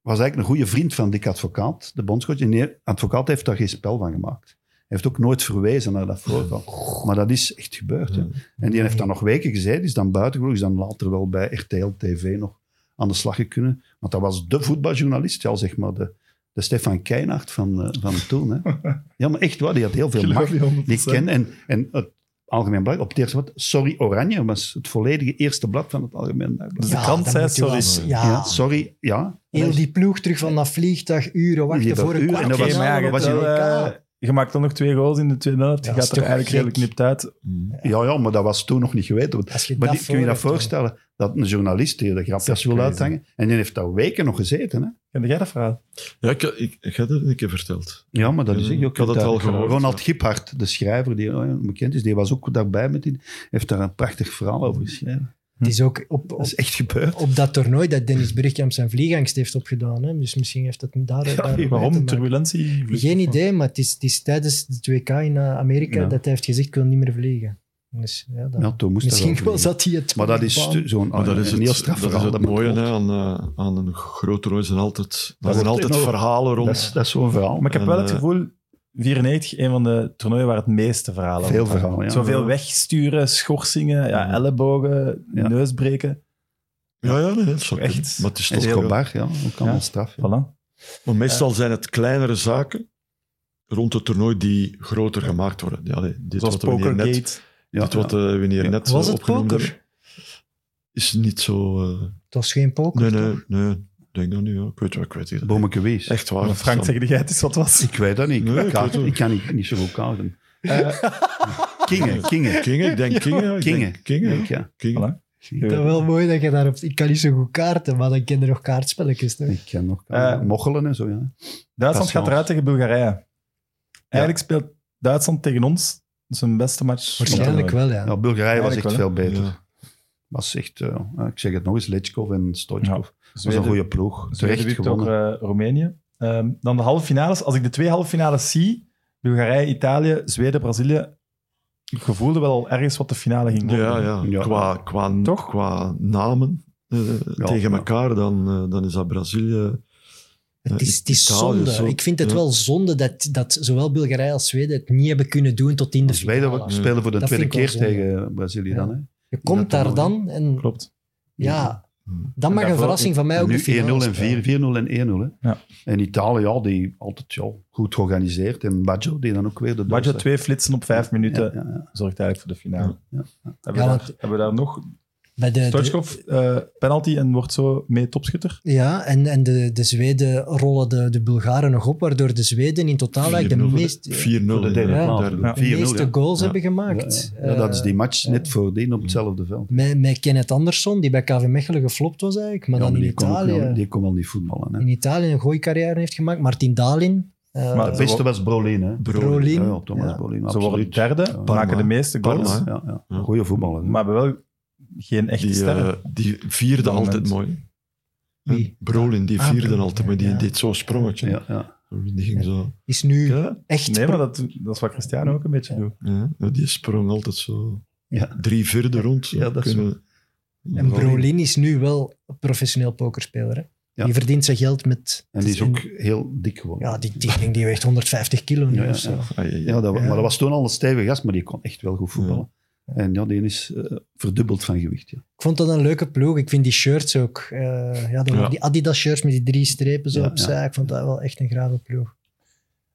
Speaker 3: was eigenlijk een goede vriend van Dick Advocaat, de bondscoach. En die advocaat heeft daar geen spel van gemaakt. Hij heeft ook nooit verwezen naar dat voorval. Maar dat is echt gebeurd. hè.
Speaker 4: Ja.
Speaker 3: En die heeft dan nog weken gezeten, is dan buitengelopen, is dan later wel bij RTL TV nog aan de slag kunnen. Want dat was de voetbaljournalist, ja, zeg maar, de, de Stefan Keinaert van, eh, van toen. Hè. Ja, maar echt waar, die had heel veel macht. Die ken, en, en het Algemeen Blad, op het eerste blad, Sorry Oranje was het volledige eerste blad van het Algemeen Dagblad.
Speaker 2: Dus de kans,
Speaker 5: dan
Speaker 2: hè,
Speaker 5: moet je wel-
Speaker 2: sorry.
Speaker 5: Ja,
Speaker 3: Ja, sorry, ja.
Speaker 5: Ah. heel die ploeg terug van dat vliegtuig, uren
Speaker 3: Die
Speaker 5: wachten
Speaker 3: hebben
Speaker 5: voor een
Speaker 3: uren en dat
Speaker 2: Oké,
Speaker 3: was-
Speaker 2: maar ja,
Speaker 5: kwartfinale
Speaker 2: je,
Speaker 5: op
Speaker 3: was
Speaker 2: hebt
Speaker 5: het
Speaker 2: wel,
Speaker 5: WK.
Speaker 2: eh, je maakt dan nog twee goals in de tweede helft.
Speaker 5: Ja,
Speaker 2: je gaat
Speaker 5: is
Speaker 2: er
Speaker 5: toch
Speaker 2: eigenlijk
Speaker 5: gek.
Speaker 2: redelijk nipt uit.
Speaker 4: Mm.
Speaker 3: Ja, ja, maar dat was toen nog niet geweten. want-
Speaker 5: Als je
Speaker 3: eh, Maar
Speaker 5: dat
Speaker 3: die- kun je dat
Speaker 5: voor hebt, dan-
Speaker 3: voorstellen, dat een journalist die de grapjes wil
Speaker 2: crazy.
Speaker 3: uithangen, en die heeft daar weken nog gezeten, hè?
Speaker 2: Ken jij dat verhaal?
Speaker 4: Ja, ik, ik, ik heb dat een keer verteld.
Speaker 3: Ja, maar dat
Speaker 4: Ja,
Speaker 3: is
Speaker 4: ik
Speaker 3: ik ook.
Speaker 4: had het
Speaker 3: daar-
Speaker 4: al gehoord,
Speaker 3: Ronald
Speaker 4: ja.
Speaker 3: Giphart, de schrijver die eh, bekend is, die was ook daarbij met die. Heeft daar een prachtig verhaal over geschreven.
Speaker 5: Het is ook op,
Speaker 3: Dat
Speaker 5: op,
Speaker 3: is echt gebeurd.
Speaker 5: op dat toernooi dat Dennis Bergkamp zijn vliegangst heeft opgedaan. Hè? Dus misschien heeft dat daar... daar te
Speaker 2: Waarom?
Speaker 5: maken.
Speaker 2: Turbulentie?
Speaker 5: Geen idee, maar het is, het is tijdens de 2K in eh, Amerika
Speaker 3: Ja.
Speaker 5: dat hij heeft gezegd, ik wil niet meer vliegen. Dus, ja, dat-
Speaker 3: Ja, toen moest dat
Speaker 5: misschien
Speaker 3: wel
Speaker 5: was dat hij het.
Speaker 3: Maar dat is
Speaker 5: Bam.
Speaker 3: stu- zo'n
Speaker 4: Maar dat is
Speaker 3: Ah, een heel
Speaker 4: het,
Speaker 3: straf
Speaker 4: dat is
Speaker 3: verhaal,
Speaker 4: het
Speaker 3: dat
Speaker 4: mooie
Speaker 3: moet-
Speaker 4: hè, aan, eh, aan een groot toernooi. zijn altijd, er zijn
Speaker 3: wordt
Speaker 4: altijd
Speaker 3: enorm.
Speaker 4: verhalen
Speaker 3: Dat
Speaker 4: rond.
Speaker 3: is, dat is zo'n verhaal.
Speaker 2: Maar ik heb
Speaker 4: En,
Speaker 2: wel het
Speaker 4: eh,
Speaker 2: gevoel, 94, een van de toernooien waar het meeste verhalen
Speaker 3: Veel
Speaker 2: rondhangen.
Speaker 3: verhalen, ja.
Speaker 2: Zoveel
Speaker 3: Ja.
Speaker 2: wegsturen, schorsingen, ja,
Speaker 4: Ja.
Speaker 2: ellebogen,
Speaker 3: Ja.
Speaker 2: neusbreken.
Speaker 4: Ja, ja, nee, dat zou
Speaker 2: Echt.
Speaker 4: kunnen. Maar het is
Speaker 2: Heel
Speaker 4: toch
Speaker 2: goed.
Speaker 4: wel-
Speaker 3: Escobar, ja, ook allemaal
Speaker 2: Ja.
Speaker 3: straf. ja.
Speaker 2: Voilà.
Speaker 4: Maar meestal zijn het kleinere zaken rond het toernooi die groter gemaakt worden. Ja, nee, dit
Speaker 2: Zoals
Speaker 4: wat we hier net,
Speaker 2: Pokergate.
Speaker 3: Ja,
Speaker 4: dit wat eh, we hier
Speaker 3: Ja.
Speaker 4: net
Speaker 5: Was
Speaker 4: eh,
Speaker 5: het
Speaker 4: opgenoemd
Speaker 5: poker?
Speaker 4: hebben, is niet zo... eh,
Speaker 5: Het was geen poker.
Speaker 4: nee, nee,
Speaker 5: toch?
Speaker 4: nee. Ik denk dat niet. Ja. Ik weet wel, ik weet het.
Speaker 3: ja.
Speaker 4: niet.
Speaker 3: Bommeke Wees.
Speaker 4: eh, Echt waar.
Speaker 2: Maar Frank,
Speaker 4: Sam.
Speaker 2: zeg jij het is wat was?
Speaker 3: Ik weet dat niet.
Speaker 4: Nee,
Speaker 3: ik,
Speaker 4: ik
Speaker 3: kan,
Speaker 4: weet het.
Speaker 3: ik kan niet, niet zo goed kouden. Eh, Kingen, Kingen.
Speaker 4: Kingen, ik denk
Speaker 3: Kingen.
Speaker 4: Kingen. Kingen.
Speaker 3: Denk
Speaker 4: Kingen.
Speaker 3: ik, ja.
Speaker 4: Kingen.
Speaker 2: Voilà.
Speaker 5: Dat is wel mooi dat je daarop... Ik kan niet zo goed kaarten, maar dan ken je nog kaartspelletjes. Hè?
Speaker 3: Ik ken nog
Speaker 2: Eh,
Speaker 3: mochelen en zo, ja.
Speaker 2: Duitsland gaat
Speaker 3: Passant.
Speaker 2: eruit tegen Bulgarije. Eigenlijk speelt Duitsland tegen ons zijn beste match.
Speaker 5: Waarschijnlijk wel, ja.
Speaker 3: ja Bulgarije was
Speaker 2: Eigenlijk
Speaker 3: echt
Speaker 2: wel,
Speaker 3: veel beter.
Speaker 4: Ja.
Speaker 3: Was echt, eh, ik zeg het nog eens, Letchkov en Stoichkov.
Speaker 2: Ja.
Speaker 3: Dat was een goede ploeg.
Speaker 2: Zweden
Speaker 3: Terecht
Speaker 2: wint ook
Speaker 3: gewonnen.
Speaker 2: eh, Roemenië. Ehm, dan de halve finales. Als ik de twee halve finales zie, Bulgarije, Italië, Zweden, Brazilië, ik gevoelde wel al ergens wat de finale ging worden.
Speaker 4: Ja, ja.
Speaker 3: Ja.
Speaker 4: Qua, qua,
Speaker 2: Toch?
Speaker 4: qua namen eh,
Speaker 3: Ja,
Speaker 4: tegen
Speaker 3: ja.
Speaker 4: elkaar, dan, eh, dan is dat Brazilië.
Speaker 5: Het is, het is
Speaker 4: Italië,
Speaker 5: zonde.
Speaker 4: zo.
Speaker 5: Ik vind het
Speaker 4: Ja.
Speaker 5: wel zonde dat, dat zowel Bulgarije als Zweden het niet hebben kunnen doen tot in de
Speaker 3: Zweden
Speaker 5: finale.
Speaker 3: spelen voor de
Speaker 5: Dat
Speaker 3: tweede
Speaker 5: vind ik
Speaker 3: keer
Speaker 5: wel zonde.
Speaker 3: tegen Brazilië
Speaker 5: Ja.
Speaker 3: dan. Hè?
Speaker 5: Je komt
Speaker 3: dat
Speaker 5: daar
Speaker 3: wel,
Speaker 5: dan en
Speaker 2: Klopt.
Speaker 5: ja, Dat mag een
Speaker 3: daarvoor-
Speaker 5: verrassing van mij ook
Speaker 3: nu
Speaker 5: de
Speaker 3: 1-0
Speaker 5: finale
Speaker 3: en 4-0
Speaker 5: spelen.
Speaker 3: en 1-0. hè.
Speaker 2: Ja.
Speaker 3: En Italië, ja, die altijd ja, goed georganiseerd. En Baggio, die dan ook weer de
Speaker 2: Baggio,
Speaker 3: doorslag-
Speaker 2: twee flitsen op vijf minuten
Speaker 3: Ja, ja, ja.
Speaker 2: zorgt eigenlijk voor de finale.
Speaker 3: Ja,
Speaker 2: Hebben,
Speaker 5: Ja,
Speaker 2: we
Speaker 5: want-
Speaker 2: daar, hebben we daar nog?
Speaker 5: Bij de, de-
Speaker 2: Stoichkov, eh, penalty en wordt zo mee topschutter.
Speaker 5: Ja, en, en de, de Zweden rollen de, de Bulgaren nog op, waardoor de Zweden in totaal eigenlijk Nou, de,
Speaker 4: 4-0
Speaker 5: meest,
Speaker 4: voor de- 4-0
Speaker 3: Voor de derde
Speaker 4: in
Speaker 5: plaats.
Speaker 4: derde.
Speaker 2: Ja.
Speaker 5: de
Speaker 3: 4-0,
Speaker 5: meeste
Speaker 3: ja.
Speaker 5: goals
Speaker 4: Ja.
Speaker 5: hebben
Speaker 3: Ja,
Speaker 5: gemaakt.
Speaker 3: ja. Ja, dat is die
Speaker 5: Eh,
Speaker 3: match net voordien op hetzelfde veld.
Speaker 5: met, met Kenneth Andersson, die bij KV Mechelen geflopt was eigenlijk, maar
Speaker 3: Ja,
Speaker 5: dan
Speaker 3: maar
Speaker 5: in
Speaker 3: die kon ook
Speaker 5: Italië,
Speaker 3: wel- die kon wel niet voetballen. Hè.
Speaker 5: in Italië een goeie carrière heeft gemaakt. Martin Dalin. eh,
Speaker 2: Maar
Speaker 3: Het beste was Brolin. Hè.
Speaker 5: Brolin.
Speaker 3: Ja, Thomas
Speaker 5: Ja.
Speaker 3: Brolin,
Speaker 2: Ze worden
Speaker 3: absoluut.
Speaker 2: derde,
Speaker 3: Parma.
Speaker 2: maken de meeste
Speaker 4: Parma,
Speaker 2: goals,
Speaker 4: hè.
Speaker 3: Ja, ja.
Speaker 4: Ja.
Speaker 3: Goeie voetballer. hè.
Speaker 2: maar hebben wel geen echte
Speaker 4: Die,
Speaker 2: sterren.
Speaker 4: eh, die vierde
Speaker 2: Moment.
Speaker 4: altijd mooi.
Speaker 5: Wie?
Speaker 4: Brolin, die
Speaker 5: Ah,
Speaker 4: vierde
Speaker 5: Brolin,
Speaker 4: altijd, maar die
Speaker 5: ja.
Speaker 4: deed zo'n sprongetje.
Speaker 3: ja, ja.
Speaker 4: Die ging zo.
Speaker 5: is nu
Speaker 2: Ja.
Speaker 5: echt...
Speaker 2: Nee, maar dat, dat is wat Cristiano ook een beetje doet.
Speaker 4: Ja, nou, die sprong altijd zo
Speaker 3: Ja.
Speaker 4: drie vierde rond.
Speaker 3: Ja, dat is
Speaker 5: En Brolin is nu wel een professioneel pokerspeler. Hè?
Speaker 3: Ja.
Speaker 5: Die verdient zijn geld met...
Speaker 3: En die is ook heel dik geworden.
Speaker 5: Ja, die, die, ik denk die weegt 150 kilo nu
Speaker 3: Ja, ja,
Speaker 5: of zo.
Speaker 3: ja.
Speaker 4: Ah, ja, ja.
Speaker 3: Ja, dat,
Speaker 5: Ja.
Speaker 3: Maar dat was toen al een stijve gast, maar die kon echt wel goed voetballen. En ja, die is eh, verdubbeld van gewicht. Ja.
Speaker 5: Ik vond dat een leuke ploeg. Ik vind die shirts ook... eh, ja, dan
Speaker 4: Ja.
Speaker 5: Die Adidas-shirts met die drie strepen zo
Speaker 3: Ja,
Speaker 5: opzij. Ik vond dat wel echt een grave ploeg.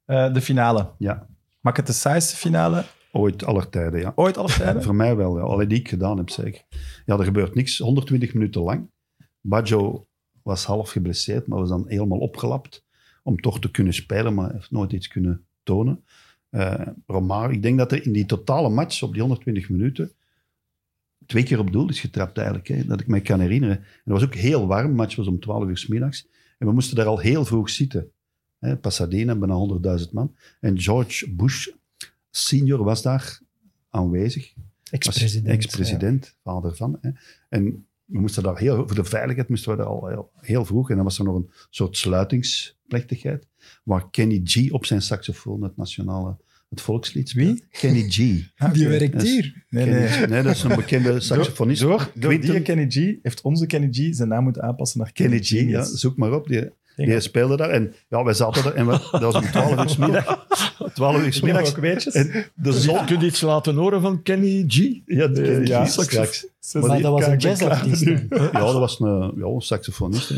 Speaker 2: Eh, de finale.
Speaker 3: Ja.
Speaker 2: Maak het de saaiste finale
Speaker 3: Ooit aller tijden, ja.
Speaker 2: ooit alle tijden?
Speaker 3: Voor mij wel, ja. Allee, die ik gedaan heb, zeker. Ja, er gebeurt niks. 120 minuten lang. Baggio was half geblesseerd, maar was dan helemaal opgelapt om toch te kunnen spelen, maar heeft nooit iets kunnen tonen. Eh Romario, ik denk dat er in die totale match op die 120 minuten twee keer op doel is getrapt eigenlijk, hè, dat ik mij kan herinneren. En dat was ook heel warm, de match was om 12 uur 's middags. En we moesten daar al heel vroeg zitten. Hè, Pasadena, bijna 100.000 man. En George Bush, senior, was daar aanwezig. Was
Speaker 5: Ex-president.
Speaker 3: Ex-president, vader van. Hè. En we moesten daar heel, voor de veiligheid moesten we daar al heel, heel vroeg. En dan was er nog een soort sluitingsplechtigheid. Waar Kenny G op zijn saxofoon het nationale, het volkslied speelde.
Speaker 2: Wie?
Speaker 3: Kenny G.
Speaker 5: ja. Die werkt
Speaker 3: Dus-
Speaker 5: hier.
Speaker 2: Nee,
Speaker 3: Kenny
Speaker 2: nee.
Speaker 3: G. nee, dat is een bekende saxofonist.
Speaker 2: Door, door
Speaker 3: Quinten.
Speaker 2: die Kenny G heeft onze Kenny G zijn naam moeten aanpassen naar
Speaker 3: Kenny G, ja,
Speaker 2: Genius.
Speaker 3: zoek maar op. Die,
Speaker 2: Denk
Speaker 3: die
Speaker 2: ik.
Speaker 3: speelde daar. En ja, wij zaten daar. En we- dat was om 12 uur 's middag. 12 uur 's
Speaker 2: Smiddags
Speaker 3: middags.
Speaker 2: ook weetjes.
Speaker 3: En de zon.
Speaker 4: Kun je iets laten horen van Kenny G?
Speaker 3: Ja, de Kenny G
Speaker 2: Ja,
Speaker 3: straks.
Speaker 2: Ze
Speaker 5: Maar
Speaker 2: zijn-
Speaker 5: dat was een
Speaker 2: kijk, ik ben
Speaker 5: jazzartiest.
Speaker 2: klaar.
Speaker 5: dan.
Speaker 3: Ja, dat was een, ja, een saxofonist. hè.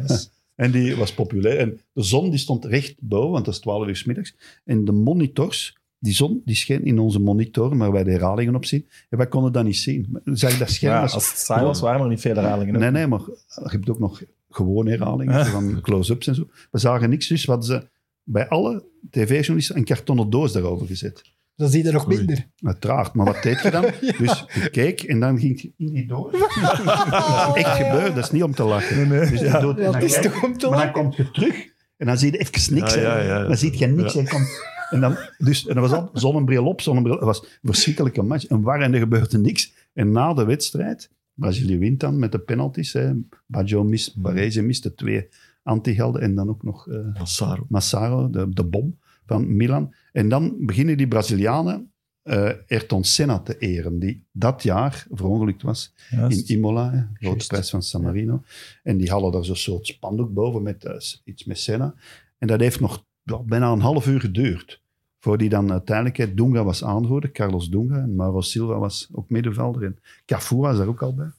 Speaker 5: Nice.
Speaker 3: En die was populair. En de zon die stond recht boven, want dat is 12 uur 's middags. En de monitors, die zon die scheen in onze monitor, maar wij de herhalingen op zien. En wij konden dat niet zien. Maar we zagen dat scherm.
Speaker 2: Ja,
Speaker 3: was-
Speaker 2: als het saai was, waren er niet veel herhalingen. hè?
Speaker 3: dus nee, nee, maar je hebt ook nog gewone herhalingen van close-ups en zo. We zagen niks, dus wat ze bij alle tv-journalisten een kartonnen doos daarover gezet.
Speaker 5: Dat zie je er nog
Speaker 4: Oei.
Speaker 5: minder.
Speaker 3: Uiteraard, maar wat deed je dan? Dus je keek en dan ging je in die doos. dat is echt gebeurd, dat is niet om te lachen. Dus je doet- en
Speaker 5: Dat
Speaker 3: dan
Speaker 5: is
Speaker 3: kijk-
Speaker 5: toch om te
Speaker 3: maar
Speaker 5: lachen?
Speaker 3: dan komt je terug en dan zie je even niks.
Speaker 4: Ja,
Speaker 3: hè.
Speaker 4: ja, ja, ja.
Speaker 3: Dan zie je niks. En, komt, en, dan, dus, en dan was al zonnebril op, zonnebril. Het was een verschrikkelijke match. En waar en er gebeurde niks. En na de wedstrijd, Brazilië wint dan met de penalties. Hè. Baggio mist, Barese mist de twee antihelden. En dan ook nog eh,
Speaker 4: Massaro.
Speaker 3: Massaro, de, de bom van Milan. En dan beginnen die Brazilianen eh Ayrton Senna te eren, die dat jaar verongelukt was in
Speaker 2: Juist.
Speaker 3: Imola, hè, grote
Speaker 5: Juist.
Speaker 3: prijs van San Marino. En die hadden daar zo'n soort spandoek boven met eh, s- iets met Senna. En dat heeft nog ja, bijna een half uur geduurd. Voor die dan uiteindelijk, hè, Dunga was aanvoerder, Carlos Dunga. En Mauro Silva was ook middenvelder. En Cafu was daar ook al bij.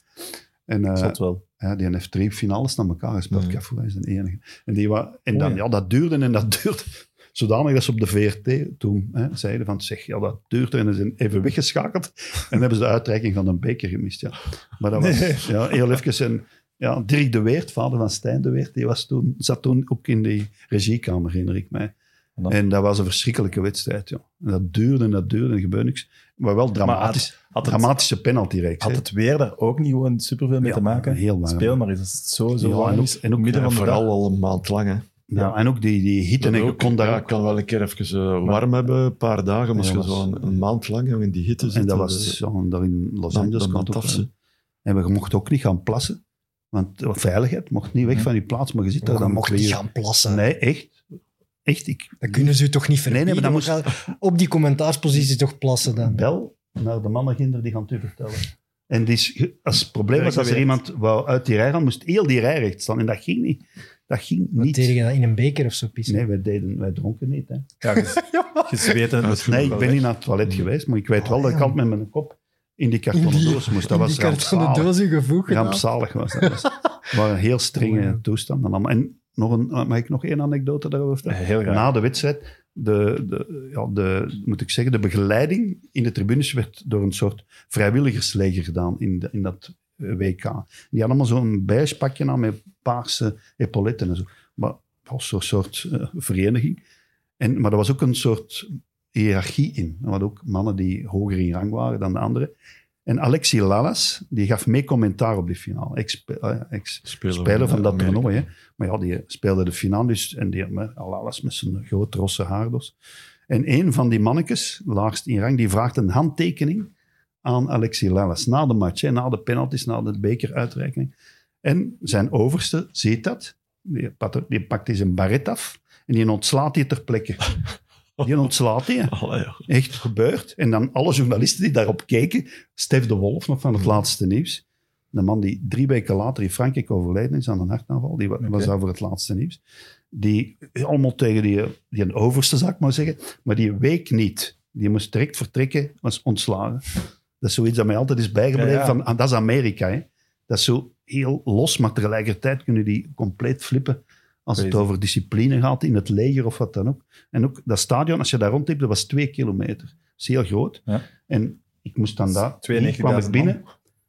Speaker 3: En eh,
Speaker 2: Zot wel.
Speaker 3: ja, die heeft drie finales naar elkaar gespeeld.
Speaker 2: Mm.
Speaker 4: Ja.
Speaker 3: Cafu is de enige. En, die wa- en
Speaker 2: Oh,
Speaker 3: dan,
Speaker 2: ja.
Speaker 3: ja. dat duurde en dat duurde. Zodanig dat ze op de VRT toen hè, zeiden van, zeg, ja, dat duurde. En ze zijn even weggeschakeld. En hebben ze de uitreiking van een beker gemist, ja. Maar dat was
Speaker 2: Nee.
Speaker 3: ja, heel even... En, ja, Dirk de Weert, vader van Stijn de Weert, die was toen, zat toen ook in die regiekamer, herinner ik mij.
Speaker 2: En dan-
Speaker 3: En dat was een verschrikkelijke wedstrijd, ja. En dat duurde en dat duurde en er gebeurde niks. Maar wel dramatisch,
Speaker 2: Had het,
Speaker 3: dramatische penaltyreeks.
Speaker 2: had
Speaker 3: hè.
Speaker 2: het weer daar ook niet gewoon superveel mee
Speaker 3: Ja,
Speaker 2: te maken?
Speaker 3: heel warm.
Speaker 2: Speel maar eens. als het Zo, zo
Speaker 3: Ja,
Speaker 2: warm
Speaker 3: en ook- eh,
Speaker 2: is.
Speaker 3: en ook-
Speaker 2: midden
Speaker 4: Ja,
Speaker 2: van de
Speaker 4: vooral
Speaker 2: dag.
Speaker 4: al een maand lang. Hè.
Speaker 3: Ja, en ook die, die hitte en
Speaker 4: Dat
Speaker 3: je
Speaker 4: ook,
Speaker 3: kon daar
Speaker 4: ja,
Speaker 3: ook
Speaker 4: kan wel een keer even eh, warm hebben, een paar dagen, maar
Speaker 3: Ja,
Speaker 4: als je
Speaker 3: dat
Speaker 4: zo
Speaker 3: is-
Speaker 4: een, een maand lang hè, in die hitte zit,
Speaker 3: En dat
Speaker 4: dan,
Speaker 3: was
Speaker 4: eh,
Speaker 3: ja, daar in Los
Speaker 4: dan-
Speaker 3: Angeles.
Speaker 4: dan
Speaker 3: kon het ook,
Speaker 4: mataf ze.
Speaker 3: hè. en we mochten ook niet gaan plassen. Want eh, veiligheid mocht niet weg van die plaats, maar je zit daar
Speaker 5: Dan
Speaker 3: dan
Speaker 5: mocht
Speaker 3: twee
Speaker 5: hij
Speaker 3: uur.
Speaker 5: gaan plassen.
Speaker 3: Nee, echt. Echt, ik
Speaker 5: Dat kunnen ze u toch niet
Speaker 3: Nee, nee,
Speaker 5: verbieden?
Speaker 3: maar dan
Speaker 5: dan Op die commentaarspositie toch plassen dan?
Speaker 3: bel naar de mannenginder, die gaan het u vertellen. En die is, ge- als het probleem was, als er
Speaker 2: Werk
Speaker 3: iemand wou uit die rij gaan, moest heel die rij recht staan. En dat ging niet. Dat ging
Speaker 5: Wat
Speaker 3: niet.
Speaker 5: deed je dan? In een beker of zo pissen?
Speaker 3: Nee, wij, deden, wij dronken niet. Hè.
Speaker 2: Ja, je, je zweet en het
Speaker 4: Ja, dus-
Speaker 2: is
Speaker 3: Nee,
Speaker 2: goed.
Speaker 3: ik ben niet naar het toilet geweest, maar ik weet wel dat ik altijd met mijn kop in die kartonnen
Speaker 5: Mm. Ah, In die-
Speaker 3: doos moest. Dat
Speaker 5: in
Speaker 3: was
Speaker 5: die kartonnen
Speaker 3: rampzalig.
Speaker 5: doos in gevoeg gedaan.
Speaker 3: Rampzalig was dat. Dat was- waren heel strenge
Speaker 5: Oh, ja.
Speaker 3: toestanden. allemaal. En nog een, eh, mag ik nog één anekdote daarover vertellen?
Speaker 2: Eh, Heel graag.
Speaker 3: Na de wedstrijd, de, de, ja, de, moet ik zeggen, de begeleiding in de tribunes werd door een soort vrijwilligersleger gedaan in, de- in dat eh, WK. Die hadden allemaal zo'n bijspakje aan met paarse epauletten en zo. Maar het was zo'n soort eh, vereniging. En, maar er was ook een soort hiërarchie in. Er waren ook mannen die hoger in rang waren dan de anderen. En Alexi Lalas, die gaf mee commentaar op die finale. Ex, eh, ex,
Speaker 4: Speler,
Speaker 3: speler van dat
Speaker 4: Amerika.
Speaker 3: toernooi. Hè. Maar ja, die speelde de finale dus, en die met alles met zijn grote rosse haardos. En een van die mannetjes, laagst in rang, die vraagt een handtekening aan Alexi Lalas. Na de match, hè, na de penalties, na de bekeruitreiking. En zijn overste ziet dat. Die, pat- die pakt die zijn baret af en die ontslaat die ter plekke. Die ontslaat die. hè.
Speaker 4: Allee, ja.
Speaker 3: Echt gebeurd. En dan alle journalisten die daarop keken. Stef de Wolf nog van het laatste nieuws. De man die drie weken later in Frankrijk overleden is aan een hartaanval. Die wa- was
Speaker 2: Oké.
Speaker 3: daar voor het laatste nieuws. Die allemaal tegen die, die een overste, zou ik maar zeggen. Maar die week niet. Die moest direct vertrekken, was ontslagen. Dat is zoiets dat mij altijd is bijgebleven.
Speaker 2: Ja, ja.
Speaker 3: Van, ah, dat is Amerika. Hè. Dat is zo heel los, maar tegelijkertijd kunnen die compleet flippen. Als het
Speaker 2: Crazy.
Speaker 3: over discipline gaat in het leger of wat dan ook. En ook dat stadion, als je daar rondliep, dat was twee kilometer. Dat is heel groot.
Speaker 2: Ja.
Speaker 3: En ik moest dan daar, hier
Speaker 2: 92.000
Speaker 3: kwam ik binnen.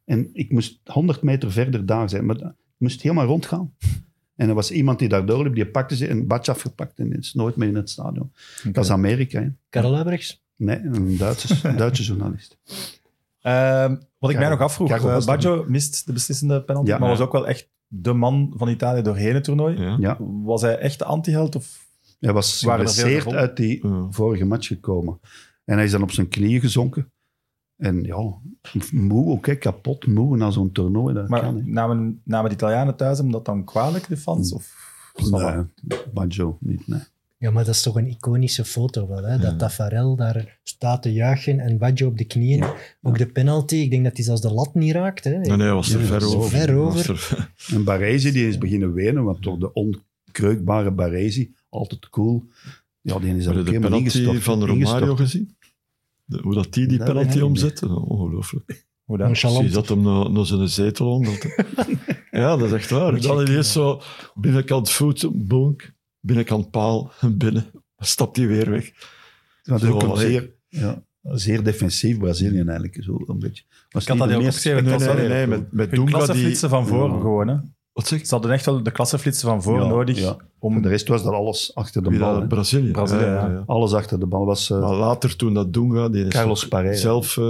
Speaker 3: En ik moest 100 meter verder daar zijn. Maar dat- ik moest helemaal rondgaan. En er was iemand die daar doorliep, die pakte ze en badje afgepakt en is nooit meer in het stadion. Dat is Amerika, hè?
Speaker 5: Karel Albrechts.
Speaker 3: Nee, een Duitse, Duitse journalist.
Speaker 2: Ehm, wat ik mij
Speaker 3: Karel-
Speaker 2: nog afvroeg,
Speaker 3: Karel
Speaker 2: eh,
Speaker 3: was dat
Speaker 2: Baggio mist de beslissende penalty,
Speaker 3: Ja.
Speaker 2: maar was ook wel echt de man van Italië doorheen het toernooi.
Speaker 4: Ja.
Speaker 3: Ja.
Speaker 2: Was hij echt de anti-held? Of...
Speaker 3: Hij was
Speaker 2: Waren er veel
Speaker 3: geblesseerd
Speaker 2: gevonden?
Speaker 3: uit die
Speaker 4: Ja.
Speaker 3: vorige match gekomen. En hij is dan op zijn knieën gezonken. En ja, moe ook, hè, kapot, moe na zo'n toernooi. Dat
Speaker 2: Maar
Speaker 3: kan, hè.
Speaker 2: namen, namen de Italianen thuis hem dat dan kwalijk, de
Speaker 3: Mm.
Speaker 2: fans? Of...
Speaker 3: Nee, Baggio niet, nee.
Speaker 5: Ja, maar dat is toch een iconische foto wel, hè?
Speaker 4: Ja.
Speaker 5: Dat Tafarel daar staat te juichen en Baggio op de knieën.
Speaker 3: Ja.
Speaker 5: Ook de penalty, ik denk dat hij zelfs de lat niet raakt. Hè?
Speaker 4: Nee, nee, hij was er
Speaker 3: Ja,
Speaker 4: ver
Speaker 3: zo
Speaker 4: over.
Speaker 5: ver
Speaker 4: Hij
Speaker 5: over.
Speaker 4: was er ver-
Speaker 3: En Baresi, die is beginnen wenen, want door de onkreukbare Baresi, altijd cool. Ja, die is er
Speaker 4: Heb je
Speaker 3: ook
Speaker 4: de
Speaker 3: helemaal
Speaker 4: penalty
Speaker 3: ingestort.
Speaker 4: van Romario
Speaker 3: ingestort.
Speaker 4: gezien? De- hoe dat die die
Speaker 3: Dat weet ik
Speaker 4: penalty
Speaker 3: niet
Speaker 4: omzet? Oh, Ongelooflijk.
Speaker 2: Hoe dan?
Speaker 4: Zie
Speaker 5: Nonchalant.
Speaker 4: dat hem naar, naar zijn zetel onder. ja, dat is echt waar.
Speaker 5: Moet je
Speaker 4: Dan
Speaker 5: kunnen.
Speaker 4: ineens zo binnenkant voet, bonk, binnenkant paal, binnen. Stapt hij weer weg.
Speaker 3: Dat is ook
Speaker 4: Zo,
Speaker 3: een
Speaker 4: hè.
Speaker 3: zeer, ja, zeer defensief Brazilië eigenlijk. Zo een beetje. Was
Speaker 2: Ik had dat
Speaker 3: niet de
Speaker 2: ook
Speaker 3: meest-
Speaker 2: opgeschreven,
Speaker 3: Nee,
Speaker 2: het was
Speaker 3: nee,
Speaker 2: wel
Speaker 3: nee,
Speaker 4: heel
Speaker 3: nee,
Speaker 4: cool.
Speaker 3: met-
Speaker 4: Met
Speaker 2: De
Speaker 4: Dunga die-
Speaker 2: klasseflitsen van voren
Speaker 3: Ja.
Speaker 2: gewoon. Hè.
Speaker 4: Wat zeg
Speaker 2: Ze hadden echt wel de klasseflitsen van voren
Speaker 3: Ja,
Speaker 2: nodig
Speaker 3: ja.
Speaker 2: om
Speaker 3: De rest was dat alles achter de
Speaker 4: Wie
Speaker 3: bal.
Speaker 4: dat?
Speaker 3: hè.
Speaker 4: Brazilië.
Speaker 2: Brazilië,
Speaker 4: Ja, ja,
Speaker 2: ja.
Speaker 4: ja.
Speaker 3: Alles achter de bal was... eh,
Speaker 4: Maar later toen dat Dunga, die is
Speaker 3: Carlos Parreira.
Speaker 4: zelf eh,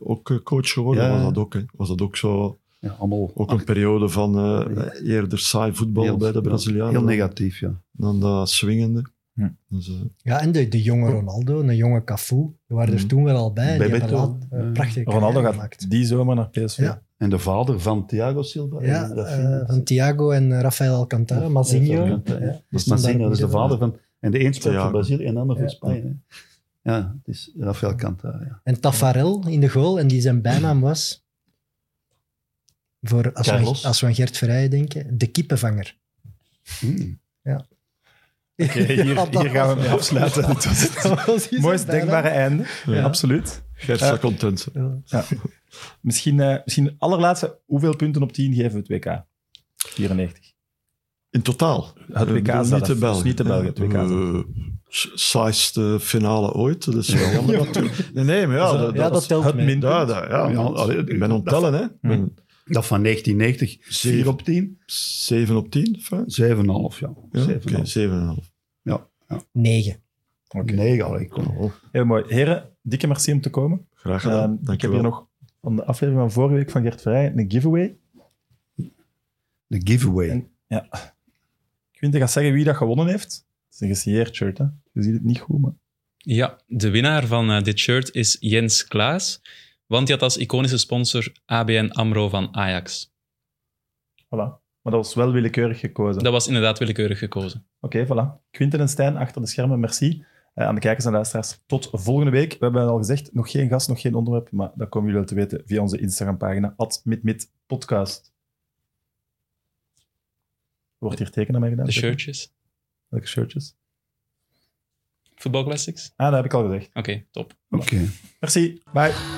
Speaker 4: ook eh, coach geworden,
Speaker 3: Ja.
Speaker 4: was, dat ook, hè. was dat ook zo.
Speaker 3: ja, allemaal
Speaker 4: Ook een periode van eh, eerder saai voetbal bij de Brazilianen.
Speaker 3: Heel
Speaker 4: dan-
Speaker 3: negatief, ja.
Speaker 4: Dan dat swingende.
Speaker 2: Hm.
Speaker 4: Dus, eh,
Speaker 5: Ja, en de, de jonge Ronaldo, de jonge Cafu, die waren er
Speaker 4: Mhm.
Speaker 5: toen wel al bij. Die hebben
Speaker 3: Oh. Mm. Bebeto.
Speaker 5: laat,
Speaker 3: Ja.
Speaker 5: een prachtige
Speaker 2: Ronaldo
Speaker 5: carrière
Speaker 2: gaat
Speaker 5: gemaakt.
Speaker 2: die zomer naar PSV.
Speaker 5: Ja.
Speaker 3: En de vader van Thiago Silva.
Speaker 5: Ja,
Speaker 3: en Rafinha.
Speaker 5: eh, van Thiago en eh, Rafael Alcantara, Mazinho.
Speaker 3: Ja,
Speaker 5: Ja,
Speaker 3: dat is
Speaker 5: die stonden
Speaker 3: Mazinho,
Speaker 5: daar
Speaker 3: dat is de
Speaker 5: midden.
Speaker 3: vader van... En de een speelt
Speaker 4: Thiago.
Speaker 3: voor Brazilië en de ander voor
Speaker 5: Ja.
Speaker 3: Spanje. hè. Ja, het is Rafael Cantara. Ja.
Speaker 5: En Tafarel in de goal, en die zijn bijnaam was, voor, als, we,
Speaker 3: Carlos.
Speaker 5: als we aan Gert Verheijen denken, de kippenvanger.
Speaker 3: Hmm.
Speaker 2: Oké, hier,
Speaker 5: Ja, dat
Speaker 2: hier gaan we mee afsluiten. Het was het mooist denkbare einde.
Speaker 4: Ja.
Speaker 2: Absoluut.
Speaker 4: Gert
Speaker 2: Eh,
Speaker 4: zou content zijn.
Speaker 2: Misschien, eh misschien het allerlaatste. Hoeveel punten op 10 geven we het WK? 94.
Speaker 4: In totaal.
Speaker 2: Het
Speaker 4: Eh,
Speaker 2: WK
Speaker 4: bedoel,
Speaker 2: is
Speaker 4: niet
Speaker 2: dat,
Speaker 4: de
Speaker 2: dus
Speaker 4: Belgen.
Speaker 2: niet de Belgen, het WK is
Speaker 4: Eh, s- saaiste finale ooit. Dat is wel jammer natuurlijk. Nee, nee, maar ja.
Speaker 5: Dus, eh,
Speaker 4: dat,
Speaker 5: ja, dat telt
Speaker 2: het
Speaker 5: mee.
Speaker 2: minpunt.
Speaker 4: ja, dat-
Speaker 3: Ja,
Speaker 4: ja, man.
Speaker 3: allee,
Speaker 4: ik ben onttellen, hè. Ik ben
Speaker 3: Dat van 1990, 4
Speaker 4: Zeven.
Speaker 3: op 10?
Speaker 4: 7 op 10, fijn.
Speaker 3: 7,5, ja.
Speaker 4: Ja,
Speaker 3: 7,5.
Speaker 4: oké, 7,5.
Speaker 5: Negen.
Speaker 3: Nee, allee, kom.
Speaker 4: Oh,
Speaker 2: Heel mooi. Heren, dikke merci om te komen.
Speaker 4: graag
Speaker 2: Ehm,
Speaker 4: gedaan.
Speaker 2: ik
Speaker 4: Dank je
Speaker 2: heb hier
Speaker 4: wel.
Speaker 2: nog van de aflevering van vorige week van Gert Vrij een giveaway.
Speaker 3: De giveaway.
Speaker 2: En- Quinte gaat zeggen wie dat gewonnen heeft. Het is een gesigneerd shirt, hè? Je ziet het niet goed, maar...
Speaker 6: Ja, de winnaar van eh, dit shirt is Jens Klaas. Want die had als iconische sponsor ABN AMRO van Ajax.
Speaker 2: Voilà. Maar dat was wel willekeurig gekozen.
Speaker 6: Dat was inderdaad willekeurig gekozen.
Speaker 2: Oké, voilà. Quinten en Stijn achter de schermen, merci. Eh, aan de kijkers en luisteraars, tot volgende week. We hebben al gezegd, nog geen gast, nog geen onderwerp, maar dat komen jullie wel te weten via onze Instagram-pagina, @mitmitpodcast. Wordt hier tekenen mij gedaan?
Speaker 6: De shirtjes.
Speaker 2: Welke shirtjes?
Speaker 6: Voetbalclassics.
Speaker 2: Ah, dat heb ik al gezegd.
Speaker 6: Oké, top.
Speaker 3: Oké.
Speaker 2: Merci, bye.
Speaker 1: Thank